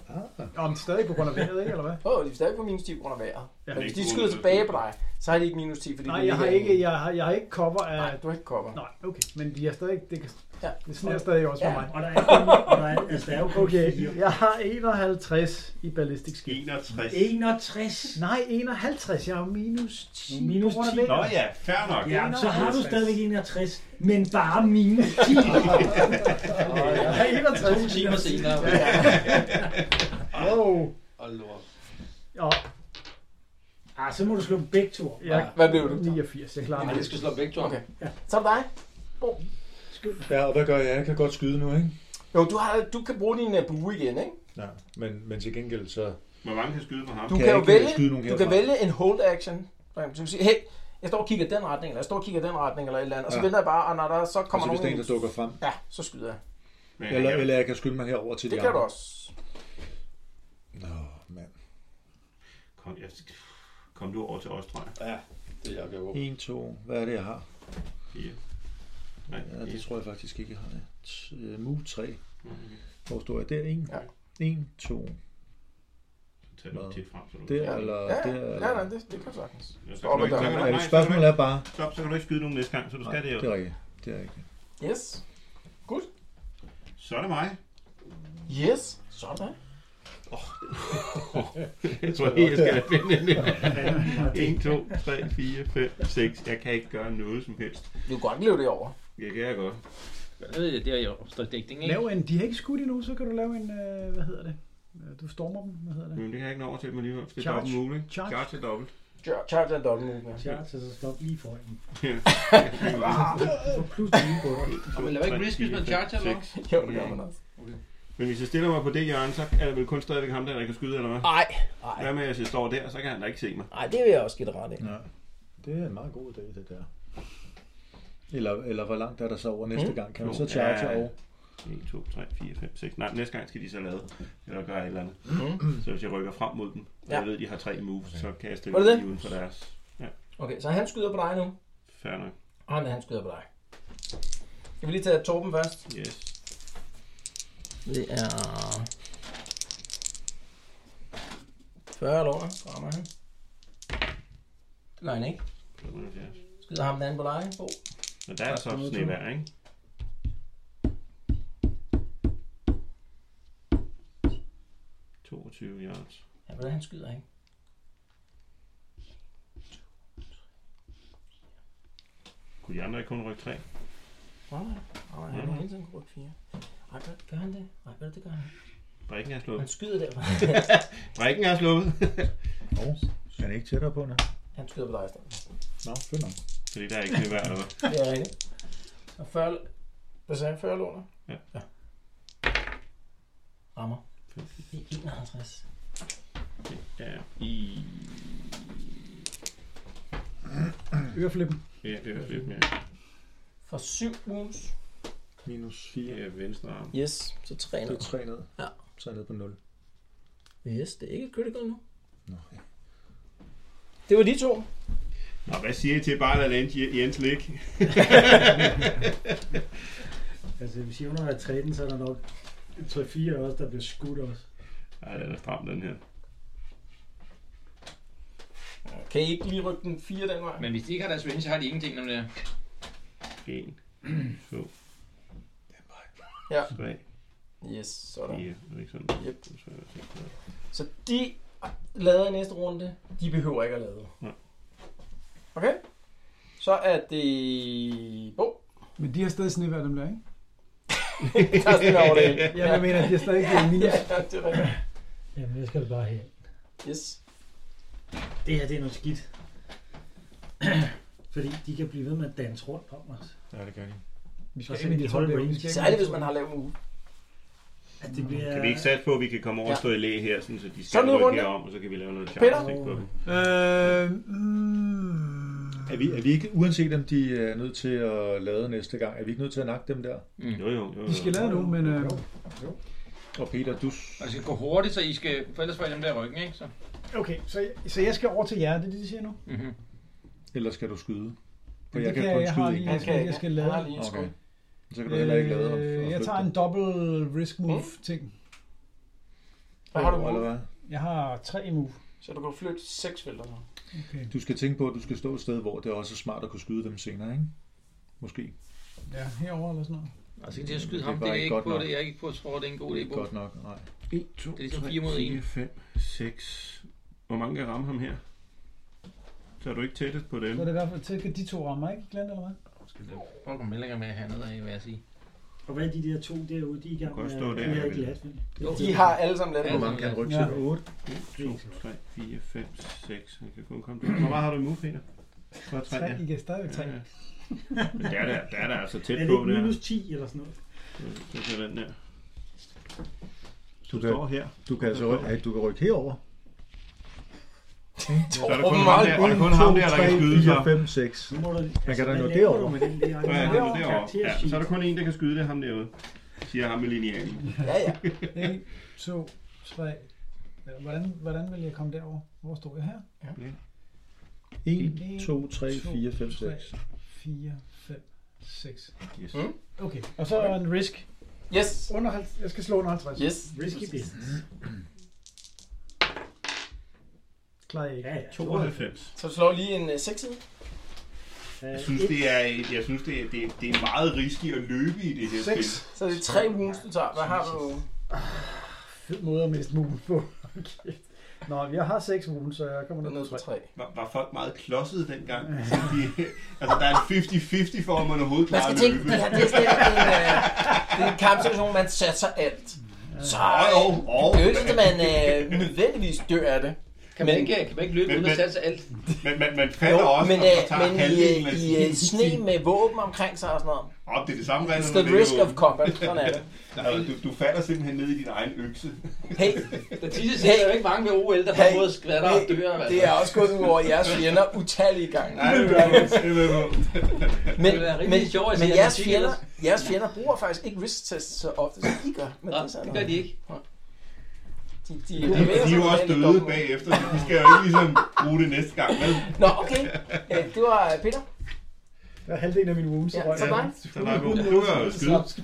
[SPEAKER 13] Om stadig på grund af vejret, ikke, eller hvad?
[SPEAKER 2] Åh, oh, de er stadig på minus 10 på grund af vejret.
[SPEAKER 4] Ja,
[SPEAKER 2] Ja,
[SPEAKER 4] det
[SPEAKER 2] Men
[SPEAKER 4] er
[SPEAKER 2] hvis
[SPEAKER 4] ikke
[SPEAKER 2] de skyder
[SPEAKER 4] corona.
[SPEAKER 2] tilbage på dig, så har de ikke minus 10, fordi
[SPEAKER 13] Nej,
[SPEAKER 2] du
[SPEAKER 13] jeg har
[SPEAKER 2] ligger
[SPEAKER 13] ikke, jeg har, jeg har ikke cover af...
[SPEAKER 2] Nej, du har ikke kopper.
[SPEAKER 13] Nej, okay. Men de er stadig, det, kan,
[SPEAKER 2] Ja.
[SPEAKER 13] det sniger stadig også for
[SPEAKER 2] Ja.
[SPEAKER 13] mig.
[SPEAKER 6] Og der er kun, og der er, altså, der er jo kun
[SPEAKER 13] Okay,
[SPEAKER 6] fire.
[SPEAKER 13] jeg har 51 i ballistic skill.
[SPEAKER 4] 61.
[SPEAKER 6] 61.
[SPEAKER 13] Nej, 51. Jeg har minus 10.
[SPEAKER 6] Minus
[SPEAKER 13] på grund af
[SPEAKER 6] 10.
[SPEAKER 13] vejret.
[SPEAKER 4] Nå ja, fair nok.
[SPEAKER 6] Ja, men så har du stadigvæk 61, men bare minus [LAUGHS] 10.
[SPEAKER 13] Jeg har 61.
[SPEAKER 7] To timer senere.
[SPEAKER 13] Wow.
[SPEAKER 7] Og lort.
[SPEAKER 13] Og
[SPEAKER 6] Ah, så må du slå dem begge to. op.
[SPEAKER 13] jeg
[SPEAKER 2] Hvad blev du?
[SPEAKER 13] 89. Jeg klarer
[SPEAKER 7] Nej,
[SPEAKER 13] mig.
[SPEAKER 7] det skal slå begge to.
[SPEAKER 2] Okay. Så er det dig.
[SPEAKER 9] Ja, og hvad gør jeg? Jeg kan godt skyde nu, ikke?
[SPEAKER 2] Jo, du, har, du kan bruge din øh, bue igen, ikke?
[SPEAKER 9] Nej, men, men til gengæld så...
[SPEAKER 4] Hvor mange kan skyde på ham?
[SPEAKER 2] Du
[SPEAKER 9] Kan
[SPEAKER 2] kan,
[SPEAKER 9] jeg
[SPEAKER 2] jo
[SPEAKER 9] ikke skyde
[SPEAKER 2] vælge,
[SPEAKER 9] nogen
[SPEAKER 2] du kan
[SPEAKER 9] herfra?
[SPEAKER 2] vælge en hold action. For eksempel, Så kan du sige, hey, jeg står og kigger i den retning, eller jeg står og kigger i den retning, eller et eller andet. Og så
[SPEAKER 9] Ja.
[SPEAKER 2] venter jeg bare, og når der så
[SPEAKER 9] Kommer
[SPEAKER 2] kommer
[SPEAKER 9] altså, hvis der er
[SPEAKER 2] nogen...
[SPEAKER 9] en, der dukker frem.
[SPEAKER 2] Ja, så skyder jeg.
[SPEAKER 4] Men,
[SPEAKER 9] Eller,
[SPEAKER 4] jeg-
[SPEAKER 9] eller jeg kan skynde mig herover til
[SPEAKER 2] Det
[SPEAKER 9] de
[SPEAKER 2] kan du
[SPEAKER 9] andre.
[SPEAKER 2] også.
[SPEAKER 9] Nå, mand.
[SPEAKER 4] Kom, jeg, kom du over til os, tror jeg.
[SPEAKER 7] Det er jeg kan
[SPEAKER 9] 1, 2, hvad er det, jeg har?
[SPEAKER 4] Fire. Nej,
[SPEAKER 9] Ja, det
[SPEAKER 4] fire.
[SPEAKER 9] tror jeg faktisk ikke, jeg har. T- øh, Move 3.
[SPEAKER 4] Okay.
[SPEAKER 9] Hvor står jeg? Der 1,
[SPEAKER 2] Ja.
[SPEAKER 9] 1, 2,
[SPEAKER 4] Så tag den tit frem, så du
[SPEAKER 9] der
[SPEAKER 2] Ja.
[SPEAKER 9] eller
[SPEAKER 2] Ja,
[SPEAKER 9] der.
[SPEAKER 2] ja,
[SPEAKER 9] Eller...
[SPEAKER 2] nej, det, det kan sagtens.
[SPEAKER 4] Ja, så
[SPEAKER 2] Stop
[SPEAKER 4] kan du ikke-
[SPEAKER 2] der.
[SPEAKER 4] så kan du-
[SPEAKER 9] Nej,
[SPEAKER 4] nej, så kan du
[SPEAKER 9] spørgsmålet
[SPEAKER 4] ikke-
[SPEAKER 9] er bare...
[SPEAKER 4] Stop, så kan du ikke skyde nogen næste gang, så du
[SPEAKER 9] Nej,
[SPEAKER 4] skal det
[SPEAKER 9] det
[SPEAKER 4] jo.
[SPEAKER 9] er rigtigt. Det er rigtigt.
[SPEAKER 2] Yes.
[SPEAKER 4] Så er det mig.
[SPEAKER 2] Yes. Sådan.
[SPEAKER 4] Jeg tror helt, jeg skal finde [LAUGHS] en. 1, 2, 3, 4, 5, 6. Jeg kan ikke gøre noget som helst.
[SPEAKER 2] Du kan godt leve det over.
[SPEAKER 4] Det kan jeg godt.
[SPEAKER 7] Det er jo opstrækning, ikke?
[SPEAKER 5] Lav en, de har ikke skudt endnu, så kan du lave en, øh, hvad hedder det? Øh, Du stormer dem, hvad hedder det?
[SPEAKER 4] Men det kan jeg ikke nå over til mig lige nu. Det er
[SPEAKER 5] Charge.
[SPEAKER 4] dobbelt muligt.
[SPEAKER 5] Charge.
[SPEAKER 4] Charge er [LAUGHS] dobbelt.
[SPEAKER 2] Char- Charge er dobbelt movement.
[SPEAKER 6] Charge, så stop lige foran dem.
[SPEAKER 4] Ah.
[SPEAKER 7] Og man laver ikke risk, hvis man charger, eller hvad?
[SPEAKER 2] [LAUGHS] Jo, det gør man også.
[SPEAKER 4] Men hvis jeg stiller mig på det hjørne, så er det vel kun stadigvæk ham, der, der kan skyde, eller hvad?
[SPEAKER 2] Nej, nej,
[SPEAKER 4] Hvad med, hvis jeg står der, så kan han da ikke se mig.
[SPEAKER 2] nej, det vil jeg også give dig ret i.
[SPEAKER 9] Ja. Det er en meget god idé, det der. Eller, eller hvor langt er der så over næste
[SPEAKER 2] Mm.
[SPEAKER 9] gang? Kan
[SPEAKER 4] Jo,
[SPEAKER 9] man så charge
[SPEAKER 4] ja.
[SPEAKER 9] over?
[SPEAKER 4] 1, 2, 3, 4, 5, 6. Nej, næste gang skal de så lade. Eller gøre et eller andet. Så hvis jeg rykker frem mod dem, og
[SPEAKER 2] Mhm. Ja.
[SPEAKER 4] jeg ved, de har tre moves, så kan jeg stille
[SPEAKER 2] Var det
[SPEAKER 4] mig
[SPEAKER 2] det?
[SPEAKER 4] lige uden for deres.
[SPEAKER 2] Okay, så han skyder på dig nu.
[SPEAKER 4] Fair nok.
[SPEAKER 2] Og han, han skyder på dig. Skal vi lige tage Torben først?
[SPEAKER 4] Yes.
[SPEAKER 2] Det er... 40 eller under, rammer han. Det gør han ikke.
[SPEAKER 4] 75.
[SPEAKER 2] Skyder ham den anden på dig, Bo.
[SPEAKER 4] Men der er så snevær, ikke? ...22 yards.
[SPEAKER 2] Ja, hvordan han skyder, ikke?
[SPEAKER 4] Kunne de andre ikke kun rykke 3?
[SPEAKER 2] Nej, nej, nej, han har hele tiden kunne rykke fire. Ej, gør, gør han det? Nej, hvad er det, det gør han?
[SPEAKER 4] Brækken er
[SPEAKER 2] Han
[SPEAKER 4] slået.
[SPEAKER 2] skyder derfra.
[SPEAKER 4] Brækken er slået.
[SPEAKER 9] Er det ikke tættere på nu?
[SPEAKER 2] han skyder på dig i stedet.
[SPEAKER 9] Nå, fedt nok.
[SPEAKER 4] Fordi der er ikke snevær, eller hvad?
[SPEAKER 2] Det er rigtigt. Og 40... Hvad sagde han? 40 eller under?
[SPEAKER 4] Ja.
[SPEAKER 2] ja. Rammer. Det er 51.
[SPEAKER 4] Det er i...
[SPEAKER 5] Øreflippen.
[SPEAKER 4] Ja, det er lidt mere.
[SPEAKER 2] For 7 minus.
[SPEAKER 9] Minus 4.
[SPEAKER 4] Det er venstre arm.
[SPEAKER 2] Yes, så 3
[SPEAKER 9] Det er 3 ned.
[SPEAKER 2] Ja.
[SPEAKER 9] Så er jeg nede på 0.
[SPEAKER 2] Yes, det er ikke et critical nu.
[SPEAKER 9] Nå, ja.
[SPEAKER 2] Det var de to.
[SPEAKER 4] Nå, hvad siger I til bare at lade Jens- Jens ligge?
[SPEAKER 6] Altså, hvis Jonas er 13, så er der nok 3-4 også, der bliver skudt også.
[SPEAKER 4] Ej, den er stram, den her.
[SPEAKER 2] Kan I ikke lige rykke den fire den vej?
[SPEAKER 7] Men hvis de ikke har deres range, så har de ingenting, når det er.
[SPEAKER 4] [CLEARS THROAT] 1, 2,
[SPEAKER 2] Ja.
[SPEAKER 4] 3,
[SPEAKER 2] Yes, sådan.
[SPEAKER 4] 4. Er det ikke sådan?
[SPEAKER 2] Yep.
[SPEAKER 4] Så er det sådan der.
[SPEAKER 2] Så de lader i næste runde. De behøver ikke at lade.
[SPEAKER 4] Nej.
[SPEAKER 2] Okay. Så er det... Bo.
[SPEAKER 5] Men de har stadig snevær, dem der, ikke?
[SPEAKER 2] Der er sådan
[SPEAKER 9] [LAUGHS]
[SPEAKER 2] over det. hele.
[SPEAKER 5] Ja, jeg mener, de har stadig ja. minus.
[SPEAKER 2] Ja, det er rigtigt.
[SPEAKER 6] Jamen, jeg skal det bare her.
[SPEAKER 2] Yes.
[SPEAKER 6] Det her, det er noget skidt. [CLEARS THROAT] Fordi de kan blive ved med at danse rundt om os.
[SPEAKER 9] Ja, det gør de.
[SPEAKER 5] Vi
[SPEAKER 6] Og så kan de holde range.
[SPEAKER 2] Særligt, hvis man har lavet uge.
[SPEAKER 6] At det bliver...
[SPEAKER 4] Mm. Kan vi ikke satse på, at vi kan komme over og stå i læge her, sådan, så de
[SPEAKER 2] Så
[SPEAKER 4] skal
[SPEAKER 2] er det
[SPEAKER 4] rykke
[SPEAKER 2] runde.
[SPEAKER 4] herom, og så kan vi lave noget
[SPEAKER 2] Peter?
[SPEAKER 4] charge på dem.
[SPEAKER 5] Øh, mm,
[SPEAKER 9] Er vi, er vi ikke, uanset om de er nødt til at lade næste gang, er vi ikke nødt til at nakke dem der?
[SPEAKER 4] Jo, jo, jo.
[SPEAKER 5] de skal lade nu, men øh,
[SPEAKER 9] Og Peter, du...
[SPEAKER 7] Og det skal gå hurtigt, så I skal... For ellers får I dem der i ryggen, ikke? Så.
[SPEAKER 8] Okay, så, så jeg skal over til jer, det er det, de siger nu?
[SPEAKER 7] Mm-hmm.
[SPEAKER 9] Eller skal du skyde? For
[SPEAKER 5] det
[SPEAKER 9] jeg kan
[SPEAKER 5] kan
[SPEAKER 9] kun
[SPEAKER 5] jeg- jeg har
[SPEAKER 9] skyde
[SPEAKER 5] lige-
[SPEAKER 9] en.
[SPEAKER 5] Jeg skal- jeg skal lade.
[SPEAKER 2] Han har lige et skud.
[SPEAKER 9] Okay. Så kan du heller ikke lade ham.
[SPEAKER 5] Øh,
[SPEAKER 9] at
[SPEAKER 5] Jeg
[SPEAKER 9] flygte.
[SPEAKER 5] tager en dobbelt risk move ting.
[SPEAKER 2] Hvad har du
[SPEAKER 9] Eller
[SPEAKER 2] move?
[SPEAKER 9] hvad?
[SPEAKER 5] Jeg har tre move.
[SPEAKER 2] Så du kan flytte seks felter nu.
[SPEAKER 5] Okay.
[SPEAKER 9] Du skal tænke på, at du skal stå et sted, hvor det er også er smart at kunne skyde dem senere, ikke? Måske.
[SPEAKER 5] Ja, herover eller sådan noget.
[SPEAKER 9] Altså,
[SPEAKER 5] ikke
[SPEAKER 9] det
[SPEAKER 5] til at skyde
[SPEAKER 9] er
[SPEAKER 7] ham, det
[SPEAKER 9] bare
[SPEAKER 7] er jeg ikke
[SPEAKER 9] godt
[SPEAKER 7] på,
[SPEAKER 9] nok.
[SPEAKER 7] det, jeg er ikke på, at tror, det er en god
[SPEAKER 9] Det er
[SPEAKER 7] idé.
[SPEAKER 9] ikke
[SPEAKER 7] Bo.
[SPEAKER 9] godt nok, nej.
[SPEAKER 7] 1, 2, det er ligesom 4 mod 1.
[SPEAKER 4] 5, 6. Hvor mange kan ramme ham her? Så er du ikke tættest på dem.
[SPEAKER 5] Så er det i hvert fald til, at de to rammer, ikke? Glenn, eller hvad?
[SPEAKER 7] Prøv at komme længere med hernede af, vil jeg sige.
[SPEAKER 6] Og hvad er de der to derude, de er i gang
[SPEAKER 4] Du kan
[SPEAKER 6] med?
[SPEAKER 4] også stå
[SPEAKER 6] de
[SPEAKER 4] der,
[SPEAKER 6] har
[SPEAKER 4] jeg
[SPEAKER 6] ikke
[SPEAKER 4] vil.
[SPEAKER 6] latvind.
[SPEAKER 2] Jo, I har alle sammen latvind.
[SPEAKER 9] Hvor mange kan han rykke til?
[SPEAKER 4] 8. 1, 2, 3, 4, 5, 6. Han kan kun komme der. Hvor meget har du i move, Peter? Bare
[SPEAKER 5] Tre, I kan stadigvæk
[SPEAKER 4] Ja,
[SPEAKER 5] tre.
[SPEAKER 4] ja. Men der er der, der er der altså tæt
[SPEAKER 6] Er det
[SPEAKER 4] på,
[SPEAKER 6] ikke
[SPEAKER 4] der.
[SPEAKER 6] minus 10 eller sådan noget?
[SPEAKER 4] Så kan den der.
[SPEAKER 9] Du
[SPEAKER 4] kan- står her.
[SPEAKER 9] Du kan altså rykke, ja, du kan rykke herover.
[SPEAKER 4] Så er der kun ham der, og der er kun ham der, der kan skyde sig.
[SPEAKER 9] 5, 6.
[SPEAKER 6] Man
[SPEAKER 9] kan da nå
[SPEAKER 6] altså, laver du
[SPEAKER 9] derover.
[SPEAKER 6] med den
[SPEAKER 4] Nå
[SPEAKER 6] der?
[SPEAKER 4] ja, den er derovre.
[SPEAKER 6] Karaktersheet.
[SPEAKER 4] Ja, så er der kun en, der kan skyde det, er ham derude. Siger ham med linealen.
[SPEAKER 2] Ja, ja.
[SPEAKER 5] 1, 2, 3. Hvordan, hvordan vil jeg komme derover? Hvor står jeg her?
[SPEAKER 4] Ja.
[SPEAKER 9] 1, 2, 3, 4, 5, 6.
[SPEAKER 5] 4, 5, 6.
[SPEAKER 9] Yes.
[SPEAKER 5] Okay, og så er en risk.
[SPEAKER 2] Yes.
[SPEAKER 5] Under, halv- jeg skal slå under 50.
[SPEAKER 2] Yes.
[SPEAKER 6] Risky business.
[SPEAKER 5] Klarer jeg ikke.
[SPEAKER 6] Ja, ja.
[SPEAKER 4] 92.
[SPEAKER 2] Så du slår lige en øh, seksside.
[SPEAKER 4] Jeg synes, det er, et- jeg synes, det er, det, er- det er meget risky at løbe i det her spil.
[SPEAKER 2] Så det er tre wounds, du tager. Hvad har du?
[SPEAKER 5] Fed måde at miste mulen på. [LAUGHS] Okay. Nå, jeg har 6 mulen, så jeg kommer
[SPEAKER 2] Du er
[SPEAKER 5] ned
[SPEAKER 2] nede
[SPEAKER 5] på
[SPEAKER 2] på
[SPEAKER 5] 3.
[SPEAKER 2] tre.
[SPEAKER 4] Var, var folk meget klodset dengang? Så de, altså, der er en 50-50 for, om man overhovedet
[SPEAKER 2] Man skal
[SPEAKER 4] klarer at
[SPEAKER 2] tænke,
[SPEAKER 4] løbe.
[SPEAKER 2] det, her, det er slet ikke en, øh, [LAUGHS] det er en kampsituation, man satser alt. Så
[SPEAKER 4] Jo,
[SPEAKER 2] øh,
[SPEAKER 4] jo.
[SPEAKER 2] det er jo ikke, sådan, at man øh, nødvendigvis dør af det.
[SPEAKER 7] Kan man ikke, kan man ikke løbe
[SPEAKER 4] Men-
[SPEAKER 7] uden at
[SPEAKER 4] men-
[SPEAKER 7] sætte sig alt?
[SPEAKER 4] Men man, man
[SPEAKER 2] Jo,
[SPEAKER 4] falder også
[SPEAKER 2] men,
[SPEAKER 4] og,
[SPEAKER 2] øh,
[SPEAKER 4] og tager
[SPEAKER 2] men i,
[SPEAKER 4] halvdelen af
[SPEAKER 2] øh, i
[SPEAKER 4] sin...
[SPEAKER 2] øh, sne med våben omkring sig og sådan noget.
[SPEAKER 4] Op, det er det samme regler,
[SPEAKER 2] It's
[SPEAKER 4] når
[SPEAKER 2] the
[SPEAKER 4] man ligger
[SPEAKER 2] risk of
[SPEAKER 4] ude.
[SPEAKER 2] combat. Sådan er det.
[SPEAKER 4] Altså, du, du falder simpelthen ned i din egen
[SPEAKER 2] [LAUGHS]
[SPEAKER 4] økse.
[SPEAKER 2] Hey,
[SPEAKER 7] Der tisse siger, der er jo ikke mange ved OL, der har
[SPEAKER 2] Hey.
[SPEAKER 7] både skvatter og dør.
[SPEAKER 2] det er også gået ud over jeres fjender utallige gange.
[SPEAKER 4] Nej, det er med på, det er med på.
[SPEAKER 2] Men,
[SPEAKER 7] ville være rigtig
[SPEAKER 2] men,
[SPEAKER 7] sjovt at
[SPEAKER 2] men
[SPEAKER 7] se
[SPEAKER 2] jeres,
[SPEAKER 7] matematik
[SPEAKER 2] fjender,
[SPEAKER 7] ellers.
[SPEAKER 2] jeres fjender bruger faktisk ikke risk tests så ofte, som I gør. Men
[SPEAKER 7] Nej,
[SPEAKER 9] Altså,
[SPEAKER 2] er
[SPEAKER 7] det
[SPEAKER 2] noget.
[SPEAKER 7] gør de ikke.
[SPEAKER 2] De, de,
[SPEAKER 4] De, de er jo også døde bagefter, så de skal jo ikke ligesom bruge det næste gang, vel?
[SPEAKER 2] Nå, okay. Øh, Det var Peter.
[SPEAKER 5] Der er halvdelen af min wounds.
[SPEAKER 2] Ja, så dig.
[SPEAKER 4] Så nej, men du kan jo skyde.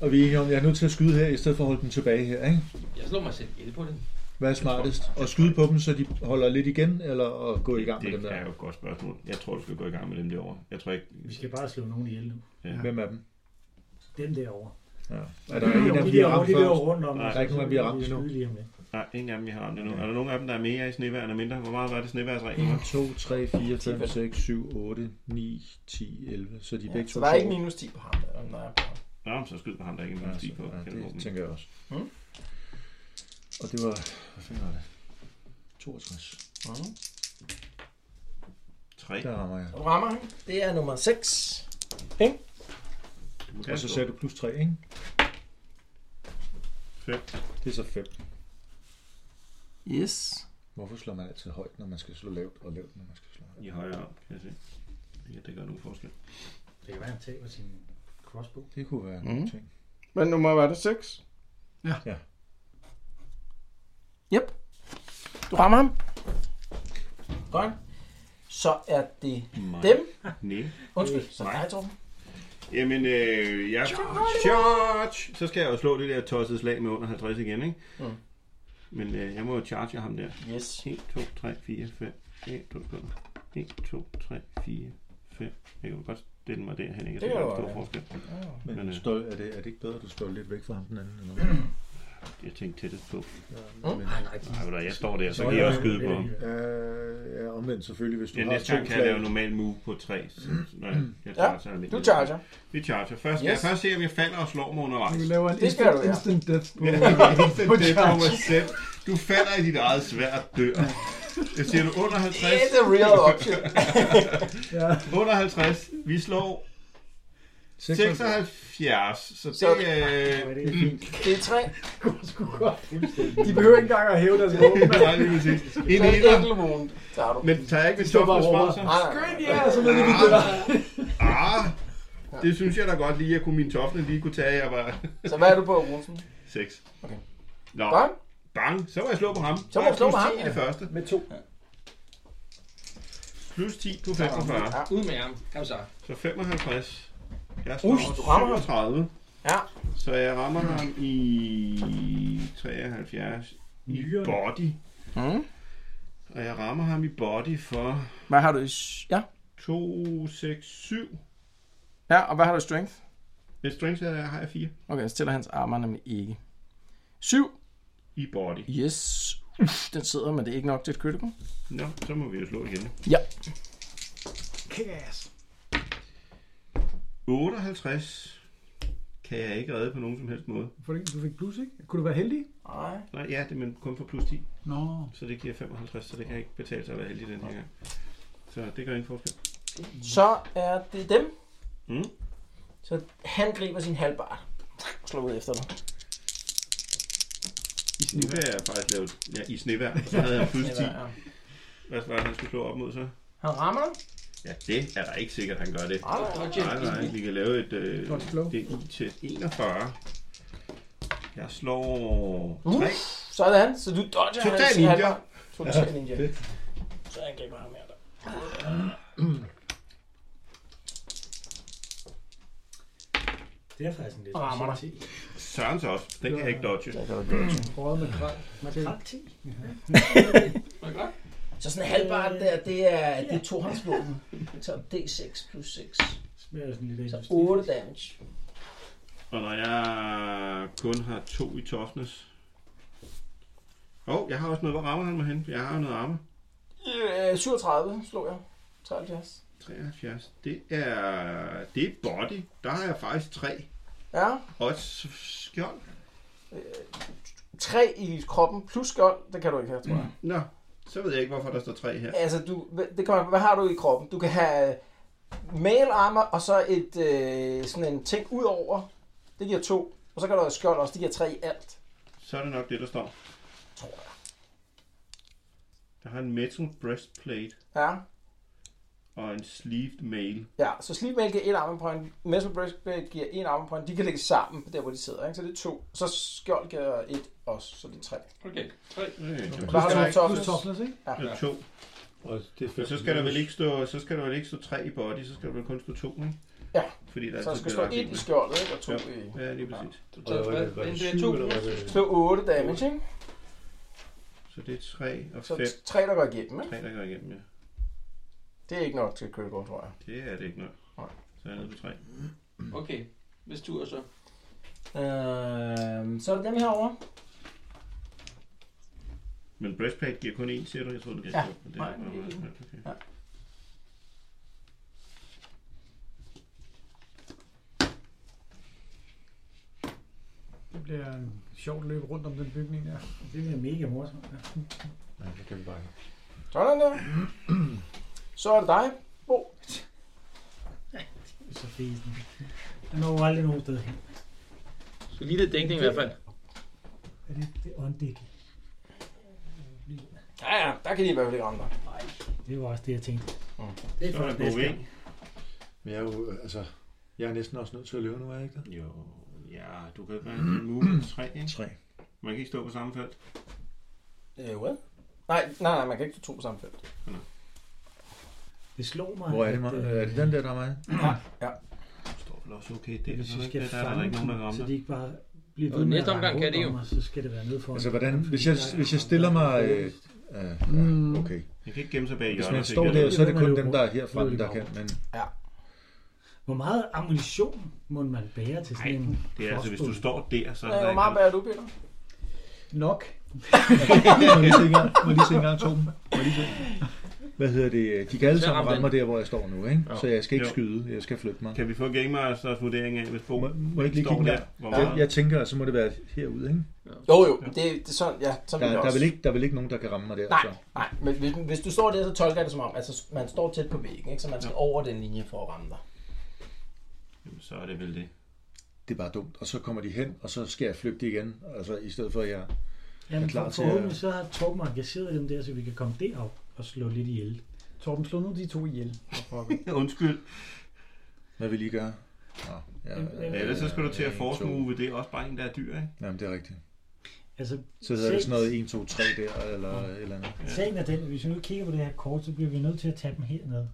[SPEAKER 9] Og vi er enige om, jeg er nødt til at skyde her, i stedet for at holde dem tilbage her, ikke?
[SPEAKER 7] Jeg slår mig selv ihjel på det.
[SPEAKER 9] Hvad er smartest? At skyde på dem, så de holder lidt igen, eller at gå i gang med dem
[SPEAKER 4] Det er
[SPEAKER 9] der?
[SPEAKER 4] jo et godt spørgsmål. Jeg tror, du skal gå i gang med dem derovre. Jeg tror ikke...
[SPEAKER 6] Vi skal bare slå nogen ihjel nu.
[SPEAKER 9] Hvem af dem?
[SPEAKER 6] Dem derovre.
[SPEAKER 9] Ja. Er der en af dem,
[SPEAKER 6] de
[SPEAKER 9] vi har
[SPEAKER 6] derovre,
[SPEAKER 9] ramt
[SPEAKER 6] de løber
[SPEAKER 9] først?
[SPEAKER 6] rundt om.
[SPEAKER 4] Nej,
[SPEAKER 6] os,
[SPEAKER 9] der er ikke
[SPEAKER 6] og så
[SPEAKER 9] nogen, vi har
[SPEAKER 6] kan
[SPEAKER 9] ramt endnu.
[SPEAKER 6] skyde lige om lidt.
[SPEAKER 4] Nej, ingen af dem, vi har ramt endnu. Er der nogen af dem, der er mere i snevejr end mindre? Hvor meget var det snevejrsreglen? var?
[SPEAKER 9] 2, 3, 4, 5, 6, 7, 8, 9, 10, 11. Så de er begge
[SPEAKER 2] Ja,
[SPEAKER 9] to
[SPEAKER 2] så der er ikke
[SPEAKER 9] får-
[SPEAKER 2] minus 10 på ham. Der. Nå, jeg er på ham.
[SPEAKER 4] Nå, men så skyd på ham, der ikke er
[SPEAKER 9] Ja,
[SPEAKER 4] minus 10
[SPEAKER 9] så-
[SPEAKER 4] på.
[SPEAKER 9] ja,
[SPEAKER 4] Kan du åbne?
[SPEAKER 9] det tænker jeg også.
[SPEAKER 2] Mm.
[SPEAKER 9] Og det var... Hvad fanden var det? 62.
[SPEAKER 2] Mhm.
[SPEAKER 4] Tre.
[SPEAKER 9] Der rammer jeg.
[SPEAKER 2] Du rammer ham. Det er nummer 6.
[SPEAKER 4] Du må
[SPEAKER 9] Og
[SPEAKER 4] gerne
[SPEAKER 9] så
[SPEAKER 4] slå.
[SPEAKER 9] sagde du plus 3, ikke?
[SPEAKER 4] Fem.
[SPEAKER 9] Det er så 5.
[SPEAKER 2] Yes.
[SPEAKER 9] Hvorfor slår man altid højt, når man skal slå lavt, og lavt, når man skal slå højt?
[SPEAKER 4] I højere op, kan jeg se. Ja, det gør nogen forskel.
[SPEAKER 6] Det kan være, han taber sin crossbow.
[SPEAKER 9] Det kunne være
[SPEAKER 2] Mhm.
[SPEAKER 9] en ting.
[SPEAKER 2] Hvad nummer var det? 6?
[SPEAKER 5] Ja.
[SPEAKER 9] Ja.
[SPEAKER 2] Yep. Du rammer ham. Godt. Så er det
[SPEAKER 4] Mig.
[SPEAKER 2] dem.
[SPEAKER 4] Nej.
[SPEAKER 2] Undskyld, så er det dig, Torben.
[SPEAKER 4] Jamen, øh, jeg... Charge! Så skal jeg jo slå det der tossede slag med under 50 igen, ikke?
[SPEAKER 2] Mm.
[SPEAKER 4] Men øh, jeg må jo charge ham der.
[SPEAKER 2] Yes.
[SPEAKER 4] 1, 2, 3, 4, 5. 1, 2, 3, 1, 2, 3, 4, 5. Jeg kan jo godt stille mig derhen,
[SPEAKER 2] Det
[SPEAKER 4] ikke? Det er
[SPEAKER 2] kan
[SPEAKER 4] en
[SPEAKER 2] du
[SPEAKER 4] stor
[SPEAKER 2] godt,
[SPEAKER 4] forskel.
[SPEAKER 9] Men,
[SPEAKER 4] Men, øh,
[SPEAKER 9] stå, er, det, er det ikke bedre, at du står lidt væk fra ham den anden? Eller?
[SPEAKER 4] Jeg tænkte tættest på.
[SPEAKER 9] hvad? Men,
[SPEAKER 4] Nej, ved du hvad, jeg står der, så
[SPEAKER 9] Nå,
[SPEAKER 4] kan jeg
[SPEAKER 9] ja,
[SPEAKER 4] også skyde på ham.
[SPEAKER 9] øh, ja, omvendt selvfølgelig, hvis du
[SPEAKER 4] Ja,
[SPEAKER 9] har
[SPEAKER 4] næste
[SPEAKER 9] to
[SPEAKER 4] gang kan jeg lave
[SPEAKER 9] slag.
[SPEAKER 4] normal move på 3. Når jeg,
[SPEAKER 2] Ja,
[SPEAKER 4] jeg charger almindeligt.
[SPEAKER 2] Du charger.
[SPEAKER 4] Vi charger. Først, yes. Jeg
[SPEAKER 2] Yes.
[SPEAKER 4] først se, om jeg falder og slår mig undervejs.
[SPEAKER 5] Du laver en
[SPEAKER 2] Det skal
[SPEAKER 5] instant,
[SPEAKER 2] du, ja.
[SPEAKER 5] instant [LAUGHS] death på.
[SPEAKER 4] Instant death over set. Du falder i dit eget svært dør. Jeg siger du under 50.
[SPEAKER 2] It's a real option.
[SPEAKER 5] Ja.
[SPEAKER 4] Under 50. Vi slår 76. Så [LAUGHS] det
[SPEAKER 2] Så-
[SPEAKER 4] er...
[SPEAKER 6] Hvad
[SPEAKER 4] Øh,
[SPEAKER 6] er det fint?
[SPEAKER 2] Det er 3.
[SPEAKER 5] De behøver ikke engang at hæve deres våben.
[SPEAKER 4] nej, lige præcis. En
[SPEAKER 2] En
[SPEAKER 4] etter.
[SPEAKER 2] enkelt wound tager du.
[SPEAKER 4] Men tager jeg ikke med tough
[SPEAKER 5] bare
[SPEAKER 4] responser?
[SPEAKER 2] Nej, nej, nej.
[SPEAKER 5] Ja, så ved vi det der.
[SPEAKER 4] Ah, det synes jeg da godt lige, at kunne min tofle lige kunne tage, at jeg var [LAUGHS]
[SPEAKER 2] Så hvad er du på, Rosen?
[SPEAKER 4] 6.
[SPEAKER 2] Okay.
[SPEAKER 4] Nå,
[SPEAKER 2] Godt.
[SPEAKER 4] bang. Så må jeg slå på ham.
[SPEAKER 2] Så må
[SPEAKER 4] Der er
[SPEAKER 2] du slå
[SPEAKER 4] plus
[SPEAKER 2] på ham,
[SPEAKER 4] 10 i det første.
[SPEAKER 5] Med to.
[SPEAKER 4] Plus 10 på 45.
[SPEAKER 2] Ja.
[SPEAKER 7] Ud med ham. Kom så.
[SPEAKER 4] Så 55. Jeg
[SPEAKER 2] Ush,
[SPEAKER 4] slår
[SPEAKER 2] du rammer ham.
[SPEAKER 4] 37.
[SPEAKER 2] Ja.
[SPEAKER 4] Så jeg rammer ham i 73 i body.
[SPEAKER 2] Mm.
[SPEAKER 4] Og jeg rammer ham i body for...
[SPEAKER 2] Hvad har du i... Ja.
[SPEAKER 4] 2, 6, 7.
[SPEAKER 2] Ja, og hvad har du i strength?
[SPEAKER 4] Med strength er- har jeg 4.
[SPEAKER 2] Okay, så tæller hans armer nemlig ikke. 7.
[SPEAKER 4] I body.
[SPEAKER 2] Yes. Den sidder, men det er ikke nok til et critical.
[SPEAKER 4] Nå, så må vi jo slå igen.
[SPEAKER 2] Ja.
[SPEAKER 5] Kass.
[SPEAKER 4] 58 kan jeg ikke redde på nogen som helst måde.
[SPEAKER 5] For det, du fik plus, ikke? Kunne du være heldig?
[SPEAKER 2] Nej.
[SPEAKER 4] Nej, ja, det er men kun for plus 10.
[SPEAKER 5] Nå.
[SPEAKER 4] Så det giver 55, så det kan ikke betale sig at være heldig den her gang. Så det gør ingen forskel.
[SPEAKER 2] Så er det dem.
[SPEAKER 4] Mm.
[SPEAKER 2] Så han griber sin halvbar. Slå ud efter dig.
[SPEAKER 4] I snevær. Nu kan jeg faktisk lave ja, i snevær, og så havde jeg plus 10.
[SPEAKER 2] Snevejr, ja.
[SPEAKER 4] Hvad var det, han skulle slå op mod så?
[SPEAKER 2] Han rammer dig.
[SPEAKER 4] Ja, det er da ikke sikkert, han gør det.
[SPEAKER 2] Nej, nej,
[SPEAKER 4] nej, nej, vi kan lave et øh,
[SPEAKER 2] Godt flow.
[SPEAKER 4] DI til 41. Jeg slår 3.
[SPEAKER 2] Uh, sådan, så du dodger
[SPEAKER 4] Total
[SPEAKER 2] hans
[SPEAKER 4] ninja.
[SPEAKER 2] halvbar. Total
[SPEAKER 4] Ja,
[SPEAKER 2] ninja.
[SPEAKER 4] fedt.
[SPEAKER 2] Så angriber han mere der.
[SPEAKER 6] Det er faktisk en
[SPEAKER 5] Ah,
[SPEAKER 6] lidt...
[SPEAKER 2] Rammer dig.
[SPEAKER 4] Søren så også. Den kan jeg ikke dodge. Det kan
[SPEAKER 5] Røget med kral.
[SPEAKER 2] Makrel 10. Så sådan en halvbar der, det er, det er tohåndsvåben. Så D6 plus 6.
[SPEAKER 6] Smager sådan lidt
[SPEAKER 2] Så 8 damage.
[SPEAKER 4] Og når jeg kun har to i toughness. Åh, oh, jeg har også noget. Hvor rammer han mig hen? Jeg har jo noget arme.
[SPEAKER 2] Øh, 37 slog jeg. 73.
[SPEAKER 4] 73. Det er, det er body. Der har jeg faktisk tre.
[SPEAKER 2] Ja.
[SPEAKER 4] Og et s- skjold.
[SPEAKER 2] 3 i kroppen plus skjold, det kan du ikke have, tror jeg.
[SPEAKER 4] Nå, så ved jeg ikke, hvorfor der står tre her.
[SPEAKER 2] Altså, du, det kommer, hvad har du i kroppen? Du kan have male armor, og så et, øh, sådan en ting ud over. Det giver to. Og så kan du have skjold også, det giver tre i alt.
[SPEAKER 4] Så er det nok det, der står.
[SPEAKER 2] Tror jeg.
[SPEAKER 4] Der har en metal breastplate
[SPEAKER 2] Ja,
[SPEAKER 4] og en sleeved mail.
[SPEAKER 2] ja. så sleep mail giver et armor point, metal breastplate giver en armor point, de kan lægge sammen der, hvor de sidder, ikke? så det er to. Så skjold giver et også, så det er tre.
[SPEAKER 15] Okay, tre.
[SPEAKER 2] Hvad har du i toughness?
[SPEAKER 5] ikke?
[SPEAKER 2] Ja.
[SPEAKER 4] Ja. To.
[SPEAKER 9] Og det
[SPEAKER 4] Men så skal der vel ikke stå, så skal der vel ikke stå tre i body, så skal der vel kun stå to, ikke?
[SPEAKER 2] Ja.
[SPEAKER 4] Fordi der
[SPEAKER 2] Så
[SPEAKER 4] altid
[SPEAKER 2] skal stå
[SPEAKER 4] bliver lagt
[SPEAKER 2] et
[SPEAKER 4] ind
[SPEAKER 2] i
[SPEAKER 4] med.
[SPEAKER 2] skjoldet, ikke? Og to
[SPEAKER 4] ja.
[SPEAKER 2] i-
[SPEAKER 4] Ja, lige præcis.
[SPEAKER 9] Og der var det- var det syv, eller var det-
[SPEAKER 2] Slå 8 damage, ikke?
[SPEAKER 4] Så det er tre og fem.
[SPEAKER 2] Så tre, der går igennem, ikke?
[SPEAKER 4] Tre, der går igennem, ja.
[SPEAKER 2] Det er ikke nok til critical, tror jeg.
[SPEAKER 4] Det er det ikke nok. Så er jeg nede på tre.
[SPEAKER 15] Okay, hvis du er så.
[SPEAKER 2] Øh, så er det dem herovre.
[SPEAKER 4] Men breastplate giver kun én, siger du? Jeg tror, det giver
[SPEAKER 2] Ja.
[SPEAKER 4] to, men det
[SPEAKER 2] Nej,
[SPEAKER 4] er bare
[SPEAKER 2] det er en.
[SPEAKER 4] meget svært. Okay.
[SPEAKER 2] Ja.
[SPEAKER 5] Det bliver en sjovt løb rundt om den bygning der.
[SPEAKER 6] Det bliver mega morsomt. Ja.
[SPEAKER 9] Nej, det kan vi bare ikke.
[SPEAKER 2] Sådan der. Så er det dig, Bo.
[SPEAKER 6] Så fesen. Han når jo aldrig nogen sted hen.
[SPEAKER 15] Så lige lidt dækning i hvert fald.
[SPEAKER 6] Er det, det er åndedæk?
[SPEAKER 2] Ja, ja, der kan de i hvert fald ikke ramme dig.
[SPEAKER 6] Det var også det, jeg tænkte.
[SPEAKER 9] Det
[SPEAKER 6] er Så er først der næste god gang.
[SPEAKER 9] Men jeg er jo, øh, altså, jeg er næsten også nødt til at løbe nu, er jeg ikke det?
[SPEAKER 4] Jo, ja, du kan gøre en
[SPEAKER 9] [CLEARS THROAT]
[SPEAKER 4] move 3, ikke?
[SPEAKER 9] 3.
[SPEAKER 4] Man kan ikke stå på samme felt.
[SPEAKER 2] Øh, hvad? Nej, nej, nej, man kan ikke stå to på samme felt.
[SPEAKER 6] Det slog mig.
[SPEAKER 9] Hvor er det, man?
[SPEAKER 6] at, øh,
[SPEAKER 9] Er det den der, der er mig?
[SPEAKER 2] Ja.
[SPEAKER 4] Du står vel også okay. Det er
[SPEAKER 6] Hvis
[SPEAKER 4] så
[SPEAKER 6] vi
[SPEAKER 4] ikke
[SPEAKER 6] skal
[SPEAKER 4] det, der er der ikke nogen, der rammer.
[SPEAKER 6] fange så de ikke bare bliver
[SPEAKER 15] Og
[SPEAKER 6] ved med
[SPEAKER 15] næste
[SPEAKER 6] at
[SPEAKER 15] omgang
[SPEAKER 6] ramme
[SPEAKER 15] kan det
[SPEAKER 6] rundt
[SPEAKER 15] jo.
[SPEAKER 6] om os, Så skal det være nede foran.
[SPEAKER 9] Altså, hvordan,
[SPEAKER 6] Fordi
[SPEAKER 9] hvis jeg,
[SPEAKER 6] der er
[SPEAKER 9] hvis jeg
[SPEAKER 6] andre,
[SPEAKER 9] stiller
[SPEAKER 6] der
[SPEAKER 9] mig...
[SPEAKER 6] er
[SPEAKER 9] Øh,
[SPEAKER 6] bedst.
[SPEAKER 9] øh,
[SPEAKER 5] Mm.
[SPEAKER 9] ja, okay.
[SPEAKER 4] Jeg kan ikke gemme sig bag
[SPEAKER 9] Hvis
[SPEAKER 4] hjørnet.
[SPEAKER 9] man står der, så er det kun dem, der er herfra,
[SPEAKER 6] Det er
[SPEAKER 9] der
[SPEAKER 6] jo-
[SPEAKER 9] kan. Men [LAUGHS]
[SPEAKER 6] Hvor meget ammunition må man bære til sådan en
[SPEAKER 4] Det er altså, hvis du
[SPEAKER 6] crossbow?
[SPEAKER 4] står der, så er
[SPEAKER 2] Øh,
[SPEAKER 4] der
[SPEAKER 2] hvor meget
[SPEAKER 4] ikke
[SPEAKER 2] bærer du, Peter?
[SPEAKER 5] Nok.
[SPEAKER 9] må jeg lige se engang, må jeg lige se engang, Torben? Må jeg lige se? Hvad hedder det? De kan alle
[SPEAKER 15] Så
[SPEAKER 9] sammen
[SPEAKER 15] rammer
[SPEAKER 9] ramme mig der, hvor jeg står nu, ikke?
[SPEAKER 15] Ja.
[SPEAKER 9] Så jeg skal ikke
[SPEAKER 4] Jo.
[SPEAKER 9] skyde, jeg skal flytte mig.
[SPEAKER 4] Kan vi få gamers vurdering af, hvis Bo
[SPEAKER 9] Må, må jeg ikke lige
[SPEAKER 4] står
[SPEAKER 9] kigge
[SPEAKER 4] der?
[SPEAKER 9] der?
[SPEAKER 4] Hvor
[SPEAKER 9] Jeg,
[SPEAKER 4] meget?
[SPEAKER 9] jeg tænker, så må det være herude, ikke?
[SPEAKER 2] Jo, jo, det, det er sådan, ja, sådan
[SPEAKER 9] Der,
[SPEAKER 2] vil jeg
[SPEAKER 9] der, er
[SPEAKER 2] også.
[SPEAKER 9] vel ikke, der er vel ikke nogen, der kan ramme mig der?
[SPEAKER 2] Nej,
[SPEAKER 9] Så.
[SPEAKER 2] nej, men hvis, hvis du står der, så tolker jeg det som om, altså man står tæt på væggen, ikke? så man skal over den linje for at ramme dig.
[SPEAKER 4] Jamen, så er det vel det. [LAUGHS]
[SPEAKER 9] Det er bare dumt. Og så kommer de hen, og så skal jeg flygte igen. Altså, i stedet for, at jeg...
[SPEAKER 6] Jamen,
[SPEAKER 9] er klar
[SPEAKER 6] for,
[SPEAKER 9] til
[SPEAKER 6] forhåbentlig
[SPEAKER 9] at-
[SPEAKER 6] så har Torben engageret dem der, så vi kan komme derop og slå lidt ihjel.
[SPEAKER 5] Torben, slå nu de to ihjel.
[SPEAKER 4] Undskyld.
[SPEAKER 9] Hvad vil I gøre? Nå, ja, øh,
[SPEAKER 4] Ja, ellers så skal du til at
[SPEAKER 9] en,
[SPEAKER 4] force
[SPEAKER 9] to.
[SPEAKER 4] move. Det er også bare en, der er dyr, ikke?
[SPEAKER 9] Jamen, det er rigtigt.
[SPEAKER 6] Altså,
[SPEAKER 9] Så hedder det
[SPEAKER 6] se-
[SPEAKER 9] sådan noget 1, 2, 3 der, eller et eller andet.
[SPEAKER 6] Sagen er den, at hvis vi nu kigger på det her kort, så bliver vi nødt til at tage dem herned.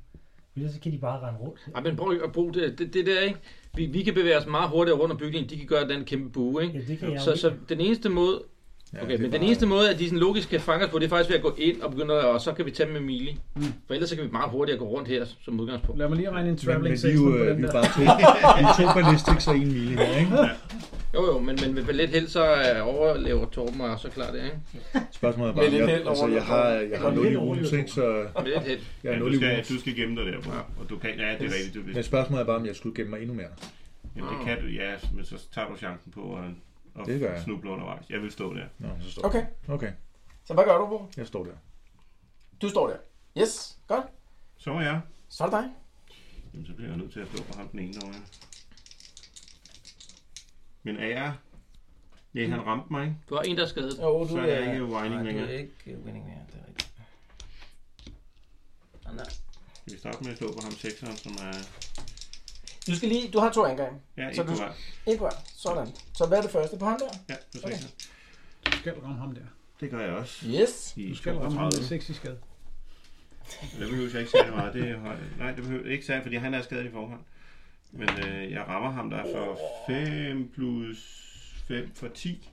[SPEAKER 6] Ellers så kan de bare rende rundt.
[SPEAKER 15] Ej, men prøv at bruge det. Det, det der, ikke? Vi, vi kan bevæge os meget hurtigere rundt om bygningen. De kan gøre den kæmpe bue, ikke?
[SPEAKER 6] Ja, det kan jeg
[SPEAKER 15] så,
[SPEAKER 6] jo
[SPEAKER 15] så den eneste måde...
[SPEAKER 9] Ja,
[SPEAKER 15] Okay,
[SPEAKER 9] det er
[SPEAKER 15] men den
[SPEAKER 9] bare-
[SPEAKER 15] eneste måde, at de sådan logisk kan fange os på, det er faktisk ved at gå ind og begynde at... Og så kan vi tage dem med Mili.
[SPEAKER 8] Mm.
[SPEAKER 15] For ellers så kan vi meget hurtigt gå rundt her som udgangspunkt.
[SPEAKER 8] Lad mig lige regne en
[SPEAKER 15] Men- men
[SPEAKER 8] traveling
[SPEAKER 15] vi er jo,
[SPEAKER 8] session på
[SPEAKER 15] øh,
[SPEAKER 8] den
[SPEAKER 15] vi er
[SPEAKER 8] der.
[SPEAKER 15] bare to.
[SPEAKER 9] Vi er to ballistics og en mili her, ikke?
[SPEAKER 15] Jo, jo, men, men med lidt held, så øh, overlever Torben og så klar det, ikke?
[SPEAKER 9] Spørgsmålet er bare, om jeg, altså, jeg har, jeg har nul i runes, ikke? Så jeg
[SPEAKER 4] Ja,
[SPEAKER 9] har
[SPEAKER 4] du,
[SPEAKER 9] nul i
[SPEAKER 4] skal,
[SPEAKER 9] runes.
[SPEAKER 4] du skal gemme dig derpå. Og du kan, ja, det er rigtigt. Du,
[SPEAKER 9] Men spørgsmålet er bare, om jeg skulle gemme mig endnu mere.
[SPEAKER 4] Jamen, det kan du, ja, men så tager du chancen på at, at
[SPEAKER 9] Det gør jeg.
[SPEAKER 4] snuble undervejs. Jeg vil stå der.
[SPEAKER 9] Nå, så står
[SPEAKER 2] Okay.
[SPEAKER 9] jeg. Okay,
[SPEAKER 2] Så hvad gør du, Bo?
[SPEAKER 9] jeg står der.
[SPEAKER 2] Du står der. Yes, godt.
[SPEAKER 4] Så er jeg.
[SPEAKER 2] Så er det dig.
[SPEAKER 4] Jamen, så bliver jeg nødt til at slå på ham den ene over. Men er jeg... Nej, han ramte mig, ikke?
[SPEAKER 15] Du har en, der er skadet.
[SPEAKER 2] Jo, du øh,
[SPEAKER 4] så er
[SPEAKER 2] er-
[SPEAKER 4] jeg ikke whining
[SPEAKER 2] nej, du er
[SPEAKER 4] længere.
[SPEAKER 2] ikke winning mere, det er rigtigt. Ah, nej.
[SPEAKER 4] Skal vi starte med at slå på ham sekseren, som er...
[SPEAKER 2] Du skal lige, du har to angreb.
[SPEAKER 4] Ja,
[SPEAKER 2] så
[SPEAKER 4] en
[SPEAKER 2] du,
[SPEAKER 4] på hver.
[SPEAKER 2] En på hver. Sådan. Så hvad er det første på ham der?
[SPEAKER 4] Ja, du
[SPEAKER 2] okay.
[SPEAKER 5] Du skal ramme ham der.
[SPEAKER 4] Det gør jeg også.
[SPEAKER 2] Yes.
[SPEAKER 4] I
[SPEAKER 5] Mm. Du skal ramme ham med
[SPEAKER 4] 32.
[SPEAKER 5] 6 i skade.
[SPEAKER 4] Det behøver jeg ikke særlig meget. Det er, højt. nej, det behøver ikke særlig, fordi han er skadet i forhånd. Men øh, jeg rammer ham der for 5 plus 5 for 10.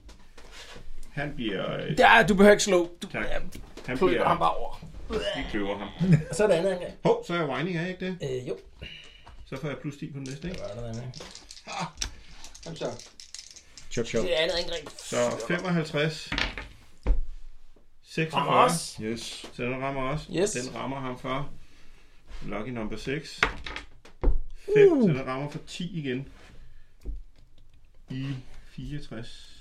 [SPEAKER 4] Han bliver... Øh,
[SPEAKER 2] Ja, du behøver ikke slå. Du,
[SPEAKER 4] tak. Han
[SPEAKER 2] Flytter
[SPEAKER 4] bliver...
[SPEAKER 2] ham bare over.
[SPEAKER 4] Vi kløver ham.
[SPEAKER 2] Så er det andet angreb.
[SPEAKER 4] Hov, så er jeg whining, er jeg ikke det?
[SPEAKER 2] Øh, jo.
[SPEAKER 4] Så får jeg plus 10 på den næste, ikke?
[SPEAKER 15] Kom så.
[SPEAKER 9] Chop, chop.
[SPEAKER 2] Det er andet angreb.
[SPEAKER 4] Så 55. 46.
[SPEAKER 2] Rammer os.
[SPEAKER 9] Yes.
[SPEAKER 4] Så den rammer også.
[SPEAKER 2] Yes.
[SPEAKER 4] Den rammer ham for lucky number 6. 5,
[SPEAKER 2] Uh.
[SPEAKER 4] så den rammer for 10 igen. I 64.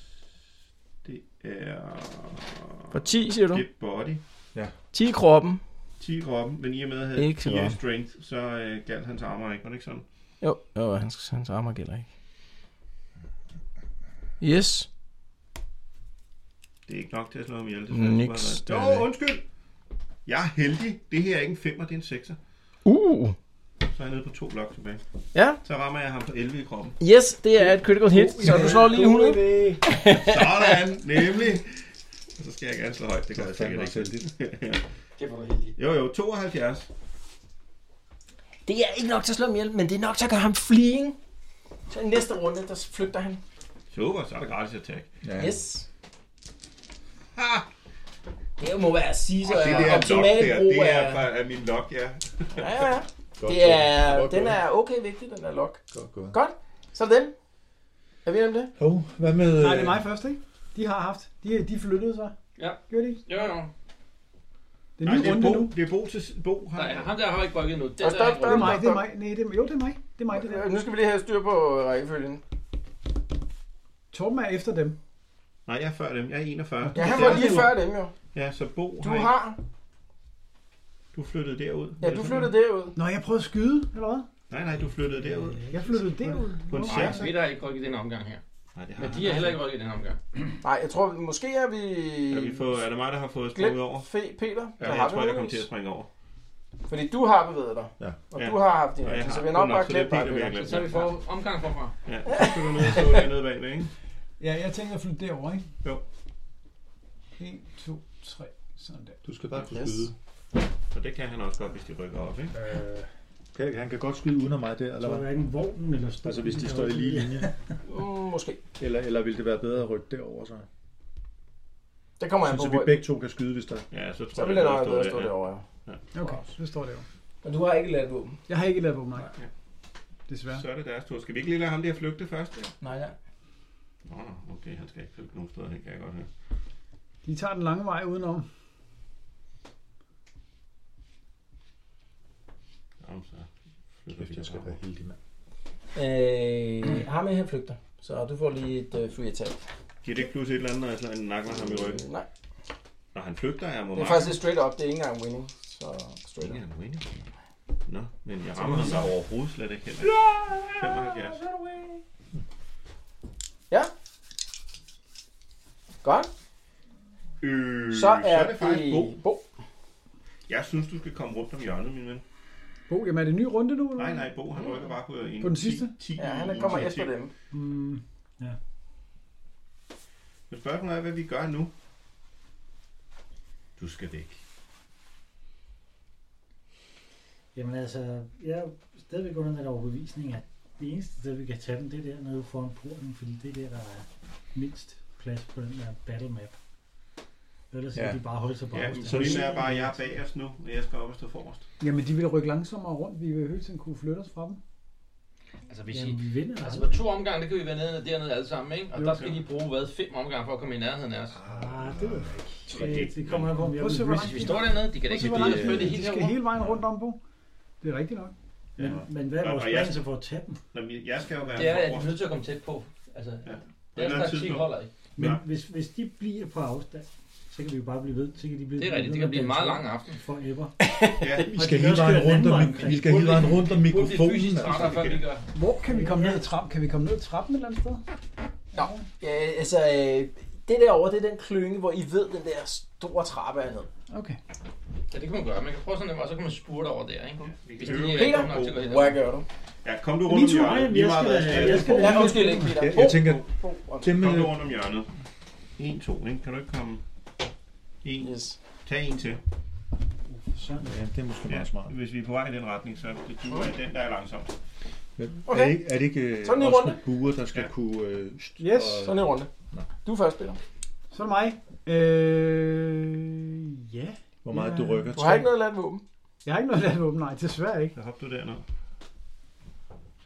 [SPEAKER 4] Det er...
[SPEAKER 2] For 10, siger du?
[SPEAKER 4] Det er body.
[SPEAKER 9] Ja.
[SPEAKER 2] 10 i kroppen.
[SPEAKER 4] 10 i kroppen, men i og med at have
[SPEAKER 2] Ikke så
[SPEAKER 4] 4 i
[SPEAKER 2] godt.
[SPEAKER 4] strength, så øh, galt hans armor ikke, var det ikke sådan?
[SPEAKER 2] Jo, jo han skal hans armor gælder ikke. Yes.
[SPEAKER 4] Det er ikke nok til at slå ham ihjel. desværre.
[SPEAKER 2] Niks,
[SPEAKER 4] Det
[SPEAKER 2] det er
[SPEAKER 4] skulle have været-
[SPEAKER 2] det.
[SPEAKER 4] Åh, undskyld! Jeg er heldig. Det her er ikke en 5'er, det er en 6'er.
[SPEAKER 2] Uh.
[SPEAKER 4] Så er jeg nede på to blok tilbage.
[SPEAKER 2] Ja.
[SPEAKER 4] Så rammer jeg ham på 11 i kroppen.
[SPEAKER 2] Yes, det er et critical hit, så du slår lige 100.
[SPEAKER 4] Sådan, nemlig. Og så skal jeg gerne slå højt. Det gør jeg sikkert ikke. [LAUGHS]
[SPEAKER 15] Det var du heldig.
[SPEAKER 4] jo, jo, 72.
[SPEAKER 2] Det er ikke nok til at slå ham ihjel, men det er nok til at gøre ham fleeing. Så i næste runde, der flygter han.
[SPEAKER 4] Super, så er det gratis attack.
[SPEAKER 2] Ja. Yes.
[SPEAKER 4] Ha!
[SPEAKER 2] Det må være at sige, så
[SPEAKER 4] Og det
[SPEAKER 2] er
[SPEAKER 4] der lock
[SPEAKER 2] optimal
[SPEAKER 4] der,
[SPEAKER 2] brug
[SPEAKER 4] det er,
[SPEAKER 2] af...
[SPEAKER 4] fra- er min lock, ja.
[SPEAKER 2] Ja, ja.
[SPEAKER 4] Godt
[SPEAKER 2] Det er,
[SPEAKER 4] gået.
[SPEAKER 2] den er okay vigtig, den er lock.
[SPEAKER 9] Godt gået.
[SPEAKER 2] Godt. Så er det dem. Er vi om det?
[SPEAKER 9] Hov, hvad med...
[SPEAKER 5] Nej,
[SPEAKER 4] Øh,
[SPEAKER 5] det er mig først, ikke? De har haft. De, de flyttede sig.
[SPEAKER 15] Ja.
[SPEAKER 5] Gjorde de? ikke?
[SPEAKER 15] Jo, jo.
[SPEAKER 5] Det er en ny
[SPEAKER 4] det er
[SPEAKER 5] runde
[SPEAKER 4] Bo,
[SPEAKER 5] nu.
[SPEAKER 4] det er Bo til Bo. Han,
[SPEAKER 15] Nej, ham der har ikke rykket noget. Det
[SPEAKER 2] Og stop,
[SPEAKER 15] er
[SPEAKER 5] Det er mig,
[SPEAKER 2] stop,
[SPEAKER 5] det er
[SPEAKER 2] stop.
[SPEAKER 5] mig. Nej, det er, jo, det er mig. Det er mig, det
[SPEAKER 2] Nu
[SPEAKER 5] der.
[SPEAKER 2] skal vi lige have styr på øh, rækkefølgen.
[SPEAKER 5] Torben er efter dem.
[SPEAKER 4] Nej, jeg er før dem. Jeg er 41.
[SPEAKER 2] Ja, han
[SPEAKER 4] Det er
[SPEAKER 2] var lige
[SPEAKER 4] derfor.
[SPEAKER 2] før dem jo.
[SPEAKER 4] Ja, så Bo
[SPEAKER 2] Du
[SPEAKER 4] ikke-
[SPEAKER 2] har...
[SPEAKER 4] Du flyttede derud.
[SPEAKER 2] Ja, du flyttede derud.
[SPEAKER 5] Nå, jeg prøvede at skyde, eller hvad?
[SPEAKER 4] Nej, nej, du flyttede derud.
[SPEAKER 2] Øh,
[SPEAKER 5] Jeg flyttede derud. altså.
[SPEAKER 4] På en
[SPEAKER 15] Nej,
[SPEAKER 4] seks.
[SPEAKER 15] Smidt har ikke rykket den omgang her.
[SPEAKER 4] Nej, det har
[SPEAKER 15] Men
[SPEAKER 4] han
[SPEAKER 15] de har
[SPEAKER 4] ikke.
[SPEAKER 15] heller ikke rykket den omgang.
[SPEAKER 2] Nej, jeg tror, måske er vi...
[SPEAKER 4] Er, vi fået, er det mig, der har fået sprunget over?
[SPEAKER 2] Glem fe, Peter.
[SPEAKER 4] Ja,
[SPEAKER 2] Der har
[SPEAKER 4] jeg
[SPEAKER 2] vi
[SPEAKER 4] tror,
[SPEAKER 2] muligvis.
[SPEAKER 4] jeg kommer til at springe over.
[SPEAKER 2] Fordi du har bevæget dig.
[SPEAKER 9] Ja.
[SPEAKER 2] Og
[SPEAKER 4] Ja.
[SPEAKER 2] du har haft din
[SPEAKER 4] Og jeg
[SPEAKER 2] aktie,
[SPEAKER 4] har-
[SPEAKER 2] så vi har
[SPEAKER 4] godt
[SPEAKER 2] nok
[SPEAKER 4] nok,
[SPEAKER 2] bare
[SPEAKER 4] så det er
[SPEAKER 2] glemt
[SPEAKER 4] Peter,
[SPEAKER 2] dig.
[SPEAKER 4] vi har glemt.
[SPEAKER 15] Så vi får omgang forfra.
[SPEAKER 4] Ja, så skal du ned og stå dernede bag ved, ikke?
[SPEAKER 5] Ja, jeg tænker at flytte derover, ikke?
[SPEAKER 4] Jo.
[SPEAKER 5] 1, 2, 3. Sådan der.
[SPEAKER 9] Du skal bare kunne
[SPEAKER 2] Yes.
[SPEAKER 9] skyde.
[SPEAKER 4] Og det kan han også godt, hvis de rykker op, ikke?
[SPEAKER 16] Øh,
[SPEAKER 9] Kan, han kan godt skyde uden om mig der,
[SPEAKER 16] så
[SPEAKER 9] eller
[SPEAKER 16] er
[SPEAKER 9] hvad?
[SPEAKER 16] hverken vognen eller stolen.
[SPEAKER 9] Altså, hvis de står i lige linje.
[SPEAKER 2] Mm, måske.
[SPEAKER 9] Eller, eller vil det være bedre at rykke derover så?
[SPEAKER 2] Det kommer jeg på.
[SPEAKER 9] Så vi
[SPEAKER 2] hvor-
[SPEAKER 9] begge to kan skyde, hvis der...
[SPEAKER 4] Ja, så tror
[SPEAKER 2] Så vil
[SPEAKER 4] jeg,
[SPEAKER 2] det nok
[SPEAKER 4] jeg
[SPEAKER 2] være bedre at stå
[SPEAKER 4] der.
[SPEAKER 2] derovre. ja.
[SPEAKER 5] Okay, så står det jo.
[SPEAKER 2] Men du har ikke ladt våben.
[SPEAKER 5] Jeg har ikke lavet våben, nej.
[SPEAKER 4] Ja.
[SPEAKER 5] Desværre.
[SPEAKER 4] Så er det deres tur. Skal vi ikke lige lade ham der flygte først? Ja?
[SPEAKER 2] Nej, ja.
[SPEAKER 4] Nå, nå, okay, han skal ikke flygte nogen steder, det kan jeg godt høre.
[SPEAKER 5] De tager den lange vej udenom.
[SPEAKER 4] Jamen, så flytter vi
[SPEAKER 9] Kæft, jeg skal være
[SPEAKER 4] derfra.
[SPEAKER 9] heldig, mand.
[SPEAKER 2] Øh, ham her flygter. Så du får lige et øh, free attack.
[SPEAKER 4] Giver det ikke plus et eller andet, når jeg sådan nakler ham i ryggen?
[SPEAKER 2] Nej,
[SPEAKER 4] Når han flygter, er jeg må
[SPEAKER 2] det er faktisk lidt straight up. Det er ikke engang winning. Så straight up.
[SPEAKER 4] Ingen er nu enig. Nå, men jeg rammer ham der overhovedet slet ikke heller. 75.
[SPEAKER 2] Ja. Godt.
[SPEAKER 4] Øh,
[SPEAKER 2] Så er,
[SPEAKER 4] så er det faktisk Bo.
[SPEAKER 2] Bo.
[SPEAKER 4] Jeg synes, du skal komme rundt om hjørnet, min ven.
[SPEAKER 5] Bo, jamen er det en ny runde nu? Eller?
[SPEAKER 4] Nej,
[SPEAKER 5] hvad?
[SPEAKER 4] nej, Bo, han rykker bare på en
[SPEAKER 5] På den sidste?
[SPEAKER 4] 10, 10
[SPEAKER 2] Ja, han kommer efter
[SPEAKER 4] initiativ.
[SPEAKER 2] dem.
[SPEAKER 5] Mm,
[SPEAKER 4] Men spørgsmålet er, hvad vi gør nu. Du skal væk.
[SPEAKER 16] Jamen altså, jeg er jo stadigvæk under den overbevisning, at det eneste sted, vi kan tage dem, det er dernede foran porten, fordi det er der, der er mindst plads på den der battle map. Ellers ja.
[SPEAKER 4] Ja.
[SPEAKER 16] kan de bare holde sig på
[SPEAKER 4] Ja,
[SPEAKER 16] afstand.
[SPEAKER 4] så er bare, at jeg er bagerst nu, og jeg skal op og stå forrest.
[SPEAKER 5] Jamen, de ville rykke langsommere rundt. Vi ville højst sådan kunne flytte os fra dem.
[SPEAKER 7] Altså, hvis
[SPEAKER 5] Jamen, vi vinder
[SPEAKER 7] altså,
[SPEAKER 5] aldrig.
[SPEAKER 7] på to omgange, der kan vi være nede dernede alle sammen, ikke? Og
[SPEAKER 5] Jo,
[SPEAKER 7] der skal
[SPEAKER 5] jo.
[SPEAKER 7] de bruge, hvad, fem omgange for at komme i nærheden af os.
[SPEAKER 16] Ah, det ved jeg ikke. Det, det kommer an på, om jeg
[SPEAKER 5] Prøv at se,
[SPEAKER 16] vil
[SPEAKER 5] hvor
[SPEAKER 16] risk.
[SPEAKER 5] langt
[SPEAKER 7] Vi står dernede, de kan da
[SPEAKER 5] Prøv
[SPEAKER 7] ikke
[SPEAKER 5] at se, hvor
[SPEAKER 7] blive
[SPEAKER 5] langt
[SPEAKER 7] flyttet
[SPEAKER 5] de-
[SPEAKER 7] helt
[SPEAKER 5] De skal
[SPEAKER 7] herover.
[SPEAKER 5] hele vejen rundt om på. Det er rigtigt nok.
[SPEAKER 16] Men, men hvad er
[SPEAKER 4] Og-
[SPEAKER 16] vores
[SPEAKER 4] og jeg-
[SPEAKER 16] plan så for at tage dem?
[SPEAKER 4] Jamen, jeg skal jo være
[SPEAKER 7] Det er, at de
[SPEAKER 4] forrest.
[SPEAKER 7] er nødt til at komme tæt på. Altså, ja.
[SPEAKER 4] et eller
[SPEAKER 7] deres
[SPEAKER 4] andet
[SPEAKER 7] taktik
[SPEAKER 4] tidspunkt.
[SPEAKER 7] holder ikke.
[SPEAKER 16] Men
[SPEAKER 4] Nej.
[SPEAKER 16] hvis, hvis de bliver på afstand, så kan vi jo bare blive ved. Så kan de blive
[SPEAKER 7] Det er
[SPEAKER 16] ved
[SPEAKER 7] rigtigt, det
[SPEAKER 16] med
[SPEAKER 7] kan blive en
[SPEAKER 16] at
[SPEAKER 7] meget
[SPEAKER 16] danse
[SPEAKER 7] lang aften.
[SPEAKER 16] Forever.
[SPEAKER 4] ja,
[SPEAKER 16] Og
[SPEAKER 9] Vi
[SPEAKER 16] de
[SPEAKER 9] skal
[SPEAKER 16] kan
[SPEAKER 9] hele
[SPEAKER 16] også
[SPEAKER 9] vejen
[SPEAKER 16] køre den
[SPEAKER 9] rundt
[SPEAKER 16] anden
[SPEAKER 9] om,
[SPEAKER 16] vej
[SPEAKER 9] mik-
[SPEAKER 16] omkring.
[SPEAKER 9] vi skal hele vejen rundt om mikrofonen. altså.
[SPEAKER 7] trætter, før vi gør.
[SPEAKER 5] Hvor kan vi komme ned ad trappen? Kan vi komme ned ad trappen et eller andet sted?
[SPEAKER 2] Nå, ja, altså, øh, det derovre, det er den klynge, hvor I ved, den der store trappe er ned.
[SPEAKER 5] Okay.
[SPEAKER 7] Ja, det kan man gøre. Man kan prøve sådan en, og så kan man spurte over der, ikke? Hvis de ikke er gode nok til at
[SPEAKER 2] Peter,
[SPEAKER 7] gå helt
[SPEAKER 2] hvad
[SPEAKER 7] over.
[SPEAKER 2] gør du?
[SPEAKER 4] Ja, kom du
[SPEAKER 2] Min
[SPEAKER 4] rundt om
[SPEAKER 2] tur.
[SPEAKER 4] hjørnet. Lige
[SPEAKER 2] Jeg
[SPEAKER 4] meget
[SPEAKER 2] skal-
[SPEAKER 4] hvad skal,
[SPEAKER 2] jeg skal-
[SPEAKER 4] skal,
[SPEAKER 2] Ja, undskyld, ikke, Peter.
[SPEAKER 9] Jeg, jeg tænker,
[SPEAKER 4] Kom
[SPEAKER 9] temmelig,
[SPEAKER 4] du rundt om hjørnet. 1, 2, ikke? Kan du ikke komme? 1.
[SPEAKER 2] Yes.
[SPEAKER 4] Tag en til.
[SPEAKER 9] ja, det er måske
[SPEAKER 4] Ja,
[SPEAKER 9] meget smart.
[SPEAKER 4] hvis vi er på vej i den retning, så er det du er den, der er langsomt.
[SPEAKER 9] Er det ikke, er det ikke øh,
[SPEAKER 2] Så er det en
[SPEAKER 9] os
[SPEAKER 2] runde.
[SPEAKER 9] med buer, der skal kunne... Øh, st-
[SPEAKER 5] Yes.
[SPEAKER 9] og-
[SPEAKER 2] Sådan en runde. Du er først, Peter.
[SPEAKER 5] Så er det mig. Øh, ja.
[SPEAKER 9] Hvor meget
[SPEAKER 5] Ja.
[SPEAKER 9] du rykker?
[SPEAKER 2] Du har ikke noget ladt våben.
[SPEAKER 5] Jeg har ikke noget at åbne, nej, desværre ikke.
[SPEAKER 4] Så hop du derned.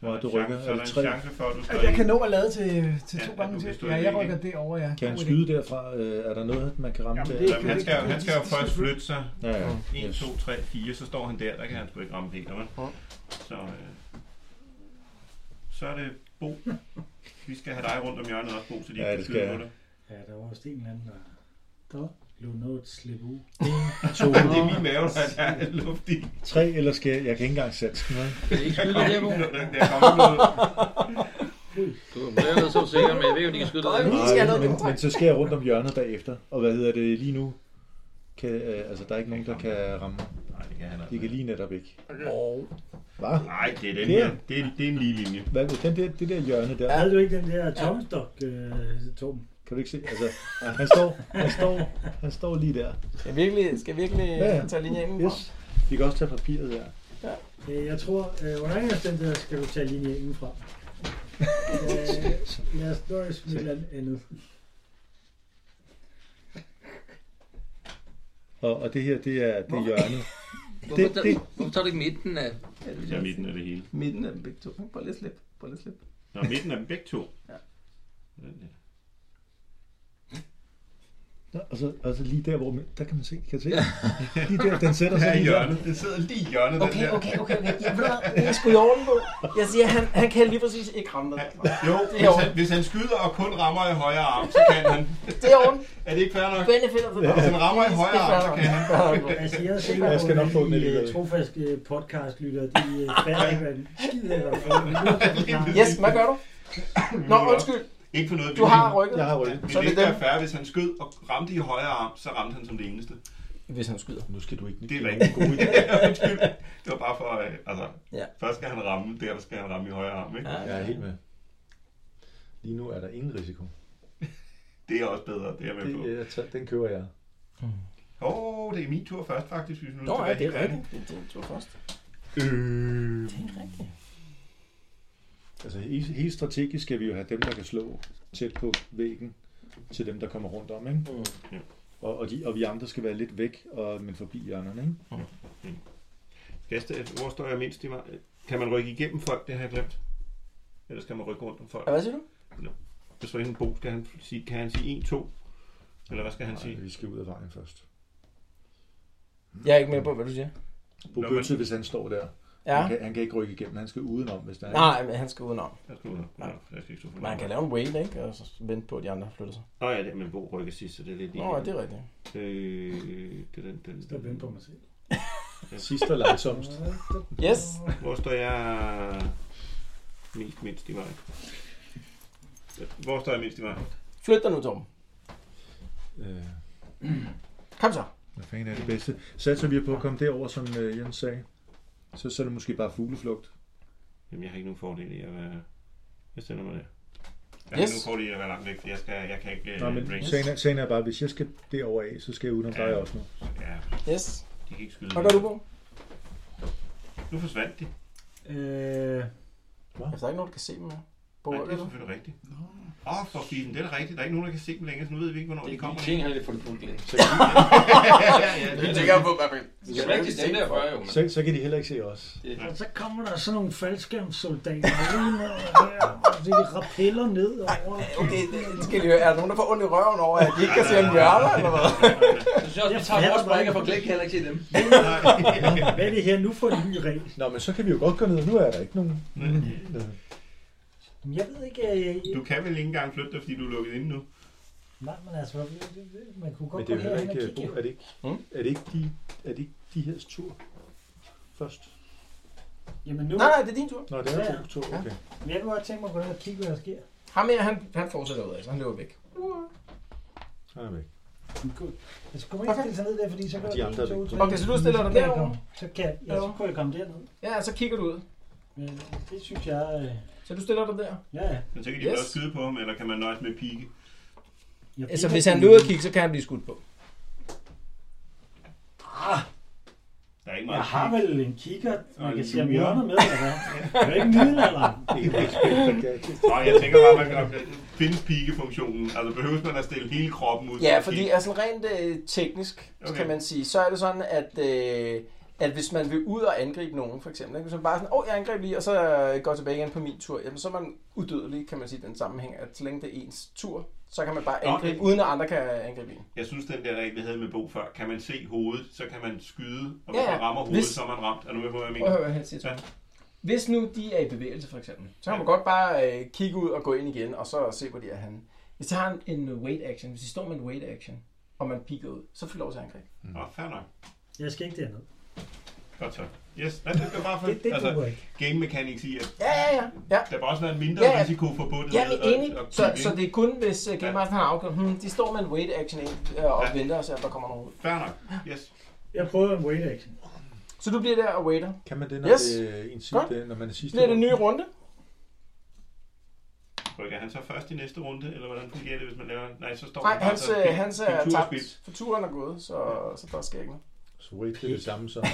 [SPEAKER 9] Hvor meget du
[SPEAKER 4] Chance-
[SPEAKER 9] rykker?
[SPEAKER 4] Så er
[SPEAKER 9] Er
[SPEAKER 4] der
[SPEAKER 9] det
[SPEAKER 4] en
[SPEAKER 9] tre?
[SPEAKER 4] chance for, at du står
[SPEAKER 5] At jeg
[SPEAKER 4] i-
[SPEAKER 5] kan nå at lade til, til
[SPEAKER 4] Ja,
[SPEAKER 5] to
[SPEAKER 4] at
[SPEAKER 5] gange
[SPEAKER 4] du
[SPEAKER 5] til.
[SPEAKER 4] kan stå
[SPEAKER 5] Ja,
[SPEAKER 4] i
[SPEAKER 5] jeg
[SPEAKER 4] væggen.
[SPEAKER 5] rykker derover, ja.
[SPEAKER 9] Kan han
[SPEAKER 5] God idé.
[SPEAKER 9] skyde derfra? Øh, er der noget, man kan ramme
[SPEAKER 4] Jamen,
[SPEAKER 9] der?
[SPEAKER 5] det er
[SPEAKER 4] jamen, han, skal, jo- han skal jo
[SPEAKER 5] det-
[SPEAKER 4] først
[SPEAKER 5] det-
[SPEAKER 4] flytte sig.
[SPEAKER 9] Ja, ja.
[SPEAKER 4] 1,
[SPEAKER 9] Yes.
[SPEAKER 4] 2, 3, 4, så står han der. Der kan han sgu ikke ramme Peter, vel? Så, øh, så er det Bo. Vi skal have dig rundt om hjørnet også, Bo, så
[SPEAKER 9] Ja,
[SPEAKER 4] de ikke kan
[SPEAKER 9] det
[SPEAKER 4] skyde
[SPEAKER 9] skal
[SPEAKER 4] på
[SPEAKER 9] jeg.
[SPEAKER 4] dig.
[SPEAKER 16] Ja, der var også en eller anden, der
[SPEAKER 5] Der.
[SPEAKER 16] lå noget at slippe ud.
[SPEAKER 9] To,
[SPEAKER 4] Det er min mave, der der er luft i.
[SPEAKER 9] tre, eller skal jeg... Jeg kan ikke engang sætte den, vel?
[SPEAKER 7] Det er ikke skyde det her, Bo.
[SPEAKER 4] Der kommer
[SPEAKER 9] [LAUGHS]
[SPEAKER 4] noget.
[SPEAKER 7] Du er noget så sikker, men jeg ved ikke, om de kan skyde dig.
[SPEAKER 9] Nej, men, men så skal jeg rundt om hjørnet bagefter. Og hvad hedder det lige nu? Kan, øh, altså, der er ikke nogen, der kan ramme mig.
[SPEAKER 4] Nej, det kan han altså
[SPEAKER 9] De kan
[SPEAKER 4] ikke.
[SPEAKER 9] lige netop ikke. Hvad?
[SPEAKER 4] Nej, det er den
[SPEAKER 9] Det er-
[SPEAKER 4] her. Det er, det er en lige linje.
[SPEAKER 9] Hvad med den der, det der hjørne der?
[SPEAKER 16] Havde du ikke den der tomstok, øh, Torben?
[SPEAKER 9] Kan du ikke se? Altså, han står, han står, han står lige der.
[SPEAKER 2] Skal jeg virkelig, skal jeg virkelig
[SPEAKER 9] Ja, ja.
[SPEAKER 2] tage linjen indenfor?
[SPEAKER 9] Yes. Vi kan også tage papiret der.
[SPEAKER 16] Øh, Jeg tror, øh, under ingen omstændigheder skal du tage linjen
[SPEAKER 9] [LAUGHS]
[SPEAKER 16] fra. øh, lad os nøjes med et eller andet andet.
[SPEAKER 9] Og, og det her, det er, det er hjørnet.
[SPEAKER 7] Hvorfor
[SPEAKER 9] Det-
[SPEAKER 7] tager-
[SPEAKER 9] det-
[SPEAKER 7] Hvorfor tager du ikke midten af?
[SPEAKER 4] Det er midten af det hele.
[SPEAKER 2] Midten af dem begge to. ikke? Prøv lige at slippe. Prøv lige at slippe.
[SPEAKER 4] Nå, midten af dem begge to.
[SPEAKER 2] Ja.
[SPEAKER 4] Den der.
[SPEAKER 9] Nå, og så, og så lige der, hvor man, der kan man se, kan se. Lige der, den sætter sig
[SPEAKER 4] Her i
[SPEAKER 9] lige der.
[SPEAKER 4] hjørnet. Det sidder lige i hjørnet, den
[SPEAKER 2] Okay,
[SPEAKER 4] der.
[SPEAKER 2] okay, okay. okay. Jeg ved, hvad, det er sgu i orden på. Jeg siger, han, han kan lige præcis ikke ramme dig. derfra. [LAUGHS]
[SPEAKER 4] Jo,
[SPEAKER 2] Det er
[SPEAKER 4] hvis han,
[SPEAKER 2] orden.
[SPEAKER 4] hvis han skyder og kun rammer i højre arm, så kan han.
[SPEAKER 2] Det er orden.
[SPEAKER 4] Er det ikke fair nok?
[SPEAKER 2] Benefit of the doubt.
[SPEAKER 4] Hvis han rammer i højre arm, så kan han.
[SPEAKER 16] Altså, jeg er sikker
[SPEAKER 9] Jeg skal nok få
[SPEAKER 16] på,
[SPEAKER 9] den
[SPEAKER 16] at de
[SPEAKER 9] alligevel.
[SPEAKER 16] øh, trofaste podcastlytter, de øh, fatter ikke, hvad den skider, hvad der
[SPEAKER 2] Yes, hvad gør du? Nå, undskyld.
[SPEAKER 4] Ikke for noget.
[SPEAKER 2] Du har rykket.
[SPEAKER 9] Jeg har rykket.
[SPEAKER 2] Så
[SPEAKER 4] Men det
[SPEAKER 2] er det
[SPEAKER 4] ville ikke
[SPEAKER 2] dem.
[SPEAKER 4] være fair, hvis han skød og ramte i højre arm, så ramte han som det eneste.
[SPEAKER 2] Hvis han skyder.
[SPEAKER 9] Nu skal du ikke
[SPEAKER 4] Det er rigtig god
[SPEAKER 2] [LAUGHS]
[SPEAKER 4] idé. Undskyld. det var bare for, øh, altså,
[SPEAKER 2] Ja.
[SPEAKER 4] først skal han ramme, der skal han ramme i højre arm, ikke?
[SPEAKER 9] Jeg er helt med. Lige nu er der ingen risiko.
[SPEAKER 4] Det er også bedre, det er jeg med på.
[SPEAKER 2] øh.
[SPEAKER 9] Det, jeg tager, den køber jeg.
[SPEAKER 4] Åh, oh, det er min tur først, faktisk, hvis vi nu
[SPEAKER 2] Nå, ja, det er
[SPEAKER 4] helt
[SPEAKER 2] rigtigt. Det er din tur først.
[SPEAKER 4] ærlige. Øh,
[SPEAKER 9] Altså he- helt strategisk skal vi jo have dem, der kan slå tæt på væggen, til dem, der kommer rundt om, ikke?
[SPEAKER 4] Ja.
[SPEAKER 9] Og, og, de, og vi andre skal være lidt væk, og, men forbi hjørnerne, ikke?
[SPEAKER 4] skal jeg sta- hvor står jeg mindst i mig? Kan man rykke igennem folk, det har jeg glemt? Eller skal man rykke rundt om folk?
[SPEAKER 2] Ja, Hvad siger du?
[SPEAKER 4] Hvis for en bo, skal han sige, kan han sige 1, 2? Eller hvad skal han sige?
[SPEAKER 9] Nej, vi skal ud af vejen først.
[SPEAKER 2] Jeg er ikke med på, hvad du siger.
[SPEAKER 9] Bo
[SPEAKER 4] Nå, men-
[SPEAKER 9] Gøtze, hvis han står der,
[SPEAKER 2] Ja.
[SPEAKER 9] han, kan, han kan ikke rykke igennem, han skal udenom, hvis der er
[SPEAKER 2] Nej, men han skal udenom.
[SPEAKER 4] Jeg skal ud og- Nå, jeg skal ikke stå for
[SPEAKER 2] Men han kan lave en wait, ikke? Og så vente på, at de andre flytter sig.
[SPEAKER 4] Nå ja, det er, men Bo rykker sidst, så det er lidt
[SPEAKER 2] Nå, ja, det er rigtigt.
[SPEAKER 4] Øh, det er den, den,
[SPEAKER 16] står venter på mig selv.
[SPEAKER 9] sidst og langsomst.
[SPEAKER 2] Yes.
[SPEAKER 4] Hvor står jeg mest mindst i vejen? Hvor står jeg mindst i vejen?
[SPEAKER 2] Flyt dig nu, Tom.
[SPEAKER 9] Øh,
[SPEAKER 2] Kom så.
[SPEAKER 9] hvad fanden er det bedste? Satser vi på at komme derover, som øh, Jens sagde, så, så er det måske bare fugleflugt.
[SPEAKER 4] Jamen, jeg har ikke nogen fordel i at være... Jeg sender mig der. Jeg har
[SPEAKER 2] Yes.
[SPEAKER 4] ikke nogen fordel i at være langt væk, for jeg, skal, jeg kan ikke... øh,
[SPEAKER 9] Nej, men
[SPEAKER 4] range.
[SPEAKER 9] sagen er, sagen er bare, hvis jeg skal derover af, så skal jeg udenom dig også nu.
[SPEAKER 4] Ja,
[SPEAKER 2] Yes.
[SPEAKER 4] de kan ikke skyde.
[SPEAKER 2] Hvad gør du på?
[SPEAKER 4] Nu forsvandt de.
[SPEAKER 2] Øh... Hvad? Altså, der er ikke nogen, der kan se dem mere. På
[SPEAKER 4] Nej, det er
[SPEAKER 2] eller?
[SPEAKER 4] selvfølgelig rigtigt. Åh, oh, for fint, det er da rigtigt. Der er ikke nogen, der kan se dem længere, så nu ved vi ikke, hvornår de kommer.
[SPEAKER 7] Det er lidt for
[SPEAKER 4] [LAUGHS]
[SPEAKER 7] lidt problem.
[SPEAKER 4] Det
[SPEAKER 7] Det er rigtigt, den der før jo. men-
[SPEAKER 9] Så, så kan de heller ikke se os.
[SPEAKER 7] Ja.
[SPEAKER 6] Og så kommer der sådan nogle faldskærmssoldater ind og her, og de rappeller ned over.
[SPEAKER 2] Okay, det skal de høre. Er der nogen, der får ondt i røven over, at de ikke kan se en hjørne, eller hvad?
[SPEAKER 7] Så synes jeg også, vi tager vores brækker for glæde, kan heller ikke se dem.
[SPEAKER 2] [LAUGHS]
[SPEAKER 6] Hvad er det her nu for en ny regel?
[SPEAKER 9] Nå, men så kan vi jo godt gå ned. Nu er der ikke nogen.
[SPEAKER 6] Men Jeg ved ikke, øh,
[SPEAKER 4] Du kan vel ikke engang flytte dig, fordi du er lukket inde nu.
[SPEAKER 6] nej, men altså, man- man kunne
[SPEAKER 9] Men
[SPEAKER 6] godt
[SPEAKER 9] det
[SPEAKER 6] gå
[SPEAKER 9] er jo heller
[SPEAKER 6] herhen og
[SPEAKER 9] ikke,
[SPEAKER 6] kigge.
[SPEAKER 9] Bo,
[SPEAKER 6] jo.
[SPEAKER 9] er det ikke,
[SPEAKER 2] Hmm?
[SPEAKER 9] er det ikke, de, er det ikke de her tur først?
[SPEAKER 6] Jamen nu,
[SPEAKER 2] Nej, nej, det er din tur.
[SPEAKER 9] Nå, det
[SPEAKER 6] Ja,
[SPEAKER 9] er
[SPEAKER 6] ja.
[SPEAKER 9] jo to, okay.
[SPEAKER 6] men jeg kunne godt tænke mig at gå ned og kigge, hvad der sker.
[SPEAKER 2] Ham her, han, han fortsætter ud af, så han løber væk.
[SPEAKER 9] Så er jeg
[SPEAKER 6] [CLEARS THROAT]
[SPEAKER 9] væk.
[SPEAKER 6] Men så kunne man ikke stille sig ned der, fordi så kan
[SPEAKER 9] De
[SPEAKER 6] der
[SPEAKER 9] andre er
[SPEAKER 6] blive
[SPEAKER 9] væk.
[SPEAKER 6] to,
[SPEAKER 2] Okay, så du stiller dig
[SPEAKER 6] Så kan jeg
[SPEAKER 2] derovre?
[SPEAKER 6] komme- Så kan jeg, ja, så kunne jeg komme derned.
[SPEAKER 2] Ja, så kigger du ud.
[SPEAKER 6] Men det synes jeg, øh,
[SPEAKER 2] Så du stiller dig der.
[SPEAKER 6] ja, ja.
[SPEAKER 4] Men så kan de yes.
[SPEAKER 2] Yes.
[SPEAKER 4] også skyde på ham, eller kan man nøjes med pigge?
[SPEAKER 6] Jeg
[SPEAKER 2] Altså,
[SPEAKER 6] bliver-
[SPEAKER 2] hvis han løber og kigger, så kan han blive skudt på.
[SPEAKER 4] Der er ikke
[SPEAKER 6] Jeg
[SPEAKER 4] meget
[SPEAKER 6] har
[SPEAKER 4] pigge.
[SPEAKER 6] vel en kigger,
[SPEAKER 4] Og
[SPEAKER 6] man kan
[SPEAKER 4] en
[SPEAKER 6] se om
[SPEAKER 4] lure.
[SPEAKER 6] hjørnet med, eller hvad? Det er jo ikke middelalderen.
[SPEAKER 4] Nå, jeg tænker bare, man kan finde piggefunktionen. Altså behøves man at stille hele kroppen ud?
[SPEAKER 2] Ja,
[SPEAKER 4] til at
[SPEAKER 2] fordi
[SPEAKER 4] kigge?
[SPEAKER 2] altså rent øh, teknisk, okay.
[SPEAKER 4] Okay.
[SPEAKER 2] kan man sige, så er det sådan, at, øh, at hvis man vil ud og angribe nogen, for eksempel, ikke? hvis man bare er sådan, åh, oh, jeg angreb lige, og så øh, går tilbage igen på min tur, jamen så er man udødelig, kan man sige, i den sammenhæng, at så længe det er ens tur, så kan man bare
[SPEAKER 4] Nå,
[SPEAKER 2] angribe,
[SPEAKER 4] det-
[SPEAKER 2] uden at andre kan angribe en.
[SPEAKER 4] Jeg synes, den der regel, vi havde med Bo før, kan man se hovedet, så kan man skyde, og
[SPEAKER 2] Ja,
[SPEAKER 4] hvis
[SPEAKER 2] ja.
[SPEAKER 4] man rammer hovedet,
[SPEAKER 2] Hvis-
[SPEAKER 4] så er man ramt. Er du med på, hvad jeg
[SPEAKER 2] Prøv at høre,
[SPEAKER 4] mener?
[SPEAKER 2] hvad jeg siger til
[SPEAKER 4] Ja.
[SPEAKER 2] dig. Hvis nu de er i bevægelse, for eksempel, så kan man
[SPEAKER 4] Ja.
[SPEAKER 2] godt bare øh, kigge ud og gå ind igen, og så se, hvor de er henne. Hvis de har en, en wait action, hvis de står med en wait action, og man piker ud, så får de lov til at angribe.
[SPEAKER 4] Nå, fair nok.
[SPEAKER 6] Jeg skal ikke derned.
[SPEAKER 4] Godt så. Yes, Nej, det skal bare for,
[SPEAKER 6] Det, det duer
[SPEAKER 4] altså,
[SPEAKER 6] ikke.
[SPEAKER 4] game mechanics i, at
[SPEAKER 2] Ja, ja, ja. ja.
[SPEAKER 4] der må også være en mindre
[SPEAKER 2] Ja, ja.
[SPEAKER 4] risiko forbundet
[SPEAKER 2] Ja, men
[SPEAKER 4] at-
[SPEAKER 2] enig.
[SPEAKER 4] at
[SPEAKER 2] Så,
[SPEAKER 4] kigge,
[SPEAKER 2] så
[SPEAKER 4] ikke?
[SPEAKER 2] det er kun, hvis uh, Game Master har afgjort, hmm, de står med en wait action ind, øh, og
[SPEAKER 4] Ja.
[SPEAKER 2] venter og ser, at der kommer nogen ud.
[SPEAKER 4] Fair nok. Yes.
[SPEAKER 6] Jeg prøver en wait action.
[SPEAKER 2] Så du bliver der og waiter.
[SPEAKER 9] Kan man det, når,
[SPEAKER 2] Yes.
[SPEAKER 9] det, er en
[SPEAKER 2] Godt.
[SPEAKER 9] sidste, øh, når man er sidste?
[SPEAKER 2] Bliver det en
[SPEAKER 9] runde?
[SPEAKER 2] ny runde?
[SPEAKER 4] Rykker han så først i næste runde, eller hvordan fungerer det, hvis man laver... Nej, så står
[SPEAKER 2] Nej,
[SPEAKER 4] han bare
[SPEAKER 2] hans,
[SPEAKER 4] så-
[SPEAKER 2] øh, hans er
[SPEAKER 4] Kulturspil.
[SPEAKER 2] tabt, for turen er gået, så, så der sker ikke noget.
[SPEAKER 9] Så wait, det er det samme
[SPEAKER 2] [LAUGHS]
[SPEAKER 9] som.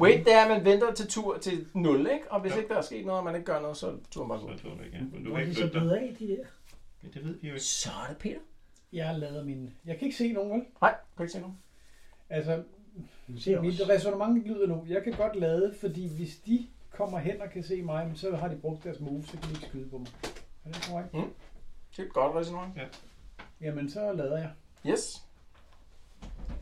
[SPEAKER 2] Wait, det er, at man venter til tur til 0, ikke? Og hvis ikke der er sket noget, og man ikke gør noget, så er turen bare
[SPEAKER 4] Så
[SPEAKER 2] gået.
[SPEAKER 4] tror jeg ikke, ja. Men du
[SPEAKER 6] Hvor
[SPEAKER 4] kan
[SPEAKER 6] er
[SPEAKER 4] ikke
[SPEAKER 6] de så
[SPEAKER 4] flytte dig.
[SPEAKER 6] blevet af, de her?
[SPEAKER 4] Men Det ved vi jo ikke.
[SPEAKER 2] Så er det Peter.
[SPEAKER 5] Jeg lader min... Jeg kan ikke se nogen, vel?
[SPEAKER 2] Nej, kan ikke se nogen.
[SPEAKER 5] Altså,
[SPEAKER 6] Du ser
[SPEAKER 5] mit
[SPEAKER 6] også.
[SPEAKER 5] resonemang lyder nu. Jeg kan godt lade, fordi hvis de kommer hen og kan se mig, men så har de brugt deres move, så kan de ikke skyde på mig. Er det korrekt?
[SPEAKER 2] Det er et godt resonemang.
[SPEAKER 5] Jamen, så lader jeg.
[SPEAKER 2] Yes.
[SPEAKER 4] Så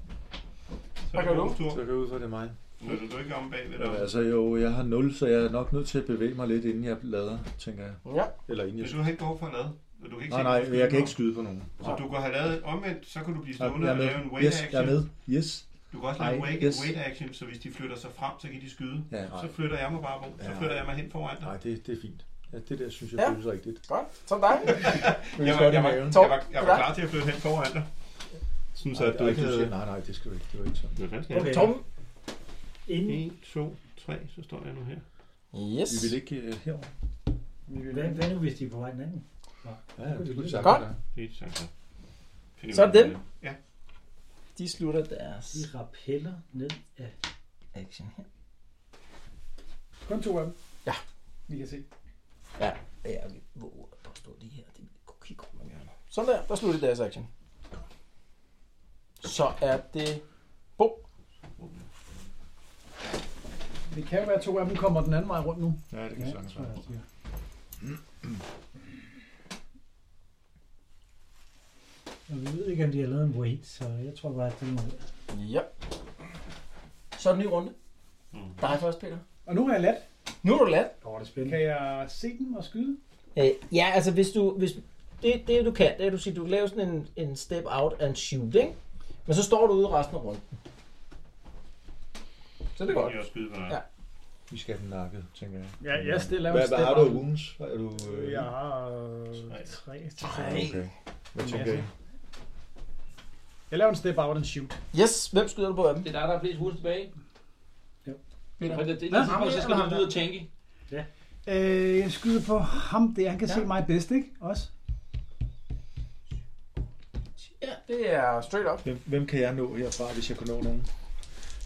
[SPEAKER 2] Hvad
[SPEAKER 4] er
[SPEAKER 2] gør
[SPEAKER 4] det
[SPEAKER 2] du?
[SPEAKER 4] vores tur.
[SPEAKER 9] Så går jeg ud fra, det er mig.
[SPEAKER 4] Flytter du ikke om bagved
[SPEAKER 9] Jamen,
[SPEAKER 4] dig?
[SPEAKER 9] altså jo, jeg har 0, så jeg er nok nødt til at bevæge mig lidt, inden jeg lader, tænker jeg.
[SPEAKER 2] Ja.
[SPEAKER 9] Eller inden jeg
[SPEAKER 4] Men du har ikke behov for at lade. og Du kan ikke
[SPEAKER 9] Nej,
[SPEAKER 4] se,
[SPEAKER 9] nej,
[SPEAKER 4] hvor du
[SPEAKER 9] jeg kan
[SPEAKER 4] skyder.
[SPEAKER 9] ikke skyde på nogen.
[SPEAKER 4] Så du kan have lavet omvendt, så kan du blive
[SPEAKER 9] Jeg
[SPEAKER 4] stående
[SPEAKER 9] er
[SPEAKER 4] og
[SPEAKER 9] med.
[SPEAKER 4] lave en wait
[SPEAKER 9] Yes, jeg
[SPEAKER 4] action.
[SPEAKER 9] er med. Yes.
[SPEAKER 4] Du kan også lave
[SPEAKER 9] Nej,
[SPEAKER 4] wait,
[SPEAKER 9] yes.
[SPEAKER 4] wait action, så hvis de flytter sig frem, så kan de skyde.
[SPEAKER 9] Ja, nej.
[SPEAKER 4] Så flytter jeg mig bare på. Så
[SPEAKER 9] Ja.
[SPEAKER 4] flytter jeg mig hen foran dig.
[SPEAKER 9] Nej, det, det er fint. Ja, det der synes jeg
[SPEAKER 2] Ja.
[SPEAKER 9] ja. føles rigtigt.
[SPEAKER 2] Godt. Så er det dig.
[SPEAKER 4] Jeg var, jeg, var, jeg,
[SPEAKER 2] Torben,
[SPEAKER 4] var, jeg var klar til at flytte hen foran dig. Sådan så, at du ikke
[SPEAKER 9] havde...
[SPEAKER 4] havde...
[SPEAKER 9] Nej, nej, det skal du ikke. Det var ikke sådan.
[SPEAKER 6] Okay.
[SPEAKER 2] Tom.
[SPEAKER 6] Inden,
[SPEAKER 4] 1, 2, 3, så står jeg nu her.
[SPEAKER 2] Yes.
[SPEAKER 9] Vi vil ikke uh, herover.
[SPEAKER 6] hvad, hvad nu, hvis de er på vej den anden?
[SPEAKER 9] Ja, ja, det kunne sagt.
[SPEAKER 2] Godt.
[SPEAKER 4] Det er sådan. Finder
[SPEAKER 2] Så er
[SPEAKER 4] vi ud af
[SPEAKER 2] det dem. De slutter deres
[SPEAKER 6] De rappeller ned af
[SPEAKER 2] action her.
[SPEAKER 5] Kun to af dem.
[SPEAKER 2] Ja.
[SPEAKER 5] Vi kan se.
[SPEAKER 2] Ja, ja vi våger at påstå det her. Det kunne kigge man gerne. Sådan der, der slutter deres action. Så er det Bo.
[SPEAKER 5] Det kan jo være, at to af dem kommer den anden vej rundt nu.
[SPEAKER 9] Ja, det kan ja, sagtens være.
[SPEAKER 6] Og vi ved ikke, om de har lavet en wait, så jeg tror bare, at det er noget.
[SPEAKER 2] Ja. Så er det en ny runde.
[SPEAKER 4] Mm.
[SPEAKER 2] Dig først, Peter.
[SPEAKER 5] Og nu er jeg let.
[SPEAKER 2] Nu er du ladt.
[SPEAKER 6] Åh, det er spændende.
[SPEAKER 5] Kan jeg se dem og skyde?
[SPEAKER 2] Øh, ja, altså hvis du... Hvis det, det du kan, det er, at du siger, du laver sådan en, en step out and shoot, ikke? Men så står du ude resten af runden. Så det er
[SPEAKER 4] Det
[SPEAKER 2] godt.
[SPEAKER 4] kan jeg også skyde på dig.
[SPEAKER 2] Ja.
[SPEAKER 9] Vi skal have den nakket, tænker jeg.
[SPEAKER 5] Ja, jeg stiller
[SPEAKER 9] Hvad, hvad har du af wounds? Er du... Øh...
[SPEAKER 5] Jeg har øh, tre.
[SPEAKER 9] Okay. Hvad tænker I?
[SPEAKER 5] Jeg laver en step out and shoot.
[SPEAKER 2] Yes, hvem skyder du på af dem?
[SPEAKER 7] Det er dig, der er flest hurtigt tilbage.
[SPEAKER 2] Peter.
[SPEAKER 7] For det, det,
[SPEAKER 5] Hvad?
[SPEAKER 7] det, tidspunkt, så skal
[SPEAKER 2] Ham
[SPEAKER 7] du
[SPEAKER 2] der.
[SPEAKER 7] ud og tænke.
[SPEAKER 5] Øh, jeg skyder på ham der. Han kan
[SPEAKER 2] Ja.
[SPEAKER 5] ja. se mig bedst, ikke? Også.
[SPEAKER 2] Ja, det er straight up.
[SPEAKER 9] Hvem, hvem kan jeg nå herfra, hvis jeg kan nå nogen?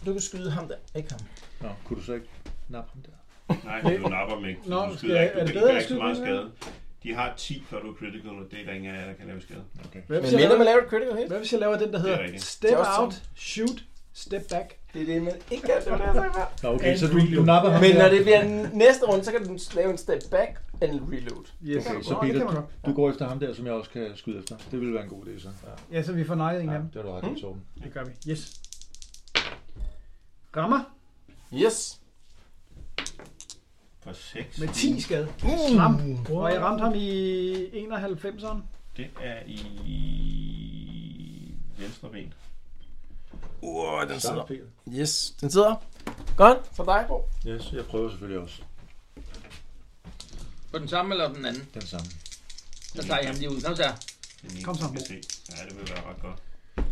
[SPEAKER 2] Du kan skyde ham der, ikke ham.
[SPEAKER 9] Nå, kunne du så ikke nappe ham der?
[SPEAKER 4] Nej, men du napper dem ikke. så
[SPEAKER 9] Nå,
[SPEAKER 4] du
[SPEAKER 9] skal
[SPEAKER 4] skyder
[SPEAKER 9] jeg-
[SPEAKER 4] ikke.
[SPEAKER 9] er
[SPEAKER 4] Du
[SPEAKER 9] det
[SPEAKER 4] kan
[SPEAKER 9] bedre
[SPEAKER 4] ikke
[SPEAKER 9] at
[SPEAKER 4] så
[SPEAKER 9] skyde
[SPEAKER 4] meget
[SPEAKER 9] dem,
[SPEAKER 4] skade. De har 10, før du er critical, og det er der ingen af jer, der kan lave skade. Okay.
[SPEAKER 5] Hvad hvis,
[SPEAKER 2] Men
[SPEAKER 5] jeg
[SPEAKER 2] mindre man
[SPEAKER 5] laver,
[SPEAKER 2] laver et critical hit.
[SPEAKER 5] hvad hvis jeg laver den,
[SPEAKER 4] Det
[SPEAKER 5] der
[SPEAKER 4] er
[SPEAKER 5] hedder
[SPEAKER 4] rigtigt.
[SPEAKER 5] step
[SPEAKER 2] Det er også
[SPEAKER 5] out, shoot, step back?
[SPEAKER 2] Det er det, man ikke kan. Det var det, jeg sagde før.
[SPEAKER 9] Nå, okay, så du, du napper ham
[SPEAKER 2] Men
[SPEAKER 9] der.
[SPEAKER 2] når det bliver næste runde, så kan du lave en step back and reload.
[SPEAKER 9] Okay, så Peter, du, du går efter ham der, som jeg også kan skyde efter. Det ville være en god idé, så.
[SPEAKER 5] Ja, så vi får nejlet en af dem.
[SPEAKER 9] Det var du ret i, Torben.
[SPEAKER 5] Det gør vi. Yes. Rammer
[SPEAKER 2] Yes.
[SPEAKER 4] For 6.
[SPEAKER 5] med 10 skade.
[SPEAKER 2] Mm.
[SPEAKER 5] Slam. Og jeg ramte ham i 91'eren.
[SPEAKER 4] Det er i venstre ben.
[SPEAKER 2] Uh, den sidder.
[SPEAKER 9] Peter.
[SPEAKER 2] Yes, den sidder. Godt, så dig, Bo.
[SPEAKER 9] Yes, jeg prøver selvfølgelig også
[SPEAKER 15] På den samme eller den anden?
[SPEAKER 9] den samme.
[SPEAKER 15] Så tager jeg ham lige ud. Kom så.
[SPEAKER 4] Den
[SPEAKER 5] Kom så,
[SPEAKER 4] eneste
[SPEAKER 5] Bo.
[SPEAKER 4] Skal se. Ja, det vil være ret godt.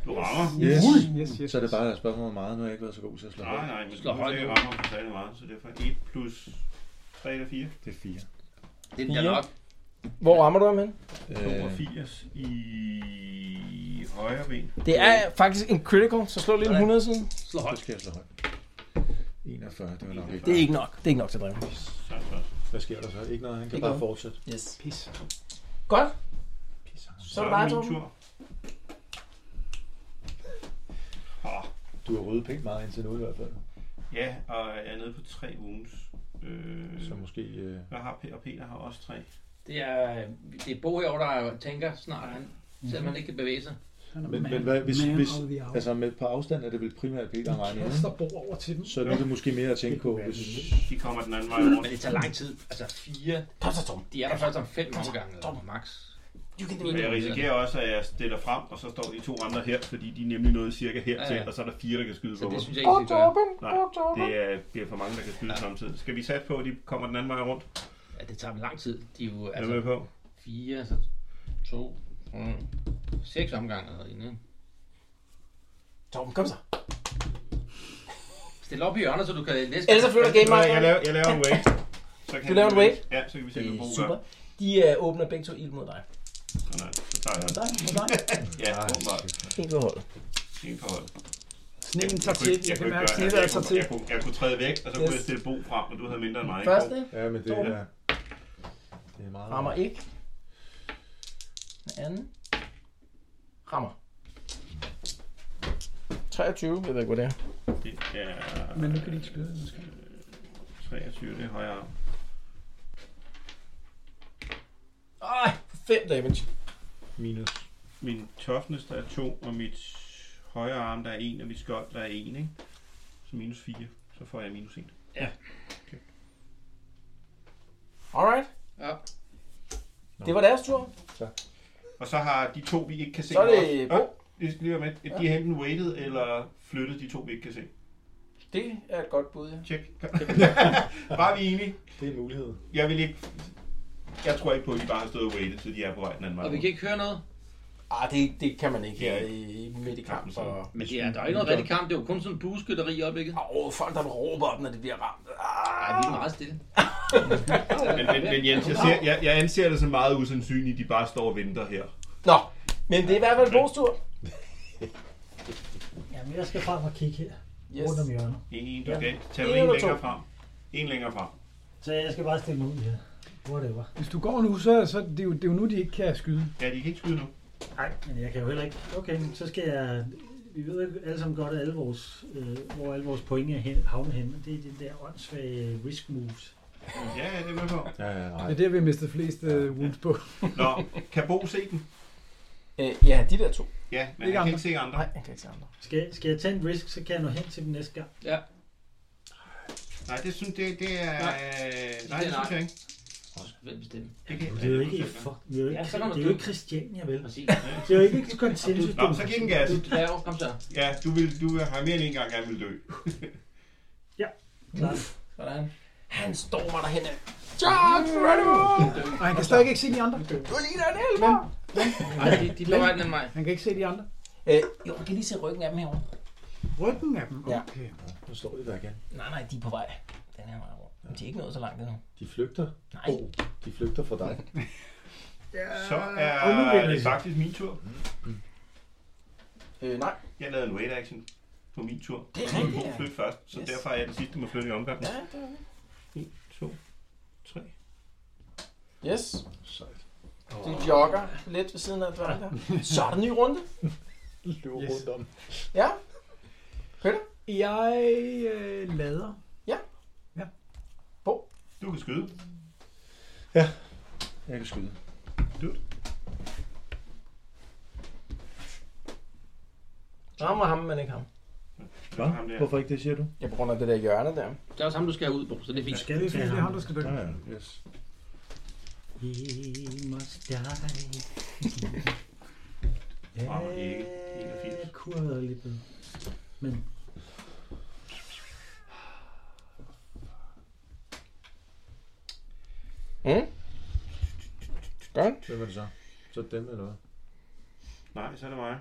[SPEAKER 4] Du rammer.
[SPEAKER 9] Yes.
[SPEAKER 5] yes, yes.
[SPEAKER 9] Så er det bare et spørgsmål om meget. Nu har jeg ikke været så god til at slå
[SPEAKER 4] Nej,
[SPEAKER 9] højt.
[SPEAKER 4] nej, men du
[SPEAKER 15] Slå højt
[SPEAKER 4] ikke
[SPEAKER 15] nu.
[SPEAKER 4] rammer for særlig meget, så det er for 1 plus 3 eller 4.
[SPEAKER 9] Det er fire.
[SPEAKER 15] Det er den der
[SPEAKER 2] Fire.
[SPEAKER 15] nok.
[SPEAKER 2] Hvor rammer du ham hen?
[SPEAKER 9] Øh,
[SPEAKER 4] 82 i højre ben.
[SPEAKER 2] Det er faktisk en critical, så slå lige en 100 siden.
[SPEAKER 15] Slå
[SPEAKER 9] så
[SPEAKER 15] højt.
[SPEAKER 9] Øh, skal jeg slå højt. 41, det var nok ikke.
[SPEAKER 2] Det er ikke nok. Det er ikke nok til at dræbe. ham.
[SPEAKER 4] Sådan så.
[SPEAKER 9] Hvad sker der så? Ikke noget, han kan
[SPEAKER 2] Ikke
[SPEAKER 9] bare
[SPEAKER 2] noget.
[SPEAKER 9] fortsætte.
[SPEAKER 2] Yes.
[SPEAKER 5] Pis.
[SPEAKER 2] Godt,
[SPEAKER 9] Pisse, han.
[SPEAKER 2] så er det dig,
[SPEAKER 4] min
[SPEAKER 2] Torben.
[SPEAKER 4] tur. Åh,
[SPEAKER 9] Du har ryddet pænt meget indtil nu i hvert fald.
[SPEAKER 4] ja, og jeg er nede på 3 wounds. Øh,
[SPEAKER 9] Så måske... Øh,
[SPEAKER 4] Hvad har Peter? Peter har også 3.
[SPEAKER 15] Det er, det er Bo herovre, der tænker snart han. Selvom han ikke kan bevæge sig.
[SPEAKER 5] Han er
[SPEAKER 9] men,
[SPEAKER 5] man-
[SPEAKER 9] men hvad, hvis,
[SPEAKER 5] man
[SPEAKER 9] hvis,
[SPEAKER 5] of the hour.
[SPEAKER 9] altså med, på afstand er det vel primært Peter og mig.
[SPEAKER 5] Jeg kaster bord over til dem.
[SPEAKER 9] Så nu er det måske mere at tænke på, hvis...
[SPEAKER 4] De kommer den anden vej rundt.
[SPEAKER 15] Men det tager lang tid. Altså fire.
[SPEAKER 2] Kom så, Torben.
[SPEAKER 15] De er der først om fem omgange. Eller max.
[SPEAKER 2] You can do
[SPEAKER 4] Og
[SPEAKER 2] it.
[SPEAKER 4] jeg risikerer også, at jeg stiller frem, og så står de to andre her, fordi de er nemlig noget cirka hertil,
[SPEAKER 15] Ja, ja.
[SPEAKER 4] og så er der fire, der kan skyde
[SPEAKER 15] Så
[SPEAKER 4] på mig.
[SPEAKER 15] det synes jeg ikke, vi skal gøre.
[SPEAKER 4] Nej, det er, bliver for mange, der kan skyde ja. samtidig. Skal vi sætte på, at de kommer den anden vej rundt?
[SPEAKER 15] Ja, det tager lang tid. De er jo
[SPEAKER 4] Er du med
[SPEAKER 15] altså
[SPEAKER 4] på?
[SPEAKER 15] fire, så to, mm, seks omgange eller inden.
[SPEAKER 2] Torben, kom så.
[SPEAKER 15] Stil op i hjørnet, så du kan læse.
[SPEAKER 2] Ellers så flytter game
[SPEAKER 4] Nej, jeg
[SPEAKER 2] over.
[SPEAKER 4] laver, jeg laver en wave. Så kan
[SPEAKER 2] Du laver en wave?
[SPEAKER 4] Ja, så kan vi se,
[SPEAKER 2] Det
[SPEAKER 4] hvad Bo
[SPEAKER 2] er
[SPEAKER 4] gør.
[SPEAKER 2] super. De øh, åbner begge to ild mod dig.
[SPEAKER 4] Sådan her. Så tager jeg den.
[SPEAKER 2] Dig, mod dig.
[SPEAKER 4] Ja, åbenbart.
[SPEAKER 2] En på holdet.
[SPEAKER 4] Ingen forhold.
[SPEAKER 5] Sneen tager
[SPEAKER 4] Jeg kunne
[SPEAKER 5] til.
[SPEAKER 4] ikke-
[SPEAKER 5] Jeg
[SPEAKER 4] Jeg
[SPEAKER 5] kan
[SPEAKER 4] kunne
[SPEAKER 5] mærke,
[SPEAKER 4] ikke
[SPEAKER 5] at
[SPEAKER 4] gøre,
[SPEAKER 5] sneen
[SPEAKER 4] jeg
[SPEAKER 5] tager
[SPEAKER 4] kunne,
[SPEAKER 5] til.
[SPEAKER 4] jeg, kunne, jeg kunne træde væk, og så kunne
[SPEAKER 2] Yes.
[SPEAKER 4] jeg stille Bo frem, og du havde mindre end mig.
[SPEAKER 2] Første
[SPEAKER 9] Ja, men det
[SPEAKER 2] Torben.
[SPEAKER 9] er... Det er meget...
[SPEAKER 2] rammer ikke. Den anden rammer. 23, jeg ved ikke, hvad det er.
[SPEAKER 4] Bo. Det er...
[SPEAKER 5] Men nu kan de ikke skyde. nu skal de.
[SPEAKER 4] 23, det er højere arm.
[SPEAKER 2] Ej, 5 damage.
[SPEAKER 9] Minus.
[SPEAKER 4] Min toughness, der er 2, og mit højre arm, der er 1, og mit skjold, der er 1, ikke? Så minus 4, så får jeg minus 1.
[SPEAKER 2] Alright,
[SPEAKER 15] Ja.
[SPEAKER 2] det var deres tur.
[SPEAKER 4] Og så har de to, vi ikke kan se...
[SPEAKER 2] Så er det
[SPEAKER 4] også-
[SPEAKER 2] Bo.
[SPEAKER 4] Åh, Det skal lige være med. De er enten waited eller flyttet de to, vi ikke kan se.
[SPEAKER 2] Det er et godt bud, ja.
[SPEAKER 4] Tjek. [LAUGHS] Bare vi er enige.
[SPEAKER 9] Det er en mulighed.
[SPEAKER 4] Jeg vil ikke... Jeg tror ikke på, at de bare har stået og waited, så de er på vej den anden vej.
[SPEAKER 15] Og vi kan ikke høre noget.
[SPEAKER 2] Ah, det, det kan man ikke her i midt i kampen.
[SPEAKER 4] Kampen, så.
[SPEAKER 2] For...
[SPEAKER 15] Men det er, der er ikke noget rigtig kamp. Det er jo kun sådan en bueskytteri i øjeblikket.
[SPEAKER 2] Åh, folk der råber op, når det bliver ramt.
[SPEAKER 15] Nej,
[SPEAKER 2] Ah,
[SPEAKER 15] vi er meget stille.
[SPEAKER 4] Men, men, men Jens, jeg, ser, jeg, jeg anser det som meget usandsynligt, at de bare står og venter her.
[SPEAKER 2] Nå, men det er i hvert fald Bo's tur.
[SPEAKER 16] Jamen, jeg skal frem og kigge her.
[SPEAKER 2] Yes.
[SPEAKER 16] Rundt om hjørnet.
[SPEAKER 4] En, du skal tage
[SPEAKER 2] En
[SPEAKER 4] en
[SPEAKER 2] eller
[SPEAKER 4] længere
[SPEAKER 2] to?
[SPEAKER 4] frem. En længere frem.
[SPEAKER 16] Så jeg skal bare stille mig ud her. Whatever.
[SPEAKER 5] Hvis du går nu, så, så det er jo, det er jo nu, de ikke kan skyde.
[SPEAKER 4] Ja, de kan ikke skyde nu.
[SPEAKER 16] Nej, men jeg kan jo heller ikke. Okay, men så skal jeg... Vi ved jo alle sammen godt, at alle vores, øh, hvor alle vores point er hen, havnet henne. Det er den der åndssvage øh, risk moves.
[SPEAKER 4] Ja, ja, det er med på.
[SPEAKER 9] Ja, ja, nej.
[SPEAKER 5] Det er der, vi har mistet flest uh, wounds på.
[SPEAKER 4] Nå, kan Bo se den?
[SPEAKER 2] Øh, ja, de der to.
[SPEAKER 4] Ja, men
[SPEAKER 5] Ikke
[SPEAKER 4] han kan
[SPEAKER 5] andre.
[SPEAKER 4] ikke se andre.
[SPEAKER 2] Nej, jeg kan ikke se andre.
[SPEAKER 16] Skal, skal jeg tage en risk, så kan jeg nå hen til den næste gang.
[SPEAKER 4] Nej, det synes det, det er...
[SPEAKER 15] Nej.
[SPEAKER 4] Nej, det synes jeg ikke.
[SPEAKER 15] Hvem bestemmer?
[SPEAKER 4] Det kan
[SPEAKER 16] Det er jo ikke, fuck, det er jo ikke,
[SPEAKER 15] Ja, så kommer
[SPEAKER 16] det er
[SPEAKER 15] du.
[SPEAKER 16] jo ikke Christiania, vel?
[SPEAKER 15] Præcis.
[SPEAKER 16] Det er jo ikke konsensus.
[SPEAKER 4] Nå, så giv den gas.
[SPEAKER 15] Du dværger. Kom så.
[SPEAKER 4] Ja, du, vil, du har mere end en gang gerne vil dø.
[SPEAKER 16] Klart.
[SPEAKER 2] Sådan. Han stormer derhenne. Charge, Renato!
[SPEAKER 5] Og han kan stadig ikke se de andre.
[SPEAKER 2] Du ligner en elver!
[SPEAKER 15] Ej, de, de er på vej den anden vej.
[SPEAKER 5] Han kan ikke se de andre.
[SPEAKER 2] Øh, jo, kan lige se ryggen af dem herovre?
[SPEAKER 5] Ryggen af dem.
[SPEAKER 2] Ja.
[SPEAKER 5] Okay.
[SPEAKER 9] Nu står de der igen.
[SPEAKER 2] Nej, nej, de er på vej. Den her vej rundt. Men de er ikke nået så langt endnu.
[SPEAKER 9] De flygter.
[SPEAKER 2] Nej.
[SPEAKER 9] Oh, de flygter fra dig.
[SPEAKER 4] Så
[SPEAKER 5] og nu
[SPEAKER 4] er
[SPEAKER 5] vil
[SPEAKER 4] det faktisk min tur.
[SPEAKER 2] Øh, nej.
[SPEAKER 4] Jeg lavede en wait action. på min tur.
[SPEAKER 2] Det er
[SPEAKER 4] Så må
[SPEAKER 2] rigtigt,
[SPEAKER 4] Bo
[SPEAKER 2] ja.
[SPEAKER 4] flytte først, så
[SPEAKER 2] Yes.
[SPEAKER 4] derfor er jeg den sidste med at flytte i omgangen.
[SPEAKER 2] Ja, det er
[SPEAKER 4] 1, 2, 3.
[SPEAKER 2] Yes. Det jogger lidt ved siden af Dranka. Så er der en ny runde.
[SPEAKER 13] Løber yes. rundt om.
[SPEAKER 2] Ja. Peter?
[SPEAKER 5] Jeg øh, lader.
[SPEAKER 2] Ja.
[SPEAKER 5] Ja.
[SPEAKER 2] Bo?
[SPEAKER 4] Du kan skyde.
[SPEAKER 9] Ja, jeg kan skyde.
[SPEAKER 4] Du.
[SPEAKER 2] Rammer ham, men ikke ham.
[SPEAKER 9] Hvad? Hvorfor ikke det, siger du?
[SPEAKER 2] Jeg bruger det der hjørne der.
[SPEAKER 15] Det er også ham, du skal have ud på, så det er fint.
[SPEAKER 5] Skal det, det er ham, der skal dø.
[SPEAKER 9] Ja, ja. Yes.
[SPEAKER 16] He must die.
[SPEAKER 4] Rammer ikke. 81.
[SPEAKER 16] Jeg kunne have været lidt bedre. Men
[SPEAKER 2] Mm. Godt.
[SPEAKER 9] Hvem er det så? Så er det dem eller hvad?
[SPEAKER 4] Nej, så er det mig.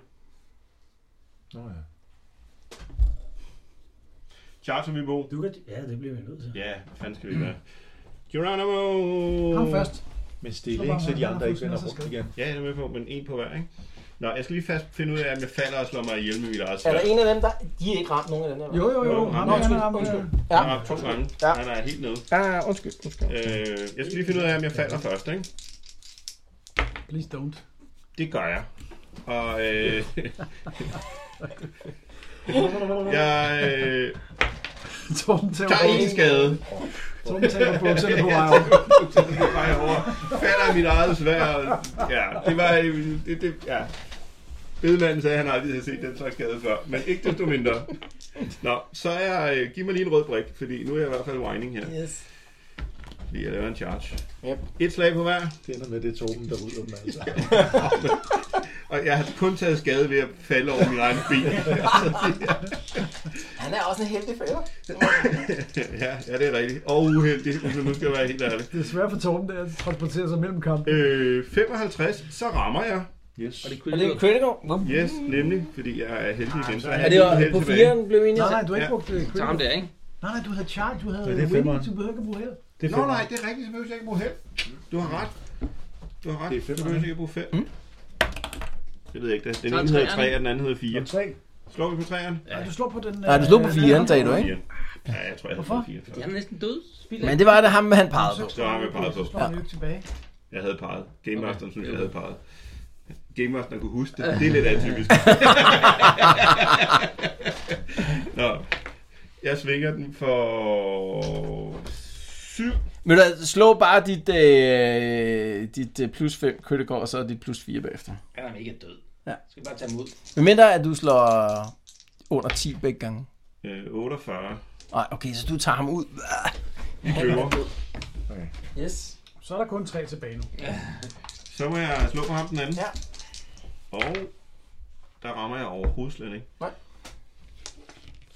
[SPEAKER 9] Nå ja.
[SPEAKER 4] Charter vi Bo.
[SPEAKER 16] du kan... Ja, det bliver vi nødt til.
[SPEAKER 4] Ja, hvad fanden skal vi være? Geronimo!
[SPEAKER 5] Ham først.
[SPEAKER 9] Men stille, ikke? Så de andre ikke vender rundt igen.
[SPEAKER 4] Ja, jeg er med på, men en på hver, ikke? Nå, jeg skal lige fast finde ud af, om jeg falder og slår mig ihjel med mit eget
[SPEAKER 2] Er
[SPEAKER 4] sværd.
[SPEAKER 2] der en af dem, der... De er ikke ramt nogen af dem der.
[SPEAKER 5] Jo, jo, jo.
[SPEAKER 4] Jo,
[SPEAKER 5] Ham,
[SPEAKER 4] ham,
[SPEAKER 5] han er ham.
[SPEAKER 2] undskyld.
[SPEAKER 5] øh,
[SPEAKER 2] Ja.
[SPEAKER 4] Jeg har to gange.
[SPEAKER 2] Ja.
[SPEAKER 4] Han er helt nede.
[SPEAKER 2] Ja, ja, undskyld. undskyld.
[SPEAKER 4] Øh, jeg skal lige finde ud af, om jeg falder først, ikke?
[SPEAKER 5] Please don't.
[SPEAKER 4] Det gør jeg. Og
[SPEAKER 2] [LAUGHS]
[SPEAKER 4] øh, [LAUGHS] jeg øh,
[SPEAKER 5] Torben tager
[SPEAKER 4] tager en
[SPEAKER 5] bukserne.
[SPEAKER 4] skade.
[SPEAKER 5] Torben tager bukserne på vej over.
[SPEAKER 4] Så det er bare over. Falder i mit eget svær. Ja, det var... øh, Det, det, ja. Bedemanden sagde, at han aldrig havde set den slags skade før, men ikke desto mindre. Nå, så er jeg... øh, Giv mig lige en rød brik, fordi nu er jeg i hvert fald whining her.
[SPEAKER 2] Yes.
[SPEAKER 4] Lige at lave en charge.
[SPEAKER 2] Yep.
[SPEAKER 4] Et slag på hver.
[SPEAKER 9] Det ender med, det er Torben, der rydder dem altså.
[SPEAKER 4] Og jeg har kun taget skade ved at falde over min egen ben.
[SPEAKER 2] Han er også en heldig fælder.
[SPEAKER 4] [LAUGHS] ja, ja, det er rigtigt. Og uheldig, hvis man nu skal være helt ærlig.
[SPEAKER 5] Det er svært for Torben, der at transportere sig mellem kampen.
[SPEAKER 4] Øh, 55, så rammer jeg.
[SPEAKER 9] Yes.
[SPEAKER 15] Og det
[SPEAKER 2] Er
[SPEAKER 15] kunne
[SPEAKER 2] det en critical? Nå.
[SPEAKER 4] Yes, nemlig, fordi jeg er heldig igen. Så
[SPEAKER 2] Er det jo på fireren blev vi enige?
[SPEAKER 5] Nej,
[SPEAKER 2] om?
[SPEAKER 5] nej, du har ikke
[SPEAKER 4] Ja.
[SPEAKER 5] brugt det.
[SPEAKER 15] Tag ham der, ikke?
[SPEAKER 5] Nej, nej, du havde charge, du havde
[SPEAKER 9] Ja, det er
[SPEAKER 5] winning,
[SPEAKER 9] femmeren.
[SPEAKER 5] du behøver ikke at bruge held.
[SPEAKER 9] Det er
[SPEAKER 4] Nå
[SPEAKER 9] fem.
[SPEAKER 4] nej, det er rigtigt, så behøver jeg ikke bruge held. Du har ret. Du har ret.
[SPEAKER 9] Det er fem,
[SPEAKER 4] så behøver jeg ikke bruge 5.
[SPEAKER 2] Mm.
[SPEAKER 4] Det ved jeg ikke. det. Den
[SPEAKER 15] Så er
[SPEAKER 4] ene hedder
[SPEAKER 15] træerne.
[SPEAKER 4] 3, og den anden hedder 4.
[SPEAKER 9] Om tre.
[SPEAKER 4] Slår vi på 3'eren?
[SPEAKER 5] Nej, du slår på den...
[SPEAKER 2] Nej, du slog på
[SPEAKER 5] øh,
[SPEAKER 2] fireren, sagde du, ikke?
[SPEAKER 4] Fire. Ja, jeg tror, jeg
[SPEAKER 5] Hvorfor?
[SPEAKER 4] havde 4.
[SPEAKER 15] De er næsten døde. Spiller.
[SPEAKER 2] Men det var det ham, han pegede på.
[SPEAKER 4] Så har vi peget på.
[SPEAKER 5] Så slår han jo ikke tilbage.
[SPEAKER 4] Jeg havde peget. Game Masteren synes, jeg havde peget. Game Masteren kunne huske det. Det er lidt atypisk. Nå. Jeg svinger den for 7.
[SPEAKER 2] Men du, altså slå bare dit, øh, dit øh, plus 5 critical, og så dit plus 4 bagefter.
[SPEAKER 15] Han er mega død.
[SPEAKER 2] Ja.
[SPEAKER 15] Skal vi bare tage ham ud.
[SPEAKER 2] Medmindre at du slår under 10 begge gange.
[SPEAKER 4] Øh, 48.
[SPEAKER 2] Nej, okay, så du tager ham ud.
[SPEAKER 4] Vi køber.
[SPEAKER 2] Yes.
[SPEAKER 5] Så er der kun tre tilbage nu.
[SPEAKER 4] Så må jeg slå på ham den anden.
[SPEAKER 2] Ja.
[SPEAKER 4] Og der rammer jeg overhovedet slet ikke.
[SPEAKER 2] Nej.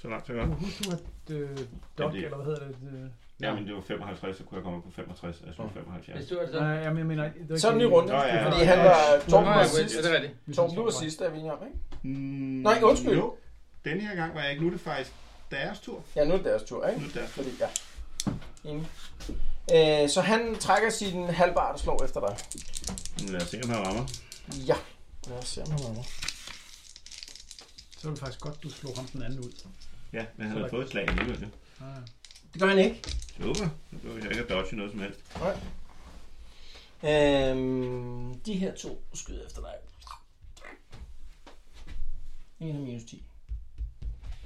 [SPEAKER 4] Så langt så godt.
[SPEAKER 5] Husk nu, at øh, Doc,
[SPEAKER 4] Jamen, det-
[SPEAKER 5] eller hvad hedder det? øh,
[SPEAKER 4] Ja, men det var 55, så kunne jeg komme op på 65. Jeg slog 75.
[SPEAKER 15] Hvis du er det så.
[SPEAKER 5] Nej, jamen, jeg mener... det var
[SPEAKER 2] Så er det
[SPEAKER 5] ikke-
[SPEAKER 2] en ny runde.
[SPEAKER 4] Nå, ja.
[SPEAKER 2] Fordi han var
[SPEAKER 15] Nå,
[SPEAKER 2] Torben
[SPEAKER 15] ja,
[SPEAKER 2] var
[SPEAKER 15] ja,
[SPEAKER 2] sidst.
[SPEAKER 15] det er rigtigt.
[SPEAKER 2] Torben, du var sidst, der vi enige om, ikke?
[SPEAKER 4] Mm,
[SPEAKER 2] Nej, undskyld.
[SPEAKER 4] Jo, den her gang var jeg ikke. Nu er det faktisk deres tur.
[SPEAKER 2] Ja, nu er det deres tur, ikke?
[SPEAKER 4] Nu er det deres tur.
[SPEAKER 2] Fordi, ja. Enig. Øh, så han trækker sin halvbar og slår efter dig.
[SPEAKER 4] Lad os se, om han rammer.
[SPEAKER 2] Ja. Lad os se, om han rammer.
[SPEAKER 5] Så var det faktisk godt, du slog ham den anden ud.
[SPEAKER 4] Ja, men han har fået et slag alligevel. ja.
[SPEAKER 5] Ah.
[SPEAKER 2] Det gør han ikke.
[SPEAKER 4] Super. Nu behøver jeg ikke at dodge noget som helst.
[SPEAKER 2] Øhm, de her to skyder efter dig. En har minus 10.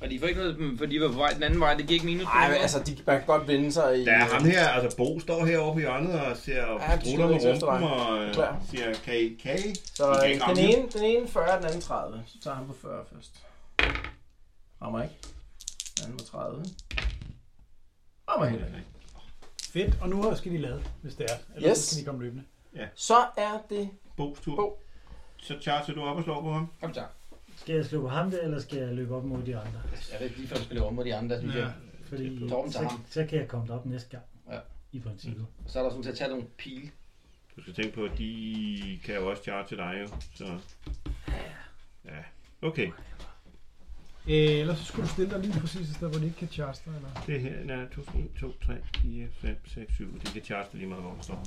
[SPEAKER 15] Og de får ikke noget, for de var på vej den anden vej. Det giver ikke minus.
[SPEAKER 2] Nej, men altså, de man kan godt vinde sig i...
[SPEAKER 4] Der er ham her, altså Bo står herovre på hjørnet og ser
[SPEAKER 2] han
[SPEAKER 4] strutter med
[SPEAKER 2] skyder ikke efter
[SPEAKER 4] rumpen
[SPEAKER 2] dig.
[SPEAKER 4] og øh,
[SPEAKER 2] Klar.
[SPEAKER 4] siger, kan I, kan I?
[SPEAKER 2] Så øh,
[SPEAKER 4] I kan ikke
[SPEAKER 2] den
[SPEAKER 4] ramme
[SPEAKER 2] ene, den ene 40, den anden 30. Så tager han på 40 først. Rammer ikke. Den anden på 30. Rammer heller ikke.
[SPEAKER 5] Fedt, og nu skal de lade, hvis det er. Eller
[SPEAKER 2] Yes.
[SPEAKER 5] yes. kan de komme løbende.
[SPEAKER 2] Så er det...
[SPEAKER 4] Bo's tur.
[SPEAKER 2] Bo.
[SPEAKER 4] Så charger du op og slår på ham.
[SPEAKER 15] Kom så.
[SPEAKER 16] skal jeg slå på ham der, eller skal jeg løbe op mod de andre?
[SPEAKER 15] Jeg ved ikke lige, før du spiller om mod de andre, synes jeg.
[SPEAKER 16] Fordi
[SPEAKER 15] Torben tager
[SPEAKER 16] så,
[SPEAKER 15] ham.
[SPEAKER 16] så kan jeg komme derop næste gang.
[SPEAKER 15] Ja.
[SPEAKER 16] I princippet.
[SPEAKER 15] Så er der også nogen til at tage nogle pile.
[SPEAKER 4] Du skal tænke på, at de kan jo også charge til dig jo. Så. Ja. Okay,
[SPEAKER 5] Øh, ellers så skulle du stille dig lige præcis et sted, hvor de ikke kan charge dig. Eller?
[SPEAKER 4] det her er 2, 1, 2, 3, 4, 5, 6, 7. De kan charge dig lige meget, hvor du står.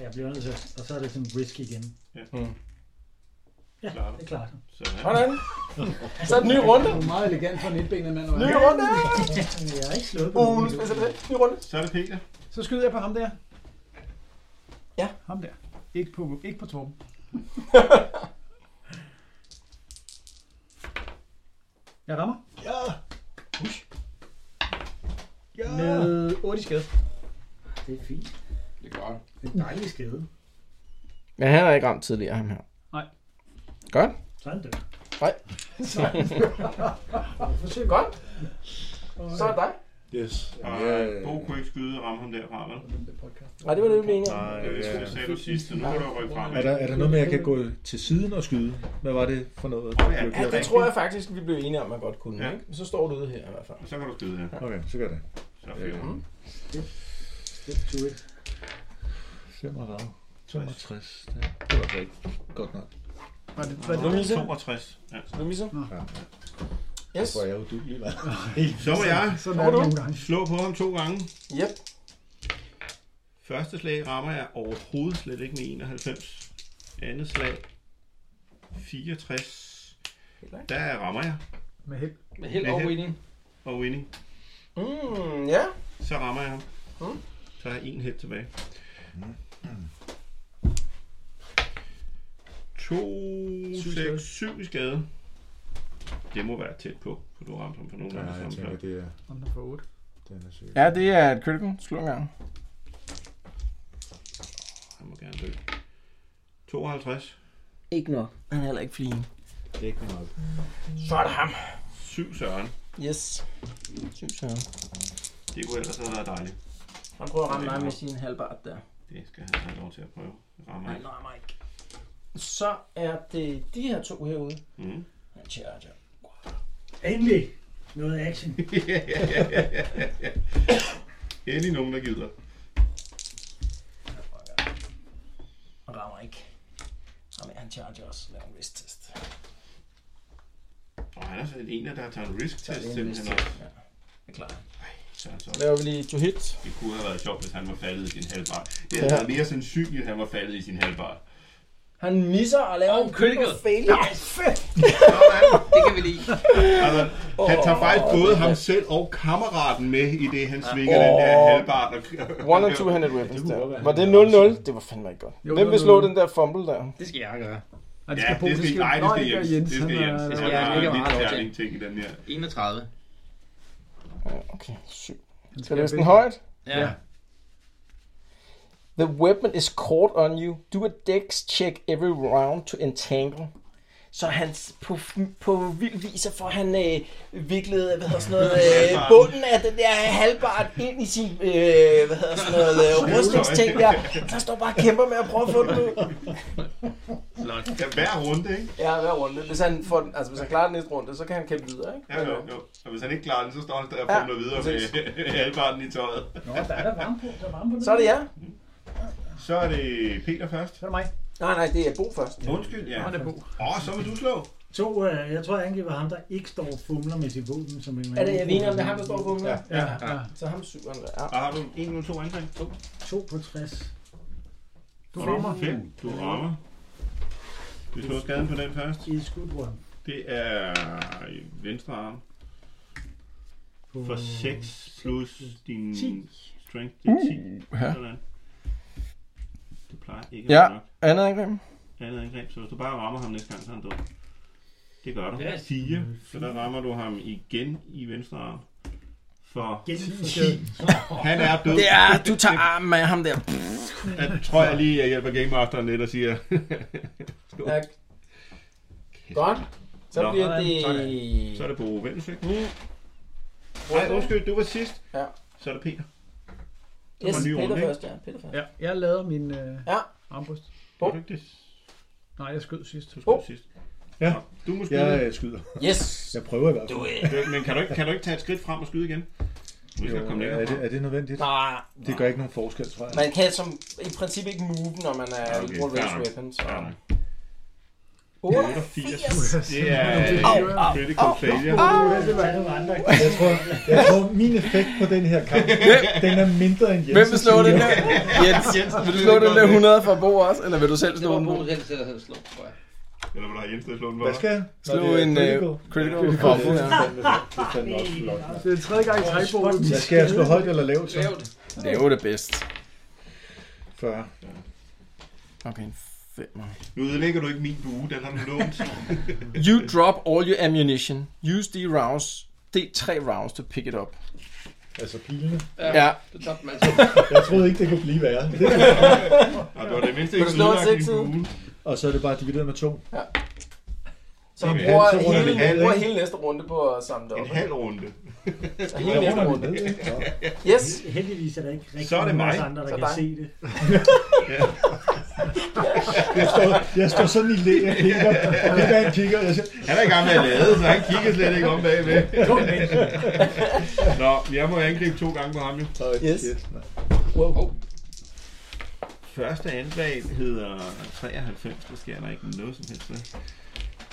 [SPEAKER 16] Jeg bliver nødt til, og så er det sådan risk igen.
[SPEAKER 4] Ja.
[SPEAKER 2] Mm.
[SPEAKER 16] Ja,
[SPEAKER 4] Klarer du?
[SPEAKER 16] det klarer du.
[SPEAKER 2] Sådan. Så er det en ny runde.
[SPEAKER 8] Du er meget elegant for en etbenet mand.
[SPEAKER 2] Ny runde!
[SPEAKER 16] Jeg har ikke slået
[SPEAKER 2] på uh, nu spiser det. Ny runde.
[SPEAKER 4] Så er det Peter.
[SPEAKER 8] Så skyder jeg på ham der.
[SPEAKER 2] Ja.
[SPEAKER 8] Ham der. Ikke på, ikke på Torben. jeg rammer.
[SPEAKER 13] Ja! Ush. Ja!
[SPEAKER 8] Med 8 i skade.
[SPEAKER 16] Det er fint.
[SPEAKER 4] Det er godt.
[SPEAKER 16] Det er en dejlig skade.
[SPEAKER 2] Men han har ikke ramt tidligere, ham her.
[SPEAKER 8] Nej.
[SPEAKER 2] Godt.
[SPEAKER 16] Så er han dør.
[SPEAKER 2] Nej. Godt. Så er det dig.
[SPEAKER 9] [LAUGHS] Yes. Ah,
[SPEAKER 4] Og
[SPEAKER 9] Ja.
[SPEAKER 4] Bo kunne ikke skyde og ramme ham derfra, vel?
[SPEAKER 2] Nej, det var det, vi blev enige om.
[SPEAKER 9] Nej,
[SPEAKER 4] Det var det,
[SPEAKER 9] ja.
[SPEAKER 4] øh, du sagde du sidst, så nu må du rykke frem.
[SPEAKER 9] Er der, er der noget med, at jeg kan gå til siden og skyde? Hvad var det for noget? der blev
[SPEAKER 2] Ja,
[SPEAKER 9] gjort?
[SPEAKER 2] det tror jeg faktisk, vi blev enige om, at man godt kunne.
[SPEAKER 4] Ja.
[SPEAKER 2] Ja. Ikke? Så står du ude her i hvert fald.
[SPEAKER 4] Så kan du skyde, ja.
[SPEAKER 9] Okay, så gør jeg det. Øhm.
[SPEAKER 4] Så fyrer du.
[SPEAKER 16] Step to it.
[SPEAKER 9] 35. 62. Det det var altså ikke godt nok.
[SPEAKER 8] Var det, var
[SPEAKER 4] Så
[SPEAKER 8] det,
[SPEAKER 4] er
[SPEAKER 2] Hvad
[SPEAKER 4] det
[SPEAKER 2] vil I sige?
[SPEAKER 4] 62. Ja.
[SPEAKER 2] Du misser. Yes.
[SPEAKER 9] Hvor er jeg jo dygtig, hva'?
[SPEAKER 4] Så må jeg
[SPEAKER 8] sådan er det nogle gange.
[SPEAKER 4] slå på ham to gange.
[SPEAKER 2] Yep.
[SPEAKER 4] Første slag rammer jeg overhovedet slet ikke med 91. Andet slag 64.
[SPEAKER 2] Heller ikke.
[SPEAKER 4] Der rammer jeg
[SPEAKER 8] Med held.
[SPEAKER 7] Med held
[SPEAKER 4] Med
[SPEAKER 7] og
[SPEAKER 4] held.
[SPEAKER 7] winning.
[SPEAKER 4] og winning.
[SPEAKER 2] Mm, ja.
[SPEAKER 4] Så rammer jeg ham.
[SPEAKER 2] Mm.
[SPEAKER 4] Så har jeg en hit tilbage. 2,
[SPEAKER 8] Syv
[SPEAKER 4] 6,
[SPEAKER 8] skade.
[SPEAKER 4] 7 i skade. Det må være tæt på, for du ramte ham for nogen
[SPEAKER 9] Nej,
[SPEAKER 4] andre
[SPEAKER 9] jeg
[SPEAKER 4] samme
[SPEAKER 9] tænker,
[SPEAKER 4] slag.
[SPEAKER 9] det er,
[SPEAKER 8] Om der får 8.
[SPEAKER 9] den er sikkert.
[SPEAKER 2] Ja, det er et critical. Slå en gang.
[SPEAKER 4] Han må gerne dø. 52.
[SPEAKER 2] Ikke noget. Han er heller ikke fligen.
[SPEAKER 9] Det er ikke nok.
[SPEAKER 2] Så er det ham.
[SPEAKER 4] 7 Søren.
[SPEAKER 2] Yes. Syv så.
[SPEAKER 4] Det kunne ellers have været dejligt.
[SPEAKER 2] Han prøver at ramme mig med sin halvbart der.
[SPEAKER 4] Det skal han have lov til at prøve. Rammer
[SPEAKER 2] Nej,
[SPEAKER 4] ikke.
[SPEAKER 2] nej, nej. ikke. Så er det de her to herude.
[SPEAKER 4] Mm.
[SPEAKER 2] Han charger.
[SPEAKER 6] Endelig noget action.
[SPEAKER 4] [LAUGHS] Endelig nogen, der gider.
[SPEAKER 2] Og rammer ikke. Jamen, han charger også. Laver en wrist test.
[SPEAKER 4] Og han er sådan en af, der tager en
[SPEAKER 2] Så er
[SPEAKER 4] risk-test
[SPEAKER 2] det en wrist
[SPEAKER 4] simpelthen
[SPEAKER 2] test.
[SPEAKER 4] også.
[SPEAKER 2] Ja. Det er klart.
[SPEAKER 4] Så er han så-
[SPEAKER 2] Laver vi lige to hit.
[SPEAKER 4] Det kunne have været sjovt, hvis han var faldet i sin halvbar. Det havde
[SPEAKER 2] Ja.
[SPEAKER 4] været mere sandsynligt, at han var faldet i sin halvbar.
[SPEAKER 2] Han misser og laver
[SPEAKER 15] Og
[SPEAKER 2] en
[SPEAKER 15] critical.
[SPEAKER 2] critical failure. Nej, fedt.
[SPEAKER 15] Det kan vi lide.
[SPEAKER 4] Altså, han tager faktisk både ham selv og kammeraten med i det, han svinger den der
[SPEAKER 2] Åh.
[SPEAKER 4] halvbar. Og...
[SPEAKER 2] One and two handed weapons der. Var det 0-0? Det var fandme ikke godt.
[SPEAKER 8] Jo,
[SPEAKER 2] Hvem vil
[SPEAKER 8] det
[SPEAKER 2] slå
[SPEAKER 8] var 0-0.
[SPEAKER 2] den der fumble der?
[SPEAKER 15] Det skal jeg gøre.
[SPEAKER 8] Nej,
[SPEAKER 4] Ja, det skal ikke. Nej, det skal Jens. Det skal Jens. Det skal
[SPEAKER 15] han
[SPEAKER 4] Jens.
[SPEAKER 15] er ikke
[SPEAKER 4] Han
[SPEAKER 15] meget
[SPEAKER 4] har
[SPEAKER 15] lov
[SPEAKER 4] en
[SPEAKER 15] til.
[SPEAKER 4] særlig ting i den her.
[SPEAKER 15] 31.
[SPEAKER 2] Ja, Okay, syv. Skal jeg læse den højt?
[SPEAKER 15] Ja.
[SPEAKER 2] The weapon is caught on you. Do a dex check every round to entangle. Så han s- på, f- på vild vis, så får han øh, viklet hvad hedder sådan noget, øh, bunden af den der øh, halvbart ind i sin øh, hvad hedder sådan noget, øh, rustningsting der. Så han står bare og kæmper med at prøve at få den ud.
[SPEAKER 15] Flot.
[SPEAKER 4] Ja, hver runde, ikke?
[SPEAKER 2] Ja, hver runde. Hvis han, får den, altså, hvis han klarer den næste runde, så kan han kæmpe videre. Ikke?
[SPEAKER 4] Ja, jo, jo. Og hvis han ikke klarer den, så står han der og
[SPEAKER 2] Ja,
[SPEAKER 4] fumler videre med [LAUGHS] halvbaren i tøjet.
[SPEAKER 5] Nå, der er der varme på. Der er varme på
[SPEAKER 2] Så er det jer.
[SPEAKER 4] Så er det Peter først.
[SPEAKER 8] Så er det mig.
[SPEAKER 2] Nej, nej, det er Bo først.
[SPEAKER 4] Undskyld, ja.
[SPEAKER 8] Så er det Bo.
[SPEAKER 4] Åh, oh, så vil du slå.
[SPEAKER 6] To, øh, jeg tror jeg angriber ham, der ikke står og fumler med sin våben. Som en
[SPEAKER 2] Er det, jeg ved ikke, om det er ham, der står på ja.
[SPEAKER 8] Ja, ja.
[SPEAKER 2] Så ham syveren der. Ja.
[SPEAKER 4] Og har du en eller to angreb? To.
[SPEAKER 6] 2 på 60.
[SPEAKER 8] Du rammer.
[SPEAKER 4] Fem. Du rammer. Vi slår skaden på den først.
[SPEAKER 6] I et skud på ham.
[SPEAKER 4] Det er i venstre arm.
[SPEAKER 6] På
[SPEAKER 4] For 6 Øh, plus din
[SPEAKER 6] 10.
[SPEAKER 4] strength, det er 10. Sådan. Det plejer ikke
[SPEAKER 2] Uh, Ja.
[SPEAKER 4] at være nok.
[SPEAKER 2] Andet angreb.
[SPEAKER 4] Andet angreb, så hvis du bare rammer ham næste gang, så er han død. Det gør du.
[SPEAKER 15] Ja.
[SPEAKER 4] 4. Så der rammer du ham igen i venstre arm. For
[SPEAKER 6] [LAUGHS] Genforsøg.
[SPEAKER 4] han er død.
[SPEAKER 2] Det er, du tager armen af ham der.
[SPEAKER 4] Jeg tror jeg lige, jeg hjælper Game Masteren lidt og siger...
[SPEAKER 2] Ja. Godt. Så
[SPEAKER 4] Nå,
[SPEAKER 2] bliver det...
[SPEAKER 4] så er det på Vendelsvæk.
[SPEAKER 2] Mm.
[SPEAKER 4] Nej, undskyld, du var sidst.
[SPEAKER 2] Ja.
[SPEAKER 4] Så er det Peter.
[SPEAKER 2] Yes,
[SPEAKER 4] en ny runde,
[SPEAKER 2] Peter
[SPEAKER 4] ikke?
[SPEAKER 2] først, ja. Peter først.
[SPEAKER 8] Ja, jeg lader min øh,
[SPEAKER 2] Ja.
[SPEAKER 8] armbryst.
[SPEAKER 2] Bo.
[SPEAKER 4] Var du ikke det?
[SPEAKER 8] Nej, jeg skød sidst.
[SPEAKER 4] Du skulle
[SPEAKER 2] Bo.
[SPEAKER 4] sidst.
[SPEAKER 9] Ja.
[SPEAKER 4] Nå, Du må skyde. Øh,
[SPEAKER 9] Jeg øh, skyder.
[SPEAKER 2] Yes.
[SPEAKER 9] Jeg prøver i hvert
[SPEAKER 2] Du
[SPEAKER 9] fald.
[SPEAKER 2] er...
[SPEAKER 4] Men- Men kan du, ikke, kan du ikke tage et skridt frem og skyde igen? Vi skal komme
[SPEAKER 9] Jo,
[SPEAKER 4] længere
[SPEAKER 9] er, det,
[SPEAKER 4] frem.
[SPEAKER 9] er det nødvendigt?
[SPEAKER 2] Nej,
[SPEAKER 9] Det gør ikke nogen forskel, tror jeg.
[SPEAKER 2] man kan som, i princippet ikke move, når man er
[SPEAKER 4] Ja,
[SPEAKER 2] okay,
[SPEAKER 4] okay,
[SPEAKER 2] bruger
[SPEAKER 4] fair
[SPEAKER 2] range
[SPEAKER 4] nok.
[SPEAKER 2] weapon. Så.
[SPEAKER 4] Ja, nej.
[SPEAKER 2] 88.
[SPEAKER 4] Det er
[SPEAKER 2] Au,
[SPEAKER 4] øh,
[SPEAKER 2] au,
[SPEAKER 4] critical failure.
[SPEAKER 9] Jeg tror, jeg tror min effekt på den her kamp, den er mindre end Jens.
[SPEAKER 2] Hvem vil slå
[SPEAKER 15] [LAUGHS]
[SPEAKER 2] den der? Jens, vil du slå den der 100 fra Bo også, eller vil du selv
[SPEAKER 15] Det
[SPEAKER 2] slå
[SPEAKER 15] var
[SPEAKER 2] den?
[SPEAKER 15] Bo selv, der havde slået, tror jeg.
[SPEAKER 4] Eller vil du have Jens til at slå den
[SPEAKER 9] Hvad skal jeg?
[SPEAKER 7] Slå en, øh, critical combo, ja.
[SPEAKER 17] Det er tredje gang i træk, Bo.
[SPEAKER 9] Hvad skal jeg slå højt eller lavt? Så?
[SPEAKER 7] Lav det bedst.
[SPEAKER 9] 40.
[SPEAKER 7] Okay, en femmer.
[SPEAKER 4] Nu ødelægger du ikke min bue, den har
[SPEAKER 9] [LAUGHS]
[SPEAKER 4] du lånt.
[SPEAKER 7] You drop all your ammunition. Use the rounds, D3 rounds to pick it up.
[SPEAKER 9] Altså pilene.
[SPEAKER 7] Ja. ja.
[SPEAKER 1] Det tabte man altså.
[SPEAKER 9] Jeg troede ikke, det kunne blive værre.
[SPEAKER 4] Og det var det mindste ikke
[SPEAKER 2] du slå en
[SPEAKER 4] ødelagt
[SPEAKER 2] sekser?
[SPEAKER 4] min bue.
[SPEAKER 9] [LAUGHS] og så er det bare divideret med to.
[SPEAKER 2] Så
[SPEAKER 9] Det er
[SPEAKER 2] man
[SPEAKER 9] en
[SPEAKER 2] bruger,
[SPEAKER 9] halv- så runder
[SPEAKER 2] hele,
[SPEAKER 9] det halv,
[SPEAKER 2] bruger
[SPEAKER 9] ikke?
[SPEAKER 2] hele næste runde på at samle det op.
[SPEAKER 4] En halv runde.
[SPEAKER 2] Så hele næste runde. Yes.
[SPEAKER 6] Heldigvis er der ikke rigtig
[SPEAKER 4] Så er det
[SPEAKER 6] nogen af os
[SPEAKER 4] mig.
[SPEAKER 6] andre,
[SPEAKER 2] Så
[SPEAKER 6] der
[SPEAKER 2] er
[SPEAKER 6] kan
[SPEAKER 2] dig.
[SPEAKER 6] se det.
[SPEAKER 9] Jeg står, jeg står sådan i læ og kigger, og det der han kigger, og jeg siger,
[SPEAKER 4] Han er i gang med at lade, så han kigger slet ikke om bagved. Nå, jeg må angribe to gange på ham jo.
[SPEAKER 7] Yes.
[SPEAKER 4] Første angreb hedder 93, der sker der ikke noget som helst med.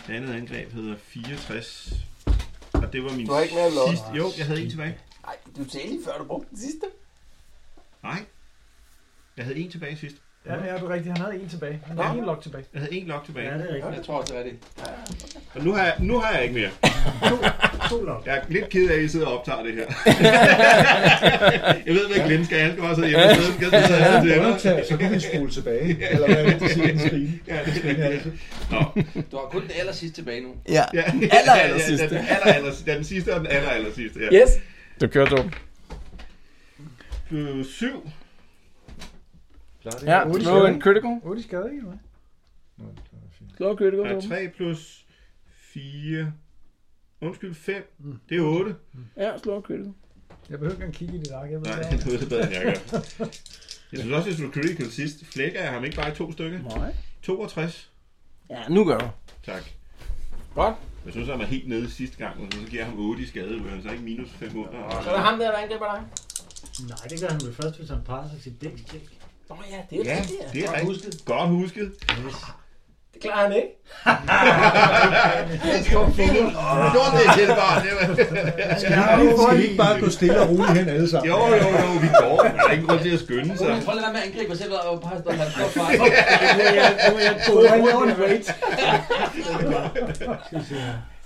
[SPEAKER 4] Det andet angreb hedder 64. Og det var min
[SPEAKER 2] Du har ikke mere lov.
[SPEAKER 4] sidste... Jo, jeg havde en tilbage.
[SPEAKER 2] Ej, du talte lige før, du brugte den sidste.
[SPEAKER 4] Nej. Jeg havde en tilbage sidst.
[SPEAKER 5] Ja, ja, du er rigtig. Han havde en tilbage. Han havde en lok tilbage.
[SPEAKER 4] Jeg havde en lok tilbage.
[SPEAKER 6] Ja, det er rigtigt.
[SPEAKER 1] Jeg tror også, det er rigtigt.
[SPEAKER 4] Og nu har jeg, nu har jeg ikke mere.
[SPEAKER 6] To lov.
[SPEAKER 4] Jeg er lidt ked af, at I sidder og optager det her. jeg ved, hvad Glenn skal. Han skal bare sidde hjemme og sidde. Han sidde og sidde hjemme.
[SPEAKER 9] undertag, så kan vi spole tilbage. Eller hvad er det, de siger, den skrine?
[SPEAKER 4] Ja, det er rigtigt.
[SPEAKER 1] Du har kun den aller sidste tilbage nu.
[SPEAKER 7] Ja.
[SPEAKER 4] Ja,
[SPEAKER 7] Aller, aller sidste.
[SPEAKER 4] Ja, den, aller, aller, sidste. den sidste og den aller, aller sidste. Ja.
[SPEAKER 2] Yes.
[SPEAKER 7] Du kører dum.
[SPEAKER 4] Øh, syv.
[SPEAKER 7] Ja, slå en critical.
[SPEAKER 5] 8 skade, ikke? Eller?
[SPEAKER 7] Slå en critical.
[SPEAKER 4] Ja,
[SPEAKER 7] Torben.
[SPEAKER 4] 3 plus 4. Undskyld, 5. Det er 8.
[SPEAKER 7] Ja, slå en critical.
[SPEAKER 5] Jeg behøver ikke engang kigge i dit ark. Jeg ved
[SPEAKER 4] Nej,
[SPEAKER 5] [LAUGHS] det.
[SPEAKER 4] det er bedre, end jeg gør. Jeg synes også, at du critical sidst. Flækker jeg ham ikke bare i to stykker?
[SPEAKER 7] Nej.
[SPEAKER 4] 62.
[SPEAKER 7] Ja, nu gør du.
[SPEAKER 4] Tak.
[SPEAKER 2] Godt.
[SPEAKER 4] Jeg synes, han var helt nede sidste gang, og så giver jeg ham 8 i skade, men så ikke minus 5 under.
[SPEAKER 2] Så er det ham der, der angriber dig.
[SPEAKER 6] Nej, det gør han vel først, hvis han parer sig sit dæk.
[SPEAKER 2] Nå ja, det er
[SPEAKER 4] Ja,
[SPEAKER 2] rigtigt. ja.
[SPEAKER 4] det er rigtigt.
[SPEAKER 1] husket.
[SPEAKER 4] Godt husket.
[SPEAKER 2] Det klarer han
[SPEAKER 4] [LAUGHS]
[SPEAKER 2] ikke.
[SPEAKER 4] Du gjorde det til, bare. Det var...
[SPEAKER 9] Skal vi ikke bare gå stille og roligt hen alle sammen?
[SPEAKER 4] [LAUGHS] Jo, jo, jo, vi går. Der er ingen grund til at skynde sig.
[SPEAKER 1] Prøv lige at lade være med at angribe mig selv, og bare stå og have en fejl.
[SPEAKER 17] Han laver en raid.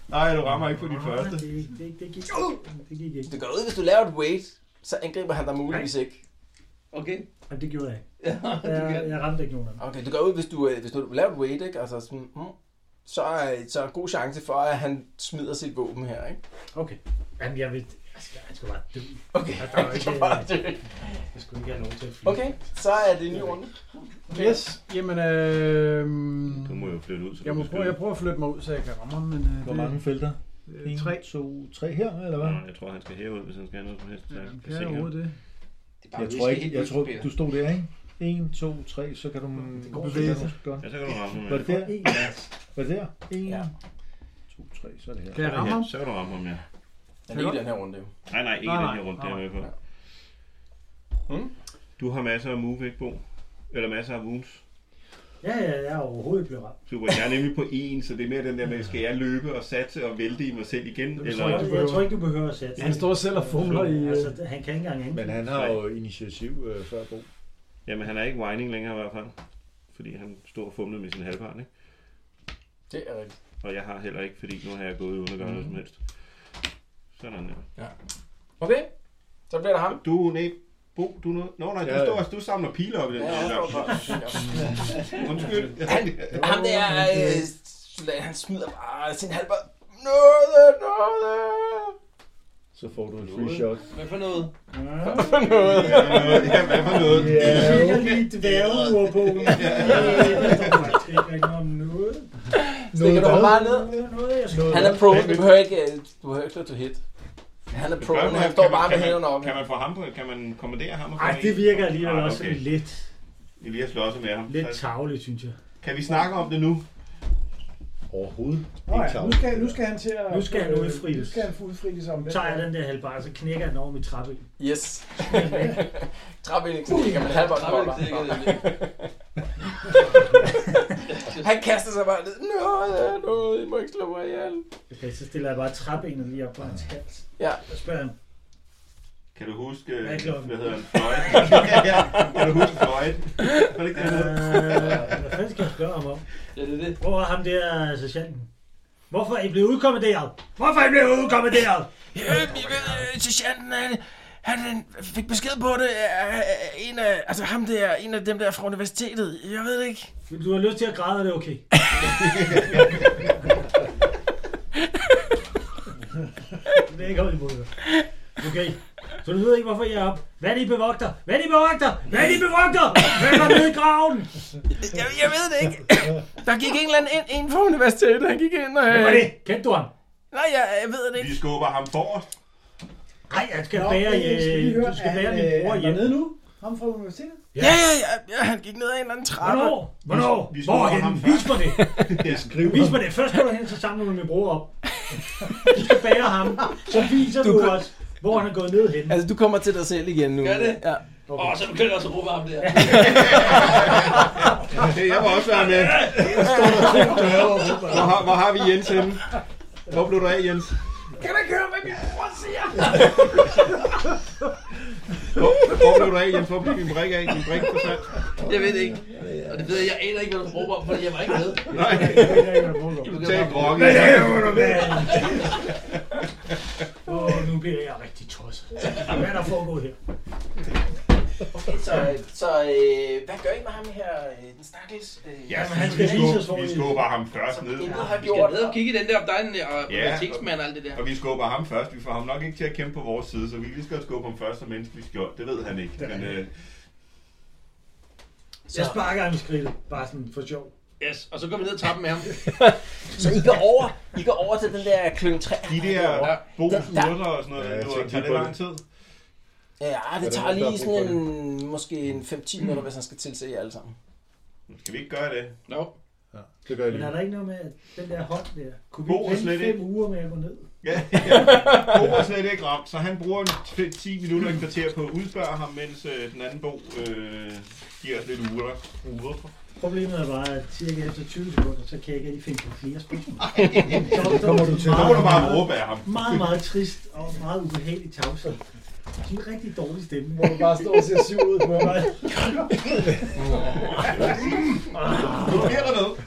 [SPEAKER 4] Nej, du rammer ikke på din første.
[SPEAKER 6] Det, det, det, gik, det gik ikke.
[SPEAKER 2] Det går ud, hvis du laver et wait, så angriber han dig muligvis ikke.
[SPEAKER 1] Okay.
[SPEAKER 6] Jamen, det gjorde jeg ikke.
[SPEAKER 1] Ja, du kan.
[SPEAKER 6] Jeg, jeg ramte ikke nogen af dem.
[SPEAKER 2] Okay, det går ud, hvis du, øh, hvis du laver et wait, ikke? Altså sådan, mm, så, er, så er en god chance for, at han smider sit våben her, ikke?
[SPEAKER 6] Okay. Jamen, jeg vil... Jeg skal, jeg skal bare dø.
[SPEAKER 2] Okay,
[SPEAKER 6] [LAUGHS] Jeg, der er jo
[SPEAKER 2] så
[SPEAKER 6] ikke,
[SPEAKER 2] bare dø.
[SPEAKER 6] jeg skulle ikke have lov til at
[SPEAKER 2] [LAUGHS]
[SPEAKER 6] flyve.
[SPEAKER 2] Okay, så er det en ny runde.
[SPEAKER 5] Yes, jamen... Øh,
[SPEAKER 4] Du må jo flytte ud, så
[SPEAKER 5] jeg, må prøve, jeg prøver at flytte mig ud, så jeg kan ramme ham, men... Øh,
[SPEAKER 9] Hvor mange felter?
[SPEAKER 5] det- øh,
[SPEAKER 9] 1,
[SPEAKER 5] Tre.
[SPEAKER 9] 2, 3 her, eller hvad?
[SPEAKER 4] Nå, jeg tror, han skal hæve ud, hvis han skal have noget som helst. Så
[SPEAKER 5] Ja,
[SPEAKER 4] jeg kan
[SPEAKER 5] kan
[SPEAKER 4] se
[SPEAKER 5] jeg
[SPEAKER 4] ham.
[SPEAKER 5] overhovedet det?
[SPEAKER 1] Det er bare,
[SPEAKER 9] Jeg
[SPEAKER 1] vi
[SPEAKER 9] tror
[SPEAKER 1] skal
[SPEAKER 9] ikke,
[SPEAKER 1] helt
[SPEAKER 9] jeg
[SPEAKER 1] vildt
[SPEAKER 9] tror,
[SPEAKER 1] kopiere.
[SPEAKER 9] du stod der, ikke? 1, 2, 3, så kan du mm, bevæge dig.
[SPEAKER 4] Ja, så kan du ramme ham.
[SPEAKER 9] Var
[SPEAKER 4] Ja.
[SPEAKER 9] det der?
[SPEAKER 6] En
[SPEAKER 9] Var det der? 1,
[SPEAKER 2] Ja.
[SPEAKER 9] 2, 3, så er det her.
[SPEAKER 5] Kan jeg ramme ham?
[SPEAKER 4] Ja, så kan du ramme ham, ja.
[SPEAKER 2] Den er i den her runde, jo.
[SPEAKER 4] Nej, nej, ikke
[SPEAKER 5] Nej,
[SPEAKER 4] i den
[SPEAKER 5] nej.
[SPEAKER 4] her rundt, det er jeg med på. Hm?
[SPEAKER 2] Hmm?
[SPEAKER 4] Du har masser af move, ikke, Bo? Eller masser af wounds.
[SPEAKER 6] Ja, ja, jeg er overhovedet blevet ramt.
[SPEAKER 4] Super, jeg er nemlig på en, så det er mere den der med, skal jeg løbe og satse og vælte i mig selv igen?
[SPEAKER 6] Så jeg,
[SPEAKER 4] Eller,
[SPEAKER 6] jeg tror ikke, du behøver at sætte
[SPEAKER 5] Han står selv og fumler i... Øh,
[SPEAKER 6] Altså, det- han kan ikke engang angribe.
[SPEAKER 9] Men han har jo initiativ øh, før Bo.
[SPEAKER 4] jamen, han er ikke whining længere i hvert fald. Fordi han stod og fumlede med sin halvbarn, ikke?
[SPEAKER 2] Det er rigtigt.
[SPEAKER 4] Og jeg har heller ikke, fordi nu har jeg gået uden at gøre noget som helst. Sådan der.
[SPEAKER 2] Okay, så bliver det ham.
[SPEAKER 4] Du, nej, Bo, du er noget... Nå, nej, du,
[SPEAKER 9] Ja, ja.
[SPEAKER 4] står, og- du samler piler op i den
[SPEAKER 2] Ja,
[SPEAKER 4] der.
[SPEAKER 2] jeg står
[SPEAKER 4] der. Undskyld.
[SPEAKER 2] Han, ham der, øh, soldat, han smider bare sin halber. Noget, noget.
[SPEAKER 9] Så får du et free shot.
[SPEAKER 1] Hvad for noget?
[SPEAKER 4] Ja, hvad for noget?
[SPEAKER 6] Jeg kigger lige dværgeurbogen. Der faktisk ikke rigtig om noget.
[SPEAKER 2] Stikker du ham bare ned?
[SPEAKER 6] Noget, jeg skal...
[SPEAKER 2] Han er prone, du behøver ikke, øh, du behøver ikke slå to hit. Han er
[SPEAKER 4] Gør
[SPEAKER 2] prone,
[SPEAKER 4] man-
[SPEAKER 2] han
[SPEAKER 4] kan
[SPEAKER 2] står
[SPEAKER 4] man-
[SPEAKER 2] bare med
[SPEAKER 4] kan man-
[SPEAKER 2] hænderne op.
[SPEAKER 4] Kan man få ham på, kan man kommandere ham? og få
[SPEAKER 6] Ej,
[SPEAKER 4] en?
[SPEAKER 6] det virker alligevel
[SPEAKER 4] Ah,
[SPEAKER 6] også
[SPEAKER 4] okay. Altså-
[SPEAKER 6] sådan lidt,
[SPEAKER 4] Vi lige har slået med ham.
[SPEAKER 6] lidt
[SPEAKER 4] Så-
[SPEAKER 6] tavligt, synes jeg.
[SPEAKER 4] Kan vi snakke om det nu?
[SPEAKER 9] Overhovedet.
[SPEAKER 5] Nå
[SPEAKER 9] Ikke
[SPEAKER 5] ja, nu
[SPEAKER 9] tavle.
[SPEAKER 5] skal, nu skal han til at...
[SPEAKER 6] Nu skal han
[SPEAKER 5] øh,
[SPEAKER 6] udfrides.
[SPEAKER 5] Nu skal han få ligesom, øh, udfrides om
[SPEAKER 6] Så tager jeg den der halvbar, så knækker jeg den over mit trappe.
[SPEAKER 2] Yes. Træbenet knækker, men halvånden holder. Han kaster sig bare ned. Noget, noget, I må ikke slå mig ihjel.
[SPEAKER 6] Okay, så stiller jeg bare trappenet lige op på hans hals.
[SPEAKER 2] Ja.
[SPEAKER 6] Så spørger han,
[SPEAKER 4] Kan du huske, øh, hvad,
[SPEAKER 6] Hvad er klokken?
[SPEAKER 4] hedder han, Floyd? [LAUGHS] kan du huske Floyd? Var det ikke det, han hed?
[SPEAKER 6] Øh, Hvad fanden skal jeg spørge ham om? Ja, det er det. Hvor er ham der sergeanten? Hvorfor er I blevet udkommanderet? Hvorfor er I blevet udkommanderet?
[SPEAKER 2] øh, Sergeanten, han, han øh, fik besked på det af af en af, altså ham der, en af dem der fra universitetet. Jeg ved det ikke.
[SPEAKER 6] Du har lyst til at græde, er det
[SPEAKER 8] [LAUGHS]
[SPEAKER 6] okay? det er ikke holdt imod dig. Okay. Så du ved ikke, hvorfor jeg er oppe. Hvad er det, I bevogter? Hvad er det, I bevogter? Hvad er det, I bevogter? Hvem er nede i graven?
[SPEAKER 2] [LAUGHS] Jeg, jeg ved det ikke. Der gik en eller anden ind, en fra universitetet, han gik ind og... øh,
[SPEAKER 6] Hvem var det? Kendte du ham?
[SPEAKER 2] Nej, jeg, jeg ved
[SPEAKER 6] Øh.
[SPEAKER 2] det ikke.
[SPEAKER 4] Vi skubber ham forrest.
[SPEAKER 6] Nej, jeg skal
[SPEAKER 8] Nå,
[SPEAKER 6] bære,
[SPEAKER 8] men jeg skal lige
[SPEAKER 6] øh,
[SPEAKER 8] høre,
[SPEAKER 6] du skal
[SPEAKER 8] er
[SPEAKER 6] bære
[SPEAKER 8] han,
[SPEAKER 6] min
[SPEAKER 8] øh,
[SPEAKER 6] bror
[SPEAKER 8] er han
[SPEAKER 6] hjem.
[SPEAKER 8] dernede nu? Ham fra universitetet?
[SPEAKER 2] Ja, ja, ja, ja han gik ned ad en eller anden trappe.
[SPEAKER 6] Hvornår? Hvornår? Hvorhen? Vis mig det.
[SPEAKER 8] [LAUGHS]
[SPEAKER 6] Vis mig det. Først går du hen, så samler du min bror op. Du skal bære ham. Så viser
[SPEAKER 18] Du
[SPEAKER 6] du,
[SPEAKER 18] kan-
[SPEAKER 6] os, hvor han er gået ned hen.
[SPEAKER 18] Altså, du kommer til dig selv igen nu.
[SPEAKER 6] Gør det?
[SPEAKER 18] Ja.
[SPEAKER 6] Okay.
[SPEAKER 15] Åh, så du kan også råbe ham
[SPEAKER 2] [LAUGHS]
[SPEAKER 15] der.
[SPEAKER 4] Jeg må også være med. Hvor har, hvor har vi Jens henne? Hvor blev du af, Jens?
[SPEAKER 2] Kan du ikke høre, hvad min bror siger?
[SPEAKER 4] Hvor, hvor blev du af, Jens? Hvor blev din brik af? Din brik forsvandt.
[SPEAKER 15] Jeg ved det ikke. Og det ved jeg, jeg aner ikke, hvad du råber om, fordi jeg var ikke med.
[SPEAKER 4] Nej. Tag groggen.
[SPEAKER 15] Hvad laver du, mand?
[SPEAKER 6] Åh, oh, nu bliver jeg rigtig tosset. Hvad er der foregået her?
[SPEAKER 2] Okay, så, så øh, hvad gør I med ham her, øh, den stakkels? Øh,
[SPEAKER 4] Ja,
[SPEAKER 2] jamen,
[SPEAKER 4] men vi, skubber, vi skubber ham først ned.
[SPEAKER 2] intet
[SPEAKER 15] Vi skal ned og kigge i den der, om der er en øh, realitetsmand og alt det der.
[SPEAKER 4] og vi skubber ham først. Vi får ham nok ikke til at kæmpe på vores side, så vi kan lige skal skubbe ham først som menneske, vi skjold. Det ved han ikke. Men, øh,
[SPEAKER 6] Jeg sparker ham i skridtet. Bare sådan for sjov.
[SPEAKER 15] Yes, og så går vi ned og tager dem med ham.
[SPEAKER 2] Så I går over, I går over til den der klønge træ.
[SPEAKER 4] de der bosurter og sådan noget,
[SPEAKER 9] Ja, jeg
[SPEAKER 4] ja,
[SPEAKER 9] tænkte
[SPEAKER 4] nu tager det
[SPEAKER 9] lige på
[SPEAKER 4] lang tid.
[SPEAKER 2] Ja, det tager lige sådan en, måske en 5-10 minutter, hvis han skal tilse jer alle sammen.
[SPEAKER 4] Skal vi ikke gøre det?
[SPEAKER 15] No.
[SPEAKER 9] Ja, det gør jeg
[SPEAKER 6] Men
[SPEAKER 9] lige.
[SPEAKER 6] er der ikke noget med, at den der hånd der, kunne
[SPEAKER 4] Bo er
[SPEAKER 6] vi
[SPEAKER 4] slet
[SPEAKER 6] vente fem
[SPEAKER 4] ikke-
[SPEAKER 6] uger med at gå ned?
[SPEAKER 4] [LAUGHS] Ja, Bo er slet ikke ramt, så han bruger en t- 10 minutter og et kvarter på at udspørge ham, mens øh, den anden Bo øh, giver os lidt uger. uger.
[SPEAKER 6] Problemet er bare, at cirka efter 20 sekunder, så kan jeg ikke rigtig finde på flere spørgsmål. Så
[SPEAKER 4] Det kommer du til. Så må du bare råbe af ham.
[SPEAKER 6] Meget, meget trist og meget ubehagelig tavshed. Sådan en rigtig dårlig stemme.
[SPEAKER 8] Hvor du bare står og ser syv ud på mig.
[SPEAKER 4] Nu bliver der noget.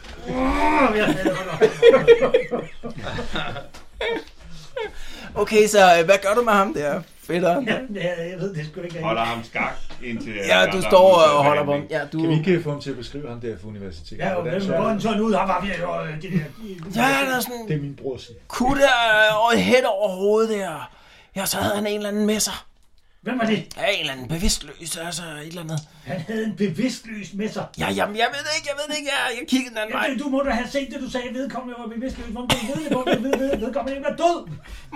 [SPEAKER 2] Okay, så øh, hvad gør du med ham der, fætteren? der?
[SPEAKER 6] Ja, jeg ved det sgu da ikke.
[SPEAKER 4] Holder ham skak indtil... øh,
[SPEAKER 2] Ja,
[SPEAKER 4] der
[SPEAKER 2] du
[SPEAKER 4] er
[SPEAKER 2] står
[SPEAKER 4] modtaget
[SPEAKER 2] og holder på ham.
[SPEAKER 4] behandling.
[SPEAKER 2] Ja, du...
[SPEAKER 9] Kan vi ikke få ham til at beskrive ham der fra universitetet?
[SPEAKER 6] Ja, og
[SPEAKER 9] Hvordan
[SPEAKER 6] hvem
[SPEAKER 9] så-
[SPEAKER 6] går den sådan ud? Han var ved at gøre øh, det der...
[SPEAKER 2] Ja, der er sådan
[SPEAKER 9] Det
[SPEAKER 2] en
[SPEAKER 9] er min bror siger.
[SPEAKER 2] kutte øh, og et hæt over hovedet der. Ja, så havde han en eller anden med sig.
[SPEAKER 6] Hvem var det?
[SPEAKER 2] Ja, en eller anden bevidstløs, altså et eller andet.
[SPEAKER 6] Han havde en bevidstløs med sig.
[SPEAKER 2] Ja, jamen, jeg ved det ikke, jeg ved det ikke. Jeg, jeg kiggede den anden vej.
[SPEAKER 6] Jamen, du må da have set det, du sagde, vedkommende var bevidstløs. Hvordan kan du vide det? Hvor kan du vide det? Vedkommende ikke var død.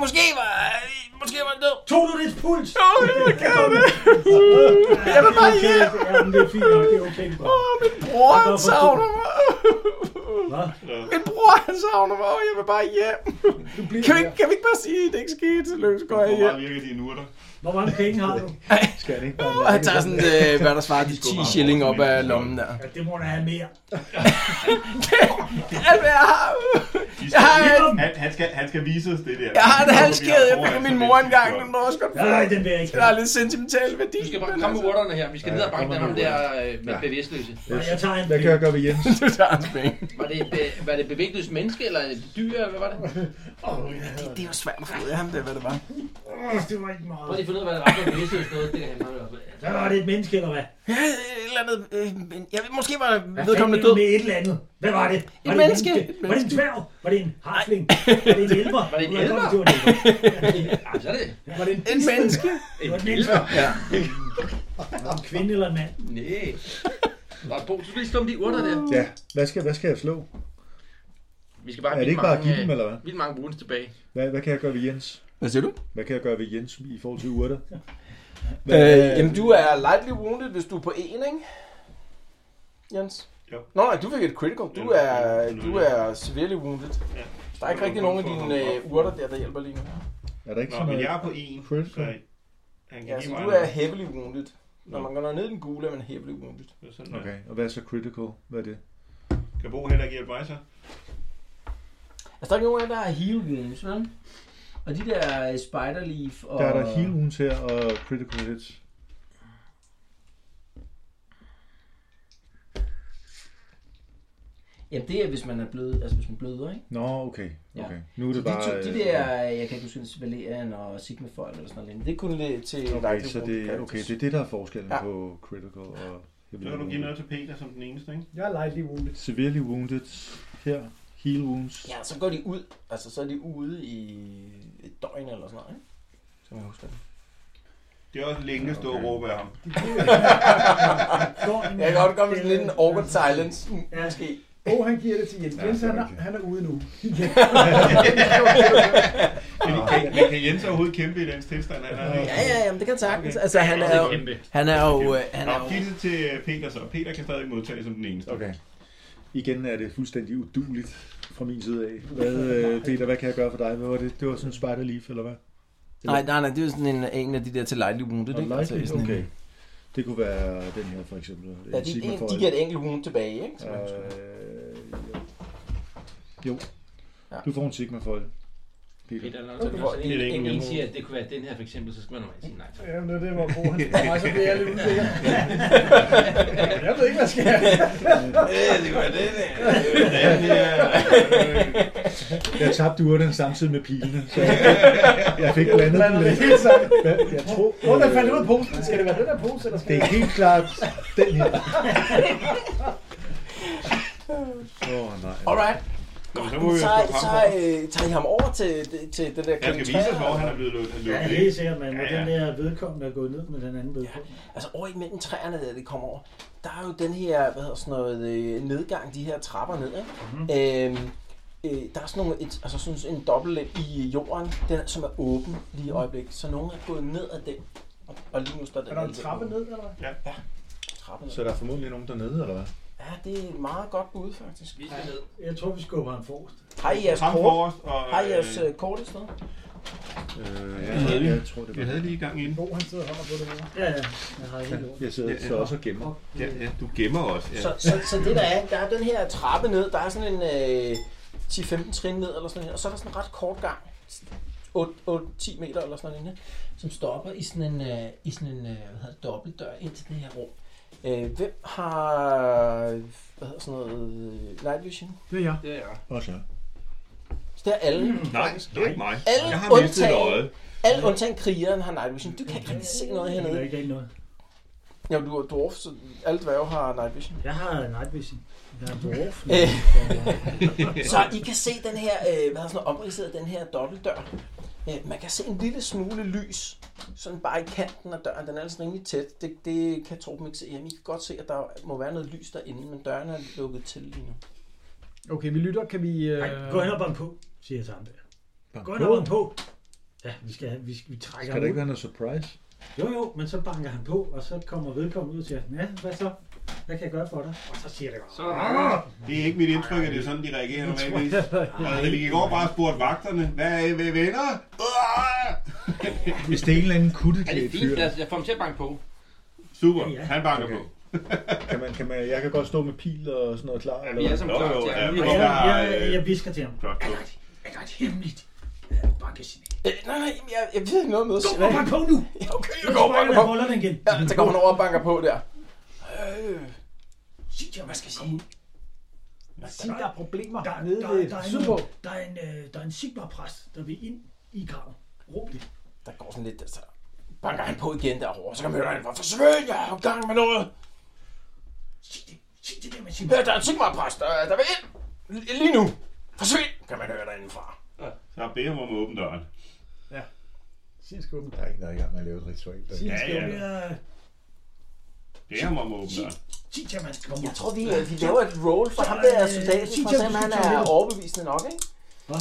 [SPEAKER 2] Måske var, øh, måske var han død.
[SPEAKER 6] Tog du dets puls?
[SPEAKER 2] Åh, oh, jeg er ked af det. Jeg vil bare hjem.
[SPEAKER 6] Ja, men det er fint nok. Det er okay. Bro.
[SPEAKER 2] Åh, min bror,
[SPEAKER 6] Jeg kan
[SPEAKER 2] han
[SPEAKER 6] godt
[SPEAKER 2] savner mig.
[SPEAKER 6] Hvad?
[SPEAKER 2] Min bror, han savner mig, og jeg vil bare hjem. Kan vi, ikke- kan vi ikke bare sige, at det ikke skete? Tillykke, så går jeg
[SPEAKER 4] Hvor
[SPEAKER 2] hjem.
[SPEAKER 4] meget virker dine urter?
[SPEAKER 6] Hvor mange penge har du?
[SPEAKER 9] Skal han ikke bare
[SPEAKER 2] Og han tager sådan, øh, hvad der svarer til 10 shilling op af lommen der.
[SPEAKER 6] Ja, det må du have mere.
[SPEAKER 2] Alt hvad jeg har.
[SPEAKER 4] De
[SPEAKER 2] Jeg har
[SPEAKER 4] skal-
[SPEAKER 2] en-
[SPEAKER 4] han, han, skal, han skal vise os det der.
[SPEAKER 2] Jeg har en halskæde, jeg
[SPEAKER 4] Vi
[SPEAKER 2] fik
[SPEAKER 4] har
[SPEAKER 2] af
[SPEAKER 4] foran,
[SPEAKER 2] min
[SPEAKER 4] så
[SPEAKER 2] mor
[SPEAKER 4] vi skal
[SPEAKER 2] engang.
[SPEAKER 4] gøre.
[SPEAKER 2] Den må også godt få.
[SPEAKER 6] Nej, den vil jeg ikke.
[SPEAKER 2] Den har lidt sentimental værdi.
[SPEAKER 15] Du skal bare
[SPEAKER 2] men
[SPEAKER 15] komme med
[SPEAKER 2] altså-
[SPEAKER 15] urterne her. Vi skal ned og banke
[SPEAKER 9] kom med
[SPEAKER 15] ham der øh, med bevidstløse.
[SPEAKER 6] Nej, jeg tager
[SPEAKER 9] Hvad
[SPEAKER 6] en
[SPEAKER 9] kan
[SPEAKER 6] penge.
[SPEAKER 9] jeg gøre ved Jens?
[SPEAKER 2] Du tager hans penge.
[SPEAKER 15] Var det, et, be- var det et bevægeløst menneske, eller et dyr, eller hvad var det?
[SPEAKER 2] [LAUGHS] Det- Det er jo svært at få ud af ham, det er, hvad det var.
[SPEAKER 6] Åh, det var ikke
[SPEAKER 15] Prøv
[SPEAKER 6] meget.
[SPEAKER 15] lige at finde ud af, hvad det var for et bevidstløst noget. Det kan jeg meget godt.
[SPEAKER 6] Hvad var det et menneske, eller hvad?
[SPEAKER 2] Ja, et eller andet. Øh, men jeg ved, måske var
[SPEAKER 6] Hvad
[SPEAKER 2] vedkommende
[SPEAKER 6] fanden
[SPEAKER 2] død.
[SPEAKER 6] med et eller andet? Hvad var det? Var det
[SPEAKER 2] menneske.
[SPEAKER 6] Var det en dværg? Var det en harfling? Var det en elver?
[SPEAKER 15] Var det en
[SPEAKER 6] Hvordan kom
[SPEAKER 15] elver?
[SPEAKER 6] det til at være en elver?
[SPEAKER 15] Ja, så er det.
[SPEAKER 6] Var det en
[SPEAKER 2] Et
[SPEAKER 6] bispe?
[SPEAKER 2] menneske.
[SPEAKER 6] Det var en elver. [LAUGHS] Ja. En kvinde eller en mand?
[SPEAKER 15] Næh. Nå, Bo, du skal lige slå om de urter der.
[SPEAKER 9] Ja, hvad skal, hvad skal jeg slå?
[SPEAKER 15] Vi skal bare
[SPEAKER 9] Er det
[SPEAKER 15] vildt
[SPEAKER 9] ikke bare at
[SPEAKER 15] mange,
[SPEAKER 9] give dem,
[SPEAKER 15] øh,
[SPEAKER 9] eller hvad?
[SPEAKER 15] Vildt mange brunes tilbage.
[SPEAKER 9] Hvad, hvad kan jeg gøre ved Jens?
[SPEAKER 18] Hvad siger du?
[SPEAKER 9] Hvad kan jeg gøre ved Jens i forhold til urter?
[SPEAKER 18] Øh, jamen, du er lightly wounded, hvis du er på en, ikke? Jens?
[SPEAKER 4] Jo.
[SPEAKER 18] Nå, nej, du fik et critical. Du
[SPEAKER 4] Ja,
[SPEAKER 18] er, øh,
[SPEAKER 4] nu er
[SPEAKER 18] du
[SPEAKER 4] jeg-
[SPEAKER 18] er severely wounded.
[SPEAKER 4] Ja.
[SPEAKER 18] Der er ikke rigtig nogen af dine øh, urter der, der hjælper lige nu.
[SPEAKER 9] Er der ikke
[SPEAKER 4] Nå,
[SPEAKER 9] sådan
[SPEAKER 4] men
[SPEAKER 9] noget?
[SPEAKER 4] jeg er på en, så
[SPEAKER 9] Critical.
[SPEAKER 4] han kan
[SPEAKER 18] Ja,
[SPEAKER 4] give
[SPEAKER 18] så
[SPEAKER 4] mig
[SPEAKER 18] du er
[SPEAKER 4] noget.
[SPEAKER 18] heavily wounded. Når
[SPEAKER 4] Nå.
[SPEAKER 18] man går ned i den gule, er man heavily wounded.
[SPEAKER 4] Det er sådan, der.
[SPEAKER 9] Okay, og hvad er så critical? Hvad er det?
[SPEAKER 4] Kan Bo heller ikke hjælpe mig så?
[SPEAKER 18] Altså, der er ikke nogen af jer, der har heal wounds, vel?
[SPEAKER 2] Og de der øh, spider leaf og...
[SPEAKER 9] Der er der heal wounds her og critical hits.
[SPEAKER 2] Jamen det er, hvis man er blød, altså hvis man bløder, ikke?
[SPEAKER 9] Nå, okay.
[SPEAKER 2] Ja.
[SPEAKER 9] okay. Nu er det
[SPEAKER 2] så de,
[SPEAKER 9] bare...
[SPEAKER 2] to, de
[SPEAKER 9] øh,
[SPEAKER 2] der, jeg kan ikke huske, Valerian og Sigma Foil eller sådan noget, det er kun lidt til...
[SPEAKER 9] Okay, så det, okay, det er det, der er forskellen ja. på critical og heavy
[SPEAKER 4] Så kan du give noget til Peter som den eneste, ikke?
[SPEAKER 5] Jeg er lightly wounded.
[SPEAKER 9] Severely wounded her. Heal wounds.
[SPEAKER 2] Ja, så går de ud, altså så er de ude i et døgn eller sådan noget, ikke? Som jeg husker det.
[SPEAKER 4] Det er også længe at stå og råbe af ham.
[SPEAKER 2] Jeg kan godt komme med sådan lidt en awkward silence, mm, måske.
[SPEAKER 5] Og han giver det til Jens. Jens, han, er, han er ude nu. Ja.
[SPEAKER 4] Men kan, men kan Jens overhovedet kæmpe i dens tilstand? Han er
[SPEAKER 2] Ja, ja, jamen det kan sagtens. Altså, han er jo- han er jo, øh, han er jo-
[SPEAKER 4] Giv det til Peter så. Peter kan stadig modtage som den eneste.
[SPEAKER 9] Okay. Igen er det fuldstændig uduligt fra min side af. Hvad, øh, Peter, hvad kan jeg gøre for dig? Hvad var det? Det var sådan en spider leaf, eller hvad?
[SPEAKER 2] Nej, nej, nej, det er jo sådan en, en af de der til lightly wounded,
[SPEAKER 9] Og
[SPEAKER 2] ikke? Altså,
[SPEAKER 9] lightly,
[SPEAKER 2] sådan en-
[SPEAKER 9] okay. Det kunne være den her, for eksempel.
[SPEAKER 2] Ja, de,
[SPEAKER 9] Sigma
[SPEAKER 2] en,
[SPEAKER 9] Foil.
[SPEAKER 2] de giver et enkelt wound tilbage, ikke? Som jeg husker.
[SPEAKER 9] Øh, Jo.
[SPEAKER 2] Ja.
[SPEAKER 9] Du får en sigma foil.
[SPEAKER 1] Peter,
[SPEAKER 9] Peter.
[SPEAKER 1] eller noget,
[SPEAKER 2] Okay.
[SPEAKER 1] okay. sådan en,
[SPEAKER 9] Det er
[SPEAKER 1] en,
[SPEAKER 9] ikke
[SPEAKER 1] en
[SPEAKER 9] en-
[SPEAKER 1] siger, at det kunne være den her for eksempel, så skal man normalt sige nej tak.
[SPEAKER 5] Ja, men det er det, hvor Bo han spørger mig, så bliver jeg lidt usikker. [LAUGHS] Jeg ved ikke, hvad jeg skal.
[SPEAKER 9] Ja, det kunne være det, [LAUGHS] Jeg tabte urten samtidig med pilene, så jeg, jeg fik blandet
[SPEAKER 5] Blander
[SPEAKER 9] dem
[SPEAKER 5] det
[SPEAKER 9] lidt.
[SPEAKER 5] hele sammen.
[SPEAKER 9] Hvad- Jeg tror,
[SPEAKER 5] Hvor der fandt
[SPEAKER 9] øh,
[SPEAKER 5] ud af posen? Skal det være den der pose, eller skal
[SPEAKER 9] det er helt klart den her. Åh, oh, nej.
[SPEAKER 2] Alright.
[SPEAKER 4] Godt,
[SPEAKER 2] Så, så, så øh, tager I ham over til, til den der
[SPEAKER 4] Han skal vise os, hvor han er blevet løbet.
[SPEAKER 6] Ja, helt sikkert, men ja, ja. den der vedkommende er gået ned med den anden vedkommende.
[SPEAKER 2] Altså over imellem træerne, der det kommer over, der er jo den her, hvad hedder sådan noget, øh, nedgang, de her trapper ned, ikke? Mm-hmm. Øhm, øh, der er sådan, nogle, et, altså sådan en dobbeltlem i jorden, den, som er åben lige i øjeblikket, så nogen er gået ned ad den, og, og lige nu står den
[SPEAKER 5] Er der en
[SPEAKER 2] alle
[SPEAKER 5] trappe
[SPEAKER 2] sammen.
[SPEAKER 5] ned, eller hvad?
[SPEAKER 4] Ja.
[SPEAKER 2] Ja, trappe ned.
[SPEAKER 9] Så der er formodentlig nogen dernede, eller hvad?
[SPEAKER 2] Ja, det er et meget godt bud, faktisk. Vi
[SPEAKER 1] skal ned.
[SPEAKER 6] Jeg tror, vi skubber ham forrest.
[SPEAKER 2] Har I jeres
[SPEAKER 4] Ham
[SPEAKER 2] kort?
[SPEAKER 4] forrest, og,
[SPEAKER 2] Har I jeres
[SPEAKER 4] øh,
[SPEAKER 2] øh, kort et sted?
[SPEAKER 9] Øh,
[SPEAKER 4] Jeg havde lige,
[SPEAKER 9] jeg tror, det var
[SPEAKER 4] jeg havde lige gang inden.
[SPEAKER 5] Bo, han sidder og holder på det her.
[SPEAKER 6] Ja, ja. Jeg har helt
[SPEAKER 9] Jeg sidder så også og gemmer.
[SPEAKER 4] Ja, ja, du gemmer også. Ja.
[SPEAKER 2] Så, så, så det der er, der er den her trappe ned, der er sådan en øh, 10-15 trin ned, eller sådan noget, og så er der sådan en ret kort gang, 8-10 meter eller sådan noget, lignende, som stopper i sådan en, øh, i sådan en øh, hvad hedder det, dobbeltdør ind til det her rum. Øh, hvem har hvad hedder sådan noget, øh, night vision?
[SPEAKER 19] Det er jeg.
[SPEAKER 1] Det er jeg.
[SPEAKER 9] Også
[SPEAKER 2] Så det er alle.
[SPEAKER 4] Nej, det er ikke mig.
[SPEAKER 2] Alle
[SPEAKER 4] Jeg har mistet et
[SPEAKER 2] undtagen,
[SPEAKER 4] øje.
[SPEAKER 2] alle undtagen krigeren har night vision. Du kan ikke rigtig se noget hernede.
[SPEAKER 6] Jeg
[SPEAKER 4] Mm.
[SPEAKER 6] ikke rigtig noget.
[SPEAKER 2] Ja, du er dwarf, så alle dværge har night vision.
[SPEAKER 6] Jeg har night vision. Jeg er
[SPEAKER 2] [LAUGHS]
[SPEAKER 6] dwarf.
[SPEAKER 2] Øh. så I kan se den her, øh, hvad er sådan noget, omridset af den her dobbeltdør. Øh, man kan se en lille smule lys, sådan bare i kanten af døren. Den er altså rimelig tæt. Det, det kan Torben ikke se. Jamen, I kan godt se, at der må være noget lys derinde, men døren er lukket til lige nu.
[SPEAKER 19] Okay, vi lytter. Kan vi... Øh...
[SPEAKER 6] Nej, gå hen og bank på, siger jeg til ham der.
[SPEAKER 9] Bank
[SPEAKER 6] Gå hen
[SPEAKER 9] på?
[SPEAKER 6] og bank på. Ja, vi, skal, vi, vi trækker
[SPEAKER 9] Skal der
[SPEAKER 6] ham
[SPEAKER 9] ikke
[SPEAKER 6] ud.
[SPEAKER 9] være noget surprise?
[SPEAKER 6] Jo, jo, men så banker han på, og så kommer vedkommende ud og siger, ja, hvad så? Hvad kan jeg gøre for dig? Og så siger det bare,
[SPEAKER 1] Så
[SPEAKER 4] Det er ikke mit indtryk, at det er sådan, de reagerer
[SPEAKER 6] Det tror
[SPEAKER 4] normalvis.
[SPEAKER 6] jeg heller
[SPEAKER 4] Og da vi gik over bare og spurgte vagterne, hvad er I ved venner?
[SPEAKER 9] Hvis det er en eller anden
[SPEAKER 1] Er det
[SPEAKER 9] kutteklædt
[SPEAKER 1] fint?
[SPEAKER 9] fyr.
[SPEAKER 1] Lad
[SPEAKER 7] altså?
[SPEAKER 1] os, jeg får ham til at banke på.
[SPEAKER 4] Super,
[SPEAKER 1] Ja.
[SPEAKER 4] han banker på.
[SPEAKER 9] Kan man, kan man, jeg kan godt stå med pil og sådan noget klar.
[SPEAKER 1] vi er som klar til at-
[SPEAKER 9] vi
[SPEAKER 1] Ja,
[SPEAKER 9] er-
[SPEAKER 6] jeg, jeg, jeg visker til ham.
[SPEAKER 4] øh, Flot.
[SPEAKER 2] Er godt hemmeligt. Øh, nej, nej, jamen, jeg, jeg ved ikke noget med
[SPEAKER 6] Gå og bank på nu!
[SPEAKER 2] Ja, okay,
[SPEAKER 6] Nu
[SPEAKER 2] jeg går og
[SPEAKER 6] banker
[SPEAKER 2] banker
[SPEAKER 6] jeg
[SPEAKER 2] på.
[SPEAKER 6] hullerne igen.
[SPEAKER 2] Ja, så går han over og banker på der. Øh, sig til ham, hvad skal jeg sige?
[SPEAKER 19] Sig, der er problemer
[SPEAKER 6] Der,
[SPEAKER 19] nede
[SPEAKER 2] øh,
[SPEAKER 6] der,
[SPEAKER 19] ved
[SPEAKER 6] der, er
[SPEAKER 19] Sydpå.
[SPEAKER 6] en, der er en, øh, der er en Sigmar-præst, der vil ind i graven. Råb det.
[SPEAKER 2] Der går sådan lidt, så banker han på igen derovre, så kan man høre, han var forsvind, jeg har gang med noget.
[SPEAKER 6] Sig det der med
[SPEAKER 2] Ja,
[SPEAKER 6] Sigmar.
[SPEAKER 2] der er en Sigmar-præst, der, der vil ind. L- Lige nu. Forsvind, kan man høre derindefra.
[SPEAKER 4] Så jeg beder ham om at åbne døren.
[SPEAKER 5] Sin skub.
[SPEAKER 9] Der er ikke noget i gang med at lave et ritual. Der.
[SPEAKER 5] Sin
[SPEAKER 4] Ja,
[SPEAKER 5] skub.
[SPEAKER 4] ja. Beder ham om at åbne døren.
[SPEAKER 6] Sig til ham, han skal komme
[SPEAKER 2] Jeg tror, vi, vi laver et roll for øh, ham der soldaten, for at se, om han er overbevisende nok, ikke? Hvad?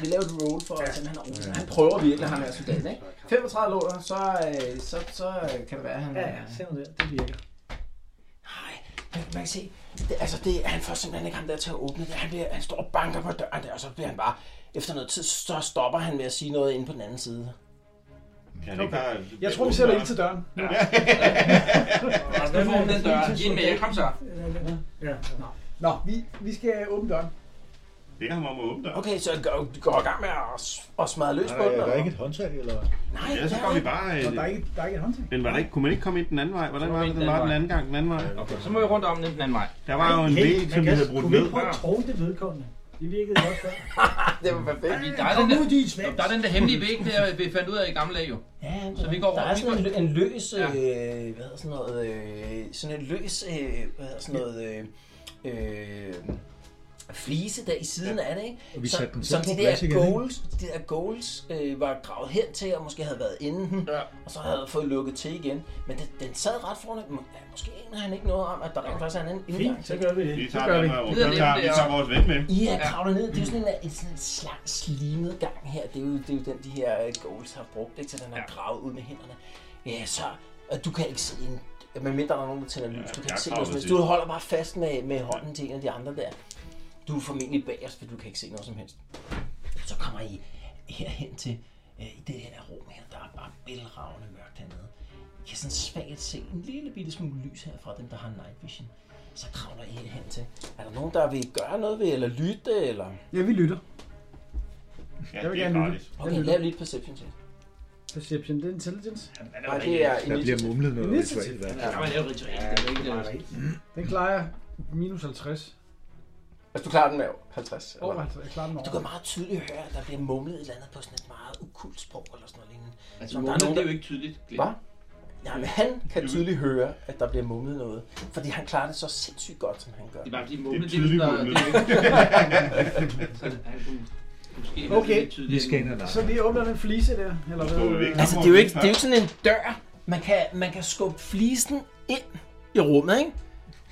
[SPEAKER 2] Vi laver et roll for at se, om han er overbevisende. Han prøver virkelig, ham er soldaten, ikke? 35 låter, så, øh, så, så øh, kan det være, at han...
[SPEAKER 6] Ja, ja, se nu der. Det virker.
[SPEAKER 2] Man man kan se, det, altså det, han får simpelthen ikke ham der til at åbne det. Han, bliver, han står og banker på døren der, og så bliver han bare... Efter noget tid, så stopper han med at sige noget inde på den anden side.
[SPEAKER 4] Kan han ikke bare...
[SPEAKER 5] Jeg tror, vi sætter ind til døren.
[SPEAKER 1] Lad os nu få den dør. Ind med jer, kom så.
[SPEAKER 6] Ja, ja. Nå.
[SPEAKER 5] Nå, vi, vi skal åbne døren.
[SPEAKER 4] beder ham om at åbne dig.
[SPEAKER 2] Okay, så går, går i gang med at, s- at smadre løs på den.
[SPEAKER 4] er der
[SPEAKER 2] eller?
[SPEAKER 4] ikke et
[SPEAKER 13] håndtag, eller?
[SPEAKER 2] Nej,
[SPEAKER 4] Ja, så
[SPEAKER 2] der
[SPEAKER 4] går
[SPEAKER 2] er
[SPEAKER 4] vi
[SPEAKER 2] ikke-
[SPEAKER 4] bare...
[SPEAKER 2] Nå,
[SPEAKER 4] øh,
[SPEAKER 2] der er ikke- der er ikke et håndtag.
[SPEAKER 4] Men var der ikke, kunne man ikke komme ind den anden vej? Hvordan var det, den
[SPEAKER 7] den
[SPEAKER 4] var den
[SPEAKER 7] vej.
[SPEAKER 4] anden gang? Den anden vej?
[SPEAKER 7] Okay, så må vi rundt om den den anden vej.
[SPEAKER 4] Der var jo en
[SPEAKER 16] Hey,
[SPEAKER 4] væg, som vi
[SPEAKER 16] Mads,
[SPEAKER 4] havde brudt
[SPEAKER 16] kunne vi
[SPEAKER 4] ned.
[SPEAKER 16] ikke prøve at tro det vedkommende? Det virkede godt før.
[SPEAKER 7] det var perfekt. Der er,
[SPEAKER 16] Kom
[SPEAKER 7] den der,
[SPEAKER 16] ud, din svans.
[SPEAKER 7] der er den der hemmelige væg, der vi fandt ud af i gamle dage jo.
[SPEAKER 2] Ja,
[SPEAKER 7] så vi går
[SPEAKER 2] Der
[SPEAKER 7] rundt.
[SPEAKER 2] er
[SPEAKER 7] vi
[SPEAKER 2] sådan en,
[SPEAKER 7] går-
[SPEAKER 2] lø- en løs,
[SPEAKER 7] Ja.
[SPEAKER 2] ja. øh, hvad hedder sådan noget, øh, sådan en løs, øh, hvad hedder sådan noget, øh, øh, flise der i siden ja. af det, ikke?
[SPEAKER 13] Og vi
[SPEAKER 2] Som-
[SPEAKER 13] satte den selv
[SPEAKER 2] som
[SPEAKER 13] på
[SPEAKER 2] de der
[SPEAKER 13] plads igen, ikke?
[SPEAKER 2] goals, de der goals øh, var gravet hen til, og måske havde været inden, ja. og så havde fået lukket til igen. Men den, den sad ret foran, må- ja, måske aner han ikke noget om, at der rent faktisk er en anden indgang.
[SPEAKER 16] Fint,
[SPEAKER 2] til
[SPEAKER 16] så
[SPEAKER 2] det.
[SPEAKER 16] gør vi det.
[SPEAKER 4] Vi tager den her rundt. Vi tager, vi tager vores ven med.
[SPEAKER 2] I er kravlet ned. Det er jo sådan en, en sådan en slang slimet gang her. Det er, jo, det er jo den, de her øh, goals har brugt, ikke? Så den har gravet ud med hænderne. Ja, så... Og du kan ikke se en... Medmindre der er nogen, der tænder lys. Du kan
[SPEAKER 4] jeg
[SPEAKER 2] ikke se noget
[SPEAKER 4] kravler
[SPEAKER 2] som helst.
[SPEAKER 4] sidst.
[SPEAKER 2] Du holder bare fast med, med hånden til en af de andre der. Du er formentlig bagerst, for du kan ikke se noget som helst. Så kommer I herhen til... Øh, I det her rum her, der er bare bælragende mørkt hernede. I kan sådan svagt se en lille bitte smule lys her fra dem, der har night vision. Så kravler I hen til. Er der nogen, der vil gøre noget ved, eller lytte, eller...
[SPEAKER 5] Ja, vi lytter.
[SPEAKER 4] Ja,
[SPEAKER 5] Jeg vil gerne lytte. Jeg
[SPEAKER 2] Okay,
[SPEAKER 5] lytter.
[SPEAKER 2] lav lige et perception check.
[SPEAKER 5] Perception, det er intelligence.
[SPEAKER 2] Nej, det er
[SPEAKER 5] Der bliver mumlet noget
[SPEAKER 2] Initiativ.
[SPEAKER 5] ritual, hvad?
[SPEAKER 2] Ja.
[SPEAKER 5] Ja, men det er jo
[SPEAKER 7] ritual.
[SPEAKER 2] Ja, det er ikke det.
[SPEAKER 5] Den klarer minus 50.
[SPEAKER 2] Altså, du klarer den med 50?
[SPEAKER 5] Over 50, jeg klarer den over.
[SPEAKER 2] Du kan meget tydeligt høre, at der bliver mumlet et eller andet på sådan et meget okult sprog eller sådan noget lignende.
[SPEAKER 7] Altså,
[SPEAKER 2] Som
[SPEAKER 7] mumlet,
[SPEAKER 2] nogen,
[SPEAKER 7] det er jo ikke tydeligt, Glenn.
[SPEAKER 2] Hvad? Ja, men han kan tydeligt høre, at der bliver mumlet noget. Fordi han klarer det så sindssygt godt, som han gør.
[SPEAKER 7] Det er bare fordi mumlet, det er jo sådan, der- Så han- han kunne måske have
[SPEAKER 5] Okay,
[SPEAKER 7] lidt tydeligere nu.
[SPEAKER 5] så vi åbner den flise der, eller hvad?
[SPEAKER 2] Altså, det er jo ikke, det er jo ikke sådan en dør. Man kan, man kan skubbe flisen ind i rummet, ikke?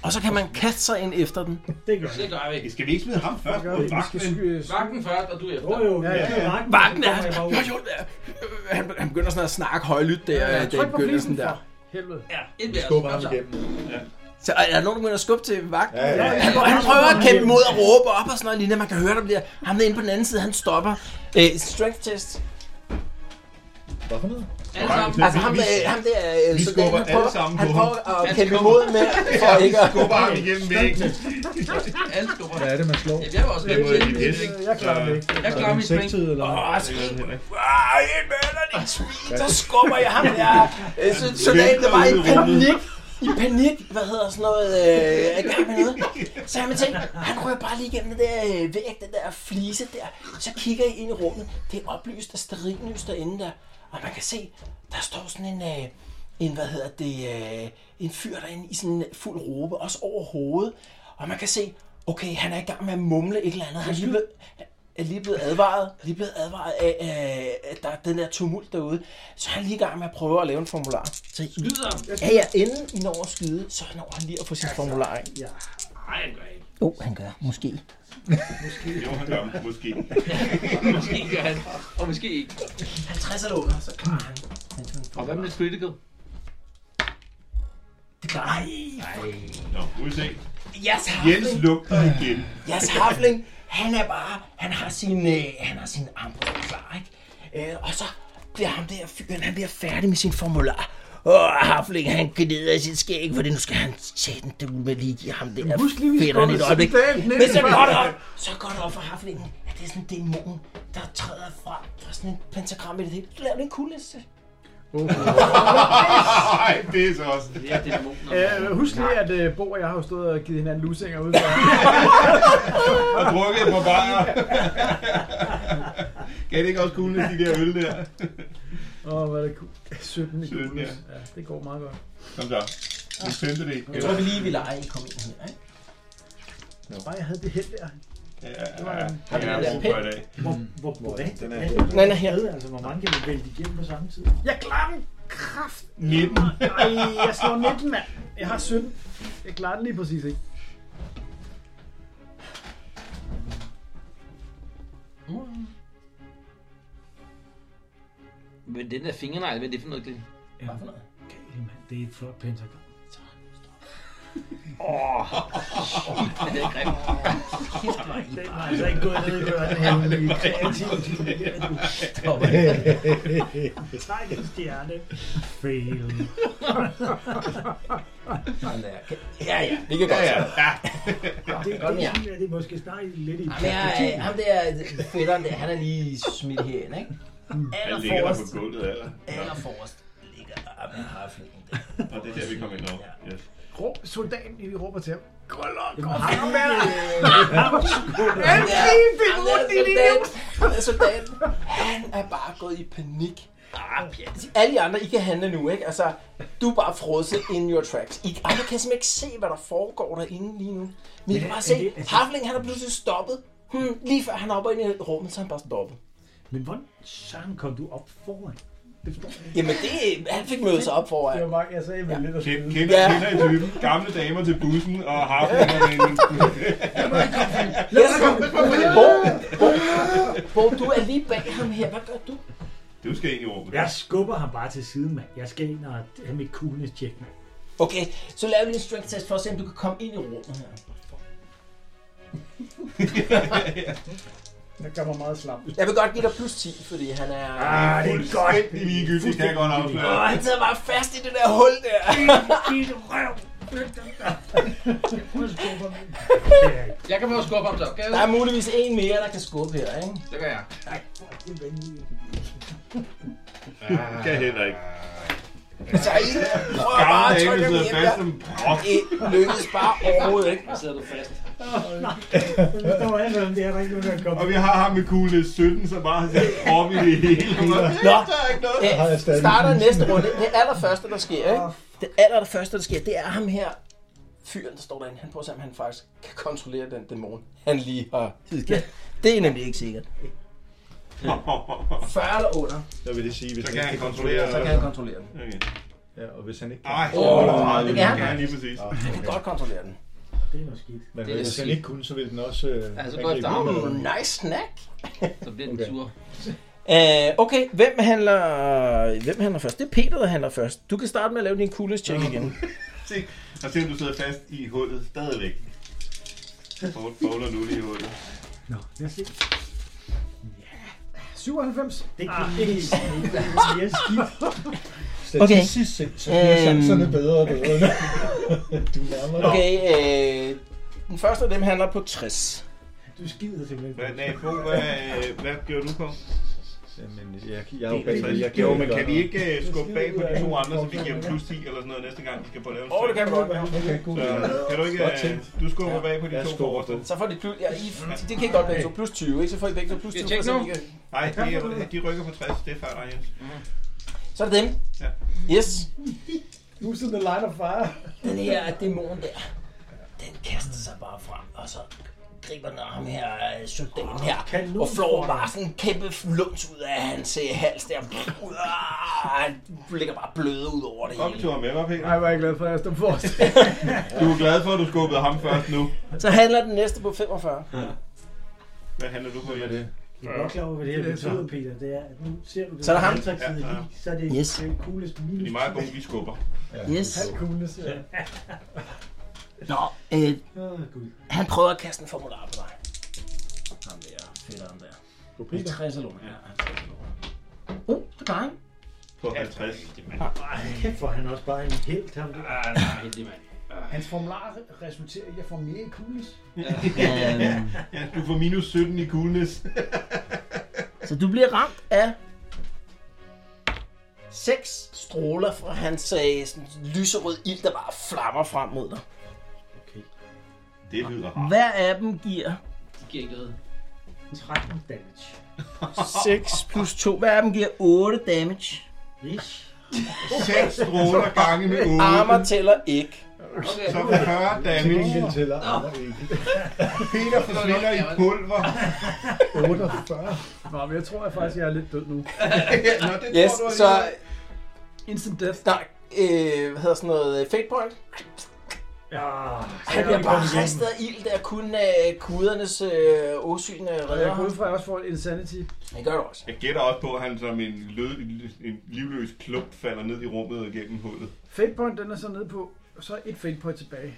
[SPEAKER 2] Og så kan man kaste sig ind efter den.
[SPEAKER 5] Det gør
[SPEAKER 7] Det gør vi.
[SPEAKER 4] Skal vi ikke smide ham først?
[SPEAKER 2] gør vi. Vi skal sky-
[SPEAKER 7] Vagten først, og du efter.
[SPEAKER 5] Jo, jo. Ja, ja, ja.
[SPEAKER 7] Vagten,
[SPEAKER 1] Vagten er...
[SPEAKER 7] kommer jeg bare ud.
[SPEAKER 1] Jo, jo, der. Øh, Han, han begynder sådan at snakke højlydt der, ja, ja, Dave Gønnesen der.
[SPEAKER 5] Helvede.
[SPEAKER 7] Ja, ind
[SPEAKER 1] Vi skubber
[SPEAKER 9] Altså,
[SPEAKER 1] ham
[SPEAKER 7] igennem.
[SPEAKER 4] Ja.
[SPEAKER 1] Så er der nogen, der begynder at skubbe til vagten?
[SPEAKER 2] Ja, ja, ja. Han, han prøver at kæmpe imod og råbe op og sådan noget lignende. Man kan høre, der bliver ham der inde på den anden side, han stopper. Øh, strength test.
[SPEAKER 13] Hvad for noget?
[SPEAKER 7] Alle sammen.
[SPEAKER 2] Altså ham der, ham der øh,
[SPEAKER 13] Vi
[SPEAKER 2] soldaten,
[SPEAKER 13] skubber
[SPEAKER 2] han
[SPEAKER 13] alle
[SPEAKER 2] prøver,
[SPEAKER 13] sammen
[SPEAKER 2] han
[SPEAKER 13] på
[SPEAKER 2] prøver
[SPEAKER 13] ham.
[SPEAKER 2] at
[SPEAKER 13] Han
[SPEAKER 2] kæmpe
[SPEAKER 13] skubber.
[SPEAKER 2] imod med,
[SPEAKER 13] Ja,
[SPEAKER 2] for
[SPEAKER 13] vi
[SPEAKER 2] ikke at...
[SPEAKER 13] skubber ham igennem væggen.
[SPEAKER 7] Alle skubber.
[SPEAKER 13] Hvad er det, man slår?
[SPEAKER 7] Ja, det var også
[SPEAKER 13] Det er
[SPEAKER 7] lidt
[SPEAKER 13] mod en
[SPEAKER 7] lidt.
[SPEAKER 13] hest. Jeg klarer det ikke.
[SPEAKER 7] Jeg klarer
[SPEAKER 13] Er det
[SPEAKER 7] min
[SPEAKER 13] en sekstid,
[SPEAKER 7] spring.
[SPEAKER 13] eller hvad?
[SPEAKER 7] Åh,
[SPEAKER 2] så
[SPEAKER 7] Ej, en møller, din
[SPEAKER 2] svin, så skubber jeg ham der. Øh, så- Soldaten der var i panik. I panik, hvad hedder sådan noget, øh, er i gang med noget. Så har man tænkt, han rører bare lige igennem det der øh, væg, den der flise der. Så kigger I ind i rummet, det er oplyst af sterillys derinde der. Og man kan se, der står sådan en, øh, en hvad hedder det, øh, en fyr derinde i sådan en fuld robe, også over hovedet. Og man kan se, okay, han er i gang med at mumle et eller andet. Han er lige blevet, er lige blevet advaret, lige blevet advaret af, øh, at der er den der tumult derude. Så er han lige i gang med at prøve at lave en formular. Så I,
[SPEAKER 7] Skyder.
[SPEAKER 2] Ja, ja, inden I når at skyde, så når han lige at få sit formular ind.
[SPEAKER 5] Ja.
[SPEAKER 7] Nej, han gør ikke.
[SPEAKER 2] Jo, oh, han gør. Måske.
[SPEAKER 4] Jo, han gør. Måske.
[SPEAKER 7] Måske gør han. Og måske ikke.
[SPEAKER 2] 50 eller under, så klarer han.
[SPEAKER 7] Og hvad med critical?
[SPEAKER 2] Det klarer han.
[SPEAKER 4] Nå, må vi se.
[SPEAKER 2] Yes,
[SPEAKER 4] Jens lugter igen.
[SPEAKER 2] Jas Hafling, han er bare, han har sin, øh, han har sin armbånd klar, ikke? Øh, og så bliver ham der fyren, han bliver færdig med sin formular. Og Hafling, han gnider i sit skæg, fordi nu skal han sætte en dul med lige give ham der
[SPEAKER 5] husk lige, vi
[SPEAKER 2] fætterne et
[SPEAKER 5] skubber
[SPEAKER 2] øjeblik.
[SPEAKER 5] soldaten ind
[SPEAKER 2] Men så
[SPEAKER 5] i
[SPEAKER 2] går
[SPEAKER 5] vejen.
[SPEAKER 2] det op, så går det op for Haflingen, at det er sådan en dæmon, der træder frem fra sådan en pentagram i det hele. Lav en kuldeste.
[SPEAKER 4] Nej, det er så også.
[SPEAKER 7] Ja, det er dæmonen.
[SPEAKER 5] Øh, husk lige, at øh, Bo og jeg har jo stået og givet hinanden lusinger ud
[SPEAKER 6] [LAUGHS]
[SPEAKER 5] for
[SPEAKER 4] Og drukket på bajer. Kan det ikke også kugle de der øl der?
[SPEAKER 5] Åh, oh, hvad er det cool. 17 i
[SPEAKER 4] 17,
[SPEAKER 5] ja.
[SPEAKER 4] ja.
[SPEAKER 5] ja. det går meget godt.
[SPEAKER 4] Kom så. En femtedel.
[SPEAKER 2] Jeg tror vi lige, vi leger, I kom ind her, ikke?
[SPEAKER 5] Bare jeg havde det held der.
[SPEAKER 4] Ja,
[SPEAKER 5] Det var,
[SPEAKER 4] ja,
[SPEAKER 2] Har vi
[SPEAKER 4] ja.
[SPEAKER 2] den
[SPEAKER 4] Jeg
[SPEAKER 2] der pind?
[SPEAKER 4] er brug for i dag.
[SPEAKER 16] Hvor, hvor, hvor,
[SPEAKER 13] Den er-
[SPEAKER 16] hvor,
[SPEAKER 2] Den er her.
[SPEAKER 16] Altså, hvor mange kan vi vælte igennem på samme tid?
[SPEAKER 5] Jeg klarer den kraft.
[SPEAKER 4] 19.
[SPEAKER 5] Ej, jeg slår 19, mand. Jeg har 17. Jeg klarer den lige præcis, ikke?
[SPEAKER 7] Men den der fingernegl, hvad er det for noget, Glenn?
[SPEAKER 16] Ja, Gale, mand. Det er et flot pentagram.
[SPEAKER 6] Åh, oh, det er grimt. Den var altså ikke gået ned i døren, hemmelige kreative familie. Du stopper
[SPEAKER 9] [LAUGHS]
[SPEAKER 6] ikke. Træk en stjerne. Fail.
[SPEAKER 2] Ja, ja, det kan godt
[SPEAKER 6] Ja, ja.
[SPEAKER 2] være.
[SPEAKER 6] Det, det, synes jeg, det er måske snart lidt i
[SPEAKER 2] Ham der, øh, ham der fætteren der, han er lige smidt herind, ikke?
[SPEAKER 4] Han ligger der på gulvet, eller?
[SPEAKER 2] Aller forrest ligger der med harflingen der.
[SPEAKER 4] [LAUGHS] Og det er der, vi kommer ind over. Yes.
[SPEAKER 5] Råb soldaten, vi råber til ham. Kolder, kom
[SPEAKER 2] ham,
[SPEAKER 5] frem
[SPEAKER 2] øh,
[SPEAKER 5] med dig!
[SPEAKER 2] ham der-
[SPEAKER 5] Han det
[SPEAKER 2] ham der
[SPEAKER 5] rundt i din
[SPEAKER 2] soldat- ham der soldaten, han er bare gået i panik. Ah, pjat. Alle de andre, I kan handle nu, ikke? Altså, du er bare frosset in your tracks. I andre kan simpelthen ikke se, hvad der foregår derinde lige nu. Men I
[SPEAKER 6] Men
[SPEAKER 2] kan
[SPEAKER 6] er-
[SPEAKER 2] bare
[SPEAKER 6] er
[SPEAKER 2] se,
[SPEAKER 6] det- altså-
[SPEAKER 2] Hafling, han er pludselig stoppet. Hmm, lige før han hopper ind i rummet, så er han bare stoppet.
[SPEAKER 6] Men hvordan søren kom du op foran? Det forstår jeg
[SPEAKER 2] Jamen, det, han fik mødet sig op foran. Det var
[SPEAKER 20] bare, jeg sagde,
[SPEAKER 2] ja. lidt at
[SPEAKER 4] Kender, kender i typen. Gamle damer til bussen og harflingerne.
[SPEAKER 2] Yes, kom, Bo, Bo, Bo, du er lige bag ham her. Hvad gør du?
[SPEAKER 4] Du skal ind i rummet.
[SPEAKER 6] Jeg skubber ham bare til siden, mand. Jeg skal ind og have mit coolness check, mand.
[SPEAKER 2] Okay, så laver vi lige en strength test for at se, om du kan komme ind i rummet her.
[SPEAKER 20] Jeg gør mig meget slap.
[SPEAKER 2] Jeg vil godt give dig plus 10, fordi han er...
[SPEAKER 20] Ah, det er godt.
[SPEAKER 4] Fuldstændig ligegyldigt, det kan jeg godt afsløre.
[SPEAKER 2] Åh, han sidder bare fast i det der hul der.
[SPEAKER 6] Din røv!
[SPEAKER 7] Jeg kan prøve at skubbe ham til opgaven.
[SPEAKER 2] Der er muligvis en mere, der kan skubbe her, ikke?
[SPEAKER 7] Det gør jeg.
[SPEAKER 4] Det kan heller ikke.
[SPEAKER 2] Så Altså, I prøver bare at
[SPEAKER 4] Gamle
[SPEAKER 2] trykke ham
[SPEAKER 4] dame
[SPEAKER 2] hjem
[SPEAKER 4] sidder
[SPEAKER 2] der.
[SPEAKER 4] fast som en prop.
[SPEAKER 2] Det lykkedes bare overhovedet ikke.
[SPEAKER 7] Der sidder du fast.
[SPEAKER 6] Nu står alle sammen, det er der ikke nogen, der kommer.
[SPEAKER 4] Og vi har ham med coolness 17, så bare har prop i det hele.
[SPEAKER 2] Nå,
[SPEAKER 4] Der har
[SPEAKER 2] øh,
[SPEAKER 4] jeg stadig
[SPEAKER 2] starter
[SPEAKER 4] min.
[SPEAKER 2] næste runde. Det allerførste, der sker, ikke? Det allerførste, der sker, det er ham her. Fyren, der står derinde, han prøver at se, om han faktisk kan kontrollere den dæmon, han lige har hidkaldt. Det er nemlig ikke sikkert. 40 eller under.
[SPEAKER 9] Så vil det sige, hvis
[SPEAKER 4] Så
[SPEAKER 9] han
[SPEAKER 4] kan
[SPEAKER 9] ikke
[SPEAKER 4] han kontrollere
[SPEAKER 9] den.
[SPEAKER 2] Så kan han kontrollere den.
[SPEAKER 4] Okay.
[SPEAKER 9] Ja, og hvis han ikke
[SPEAKER 4] Ej,
[SPEAKER 9] Åh,
[SPEAKER 2] det kan han,
[SPEAKER 9] det
[SPEAKER 2] faktisk.
[SPEAKER 9] lige præcis.
[SPEAKER 2] Han kan godt kontrollere den.
[SPEAKER 6] Det er noget skidt.
[SPEAKER 9] Men
[SPEAKER 2] Det er
[SPEAKER 9] hvis han
[SPEAKER 2] skidt.
[SPEAKER 9] ikke kunne, så ville den også... Øh,
[SPEAKER 2] Altså,
[SPEAKER 9] angribe
[SPEAKER 2] godt
[SPEAKER 9] rummet.
[SPEAKER 2] down. Nice snack.
[SPEAKER 7] Så bliver den sur.
[SPEAKER 2] Øh, okay, hvem handler, hvem handler først? Det er Peter, der handler først. Du kan starte med at lave din coolest check igen.
[SPEAKER 4] Se, og se om du sidder fast i hullet stadigvæk. Bowler nu lige i hullet.
[SPEAKER 21] Nå, lad os se. Ja. 97.
[SPEAKER 6] Det
[SPEAKER 21] ah,
[SPEAKER 6] gik
[SPEAKER 21] ikke
[SPEAKER 6] ikke.
[SPEAKER 21] Det er skidt.
[SPEAKER 9] Statistisk set, så bliver chancerne bedre og
[SPEAKER 2] Øhm.
[SPEAKER 9] [LAUGHS] bedre.
[SPEAKER 2] du nærmer dig. Okay, øh, den første af dem handler på 60.
[SPEAKER 6] Du skider simpelthen.
[SPEAKER 4] Hvad, nej, Bo, hvad, øh, hvad gjorde du på?
[SPEAKER 9] Jamen, jeg, jeg, er jo
[SPEAKER 4] Det er
[SPEAKER 9] bag, jeg
[SPEAKER 4] jo, men kan vi ikke øh, skubbe bag på de to andre, så vi giver dem plus 10 eller sådan noget næste gang, de skal på lavet?
[SPEAKER 2] Åh, det kan vi godt.
[SPEAKER 9] Okay, cool.
[SPEAKER 4] Så kan du ikke,
[SPEAKER 9] Godt
[SPEAKER 4] øh,
[SPEAKER 9] tænkt.
[SPEAKER 4] du skubber bag på de
[SPEAKER 9] Jeg
[SPEAKER 4] to
[SPEAKER 9] skubber
[SPEAKER 4] forreste.
[SPEAKER 2] Så får de plus, ja, I, det kan I godt begge to. Plus 20, ikke? Så får I begge to plus 20.
[SPEAKER 7] tjekke
[SPEAKER 2] så
[SPEAKER 7] nu?
[SPEAKER 2] I kan-
[SPEAKER 4] Nej, de, er- de rykker på 60, det er færdig, Jens.
[SPEAKER 2] Så er det dem.
[SPEAKER 4] Ja.
[SPEAKER 2] Yes.
[SPEAKER 20] Who's in the line of fire?
[SPEAKER 2] Den her dæmon der, den kaster sig bare frem, og så griber den ham her øh, soldaten her,
[SPEAKER 6] kanon
[SPEAKER 2] og
[SPEAKER 6] for
[SPEAKER 2] flår
[SPEAKER 6] dig.
[SPEAKER 2] bare sådan en kæmpe luns ud af hans øh, hals der. Ah, Han ligger bare bløde ud over det
[SPEAKER 4] Kom,
[SPEAKER 2] hele.
[SPEAKER 4] du har med, var Peter?
[SPEAKER 5] Ej, hvor er jeg glad for, at jeg står forrest.
[SPEAKER 4] Du er glad for, at du skubbede ham først nu.
[SPEAKER 2] Så handler den næste på 45.
[SPEAKER 4] Hvad handler du på, Jens?
[SPEAKER 6] Jeg er godt klar over, hvad det her betyder, Peter. Det er, at nu ser du det.
[SPEAKER 2] Så er der ham.
[SPEAKER 6] Ja,
[SPEAKER 4] Ja, ja.
[SPEAKER 6] ja. Så er det
[SPEAKER 2] Yes.
[SPEAKER 6] det er jo coolest minus.
[SPEAKER 4] Fordi mig og Bo, vi skubber.
[SPEAKER 2] Yes.
[SPEAKER 6] Halv coolest, ja.
[SPEAKER 2] Nå, øh, han prøver at kaste en formular på dig. Ham der, fætteren der.
[SPEAKER 9] På
[SPEAKER 2] Peter? 50 eller ja, 50 eller Uh, det klarer han.
[SPEAKER 4] På 50.
[SPEAKER 6] Ej, kæft, hvor er han også bare en helt ham. der.
[SPEAKER 7] Ah, nej, heldig mand.
[SPEAKER 20] Hans formular resulterer i, at jeg får mere i kulis.
[SPEAKER 2] Øhm.
[SPEAKER 4] ja, du får minus 17 i coolness.
[SPEAKER 2] Så du bliver ramt af seks stråler fra hans øh, sådan, lyserød ild, der bare flammer frem mod dig.
[SPEAKER 4] Det lyder rart.
[SPEAKER 2] Hver af dem giver
[SPEAKER 7] De giver ikke noget.
[SPEAKER 6] 13
[SPEAKER 2] [LAUGHS]
[SPEAKER 6] damage.
[SPEAKER 2] 6 plus 2. Hver af dem giver 8 damage.
[SPEAKER 6] Yes.
[SPEAKER 4] Seks stråler gange med otte.
[SPEAKER 2] Armer tæller ikke.
[SPEAKER 7] Okay.
[SPEAKER 4] Så 40
[SPEAKER 9] Til
[SPEAKER 4] damage.
[SPEAKER 9] gengæld tæller andre ikke.
[SPEAKER 4] Peter forsvinder i pulver.
[SPEAKER 9] 48.
[SPEAKER 5] Nå, men jeg tror jeg faktisk, jeg er lidt død nu.
[SPEAKER 4] Nå, det
[SPEAKER 2] Yes,
[SPEAKER 4] tror du
[SPEAKER 2] så...
[SPEAKER 4] alligevel.
[SPEAKER 5] Instant death.
[SPEAKER 2] Nej, øh, hvad hedder sådan noget? øh, Fate point?
[SPEAKER 6] Ja,
[SPEAKER 2] Han bliver bare ristet af ild, der kun af kudernes øh, åsyn øh,
[SPEAKER 5] Og
[SPEAKER 2] redder
[SPEAKER 5] jeg går ud
[SPEAKER 2] ham.
[SPEAKER 5] fra, at jeg også får et insanity.
[SPEAKER 2] Det gør du også.
[SPEAKER 4] Jeg gætter også på, at han som en, lød, en livløs klump falder ned i rummet og gennem hullet.
[SPEAKER 5] Fate point, den er så nede på Og så et fate point tilbage.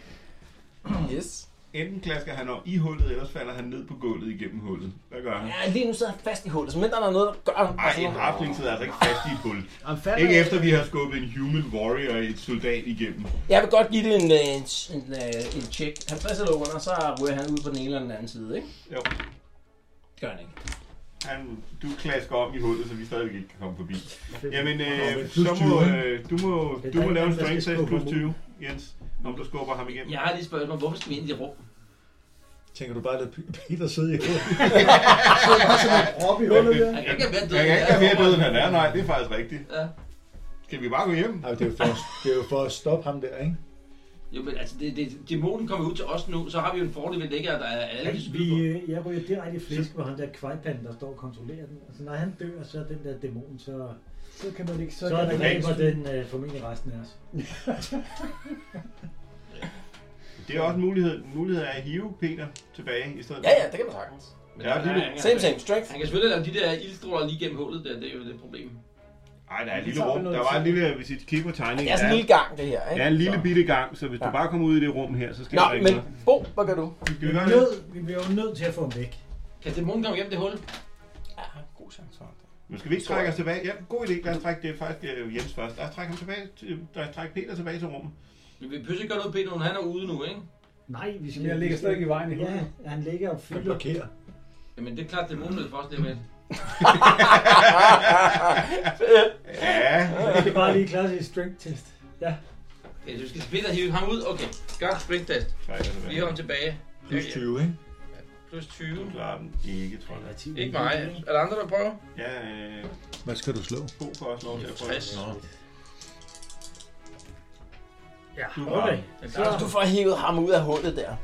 [SPEAKER 2] Yes.
[SPEAKER 4] Enten klasker han op i hullet, ellers falder han ned på gulvet igennem hullet. Hvad gør han?
[SPEAKER 2] Ja, lige nu sidder han fast i hullet, så men der er noget, der gør ham.
[SPEAKER 4] Ej, en rafling sidder altså ikke fast i et hul.
[SPEAKER 2] falder
[SPEAKER 4] Ikke
[SPEAKER 2] ikke.
[SPEAKER 4] efter vi har skubbet en human warrior et soldat igennem.
[SPEAKER 2] Jeg vil godt give det en, øh, en, en, øh, en check. 50 eller under, så ryger han ud på den ene eller den anden side, ikke?
[SPEAKER 4] Jo.
[SPEAKER 2] Gør han ikke.
[SPEAKER 4] Han, du klasker om i hullet, så vi stadigvæk ikke kan komme forbi. Jamen,
[SPEAKER 2] Nå, men
[SPEAKER 4] øh,
[SPEAKER 2] plus
[SPEAKER 4] så må,
[SPEAKER 2] 20,
[SPEAKER 4] øh, du må,
[SPEAKER 2] Det er
[SPEAKER 4] du
[SPEAKER 2] der
[SPEAKER 4] må
[SPEAKER 2] ikke
[SPEAKER 4] lave en
[SPEAKER 2] andre, der
[SPEAKER 4] strength
[SPEAKER 2] skal
[SPEAKER 4] save plus
[SPEAKER 2] skubbe
[SPEAKER 4] 20, Jens, om du skubber ham igennem.
[SPEAKER 7] Jeg har lige et spørgsmål. Hvorfor skal vi ind i det rum?
[SPEAKER 9] [LAUGHS] Tænker du bare, at Peter sidder i hovedet?
[SPEAKER 4] Han kan ikke være død, han kan mere død, end han er. Nej, det er faktisk rigtigt.
[SPEAKER 7] Ja.
[SPEAKER 4] Skal vi bare gå hjem?
[SPEAKER 9] Nej, det er jo for, at- det er jo for at stoppe ham der, ikke?
[SPEAKER 7] Jo, men altså, det, det, dæmonen kommer ud til os nu, så har vi jo en fordel ved at ligge, at der er alle de
[SPEAKER 6] Vi, øh, jeg ryger direkte i flæsk på ham der kvejpanden, der står og kontrollerer den. Altså, når han dør, så er den der dæmon, så...
[SPEAKER 22] Så kan man ikke...
[SPEAKER 6] Så,
[SPEAKER 22] Så,
[SPEAKER 6] så
[SPEAKER 22] kan man ikke-
[SPEAKER 6] dræber den øh, formentlig resten af os.
[SPEAKER 4] Det er også en mulighed, en mulighed af at hive Peter tilbage i stedet.
[SPEAKER 2] Ja, ja, det kan man sagtens.
[SPEAKER 4] Ja, det er det.
[SPEAKER 2] Same, same, strength.
[SPEAKER 4] Han
[SPEAKER 2] Han
[SPEAKER 4] kan
[SPEAKER 2] kan
[SPEAKER 4] selvfølgelig
[SPEAKER 2] selvfølgelig lave de der ildstråler lige gennem hullet der, det er jo det problem.
[SPEAKER 4] Nej, der er et lille rum. Der var en lille, hvis I kigger på tegningen.
[SPEAKER 2] Det er sådan en
[SPEAKER 4] der
[SPEAKER 2] lille gang, det her, ikke?
[SPEAKER 4] Ja, en lille
[SPEAKER 2] Så.
[SPEAKER 4] bitte gang, så hvis du
[SPEAKER 2] Ja.
[SPEAKER 4] bare kommer ud i det rum her, så sker
[SPEAKER 2] Nå,
[SPEAKER 4] der ikke
[SPEAKER 2] men
[SPEAKER 4] noget.
[SPEAKER 2] Bo, hvad gør du?
[SPEAKER 4] Skal vi gøre
[SPEAKER 6] Nød,
[SPEAKER 4] det?
[SPEAKER 6] vi bliver jo nødt til at få ham væk.
[SPEAKER 7] Kan dæmonen komme igennem det hul?
[SPEAKER 2] Ja, god chance for det.
[SPEAKER 4] Men skal vi ikke trække os tilbage? Ja, god idé. Lad os trække det er faktisk øh, Jens først. Lad os trække ham tilbage. til- Lad os trække Peter tilbage til rummet.
[SPEAKER 7] Vi pøser ikke godt ud, Peter, han er ude nu, ikke?
[SPEAKER 6] Nej, vi skal...
[SPEAKER 7] Men jeg ligger
[SPEAKER 6] vi skal-
[SPEAKER 7] stadig i vejen i
[SPEAKER 6] Ja,
[SPEAKER 7] hovedet.
[SPEAKER 6] han ligger og fylder.
[SPEAKER 7] Jamen, det er klart, dæmonen vil for os lige med.
[SPEAKER 6] Ja. Vi skal bare lige klare sit strength test. Ja.
[SPEAKER 7] Okay, så vi skal spille og hive ham ud. Okay, godt sprinttest. Vi har ham tilbage.
[SPEAKER 9] Plus 20, ikke?
[SPEAKER 7] Plus 20.
[SPEAKER 4] Klarer den ikke, tror jeg.
[SPEAKER 7] Ikke mig. Er der andre, der prøver?
[SPEAKER 4] Ja, øh,
[SPEAKER 9] Hvad skal du slå?
[SPEAKER 4] Bo får også lov til at prøve.
[SPEAKER 7] 60.
[SPEAKER 6] Ja,
[SPEAKER 4] Du har okay.
[SPEAKER 2] Så Altså, du får hævet ham ud af hullet der.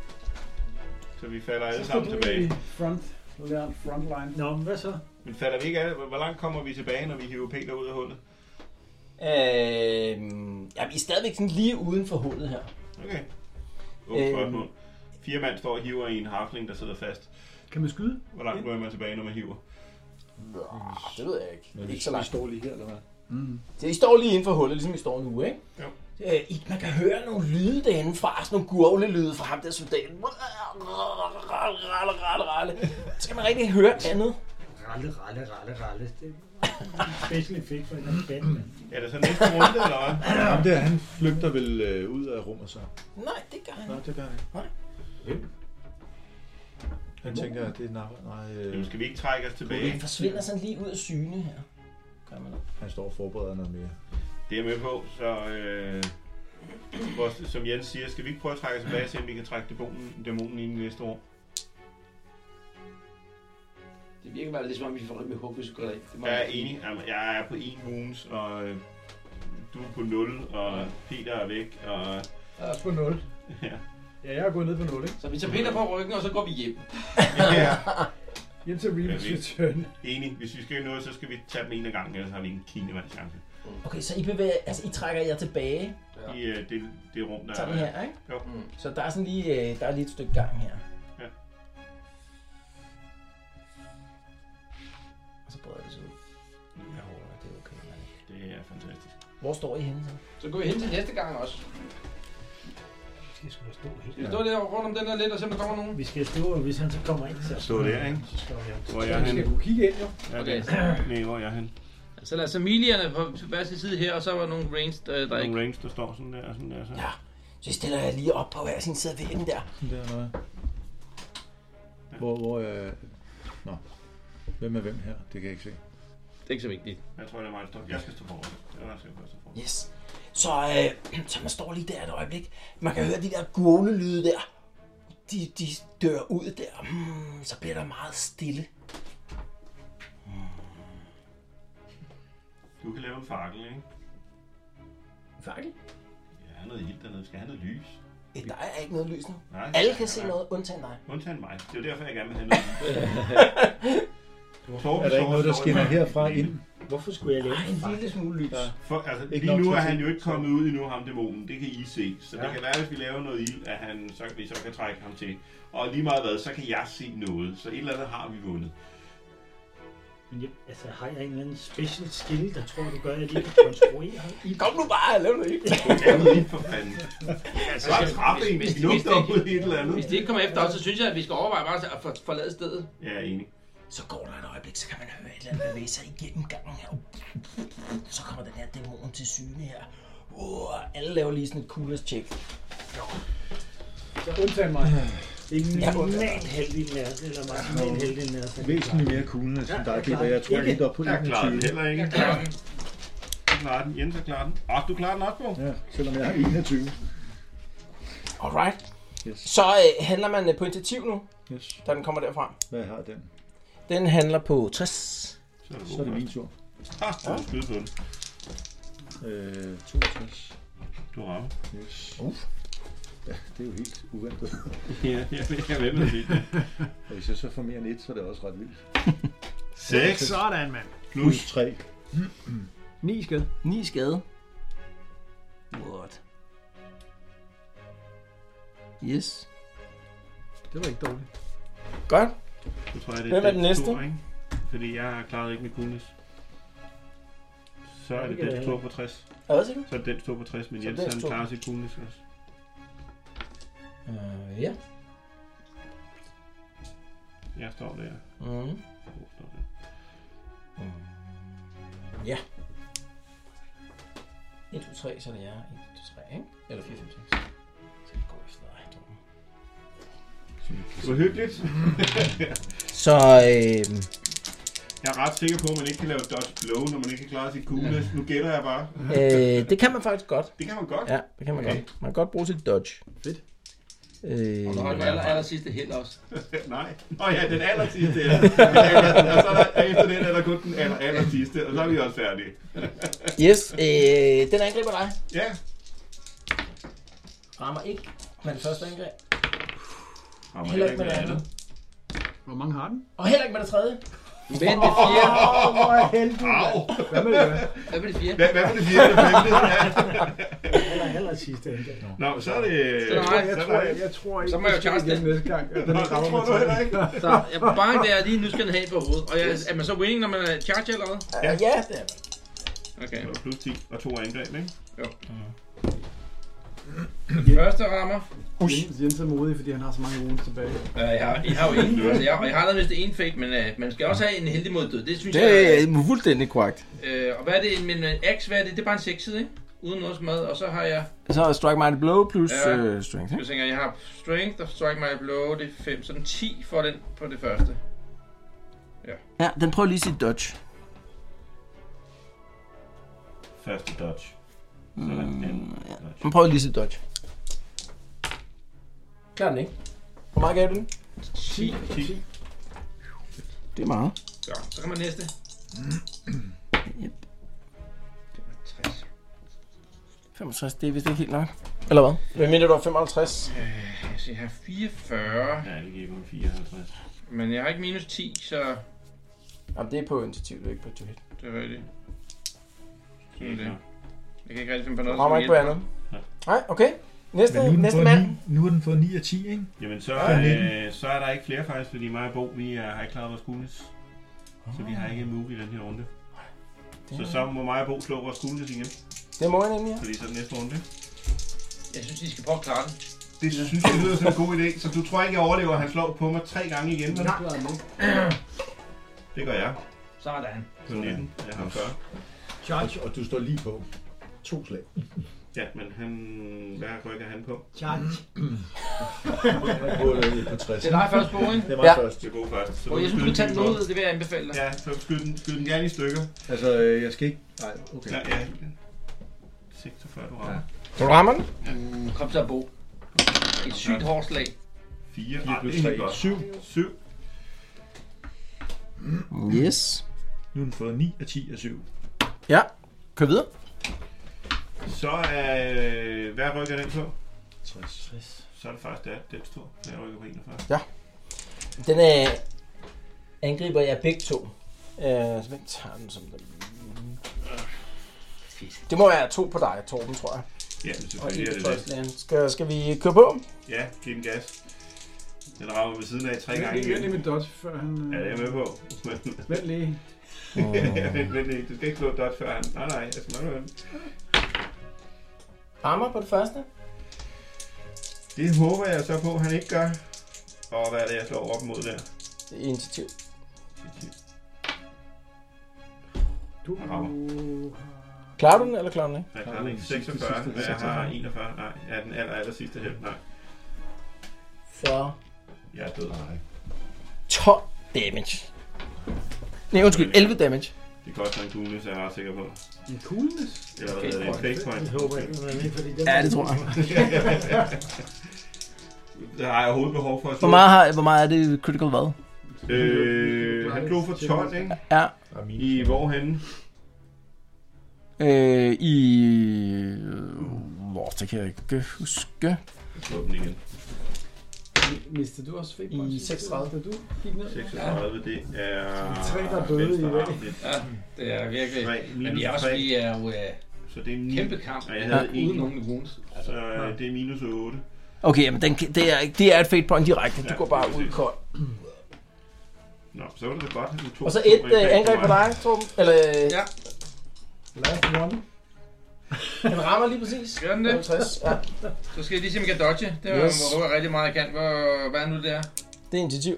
[SPEAKER 4] Så vi falder alle
[SPEAKER 22] så
[SPEAKER 4] sammen
[SPEAKER 22] står du i
[SPEAKER 4] tilbage.
[SPEAKER 22] front. Nu er der en frontline.
[SPEAKER 6] Nå, men hvad så?
[SPEAKER 4] Men falder vi ikke alle? Hvor langt kommer vi tilbage, når vi hiver Peter ud af hullet?
[SPEAKER 2] Øhm, ja, vi er stadigvæk sådan lige uden for hullet her.
[SPEAKER 4] Okay. Åh, spørgsmål. Fire mand står og hiver i en harfling, der sidder fast.
[SPEAKER 5] Kan man skyde?
[SPEAKER 4] Hvor langt rører man tilbage, når man hiver?
[SPEAKER 2] Det ved jeg ikke.
[SPEAKER 4] Men
[SPEAKER 2] ikke så langt.
[SPEAKER 9] står lige her, eller hvad?
[SPEAKER 2] Mm. Så I står lige inden for hullet, ligesom I står nu, ikke?
[SPEAKER 4] Jo.
[SPEAKER 2] Øh, I, man kan høre nogle lyde derindefra, sådan nogle gurglelyde fra ham der soldaten. Ralle, ralle, ralle, ralle. Så kan man rigtig høre andet.
[SPEAKER 6] Ralle, ralle, ralle, ralle. Det er en special effekt for en anden Batman.
[SPEAKER 4] Er det så næste runde, eller hvad?
[SPEAKER 9] Ham der, han flygter vel øh, ud af rummet så.
[SPEAKER 2] Nej, det gør han
[SPEAKER 9] Nej, det gør han ikke.
[SPEAKER 2] Nej.
[SPEAKER 9] Han tænker, at det er nej, nej øh,
[SPEAKER 4] Jamen, skal vi ikke trække os tilbage?
[SPEAKER 2] Han forsvinder sådan lige ud af syne her. Gør man det.
[SPEAKER 9] Han står og forbereder noget mere.
[SPEAKER 4] Det er jeg med på, så øh, vores, som Jens siger, skal vi ikke prøve at trække os tilbage, så vi kan trække dæmonen, dæmonen ind i næste år?
[SPEAKER 7] Det virker bare lidt som om, vi får lidt med håb, hvis vi går derind. Det må
[SPEAKER 4] Jeg er
[SPEAKER 7] være-
[SPEAKER 4] enig, Jamen, jeg er på en wounds, og øh, du er på 0, og Peter er væk, og...
[SPEAKER 5] Jeg er også på 0.
[SPEAKER 4] [LAUGHS] Ja.
[SPEAKER 5] Ja, jeg er gået ned på 0, ikke?
[SPEAKER 7] Så vi tager Peter på ryggen, og så går vi hjem.
[SPEAKER 4] ja.
[SPEAKER 5] Hjem til
[SPEAKER 4] Jeg
[SPEAKER 5] Remus
[SPEAKER 4] ved.
[SPEAKER 5] Return.
[SPEAKER 4] [LAUGHS] Enig, hvis vi skal noget, så skal vi tage dem en af gangen, ellers har vi en kinemand chance.
[SPEAKER 2] Okay, så I, bevæger, altså, I trækker jer tilbage.
[SPEAKER 4] Ja. I øh, det, det rum, der
[SPEAKER 2] Tager den her, ikke? Mm.
[SPEAKER 4] Jo.
[SPEAKER 2] Så der er sådan lige, øh, der er lige et stykke gang her.
[SPEAKER 4] Ja.
[SPEAKER 2] Og så breder det sig ud. Ja, det er okay. mand.
[SPEAKER 4] Det er fantastisk.
[SPEAKER 2] Hvor står I henne så?
[SPEAKER 7] Så går vi hen til næste gang også.
[SPEAKER 6] Skal sgu da stå helt.
[SPEAKER 7] Skal vi stå der rundt om den her lidt, og se, om der kommer nogen?
[SPEAKER 6] Vi skal stå, og hvis han så kommer ind, så...
[SPEAKER 4] Stå der, ikke?
[SPEAKER 6] Så står vi op.
[SPEAKER 4] Hvor er jeg henne?
[SPEAKER 22] kigge ind, jo.
[SPEAKER 4] Ja,
[SPEAKER 23] Okay.
[SPEAKER 4] det er, nej, hvor er jeg henne?
[SPEAKER 23] Så lad os have milierne på hver sin side her, og så var der nogle range,
[SPEAKER 7] øh,
[SPEAKER 23] der, der
[SPEAKER 4] Der er
[SPEAKER 23] ikke...
[SPEAKER 4] nogle range, der står sådan der og sådan der. Så. Ja.
[SPEAKER 2] Så I stiller jeg lige op på hver sin side af væggen der.
[SPEAKER 9] Det er noget. Hvor, hvor øh, Nå. Hvem er hvem her? Det kan jeg ikke se.
[SPEAKER 23] Det er ikke så vigtigt.
[SPEAKER 4] Jeg tror, det er mig, der står. Jeg skal stå foran. Det er mig, der skal stå foran.
[SPEAKER 2] Yes. Så, øh, [CLEARS THROAT] så man står lige der et øjeblik. Man kan høre de der gurglelyde der. De, de dør ud der. Mm, så bliver der meget stille.
[SPEAKER 4] Du kan lave en fakkel, ikke?
[SPEAKER 2] Fakkel?
[SPEAKER 4] Ja, noget ild dernede. Skal have noget lys?
[SPEAKER 2] Øh, Der er ikke noget lys nu.
[SPEAKER 4] Nej.
[SPEAKER 2] Alle kan se
[SPEAKER 4] Nej.
[SPEAKER 2] noget, undtagen dig.
[SPEAKER 4] Undtagen mig. Det er jo derfor, jeg gerne vil have noget lys. Torben
[SPEAKER 9] Er der ikke
[SPEAKER 4] står-
[SPEAKER 9] noget, der
[SPEAKER 4] står
[SPEAKER 9] skinner
[SPEAKER 4] i-
[SPEAKER 9] herfra ind?
[SPEAKER 6] Hvorfor skulle jeg lave
[SPEAKER 2] en lille smule lys?
[SPEAKER 4] For, altså,
[SPEAKER 9] Ikke
[SPEAKER 4] lige
[SPEAKER 9] nok
[SPEAKER 4] nu
[SPEAKER 9] til
[SPEAKER 4] er
[SPEAKER 9] at
[SPEAKER 4] han
[SPEAKER 9] se.
[SPEAKER 4] jo ikke kommet ud endnu, ham dæmonen. Det kan I se. Så ja.
[SPEAKER 9] Ja.
[SPEAKER 4] det kan være, hvis vi laver noget ild, at han, så, vi så kan trække ham til. Og lige meget hvad, så kan jeg se noget. Så et eller andet har vi vundet.
[SPEAKER 6] Men jeg, altså, har jeg en eller anden special skill, der tror, du gør, at jeg lige kan konstruere ild?
[SPEAKER 2] Kom nu bare, lav noget ild.
[SPEAKER 4] Lav noget ild for fanden. Altså, bare trappe en,
[SPEAKER 7] hvis,
[SPEAKER 4] hvis
[SPEAKER 7] hvis, hvis,
[SPEAKER 4] lugter
[SPEAKER 7] det
[SPEAKER 4] ud i
[SPEAKER 7] ikke,
[SPEAKER 4] et eller andet.
[SPEAKER 7] hvis de ikke kommer efter os, så synes jeg, at vi skal overveje bare at for- forlade stedet.
[SPEAKER 4] Jeg er enig.
[SPEAKER 2] [LAUGHS] Så går der et øjeblik, så kan man høre et eller andet bevæge sig igennem gangen her. Så kommer den her dæmon til syne her. Uh, alle laver lige sådan et coolest check.
[SPEAKER 24] Så undtagen mig.
[SPEAKER 6] En normal heldig nat, eller maksimal heldig nat.
[SPEAKER 9] Væsentligt mere kuglende, som dig, Peter. Jeg tror helt op på
[SPEAKER 4] Jeg klarer den
[SPEAKER 9] 21.
[SPEAKER 4] heller ikke. Jeg klarer den. Jeg klarer den. Jens, jeg klarer den. Ah, du klarer den også, Bo.
[SPEAKER 9] Ja, selvom jeg har 21.
[SPEAKER 2] Alright.
[SPEAKER 9] Yes.
[SPEAKER 2] Så øh, handler man øh, på initiativ nu,
[SPEAKER 9] Yes.
[SPEAKER 2] da den kommer derfra.
[SPEAKER 9] Hvad har den?
[SPEAKER 2] Den handler på 60.
[SPEAKER 9] Så er det min tur.
[SPEAKER 4] Ah, du har skyde på den.
[SPEAKER 9] Øh, 62.
[SPEAKER 4] Du rammer.
[SPEAKER 9] Yes. Ja, det er jo helt uventet.
[SPEAKER 4] [LAUGHS] Ja, jeg ved- jeg ved, hvad du
[SPEAKER 2] [LAUGHS]
[SPEAKER 4] siger.
[SPEAKER 9] [LAUGHS] Og Hvis jeg så får mere end et, så er det også ret vildt.
[SPEAKER 4] Seks.
[SPEAKER 5] Sådan, mand.
[SPEAKER 9] Plus 3.
[SPEAKER 5] 9 skade.
[SPEAKER 2] 9 skade. What? Yes.
[SPEAKER 5] Det var ikke dårligt.
[SPEAKER 2] Godt.
[SPEAKER 4] Så tror jeg, det
[SPEAKER 2] Hvem er
[SPEAKER 4] Dens
[SPEAKER 2] den næste?
[SPEAKER 4] Tur, ikke? Fordi jeg klarede ikke med kunis. Så er det
[SPEAKER 2] Det kan
[SPEAKER 4] den
[SPEAKER 2] jeg
[SPEAKER 4] tur
[SPEAKER 2] heller
[SPEAKER 4] på 60.
[SPEAKER 2] Hvad siger du?
[SPEAKER 4] Så er det den tur på 60, men
[SPEAKER 2] Så
[SPEAKER 4] Jens
[SPEAKER 2] dens
[SPEAKER 4] han
[SPEAKER 2] tur.
[SPEAKER 4] klarer sit kunis også.
[SPEAKER 2] Uh, ja.
[SPEAKER 4] Jeg står der.
[SPEAKER 2] Mm.
[SPEAKER 4] Bo står der.
[SPEAKER 2] Ja. 1, 2, 3, så er det jer. 1, 2, 3, ikke? Eller 4, 5, 6. Så vi går efter dig, Torben.
[SPEAKER 4] Det var hyggeligt.
[SPEAKER 2] Så, øh,
[SPEAKER 4] jeg er ret sikker på, at man ikke kan lave dodge blow, når man ikke kan klare sit kunis. Nu gætter jeg bare.
[SPEAKER 2] øh, det kan man faktisk godt.
[SPEAKER 4] Det kan man godt?
[SPEAKER 2] Ja, det kan man okay.
[SPEAKER 4] Okay.
[SPEAKER 2] godt. Man kan godt bruge sit dodge.
[SPEAKER 4] Fedt.
[SPEAKER 2] Øh,
[SPEAKER 7] Og du har den aller, aller sidste held også.
[SPEAKER 4] Nej. Nå ja, den aller sidste. Ja. Og så er der, efter den er der kun den aller, aller sidste, og så er vi også færdige.
[SPEAKER 2] yes, øh, den angriber dig.
[SPEAKER 4] Ja.
[SPEAKER 2] Rammer ikke, men første angreb.
[SPEAKER 4] Rammer
[SPEAKER 2] Heller ikke
[SPEAKER 4] heller
[SPEAKER 2] med det
[SPEAKER 4] ikke med
[SPEAKER 2] andet.
[SPEAKER 5] Hvor mange har den?
[SPEAKER 2] Og heller ikke med det tredje.
[SPEAKER 7] Men det fjerde.
[SPEAKER 5] Åh, hvor er heldig. mand. Hvad med det? hvad?
[SPEAKER 7] Hvad med det fjerde?
[SPEAKER 4] Hvad, hvad var det fjerde? Femte?
[SPEAKER 6] [LAUGHS] Eller heller sidste endte.
[SPEAKER 4] Ja. Nå, så er det...
[SPEAKER 7] Så er det mig. Jeg tror-
[SPEAKER 5] Jeg tror ikke,
[SPEAKER 7] Så må jeg jo
[SPEAKER 5] det sker
[SPEAKER 7] charge
[SPEAKER 5] igen
[SPEAKER 7] den.
[SPEAKER 5] næste gang. at Den
[SPEAKER 4] Nå, [LAUGHS]
[SPEAKER 5] ikke
[SPEAKER 4] det
[SPEAKER 5] rammer
[SPEAKER 4] tror
[SPEAKER 5] med
[SPEAKER 4] du
[SPEAKER 5] tre.
[SPEAKER 4] heller ikke.
[SPEAKER 7] Så jeg bare der lige nu skal den have på hovedet. Og jeg, er man så winning, når man er charge eller hvad?
[SPEAKER 2] Ja, ja det er
[SPEAKER 7] Okay.
[SPEAKER 4] Det var plus 10 og to angreb, ikke?
[SPEAKER 7] Jo. Første rammer.
[SPEAKER 5] Jens- Jens er modig, fordi han har så mange runes tilbage.
[SPEAKER 7] Øh, jeg, har, jeg har jo ingen. Altså, jeg, og jeg har allerede mistet en fake, men øh, man skal også have en heldig mod død. Det synes
[SPEAKER 25] Det
[SPEAKER 7] jeg...
[SPEAKER 25] er fuldstændig korrekt.
[SPEAKER 7] Øh, og hvad er det? Men øh, X, hvad er det? Det er bare en seksside, ikke? Uden noget smad. Og så har jeg...
[SPEAKER 25] Så er strike mighty blow plus
[SPEAKER 7] Ja.
[SPEAKER 25] øh, strength.
[SPEAKER 7] Jeg
[SPEAKER 25] ikke?
[SPEAKER 7] tænker, jeg har strength og strike my blow. Det er 5. Så den 10 for den på det første.
[SPEAKER 25] Ja, den prøver lige sit dodge.
[SPEAKER 4] Første dodge. Sådan, anden dodge.
[SPEAKER 25] Den prøver lige sit dodge.
[SPEAKER 2] Klar den ikke. Hvor meget gav du den?
[SPEAKER 7] 10.
[SPEAKER 4] 10.
[SPEAKER 25] Det er meget.
[SPEAKER 7] Så, så kommer næste.
[SPEAKER 25] Yep.
[SPEAKER 7] 65.
[SPEAKER 25] 65, det er vist ikke helt nok. Eller hvad?
[SPEAKER 2] Hvad mindre du har 55?
[SPEAKER 7] Øh, altså, jeg har 44,
[SPEAKER 4] Ja, det giver kun 54.
[SPEAKER 7] men jeg har ikke minus 10, så
[SPEAKER 2] Jamen, det er på initiativ, det er ikke på to hit.
[SPEAKER 7] det er rigtigt. Sådan er
[SPEAKER 4] Ja.
[SPEAKER 7] det. Jeg kan ikke rigtig finde på noget,
[SPEAKER 2] Du rammer
[SPEAKER 7] som
[SPEAKER 2] ikke på
[SPEAKER 7] hjælper.
[SPEAKER 2] andet. Nej, okay. Næste,
[SPEAKER 9] Men nu er den
[SPEAKER 2] næste
[SPEAKER 9] fået
[SPEAKER 2] mand.
[SPEAKER 9] ni- nu har den fået 9 af 10, ikke?
[SPEAKER 4] Jamen, så,
[SPEAKER 9] Ja,
[SPEAKER 4] øh, så er der ikke flere faktisk, fordi mig og Bo, vi er, har ikke klaret vores kunis. Så vi har ikke en move i den her runde. Så så må mig og Bo slå vores kunis igen,
[SPEAKER 2] Det må jeg nemlig, ja.
[SPEAKER 4] fordi så er det næste runde.
[SPEAKER 7] Jeg synes, de skal prøve at klare den.
[SPEAKER 4] Det synes jeg lyder som en god idé, så du tror ikke, jeg overlever, at han slår på mig tre gange igen? vel? Det gør jeg.
[SPEAKER 7] Sådan.
[SPEAKER 4] På 19. Jeg har 40.
[SPEAKER 26] Charge, og du står lige på. To slag.
[SPEAKER 4] Ja, men han... Hvad rykker han på?
[SPEAKER 5] Charge.
[SPEAKER 26] På, øh, på 60.
[SPEAKER 7] Det er dig først, Bo, ikke?
[SPEAKER 26] Det er mig
[SPEAKER 2] Ja.
[SPEAKER 26] først.
[SPEAKER 4] Det er god først. Så
[SPEAKER 7] Og jeg synes, du
[SPEAKER 4] skyde
[SPEAKER 7] kan tage
[SPEAKER 4] den
[SPEAKER 7] den
[SPEAKER 4] lige
[SPEAKER 7] ud, det vil jeg anbefale dig.
[SPEAKER 4] Ja, så skyd den, skyd den gerne i stykker.
[SPEAKER 9] Altså, øh, jeg skal ikke... Nej, okay.
[SPEAKER 4] Ja, ja. 46, du rammer.
[SPEAKER 2] Du rammer den.
[SPEAKER 7] Kom så, Bo. Et sygt hårdt slag.
[SPEAKER 9] Fire
[SPEAKER 4] 4, ah,
[SPEAKER 9] plus
[SPEAKER 4] det er helt
[SPEAKER 9] tre.
[SPEAKER 4] godt.
[SPEAKER 9] Syv.
[SPEAKER 4] 7.
[SPEAKER 25] Yes.
[SPEAKER 9] Nu har den fået 9 af 10 af 7.
[SPEAKER 25] Ja, kør videre.
[SPEAKER 4] Så er... Øh, hvad rykker den på?
[SPEAKER 9] 60.
[SPEAKER 4] Så er det faktisk det, den står. Jeg rykker på 41.
[SPEAKER 2] Den øh, angriber jeg begge to. Øh, så hvem tager den som den? Det må være to på dig, Torben, tror jeg.
[SPEAKER 4] Ja, men
[SPEAKER 2] Og en
[SPEAKER 4] selvfølgelig er
[SPEAKER 2] på
[SPEAKER 4] det det.
[SPEAKER 2] Tøjsland. Skal, skal vi køre på?
[SPEAKER 4] Ja, giv den gas. Den rammer ved siden af tre
[SPEAKER 5] Jeg
[SPEAKER 4] gange
[SPEAKER 5] er
[SPEAKER 4] igen.
[SPEAKER 5] enig med Dodge, før han... øh,
[SPEAKER 4] Ja, det er jeg med på. Men
[SPEAKER 5] Vent lige.
[SPEAKER 4] vent, vent, lige. du skal ikke slå et dodge før han. Nej, nej, altså man kan
[SPEAKER 2] Rammer på det første.
[SPEAKER 4] Det håber jeg så på, han ikke gør. Og hvad er det, jeg slår op mod der?
[SPEAKER 2] Det er initiativ.
[SPEAKER 4] Du han rammer.
[SPEAKER 2] Klarer du den, eller klarer du den ikke?
[SPEAKER 4] Jeg klarer den ikke. 46, men jeg har 41. Nej, jeg er den aller, aller sidste held. Nej,
[SPEAKER 2] 40.
[SPEAKER 4] jeg er død. Nej.
[SPEAKER 2] 12 damage. Nej, undskyld, 11 damage.
[SPEAKER 4] Det koster en kugle, så jeg er ret sikker på.
[SPEAKER 2] En coolness?
[SPEAKER 4] Eller hvad hedder det? En fake point.
[SPEAKER 27] Det håber jeg ikke, den er med, fordi den
[SPEAKER 2] Ja, det tror jeg.
[SPEAKER 4] [LAUGHS] Der har jeg overhovedet behov for at
[SPEAKER 2] Hvor meget, har, hvor meget er det critical hvad?
[SPEAKER 4] Øh, han blev for 12, ikke?
[SPEAKER 2] Ja.
[SPEAKER 4] I hvorhenne?
[SPEAKER 2] Øh, I... Hvor, det kan jeg ikke huske.
[SPEAKER 4] Jeg slår den igen.
[SPEAKER 5] Mister du også fake points? I 36. Da du gik ned?
[SPEAKER 4] 36, det er...
[SPEAKER 5] Tre, der døde i
[SPEAKER 4] venstre
[SPEAKER 5] dag.
[SPEAKER 4] arm, det-
[SPEAKER 7] Ja, det er virkelig.
[SPEAKER 4] Tre,
[SPEAKER 7] Men
[SPEAKER 4] minus
[SPEAKER 7] vi er også,
[SPEAKER 4] tre.
[SPEAKER 7] vi er jo øh,
[SPEAKER 4] Så det er ni.
[SPEAKER 7] kæmpe kamp.
[SPEAKER 4] Og jeg havde
[SPEAKER 7] Ja. Uden
[SPEAKER 4] en.
[SPEAKER 7] nogen wounds.
[SPEAKER 4] Så øh, det er minus 8.
[SPEAKER 2] Okay, men den, kan- det, er, det er et fate point direkte. Du
[SPEAKER 4] Ja,
[SPEAKER 2] går bare
[SPEAKER 4] lige
[SPEAKER 2] ud
[SPEAKER 4] præcis.
[SPEAKER 2] kold.
[SPEAKER 4] Nå, så var det da godt. at du tog
[SPEAKER 2] Og så
[SPEAKER 4] to
[SPEAKER 2] et
[SPEAKER 4] rent
[SPEAKER 2] øh,
[SPEAKER 4] bag
[SPEAKER 2] angreb på
[SPEAKER 4] mig.
[SPEAKER 2] dig, Torben. Eller... øh,
[SPEAKER 7] Ja.
[SPEAKER 5] Last one.
[SPEAKER 2] Den rammer lige præcis.
[SPEAKER 7] Gør den det?
[SPEAKER 2] 50, ja.
[SPEAKER 7] Så skal jeg lige se, om jeg kan dodge. Det var,
[SPEAKER 2] Yes.
[SPEAKER 7] yes. var rigtig meget, jeg kan. Hvor, hvad er nu det der?
[SPEAKER 2] Det er initiativ.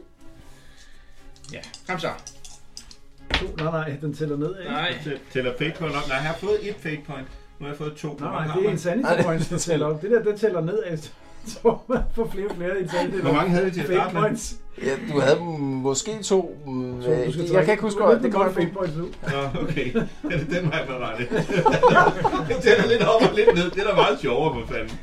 [SPEAKER 7] Ja, kom så.
[SPEAKER 5] To. Nej, nej, den tæller ned, ikke?
[SPEAKER 7] Nej.
[SPEAKER 4] Tæller fake point op. Nej, jeg har fået et fake point. Nu har jeg fået to.
[SPEAKER 5] Nej, nej, det er insanity points, der tæller op. Det der, det tæller ned af. [LAUGHS] Så man får flere og flere insanity
[SPEAKER 4] Hvor mange havde vi til at
[SPEAKER 5] Fake
[SPEAKER 4] starte med?
[SPEAKER 5] points.
[SPEAKER 2] Ja, du havde mm, måske to. Mm,
[SPEAKER 5] Så du
[SPEAKER 2] øh,
[SPEAKER 5] skal
[SPEAKER 2] det- Øh, jeg
[SPEAKER 5] trække-
[SPEAKER 2] kan ikke huske,
[SPEAKER 5] du er
[SPEAKER 2] hvor
[SPEAKER 5] lidt
[SPEAKER 2] det
[SPEAKER 5] på
[SPEAKER 2] kommer
[SPEAKER 5] godt fate
[SPEAKER 2] fra.
[SPEAKER 5] points nu.
[SPEAKER 4] Nå, okay. [LAUGHS] Er det den vej, man var [LAUGHS] det? Jeg tæller lidt op og lidt ned. Det er da meget sjovere, for fanden.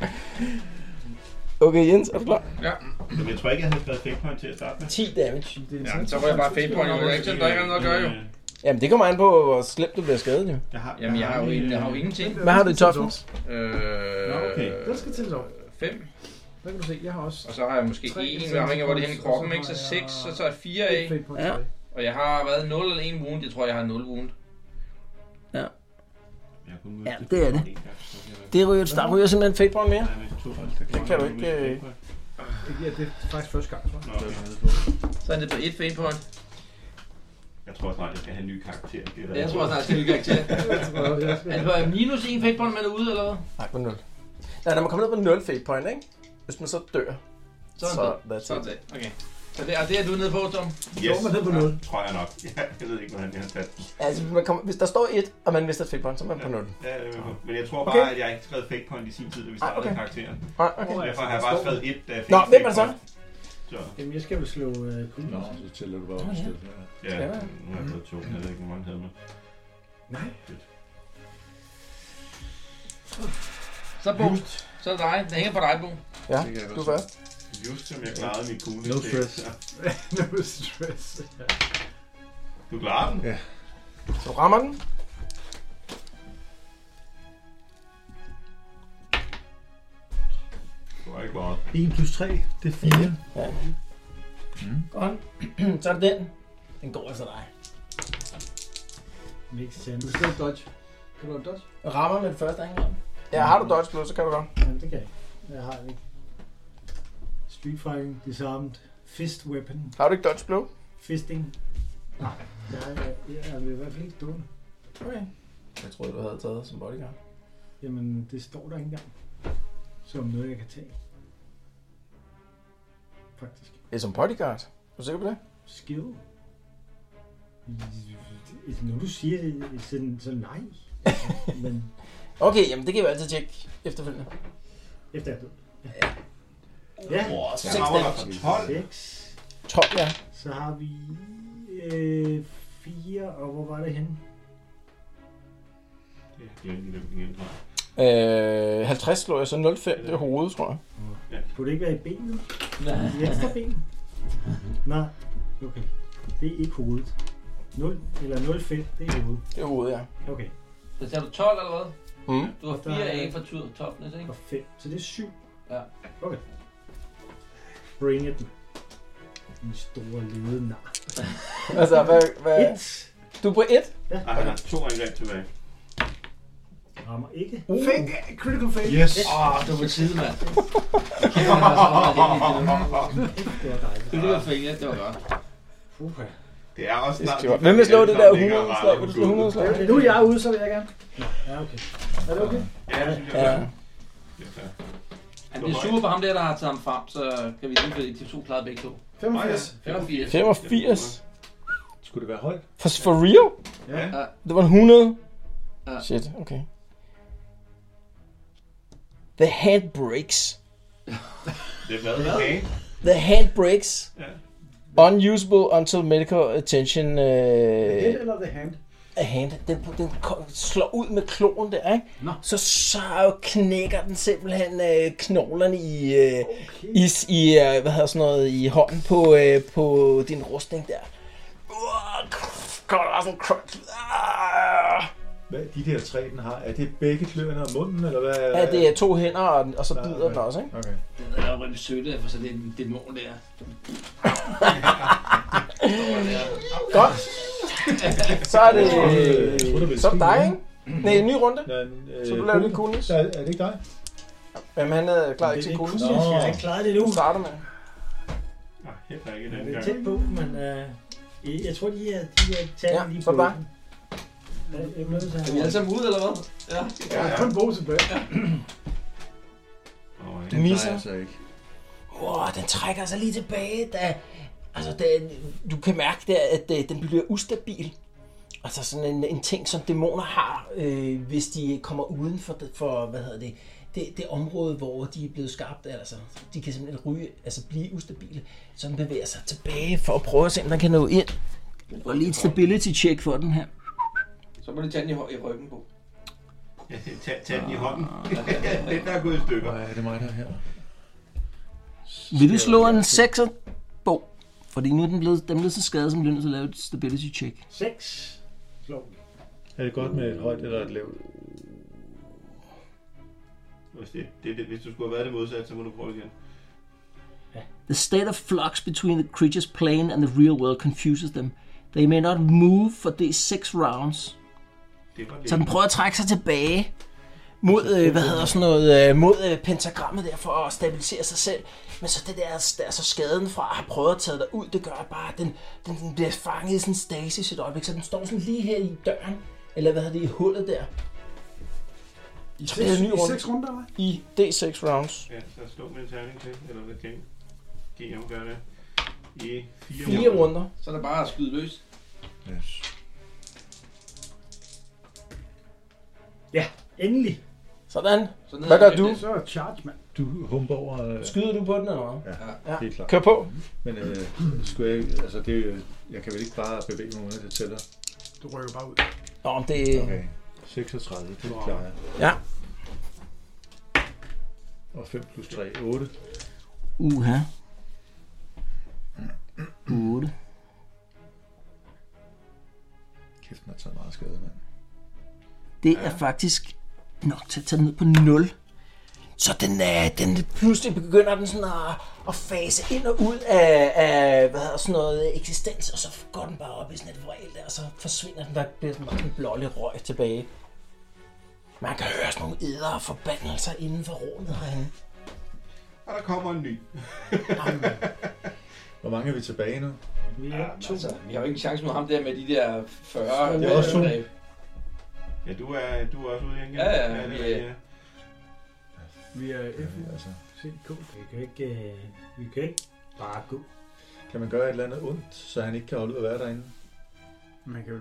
[SPEAKER 2] Okay, Jens, er du klar?
[SPEAKER 7] Ja.
[SPEAKER 4] Men jeg tror ikke, jeg havde skrevet fake point til at starte med.
[SPEAKER 2] 10 damage.
[SPEAKER 7] Ja, så var jeg bare fade på, og jeg ikke sådan, der er ikke noget at gøre jo.
[SPEAKER 2] Jamen, det kommer an på, hvor slemt du bliver skadet, jo.
[SPEAKER 4] Øh, Jeg har, øh,
[SPEAKER 7] Jamen, jeg har jo, en, jeg har jo ingenting.
[SPEAKER 2] Hvad har du i toughness?
[SPEAKER 7] Øh,
[SPEAKER 5] Nå,
[SPEAKER 7] okay.
[SPEAKER 5] Den skal tælles op.
[SPEAKER 7] 5.
[SPEAKER 5] Der kan du se, jeg har også...
[SPEAKER 7] Og så har jeg måske
[SPEAKER 5] Tre
[SPEAKER 7] 1,
[SPEAKER 5] insanity
[SPEAKER 7] jeg afhænger af, hvor det er henne i
[SPEAKER 5] points, og
[SPEAKER 7] kroppen, ikke? Så
[SPEAKER 5] har
[SPEAKER 7] 6,
[SPEAKER 5] jeg
[SPEAKER 7] så tager jeg 4
[SPEAKER 5] et fate
[SPEAKER 7] af.
[SPEAKER 5] point
[SPEAKER 2] Ja.
[SPEAKER 5] tilbage.
[SPEAKER 7] Og jeg har været 0 eller 1 wound. Jeg tror, jeg har 0 wound.
[SPEAKER 2] Ja.
[SPEAKER 4] Jeg kunne
[SPEAKER 2] Ja, det er det. Det ryger, der ryger simpelthen fake point mere. Det kan du ikke... Øh...
[SPEAKER 5] Det giver det er faktisk første gang, tror jeg.
[SPEAKER 7] Så er det på 1 fade point.
[SPEAKER 4] Jeg tror snart, jeg skal have en ny karakter. Det er
[SPEAKER 7] Jeg tror snart, jeg skal lykke ikke til. Er det på minus 1 fade point, man er ude, eller hvad?
[SPEAKER 2] Nej, på 0. Nej, når man kommer ned på 0 fate point, ikke? Hvis man så dør.
[SPEAKER 7] Sådan
[SPEAKER 2] så,
[SPEAKER 7] det.
[SPEAKER 2] that's
[SPEAKER 7] Sådan
[SPEAKER 2] it.
[SPEAKER 7] det. Okay. Så det, og det er du nede på, Tom?
[SPEAKER 4] Yes,
[SPEAKER 5] man ned på
[SPEAKER 4] ja,
[SPEAKER 5] nul. [LAUGHS]
[SPEAKER 4] tror jeg nok. [LAUGHS] Ja, jeg ved ikke, hvordan jeg har taget den.
[SPEAKER 2] Altså, hvis, man kommer, hvis der står 1, og man mister et fate point, så er man på 0.
[SPEAKER 4] Ja, det er jeg med på. Men jeg tror
[SPEAKER 2] Okay. Ah,
[SPEAKER 4] bare, at jeg ikke skrev fake point i sin tid, da vi startede
[SPEAKER 2] okay.
[SPEAKER 4] karakteren.
[SPEAKER 2] Nej, okay.
[SPEAKER 4] Derfor har jeg bare skrevet et, da jeg fik
[SPEAKER 2] Nå,
[SPEAKER 4] et
[SPEAKER 2] hvem
[SPEAKER 4] fake
[SPEAKER 2] er det så?
[SPEAKER 4] point. Så,
[SPEAKER 6] Jamen, jeg skal vel slå uh, kuglen.
[SPEAKER 9] Nå, så tæller du bare op i stedet. for.
[SPEAKER 4] ja,
[SPEAKER 2] Skal der?
[SPEAKER 4] nu har jeg fået to. Jeg ved ikke, hvor mange havde man.
[SPEAKER 5] Nej.
[SPEAKER 7] Så Bo, så er det dig. Den hænger på dig, Bo.
[SPEAKER 2] Ja,
[SPEAKER 9] Det kan jeg godt
[SPEAKER 2] du er
[SPEAKER 9] se.
[SPEAKER 2] først.
[SPEAKER 4] Just som jeg klarede min kugle.
[SPEAKER 9] No
[SPEAKER 4] Det-
[SPEAKER 9] stress.
[SPEAKER 4] Ja.
[SPEAKER 5] No stress. Ja.
[SPEAKER 4] Du klarer den?
[SPEAKER 9] Ja.
[SPEAKER 2] Så du rammer den.
[SPEAKER 4] Det var ikke meget.
[SPEAKER 9] 1 plus 3, det er 4.
[SPEAKER 2] Godt. Hmm, så er det den. Den går efter dig.
[SPEAKER 6] Makes sense.
[SPEAKER 5] Du skal have dodge. Kan du have dodge?
[SPEAKER 2] Rammer med det første angreb. Ja, har du dodge plus, så kan du godt.
[SPEAKER 6] Jamen, det kan jeg. ikke. Jeg har det ikke. Street fighting, disarmed, fist weapon,
[SPEAKER 2] Har du ikke dodge plus?
[SPEAKER 6] fisting. Nej, jeg er, jeg er i hvert fald ikke dående.
[SPEAKER 2] Okay. Jeg troede, du havde taget som bodyguard.
[SPEAKER 6] Jamen, det står der ikke engang. Som noget, jeg kan tage. Faktisk.
[SPEAKER 2] Det er som bodyguard. Er du sikker på det?
[SPEAKER 6] Skill. Når du siger det, så, så nej. Men
[SPEAKER 2] Okay, jamen det kan vi altid tjekke efterfølgende.
[SPEAKER 6] efter jeg er død. Ja.
[SPEAKER 4] Wow, så
[SPEAKER 2] Seks
[SPEAKER 4] rammer der
[SPEAKER 2] damage.
[SPEAKER 4] for 12.
[SPEAKER 6] 6.
[SPEAKER 2] 12, ja.
[SPEAKER 6] Så har vi øh, 4, og hvor var det henne?
[SPEAKER 4] Ja, det er ikke nemt igen, tror jeg.
[SPEAKER 2] Øh, 50 slår jeg så 0,5. Det er hovedet, tror jeg.
[SPEAKER 6] Kunne det ikke være i benet? I venstre ben? Nej, okay. Det er ikke hovedet. 0 eller 0,5, det er hovedet.
[SPEAKER 2] Det er hovedet, ja.
[SPEAKER 6] Okay,
[SPEAKER 7] Så tager du 12 eller hvad?
[SPEAKER 2] Mm.
[SPEAKER 7] Du har
[SPEAKER 6] Der er-
[SPEAKER 7] 4 af for tur toughness, ikke?
[SPEAKER 6] og 5, så det er 7.
[SPEAKER 7] Ja.
[SPEAKER 6] Okay. Bring it. Den store lede nar.
[SPEAKER 2] Altså, hvad, hvad...
[SPEAKER 6] 1
[SPEAKER 2] Du er på 1?
[SPEAKER 4] Ej, han har Ah, to angreb [LAUGHS] tilbage.
[SPEAKER 6] rammer ikke.
[SPEAKER 5] Fake, critical fail.
[SPEAKER 9] Yes.
[SPEAKER 7] Åh, oh, du var tid, [LAUGHS] mand. Kæft, man var så meget heldig, det der.
[SPEAKER 6] Det var dejligt.
[SPEAKER 7] Det var fint, ja, det var godt.
[SPEAKER 6] Puha.
[SPEAKER 4] Det er også snart...
[SPEAKER 2] Hvem vil slå det der 100
[SPEAKER 4] slag?
[SPEAKER 2] Vil du slå 100 slag?
[SPEAKER 5] Nu er jeg ude, så vil jeg gerne.
[SPEAKER 6] Nå, ja, okay.
[SPEAKER 5] Er det okay?
[SPEAKER 4] Ja, det synes
[SPEAKER 2] Ja.
[SPEAKER 4] jeg.
[SPEAKER 7] Han bliver sur på ham der, der har taget ham frem, så kan vi lige at de to klarede begge to.
[SPEAKER 28] 85.
[SPEAKER 7] 85.
[SPEAKER 2] 85?
[SPEAKER 9] Skulle det være højt?
[SPEAKER 2] For, for real?
[SPEAKER 7] Ja. Ja.
[SPEAKER 2] Det var en 100?
[SPEAKER 7] Ja.
[SPEAKER 2] Shit, okay. The hand breaks.
[SPEAKER 4] Det er hvad? Okay.
[SPEAKER 2] The hand breaks.
[SPEAKER 4] Ja.
[SPEAKER 2] Unusable until medical attention.
[SPEAKER 29] The head
[SPEAKER 2] Øh,
[SPEAKER 29] eller the hand?
[SPEAKER 2] af hand. Den, den ko- slår ud med kloen der, ikke? No. Så, så knækker den simpelthen øh, knoglerne i, øh, okay. i, i øh, hvad hedder sådan noget, i hånden på, øh, på din rustning der. Uah, Kommer der sådan en crunch. Ah!
[SPEAKER 9] Hvad er de der tre, den har? Er det begge kløerne og munden, eller hvad?
[SPEAKER 2] Ja, det er to hænder, og, og så bider
[SPEAKER 9] okay.
[SPEAKER 2] den også, ikke?
[SPEAKER 9] Okay.
[SPEAKER 7] Det er jo rigtig sødt, at få sådan en dæmon der.
[SPEAKER 2] [LAUGHS] Godt. Så er det,
[SPEAKER 9] Jeg troede, det
[SPEAKER 2] øh,
[SPEAKER 9] ville
[SPEAKER 2] så er det
[SPEAKER 9] ske
[SPEAKER 2] dig,
[SPEAKER 9] nu.
[SPEAKER 2] ikke? Nej, en ny runde.
[SPEAKER 9] øh,
[SPEAKER 2] Så du laver lige coolness.
[SPEAKER 9] Er, er det ikke dig?
[SPEAKER 2] Jamen, han er klar ikke til coolness.
[SPEAKER 9] coolness, jeg har ikke
[SPEAKER 6] klaret det nu.
[SPEAKER 2] Du starter med.
[SPEAKER 4] Ah, Heller ikke den
[SPEAKER 6] Det er
[SPEAKER 4] gang.
[SPEAKER 6] tæt på, men øh, jeg- jeg tror, de er, de er taget
[SPEAKER 2] Ja,
[SPEAKER 6] lige
[SPEAKER 2] så
[SPEAKER 6] på.
[SPEAKER 2] er det dig.
[SPEAKER 6] Er
[SPEAKER 7] Er vi alle sammen ude, eller hvad? Ja.
[SPEAKER 28] Jeg har kun brugt tilbage.
[SPEAKER 2] Du misser.
[SPEAKER 9] altså ikke.
[SPEAKER 2] Wow, den trækker sig lige tilbage, da... Altså, den, du kan mærke der, at øh, den bliver ustabil. Altså sådan en, en ting, som dæmoner har, øh, hvis de kommer uden for, det- for hvad hedder det, det, det område, hvor de er blevet skabt. Altså, de kan simpelthen ryge, altså blive ustabile. Så den bevæger sig tilbage for at prøve at se, om den kan nå ind. Og lige et stability check for den her.
[SPEAKER 7] Så må du tage den i, hø- i ryggen på.
[SPEAKER 4] [LAUGHS] Tag, tag den i hånden. [LAUGHS] den der er gået i stykker.
[SPEAKER 9] Nej, det er mig, der er her.
[SPEAKER 2] Vil du slå en 6'er, Bo? Fordi nu er den blevet, den blevet så skadet, som den er til at lave et stability check.
[SPEAKER 6] 6. Slå.
[SPEAKER 9] Er det godt med et højt eller et lavt?
[SPEAKER 4] Hvis, det, det, det, hvis du skulle have været det modsatte, så må du prøve igen.
[SPEAKER 2] The state of flux between the creature's plane and the real world confuses them. They may not move for these six rounds.
[SPEAKER 4] Det var det.
[SPEAKER 2] Så den prøver at trække sig tilbage mod, øh, hvad hedder sådan noget, øh, mod øh, pentagrammet der for at stabilisere sig selv. Men så det der, der er så skaden fra at have prøvet at tage dig ud, det gør bare, at den, den, den bliver fanget i sådan en stasis et øjeblik. Så den står sådan lige her i døren, eller hvad hedder det, i hullet der. I
[SPEAKER 5] seks- i seks runder, eller
[SPEAKER 2] I D6 rounds.
[SPEAKER 4] Ja, så slå med en terning til, eller hvad kan GM gør det? I fire,
[SPEAKER 2] Fire runder.
[SPEAKER 7] Så er det bare at skyde løs.
[SPEAKER 9] Yes.
[SPEAKER 5] Ja, endelig.
[SPEAKER 2] Sådan.
[SPEAKER 7] Sådan
[SPEAKER 2] Hvad
[SPEAKER 7] hedder
[SPEAKER 2] gør
[SPEAKER 7] det.
[SPEAKER 2] du?
[SPEAKER 5] Så er charge, mand.
[SPEAKER 9] Du humper over... øh,
[SPEAKER 2] Skyder du på den eller hvad?
[SPEAKER 9] Ja,
[SPEAKER 2] Ja.
[SPEAKER 9] helt klart.
[SPEAKER 2] Kør på.
[SPEAKER 9] Men øh, skulle jeg, altså det, er jo- jeg kan vel ikke bare bevæge mig uden at det tæller.
[SPEAKER 5] Du rykker bare ud.
[SPEAKER 2] Nå, om det er...
[SPEAKER 9] Okay. 36, det klarer jeg.
[SPEAKER 2] Ja.
[SPEAKER 9] Og 5 plus 3, 8.
[SPEAKER 2] Uha. 8.
[SPEAKER 9] Kæft, den har taget meget skade, mand.
[SPEAKER 2] Det ja. er faktisk nok til at tage den ned på 0. Så den, er, den pludselig begynder den sådan at, at fase ind og ud af, af hvad hedder sådan noget eksistens, og så går den bare op i sådan et vrel der, og så forsvinder den, der bliver sådan meget sådan blålig røg tilbage. Man kan høre sådan nogle æder og forbandelser inden for rummet herinde.
[SPEAKER 4] Og der kommer en ny.
[SPEAKER 9] Hvor mange er vi tilbage nu?
[SPEAKER 5] Vi er to.
[SPEAKER 7] Altså, vi har jo ikke en chance mod ham der med de der Øh, 40.
[SPEAKER 9] Det er også to.
[SPEAKER 7] angreb.
[SPEAKER 4] Ja, du er, du er også ude igen.
[SPEAKER 7] Ja, ja,
[SPEAKER 4] ja, det
[SPEAKER 7] vi
[SPEAKER 4] er
[SPEAKER 7] er-
[SPEAKER 4] rigtigt, ja.
[SPEAKER 5] Vi er F.
[SPEAKER 9] Altså,
[SPEAKER 5] CK.
[SPEAKER 6] Vi kan ikke, øh, vi kan ikke bare gå.
[SPEAKER 9] kan man gøre et eller andet ondt, så han ikke kan holde ud at være derinde?
[SPEAKER 5] Man kan jo-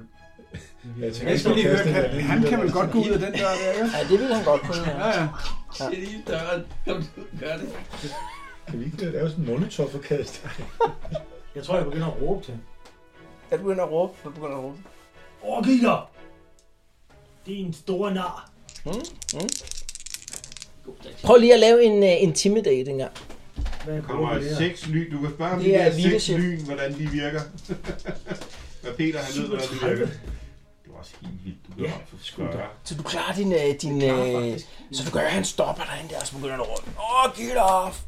[SPEAKER 9] Jeg tænker,
[SPEAKER 5] Jeg skal lige
[SPEAKER 9] at
[SPEAKER 5] høre,
[SPEAKER 9] kaste en anden
[SPEAKER 5] kan, han kan vel
[SPEAKER 9] eller
[SPEAKER 5] godt gå ud af den dør der, ikke?
[SPEAKER 2] Ja, det ville han godt kunne.
[SPEAKER 5] Ja, ja.
[SPEAKER 7] Det er lige døren. Kom, du gør det.
[SPEAKER 9] sådan. Kan vi ikke lave sådan en molotov-forkast?
[SPEAKER 6] Jeg tror, jeg begynder at råbe til.
[SPEAKER 2] Jeg begynder at råbe. Jeg begynder at råbe.
[SPEAKER 6] Orgiv dig! Din store nar.
[SPEAKER 2] Prøv lige at lave en uh, intimidating gang.
[SPEAKER 6] Hvad
[SPEAKER 4] Der kommer
[SPEAKER 6] bruger
[SPEAKER 4] seks lyn. Du kan spørge om
[SPEAKER 2] Det
[SPEAKER 4] de
[SPEAKER 2] er
[SPEAKER 4] der seks
[SPEAKER 2] leadership.
[SPEAKER 4] lyn, hvordan de virker. [LAUGHS] Hvad Peter, han ved, hvordan de virker. Det var også helt vildt. Du blev ja, for spørge.
[SPEAKER 2] Så du klarer din... øh, din øh, så du gør, at han stopper dig der, og så begynder han at råbe. Åh, oh, get off!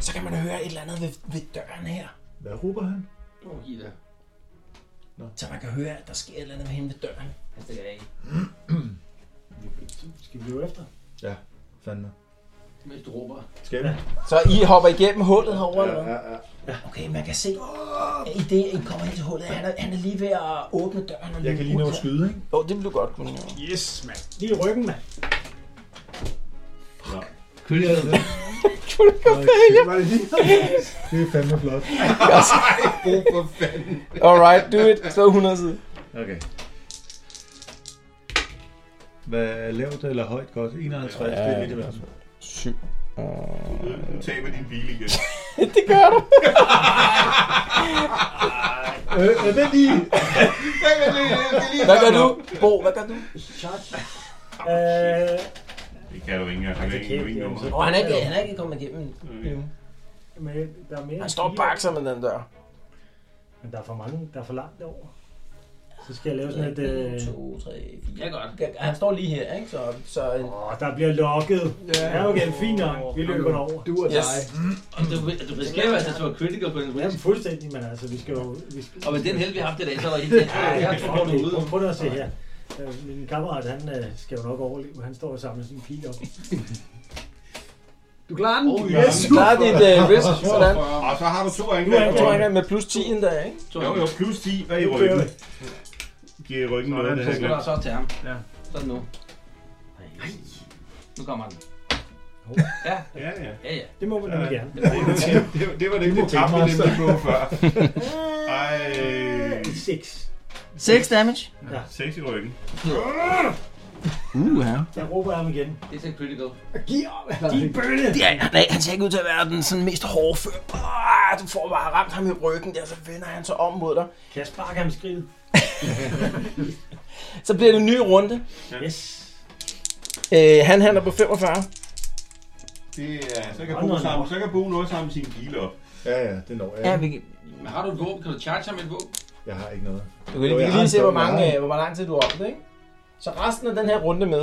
[SPEAKER 2] Så kan man høre et eller andet ved, ved døren her.
[SPEAKER 9] Hvad råber han?
[SPEAKER 7] Åh, oh, Ida.
[SPEAKER 2] Så man kan høre, at der sker et eller andet ved hende ved døren.
[SPEAKER 7] Han stikker det af.
[SPEAKER 6] Skal vi løbe efter?
[SPEAKER 9] Fandme.
[SPEAKER 30] Mens du råber.
[SPEAKER 4] Skal vi?
[SPEAKER 2] Så I hopper igennem hullet herovre, eller hvad?
[SPEAKER 4] ja,
[SPEAKER 2] ja. Okay, man kan se, at i det, I kommer ind til hullet, han er, han er lige ved at åbne døren. Og
[SPEAKER 9] Jeg kan lige nå at skyde, ikke?
[SPEAKER 2] Jo, oh, det vil du godt kunne. jo.
[SPEAKER 5] Yes, mand. Lige i ryggen, mand.
[SPEAKER 4] Nå.
[SPEAKER 5] Kunne jeg det?
[SPEAKER 2] Kunne du ikke
[SPEAKER 5] Var det lige?
[SPEAKER 9] Det er fandme flot.
[SPEAKER 4] Brug for fanden.
[SPEAKER 2] Alright, do it. Slå 100 side.
[SPEAKER 9] Okay. Hvad er lavt eller højt godt? 51, ja, det er lidt i hvert fald.
[SPEAKER 2] Syv.
[SPEAKER 4] Nu taber din bil igen. [LAUGHS]
[SPEAKER 2] det gør du.
[SPEAKER 9] Øh, øh, vent lige.
[SPEAKER 2] Hvad gør du? Bo, hvad gør du?
[SPEAKER 6] Øh,
[SPEAKER 4] Det kan du ikke engang. Det er ikke- du er ikke nummer.
[SPEAKER 2] Åh, oh, han, er ikke, han er ikke kommet igennem. endnu.
[SPEAKER 6] men der er mere
[SPEAKER 2] Han
[SPEAKER 6] end
[SPEAKER 2] står og
[SPEAKER 6] fire.
[SPEAKER 2] bakser med den dør.
[SPEAKER 6] Men der er for mange, der er for langt over. Så skal jeg lave sådan et... Øh...
[SPEAKER 2] 2, 3, 4. Ja, godt. Han står lige her, ikke? Så, så en...
[SPEAKER 6] Åh, der bliver lokket. Ja, okay, fint nok. Vi løber derover.
[SPEAKER 5] Du og
[SPEAKER 2] Yes.
[SPEAKER 5] dig.
[SPEAKER 7] Og du, du risikerer jo altså, at du var critical på en
[SPEAKER 6] Jamen
[SPEAKER 7] risk.
[SPEAKER 6] fuldstændig, men altså, vi skal jo... Vi skal...
[SPEAKER 7] Og med den held, vi har haft i dag, så var det [LAUGHS] helt
[SPEAKER 6] Ja, jeg
[SPEAKER 7] tror, du er ude.
[SPEAKER 6] Prøv at se her. Øh, Min kammerat, han øh, skal jo nok overleve. Han står og samler sin pil op.
[SPEAKER 5] Du klarer den?
[SPEAKER 4] Oh, ja.
[SPEAKER 5] yes,
[SPEAKER 2] Der er dit uh, risk, sådan.
[SPEAKER 4] Og så har du to
[SPEAKER 2] Nu er
[SPEAKER 4] angreb.
[SPEAKER 2] han to angreb med plus 10 endda, ikke?
[SPEAKER 4] Jo, jo, plus 10. Hvad i ryggen? Giver i ryggen noget af det
[SPEAKER 7] Så
[SPEAKER 4] her
[SPEAKER 7] skal
[SPEAKER 4] glas.
[SPEAKER 7] du så til ham.
[SPEAKER 5] Ja.
[SPEAKER 7] Sådan nu. Nu kommer den.
[SPEAKER 4] Ja, ja.
[SPEAKER 7] Ja, ja.
[SPEAKER 6] Det må man nemlig gerne.
[SPEAKER 4] Det, det, det var det, vi tabte nemlig på [LAUGHS] før. Ej.
[SPEAKER 6] 6.
[SPEAKER 2] 6 damage.
[SPEAKER 4] 6 i ryggen.
[SPEAKER 2] Uh, ja.
[SPEAKER 6] Jeg råber ham igen.
[SPEAKER 7] Det er så critical.
[SPEAKER 5] Giv op, Din bølle.
[SPEAKER 2] Ja, han, er, han ser ikke ud til at være den sådan mest hårde fyr. Ah, du får bare ramt ham i ryggen der, så vender han sig om mod dig.
[SPEAKER 6] Kan jeg sparke ham i skridtet?
[SPEAKER 2] Så bliver det en ny runde.
[SPEAKER 6] Yes.
[SPEAKER 2] Øh, han handler på 45.
[SPEAKER 4] Det er, så kan Bo sammen, så kan Bo noget sammen sin bil op.
[SPEAKER 9] Ja, ja, det når jeg.
[SPEAKER 2] Ja,
[SPEAKER 9] ikke.
[SPEAKER 2] vi, kan-
[SPEAKER 7] Men har du et våben? Kan du charge ham med et våben?
[SPEAKER 9] Jeg har ikke noget.
[SPEAKER 2] du kan, vi
[SPEAKER 9] jeg
[SPEAKER 2] kan
[SPEAKER 9] har
[SPEAKER 2] lige
[SPEAKER 9] en
[SPEAKER 2] se, hvor,
[SPEAKER 9] stor
[SPEAKER 2] mange,
[SPEAKER 9] larm.
[SPEAKER 2] øh, hvor lang tid du har det, ikke? Så resten af den her runde med.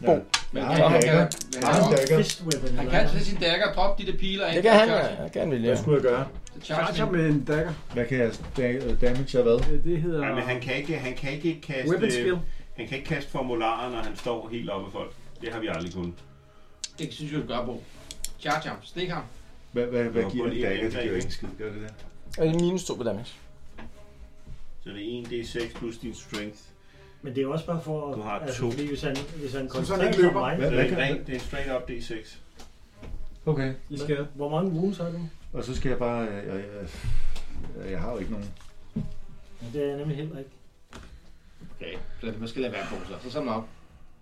[SPEAKER 9] Ja.
[SPEAKER 2] Bo.
[SPEAKER 7] Men
[SPEAKER 9] Ja,
[SPEAKER 7] kan-
[SPEAKER 9] jeg
[SPEAKER 7] han
[SPEAKER 9] kan
[SPEAKER 7] kan-
[SPEAKER 9] ikke.
[SPEAKER 7] men
[SPEAKER 9] Jeg
[SPEAKER 7] han-
[SPEAKER 9] har en dagger.
[SPEAKER 6] Fist weapon.
[SPEAKER 7] Han kan altså- tage sin dagger og droppe de der piler af.
[SPEAKER 2] Det kan han, ja. det kan han vilje.
[SPEAKER 9] Hvad skulle jeg gøre?
[SPEAKER 7] Charge
[SPEAKER 5] Charger
[SPEAKER 7] ham.
[SPEAKER 5] med en dagger.
[SPEAKER 9] Hvad kan jeg da- damage og hvad?
[SPEAKER 5] Øh, Det hedder...
[SPEAKER 4] Nej, men han kan ikke, han kan ikke kaste, øh,
[SPEAKER 5] Weapon skill.
[SPEAKER 4] han kan ikke kaste formularer, når han står helt oppe af folk. Det har vi aldrig kunnet.
[SPEAKER 7] Det synes jeg, du gør, Bo. Charge ham. Stik ham.
[SPEAKER 9] Hvad, hvad,
[SPEAKER 4] Nå,
[SPEAKER 9] hvad giver
[SPEAKER 4] kun
[SPEAKER 9] en
[SPEAKER 4] én
[SPEAKER 9] dagger? Det
[SPEAKER 4] angreb,
[SPEAKER 9] giver jo
[SPEAKER 4] ikke?
[SPEAKER 9] ikke en skid, gør det der?
[SPEAKER 2] Og det er minus 2 på damage.
[SPEAKER 4] Så det er 1d6 plus din strength.
[SPEAKER 6] Men det er jo også bare for...
[SPEAKER 4] Du har
[SPEAKER 6] altså,
[SPEAKER 4] to.
[SPEAKER 6] Fordi hvis han, hvis han
[SPEAKER 5] Så sådan
[SPEAKER 6] koncentrerer
[SPEAKER 5] ikke
[SPEAKER 6] sig om
[SPEAKER 5] løber.
[SPEAKER 6] mig...
[SPEAKER 4] Så
[SPEAKER 9] Hvad,
[SPEAKER 4] det er,
[SPEAKER 9] hvad
[SPEAKER 4] en
[SPEAKER 9] kan
[SPEAKER 4] ren, det er en straight up d6.
[SPEAKER 9] Okay.
[SPEAKER 5] I skal...
[SPEAKER 6] Hvor mange wounds har du?
[SPEAKER 9] Og så skal jeg bare... Jeg, jeg, jeg, jeg har jo ikke nogen.
[SPEAKER 6] Ja, Det er jeg nemlig heller ikke.
[SPEAKER 7] Okay, så lad- man skal lade være på sig. Så samle op.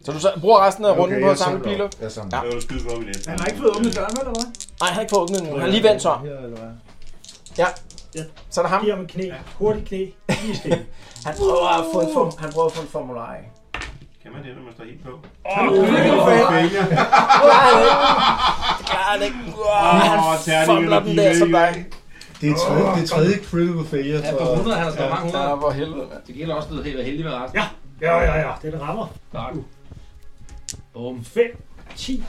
[SPEAKER 2] Så du så- bruger resten af runden
[SPEAKER 9] Okay,
[SPEAKER 2] på
[SPEAKER 9] jeg
[SPEAKER 2] at samle
[SPEAKER 9] samler
[SPEAKER 2] piler?
[SPEAKER 9] op. Jeg samler.
[SPEAKER 2] Ja.
[SPEAKER 4] Jeg vil skyde på i næste.
[SPEAKER 5] Han har ikke fået åbnet døren, vel, eller hvad?
[SPEAKER 2] Nej, han har ikke fået åbnet den. endnu. Han er lige vendt sig om.
[SPEAKER 9] Her, eller hvad?
[SPEAKER 2] Så er det ham.
[SPEAKER 6] Giv ham et knæ. Hurtigt knæ. Lige stille.
[SPEAKER 2] Han prøver at få en, form, han prøver at få en formular af.
[SPEAKER 4] Kan man det, når man står helt på?
[SPEAKER 2] Det klarer han ikke. Wow, han
[SPEAKER 4] Åh, terning,
[SPEAKER 2] fumler den der som dig.
[SPEAKER 9] Det er tredje, det er tredje critical failure
[SPEAKER 7] Ja,
[SPEAKER 9] for...
[SPEAKER 7] på 100, han har slået mange
[SPEAKER 2] Ja,
[SPEAKER 7] 100.
[SPEAKER 2] for helvede. mand.
[SPEAKER 7] Det gælder også noget helt at være heldig med resten. Ja.
[SPEAKER 6] Ja, ja, ja. Den rammer.
[SPEAKER 7] Godt. Bum.
[SPEAKER 6] 5, 10,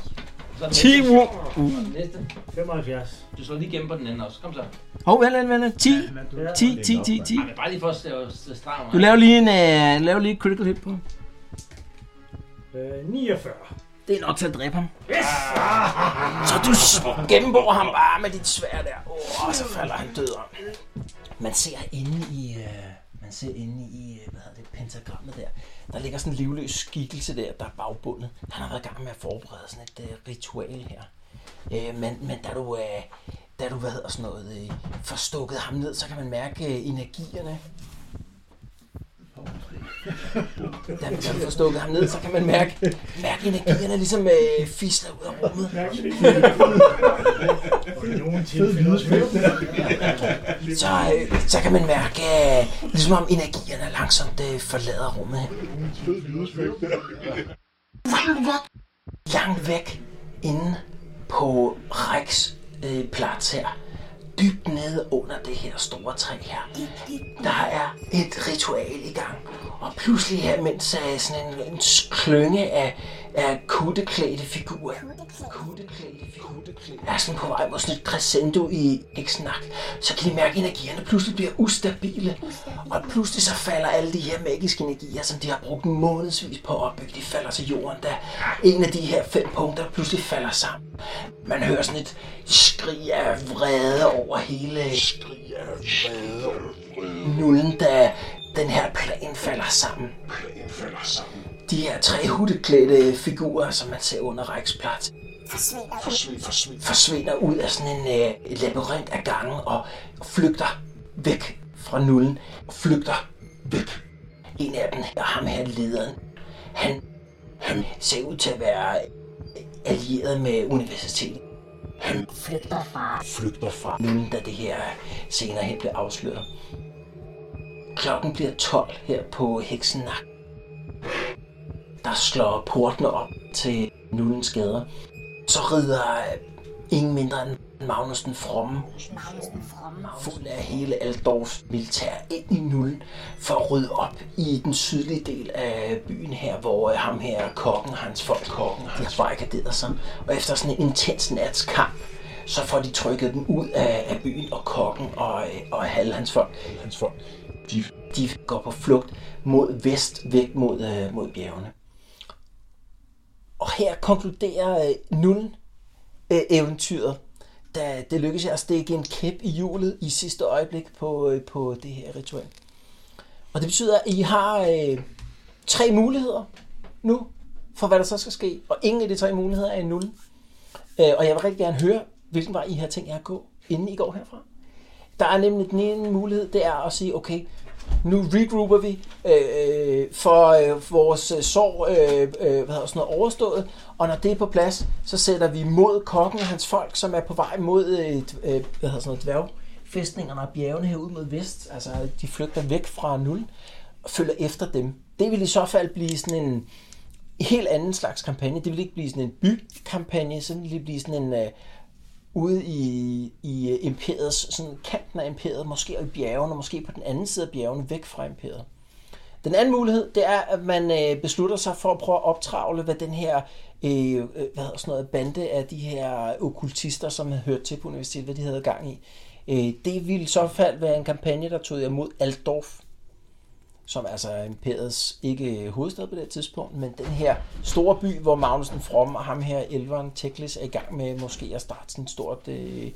[SPEAKER 7] Så er det
[SPEAKER 2] 10
[SPEAKER 7] næste.
[SPEAKER 2] wound.
[SPEAKER 7] Så er det næste.
[SPEAKER 6] 75.
[SPEAKER 7] Du slår lige igennem på den anden også. Kom så.
[SPEAKER 2] Hov, vent, vent, vent. 10,
[SPEAKER 5] Han er død.
[SPEAKER 2] 10, 10, 10, 10.
[SPEAKER 7] Ej, men bare lige for at stave streg
[SPEAKER 2] Du laver lige en uh, laver lige et critical hit på ham.
[SPEAKER 6] Øh, 49.
[SPEAKER 2] Det er nok til at dræbe ham. Yes! Så du s- gennemborer ham bare med dit svær der. Åh, oh, så falder han død om. Man ser inde i... Øh, man ser inde i, øh, hvad hedder det, pentagrammet der. Der ligger sådan en livløs skikkelse der, der er bagbundet. Han har været i gang med at forberede sådan et øh, ritual her. Øh, men, men da du, øh, da du, hvad hedder sådan noget, øh, får stukket ham ned, så kan man mærke øh, energierne. Da man får stukket ham ned, så kan man mærke, mærke energierne ligesom øh, fisler ud af rummet.
[SPEAKER 6] Og i nogle tilfælde også
[SPEAKER 2] Så, øh, så kan man mærke, øh, ligesom om energierne langsomt øh, forlader rummet. Langt væk. Langt væk inde på Rex øh, plads her. Dybt nede under det her store træ her. Der er et ritual i gang. Og pludselig her, mens uh, sådan en, en klønge af, af kutteklædte figurer, kutteklædte kutteklædte, er sådan på vej mod sådan et crescendo i eksnak, så kan de mærke, at energierne pludselig bliver ustabile. Og pludselig så falder alle de her magiske energier, som de har brugt månedsvis på at opbygge, de falder til jorden, da en af de her fem punkter pludselig falder sammen. Man hører sådan et skrig af vrede over hele... Skrig af vrede Nullen, da den her plan falder sammen. Plan falder sammen. De her tre hutteklædte figurer, som man ser under Ræksplads, forsvinder, forsvinder, forsvinder. forsvinder ud af sådan en øh, labyrint af gangen og flygter væk fra nullen. Flygter væk. En af dem, og ham her lederen, han, han ser ud til at være øh, allieret med universitetet. Han flygter fra, flygter fra nullen, da det her senere hen bliver afsløret. Klokken bliver 12 her på Heksenak. Der slår portene op til Nullens gader. Så rider øh, ingen mindre end Magnus den Fromme, fuld af hele Aldorfs militær, ind i Nullen for at rydde op i den sydlige del af byen her, hvor øh, ham her kokken, hans folk, kokken, hans barrikaderer sig. Og efter sådan en intens natskamp, så får de trykket dem ud af, af byen, og kokken og, øh, og alle hans folk, hans folk de, de går på flugt mod vest, væk mod, øh, mod bjergene. Og her konkluderer øh, Nullen øh, eventyret, da det lykkedes jer at stikke en kæp i hjulet i sidste øjeblik på, øh, på det her ritual. Og det betyder, at I har øh, tre muligheder nu for, hvad der så skal ske. Og ingen af de tre muligheder er i Nullen. Øh, og jeg vil rigtig gerne høre, hvilken vej I har tænkt jer at gå, inden I går herfra. Der er nemlig den ene mulighed, det er at sige, okay, nu regrouper vi øh, for øh, vores øh, sorg øh, øh, hvad hedder, sådan noget, overstået, og når det er på plads, så sætter vi mod kokken og hans folk, som er på vej mod øh, d- øh, hvad hedder sådan noget, dværgfæstningerne og bjergene herude mod vest. Altså, de flygter væk fra nullen og følger efter dem. Det vil i så fald blive sådan en helt anden slags kampagne. Det vil ikke blive sådan en bykampagne, så vil det blive sådan en... Øh, ude i, i øh, imperiets, sådan kanten af imperiet, måske i bjergene, måske på den anden side af bjergene, væk fra imperiet. Den anden mulighed, det er, at man øh, beslutter sig for at prøve at optravle, hvad den her øh, øh, hvad hedder sådan noget, bande af de her okkultister, som havde hørt til på universitetet, hvad de havde gang i. Øh, det ville i så fald være en kampagne, der tog jer mod Altdorf, som altså er imperiets ikke øh, hovedstad på det tidspunkt, men den her store by, hvor Magnusen From og ham her, Elveren Teklis, er i gang med måske at starte sådan et stort øh,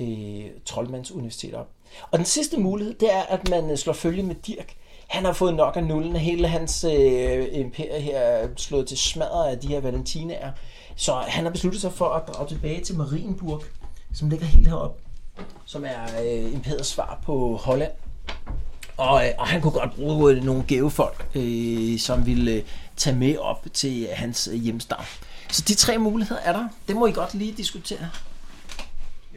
[SPEAKER 2] øh, troldmandsuniversitet op. Og den sidste mulighed, det er, at man øh, slår følge med Dirk. Han har fået nok af nullen, hele hans øh, imperie her er slået til smadret af de her valentinaer. Så han har besluttet sig for at drage tilbage til Marienburg, som ligger helt heroppe, som er øh, imperiets svar på Holland. Og, øh, og han kunne godt bruge øh, nogle gavefolk, øh, som ville øh, tage med op til øh, hans øh, hjemstavn. Så de tre muligheder er der. Det må I godt lige diskutere.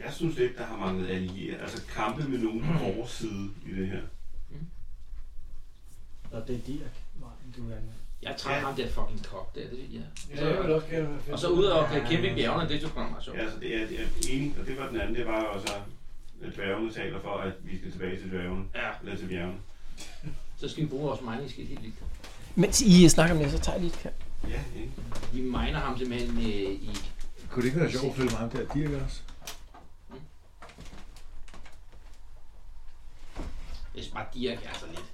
[SPEAKER 4] Jeg synes lidt, der har manglet allieret. Altså kampe med nogen på vores side i det her.
[SPEAKER 6] Og det er Dirk. Martin, du er
[SPEAKER 7] Jeg trænger ham der fucking kok der, det ja.
[SPEAKER 4] Ja, jeg vil også gerne være fedt.
[SPEAKER 7] Og så ud og kæmpe i bjergene, det er sgu nok meget sjovt.
[SPEAKER 4] Ja, altså det er, det er enig, og det var den anden, det var også, at dværgene taler for, at vi skal tilbage til dværgene.
[SPEAKER 7] Ja.
[SPEAKER 4] Eller til bjergene.
[SPEAKER 7] Så skal vi bruge vores mining-skidt helt vildt.
[SPEAKER 2] Mens I øh, snakker om det, så tager jeg lige et kald.
[SPEAKER 4] Ja, ikke?
[SPEAKER 7] Vi miner ham simpelthen øh, i...
[SPEAKER 9] Kunne det ikke være sjovt at følge med ham der Dirk også?
[SPEAKER 7] Jeg synes bare, Dirk er så lidt.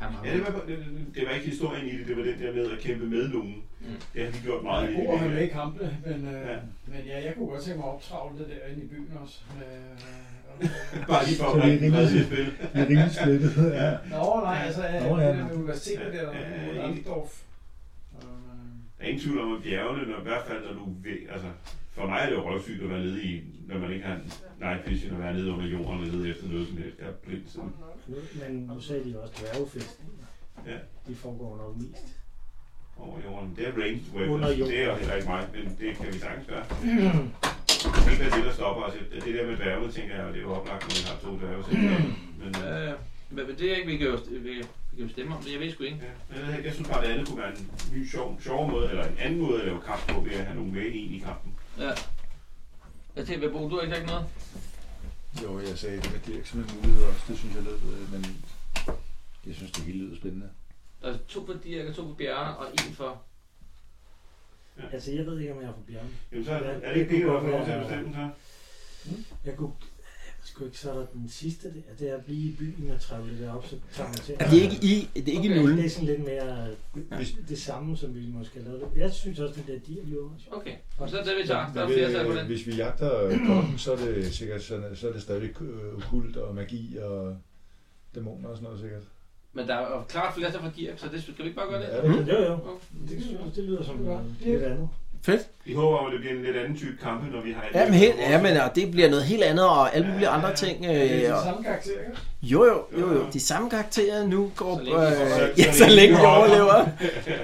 [SPEAKER 7] Han har
[SPEAKER 4] Ja, det var, det, det var ikke historien i det, det var den der med at kæmpe med nogen.
[SPEAKER 7] Mm.
[SPEAKER 4] Det har vi gjort
[SPEAKER 5] Jeg
[SPEAKER 4] meget
[SPEAKER 5] er
[SPEAKER 4] i.
[SPEAKER 5] god, han vil
[SPEAKER 4] det
[SPEAKER 5] ikke hample, men, øh,
[SPEAKER 4] Ja.
[SPEAKER 5] ja. men ja, jeg kunne godt tænke mig at optravle det der inde i byen også. Med, øh,
[SPEAKER 4] Bare lige for at
[SPEAKER 5] Så
[SPEAKER 4] bringe
[SPEAKER 5] vi er
[SPEAKER 4] den
[SPEAKER 5] rimelig-
[SPEAKER 4] i spil.
[SPEAKER 5] vi er rimelig splittet,
[SPEAKER 9] [LAUGHS] ja.
[SPEAKER 5] Nå, nej, altså, ja,
[SPEAKER 9] Nå, ja.
[SPEAKER 5] det der med universitetet der, der
[SPEAKER 4] Ja,
[SPEAKER 5] er
[SPEAKER 4] ja,
[SPEAKER 5] mod
[SPEAKER 4] enig.
[SPEAKER 5] Altdorf. øh,
[SPEAKER 4] Der er ingen tvivl om, at bjergene, når, i hvert fald når du ved, altså, for mig er det jo røvsygt at være nede i, når man ikke har en night vision, at være nede under jorden og lede efter noget som helst. Jeg er blind sådan.
[SPEAKER 6] Men nu sagde de jo også dværgefest.
[SPEAKER 4] Ja.
[SPEAKER 6] De foregår nok mest.
[SPEAKER 4] over jorden. Det er ranged weapons.
[SPEAKER 6] Under jorden.
[SPEAKER 4] Det er jo heller ikke mig, men det kan vi sagtens gøre.
[SPEAKER 5] Mm.
[SPEAKER 4] Det kan ikke være det, der stopper os. Det der med dværge, tænker jeg, det er jo oplagt, når vi har to dværge. selv.
[SPEAKER 5] Mm.
[SPEAKER 4] Men, øh,
[SPEAKER 7] Øh, men men det er ikke, vi kan jo, vi, vi kan jo stemme om det, jeg ved sgu ikke.
[SPEAKER 4] men jeg- jeg synes bare, at det andet kunne være en ny, sjov, sjov måde, eller en anden måde at lave kamp på, ved at have nogle med ind i kampen.
[SPEAKER 7] Ja. Jeg tænker, Bo, du har ikke sagt noget?
[SPEAKER 9] Jo, jeg sagde det med Dirk som en mulighed også. Det synes jeg lød, øh, men jeg synes det hele lyder spændende.
[SPEAKER 15] Der er to for Dirk, to for Bjarne og en for...
[SPEAKER 4] Ja.
[SPEAKER 6] Altså, jeg ved ikke, om jeg er for bjørn.
[SPEAKER 4] Jamen, så er det- er det ikke det, der får lov til at bestemme, så?
[SPEAKER 6] Jeg kunne... Jeg ved sgu ikke, så er der den sidste der. Det er at blive i byen og travle det op, så tager man til.
[SPEAKER 2] Er det ikke i- det er ikke i nullen?
[SPEAKER 6] Det er sådan lidt mere
[SPEAKER 2] Hvis-
[SPEAKER 6] det samme, som vi måske har lavet. Jeg synes også, det der dier jo også.
[SPEAKER 15] Okay, og så er det, vi tager. Der er
[SPEAKER 9] Men, øh,
[SPEAKER 15] flertal på den.
[SPEAKER 9] Hvis vi jagter øh, kongen, så er det sikkert sådan, så er det stadig øh, okult og magi og dæmoner og sådan noget sikkert.
[SPEAKER 15] Men der er jo klart flertal for Dirk, så det skal vi ikke bare gøre det?
[SPEAKER 2] Mm.
[SPEAKER 9] Ja,
[SPEAKER 6] Jo, Altså, jo.
[SPEAKER 15] Det,
[SPEAKER 6] det lyder som noget
[SPEAKER 15] lidt
[SPEAKER 6] andet.
[SPEAKER 2] Fedt.
[SPEAKER 4] Vi håber, at det bliver en lidt anden type kampe, når vi har...
[SPEAKER 2] Ja, men, helt, ja, men og det bliver noget helt andet, og alle mulige andre ting. Øh,
[SPEAKER 4] det er de
[SPEAKER 2] og-
[SPEAKER 4] samme karakterer, ikke?
[SPEAKER 2] Jo, jo, jo, jo. De samme karakterer nu går...
[SPEAKER 4] Så længe de overlever.
[SPEAKER 2] øh, ja, så længe de [LAUGHS] overlever.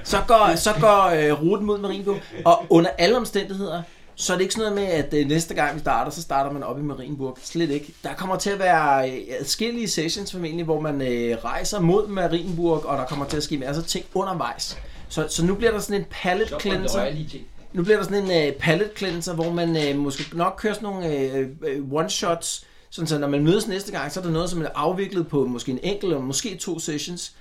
[SPEAKER 2] Så går, så går øh, ruten mod Marienbo. Og under alle omstændigheder, så er det ikke sådan noget med, at øh, næste gang vi starter, så starter man op i Marienburg. Slet ikke. Der kommer til at være øh, adskillige sessions formentlig, hvor man øh, rejser mod Marienburg, og der kommer til at ske masser af ting undervejs. Så, så nu bliver der sådan en palette
[SPEAKER 15] Så kommer der
[SPEAKER 2] cleanser.
[SPEAKER 15] røgerlige ting.
[SPEAKER 2] Nu bliver der sådan en øh, palette cleanser, hvor man øh, måske nok kører sådan nogle øh, øh, one-shots, sådan så når man mødes næste gang, så er der noget, som er afviklet på måske en enkelt eller måske to sessions.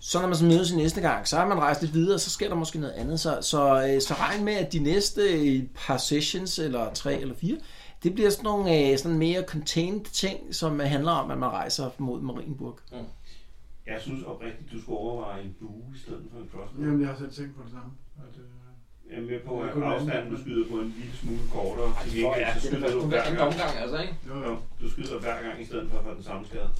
[SPEAKER 2] Så når man så mødes i næste gang, så har man rejst lidt videre, og så sker der måske noget andet. Så, så, øh, så regn med, at de næste øh, par sessions, eller tre eller fire, det bliver sådan nogle øh, sådan mere contained ting, som handler om, at man rejser mod Marienburg.
[SPEAKER 4] Ja. Jeg synes oprigtigt, du skulle overveje en bue i stedet for en crossbow.
[SPEAKER 31] Jamen, jeg har selv tænkt på det samme. At, øh,
[SPEAKER 4] Jeg er med på,
[SPEAKER 31] Jeg
[SPEAKER 4] at
[SPEAKER 31] kunne
[SPEAKER 4] afstanden,
[SPEAKER 31] lande.
[SPEAKER 4] du skyder på en lille smule kortere. Til
[SPEAKER 31] tror
[SPEAKER 4] gengæld,
[SPEAKER 31] jeg,
[SPEAKER 4] så
[SPEAKER 31] det er
[SPEAKER 4] skyder du
[SPEAKER 31] faktisk
[SPEAKER 4] hver
[SPEAKER 31] en
[SPEAKER 4] gang.
[SPEAKER 31] omgang, altså, ikke?
[SPEAKER 4] Jo, jo. Du skyder hver gang i stedet for at få den samme skade.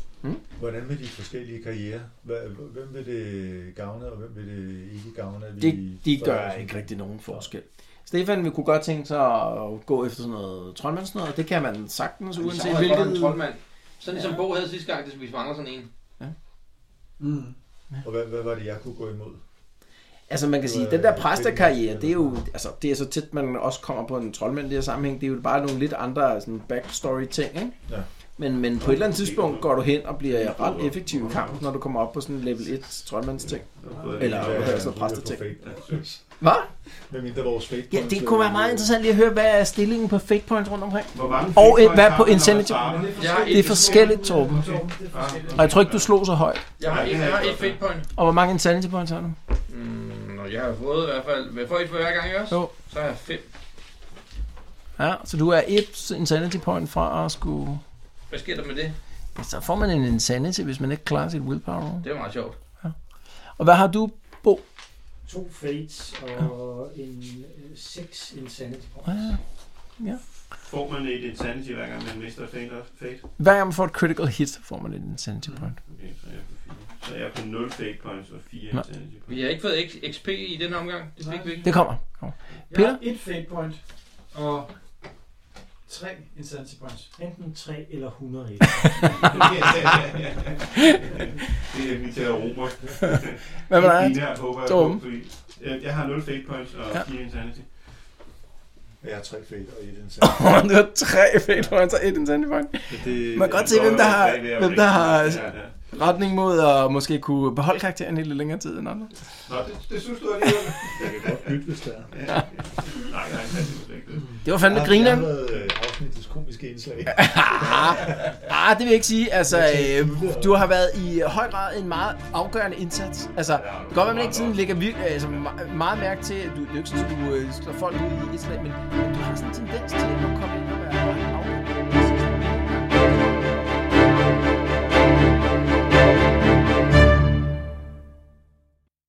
[SPEAKER 9] Hvordan med de forskellige karrierer? Hvad- Hvem vil det gavne, og hvem vil det ikke gavne? at vi
[SPEAKER 2] Det, de gør
[SPEAKER 9] forhøjer os?
[SPEAKER 2] ikke rigtig nogen forskel. Stefan vi kunne godt tænke sig at gå efter sådan noget troldmand sådan noget. Det kan man sagtens,
[SPEAKER 15] Vi
[SPEAKER 2] uanset
[SPEAKER 15] savner godt nok
[SPEAKER 2] hvilket...
[SPEAKER 15] en troldmand. Sådan ligesom
[SPEAKER 2] Ja.
[SPEAKER 15] Bo havde sidste gang, det vi mangler sådan en.
[SPEAKER 9] Mm. Og hvad, hvad var det, jeg kunne gå imod?
[SPEAKER 2] Altså man kan sige, den der præstekarriere, det er jo altså, det er så tæt, man også kommer på en troldmand i det her sammenhæng. Det er jo bare nogle lidt andre sådan backstory ting, ikke?
[SPEAKER 9] Ja.
[SPEAKER 2] Men, men på et eller andet tidspunkt går du hen og bliver ret effektiv i kampen, når du kommer op på sådan en level 1 troldmands ting. Eller hvad hedder sådan præste ting. Hvad?
[SPEAKER 9] Hvad mindre vores fate
[SPEAKER 2] Ja, det kunne være meget interessant lige at høre, hvad er stillingen på fake points rundt omkring?
[SPEAKER 4] Hvor mange fake
[SPEAKER 2] og et,
[SPEAKER 4] points
[SPEAKER 2] hvad
[SPEAKER 4] har
[SPEAKER 2] på
[SPEAKER 4] man, når man
[SPEAKER 2] insanity?
[SPEAKER 4] starter?
[SPEAKER 2] Det er forskelligt, Torben. Og jeg tror ikke, du slog så højt.
[SPEAKER 15] Jeg har, et, jeg har et fake point.
[SPEAKER 2] Og hvor mange insanity points har du?
[SPEAKER 15] Mm, Nå, jeg har fået i hvert fald... Hvad får I for hver gang, ikke også?
[SPEAKER 2] Jo.
[SPEAKER 15] Så har jeg fem.
[SPEAKER 2] Ja, så du er et insanity point fra at skulle...
[SPEAKER 15] Hvad sker der med det?
[SPEAKER 2] Så får man en insanity, hvis man ikke klarer sit willpower. roll.
[SPEAKER 15] Det er meget sjovt.
[SPEAKER 2] Og hvad har du, Bo?
[SPEAKER 16] To fates og en øh, seks insanity points.
[SPEAKER 2] Ja. Ja.
[SPEAKER 4] Får man et insanity hver gang, man mister et fate? fate?
[SPEAKER 2] Hver gang man får et critical hit, får man et insanity point.
[SPEAKER 4] Okay, så er jeg på fire. Så er jeg på 0 fate points og 4
[SPEAKER 2] Nej.
[SPEAKER 4] insanity points.
[SPEAKER 15] Vi har ikke fået X- XP i den omgang. Det fik vi ikke.
[SPEAKER 2] Det kommer. kommer.
[SPEAKER 31] Jeg
[SPEAKER 2] Peter?
[SPEAKER 31] har et fate point og tre insanity points.
[SPEAKER 16] Enten 3 eller 100
[SPEAKER 4] Det er vi til at robe.
[SPEAKER 2] [LAUGHS] Hvad med dig? [LAUGHS]
[SPEAKER 4] Jeg håber, jeg,
[SPEAKER 2] Torben?
[SPEAKER 4] på, fordi, øh, jeg har 0 fate points og
[SPEAKER 2] Ja.
[SPEAKER 4] 4 insanity.
[SPEAKER 9] Jeg har tre fate og et insanity.
[SPEAKER 2] Åh, du har tre fake points og altså et insanity point.
[SPEAKER 9] det-
[SPEAKER 2] Man kan godt se, hvem der har, hvem der har retning mod at måske kunne beholde karakteren i lidt længere tid end andre.
[SPEAKER 4] Nå, det, det synes du alligevel.
[SPEAKER 9] Jeg kan godt bytte, hvis det er.
[SPEAKER 4] Ja. Nej, nej, nej, det er ikke det.
[SPEAKER 2] Det var fandme
[SPEAKER 9] Jeg har
[SPEAKER 2] grineren.
[SPEAKER 9] fjernet, øh, afsnittets komiske indslag.
[SPEAKER 2] Ah, det vil jeg ikke sige. Altså, øh, du har været i høj grad en meget afgørende indsats. Altså, det kan godt være, man ikke sådan lægger virkelig, altså, me- meget mærke til, at du, det er jo ikke sådan, at du øh, slår folk ud i et slag, men du har sådan en tendens til at komme ind og være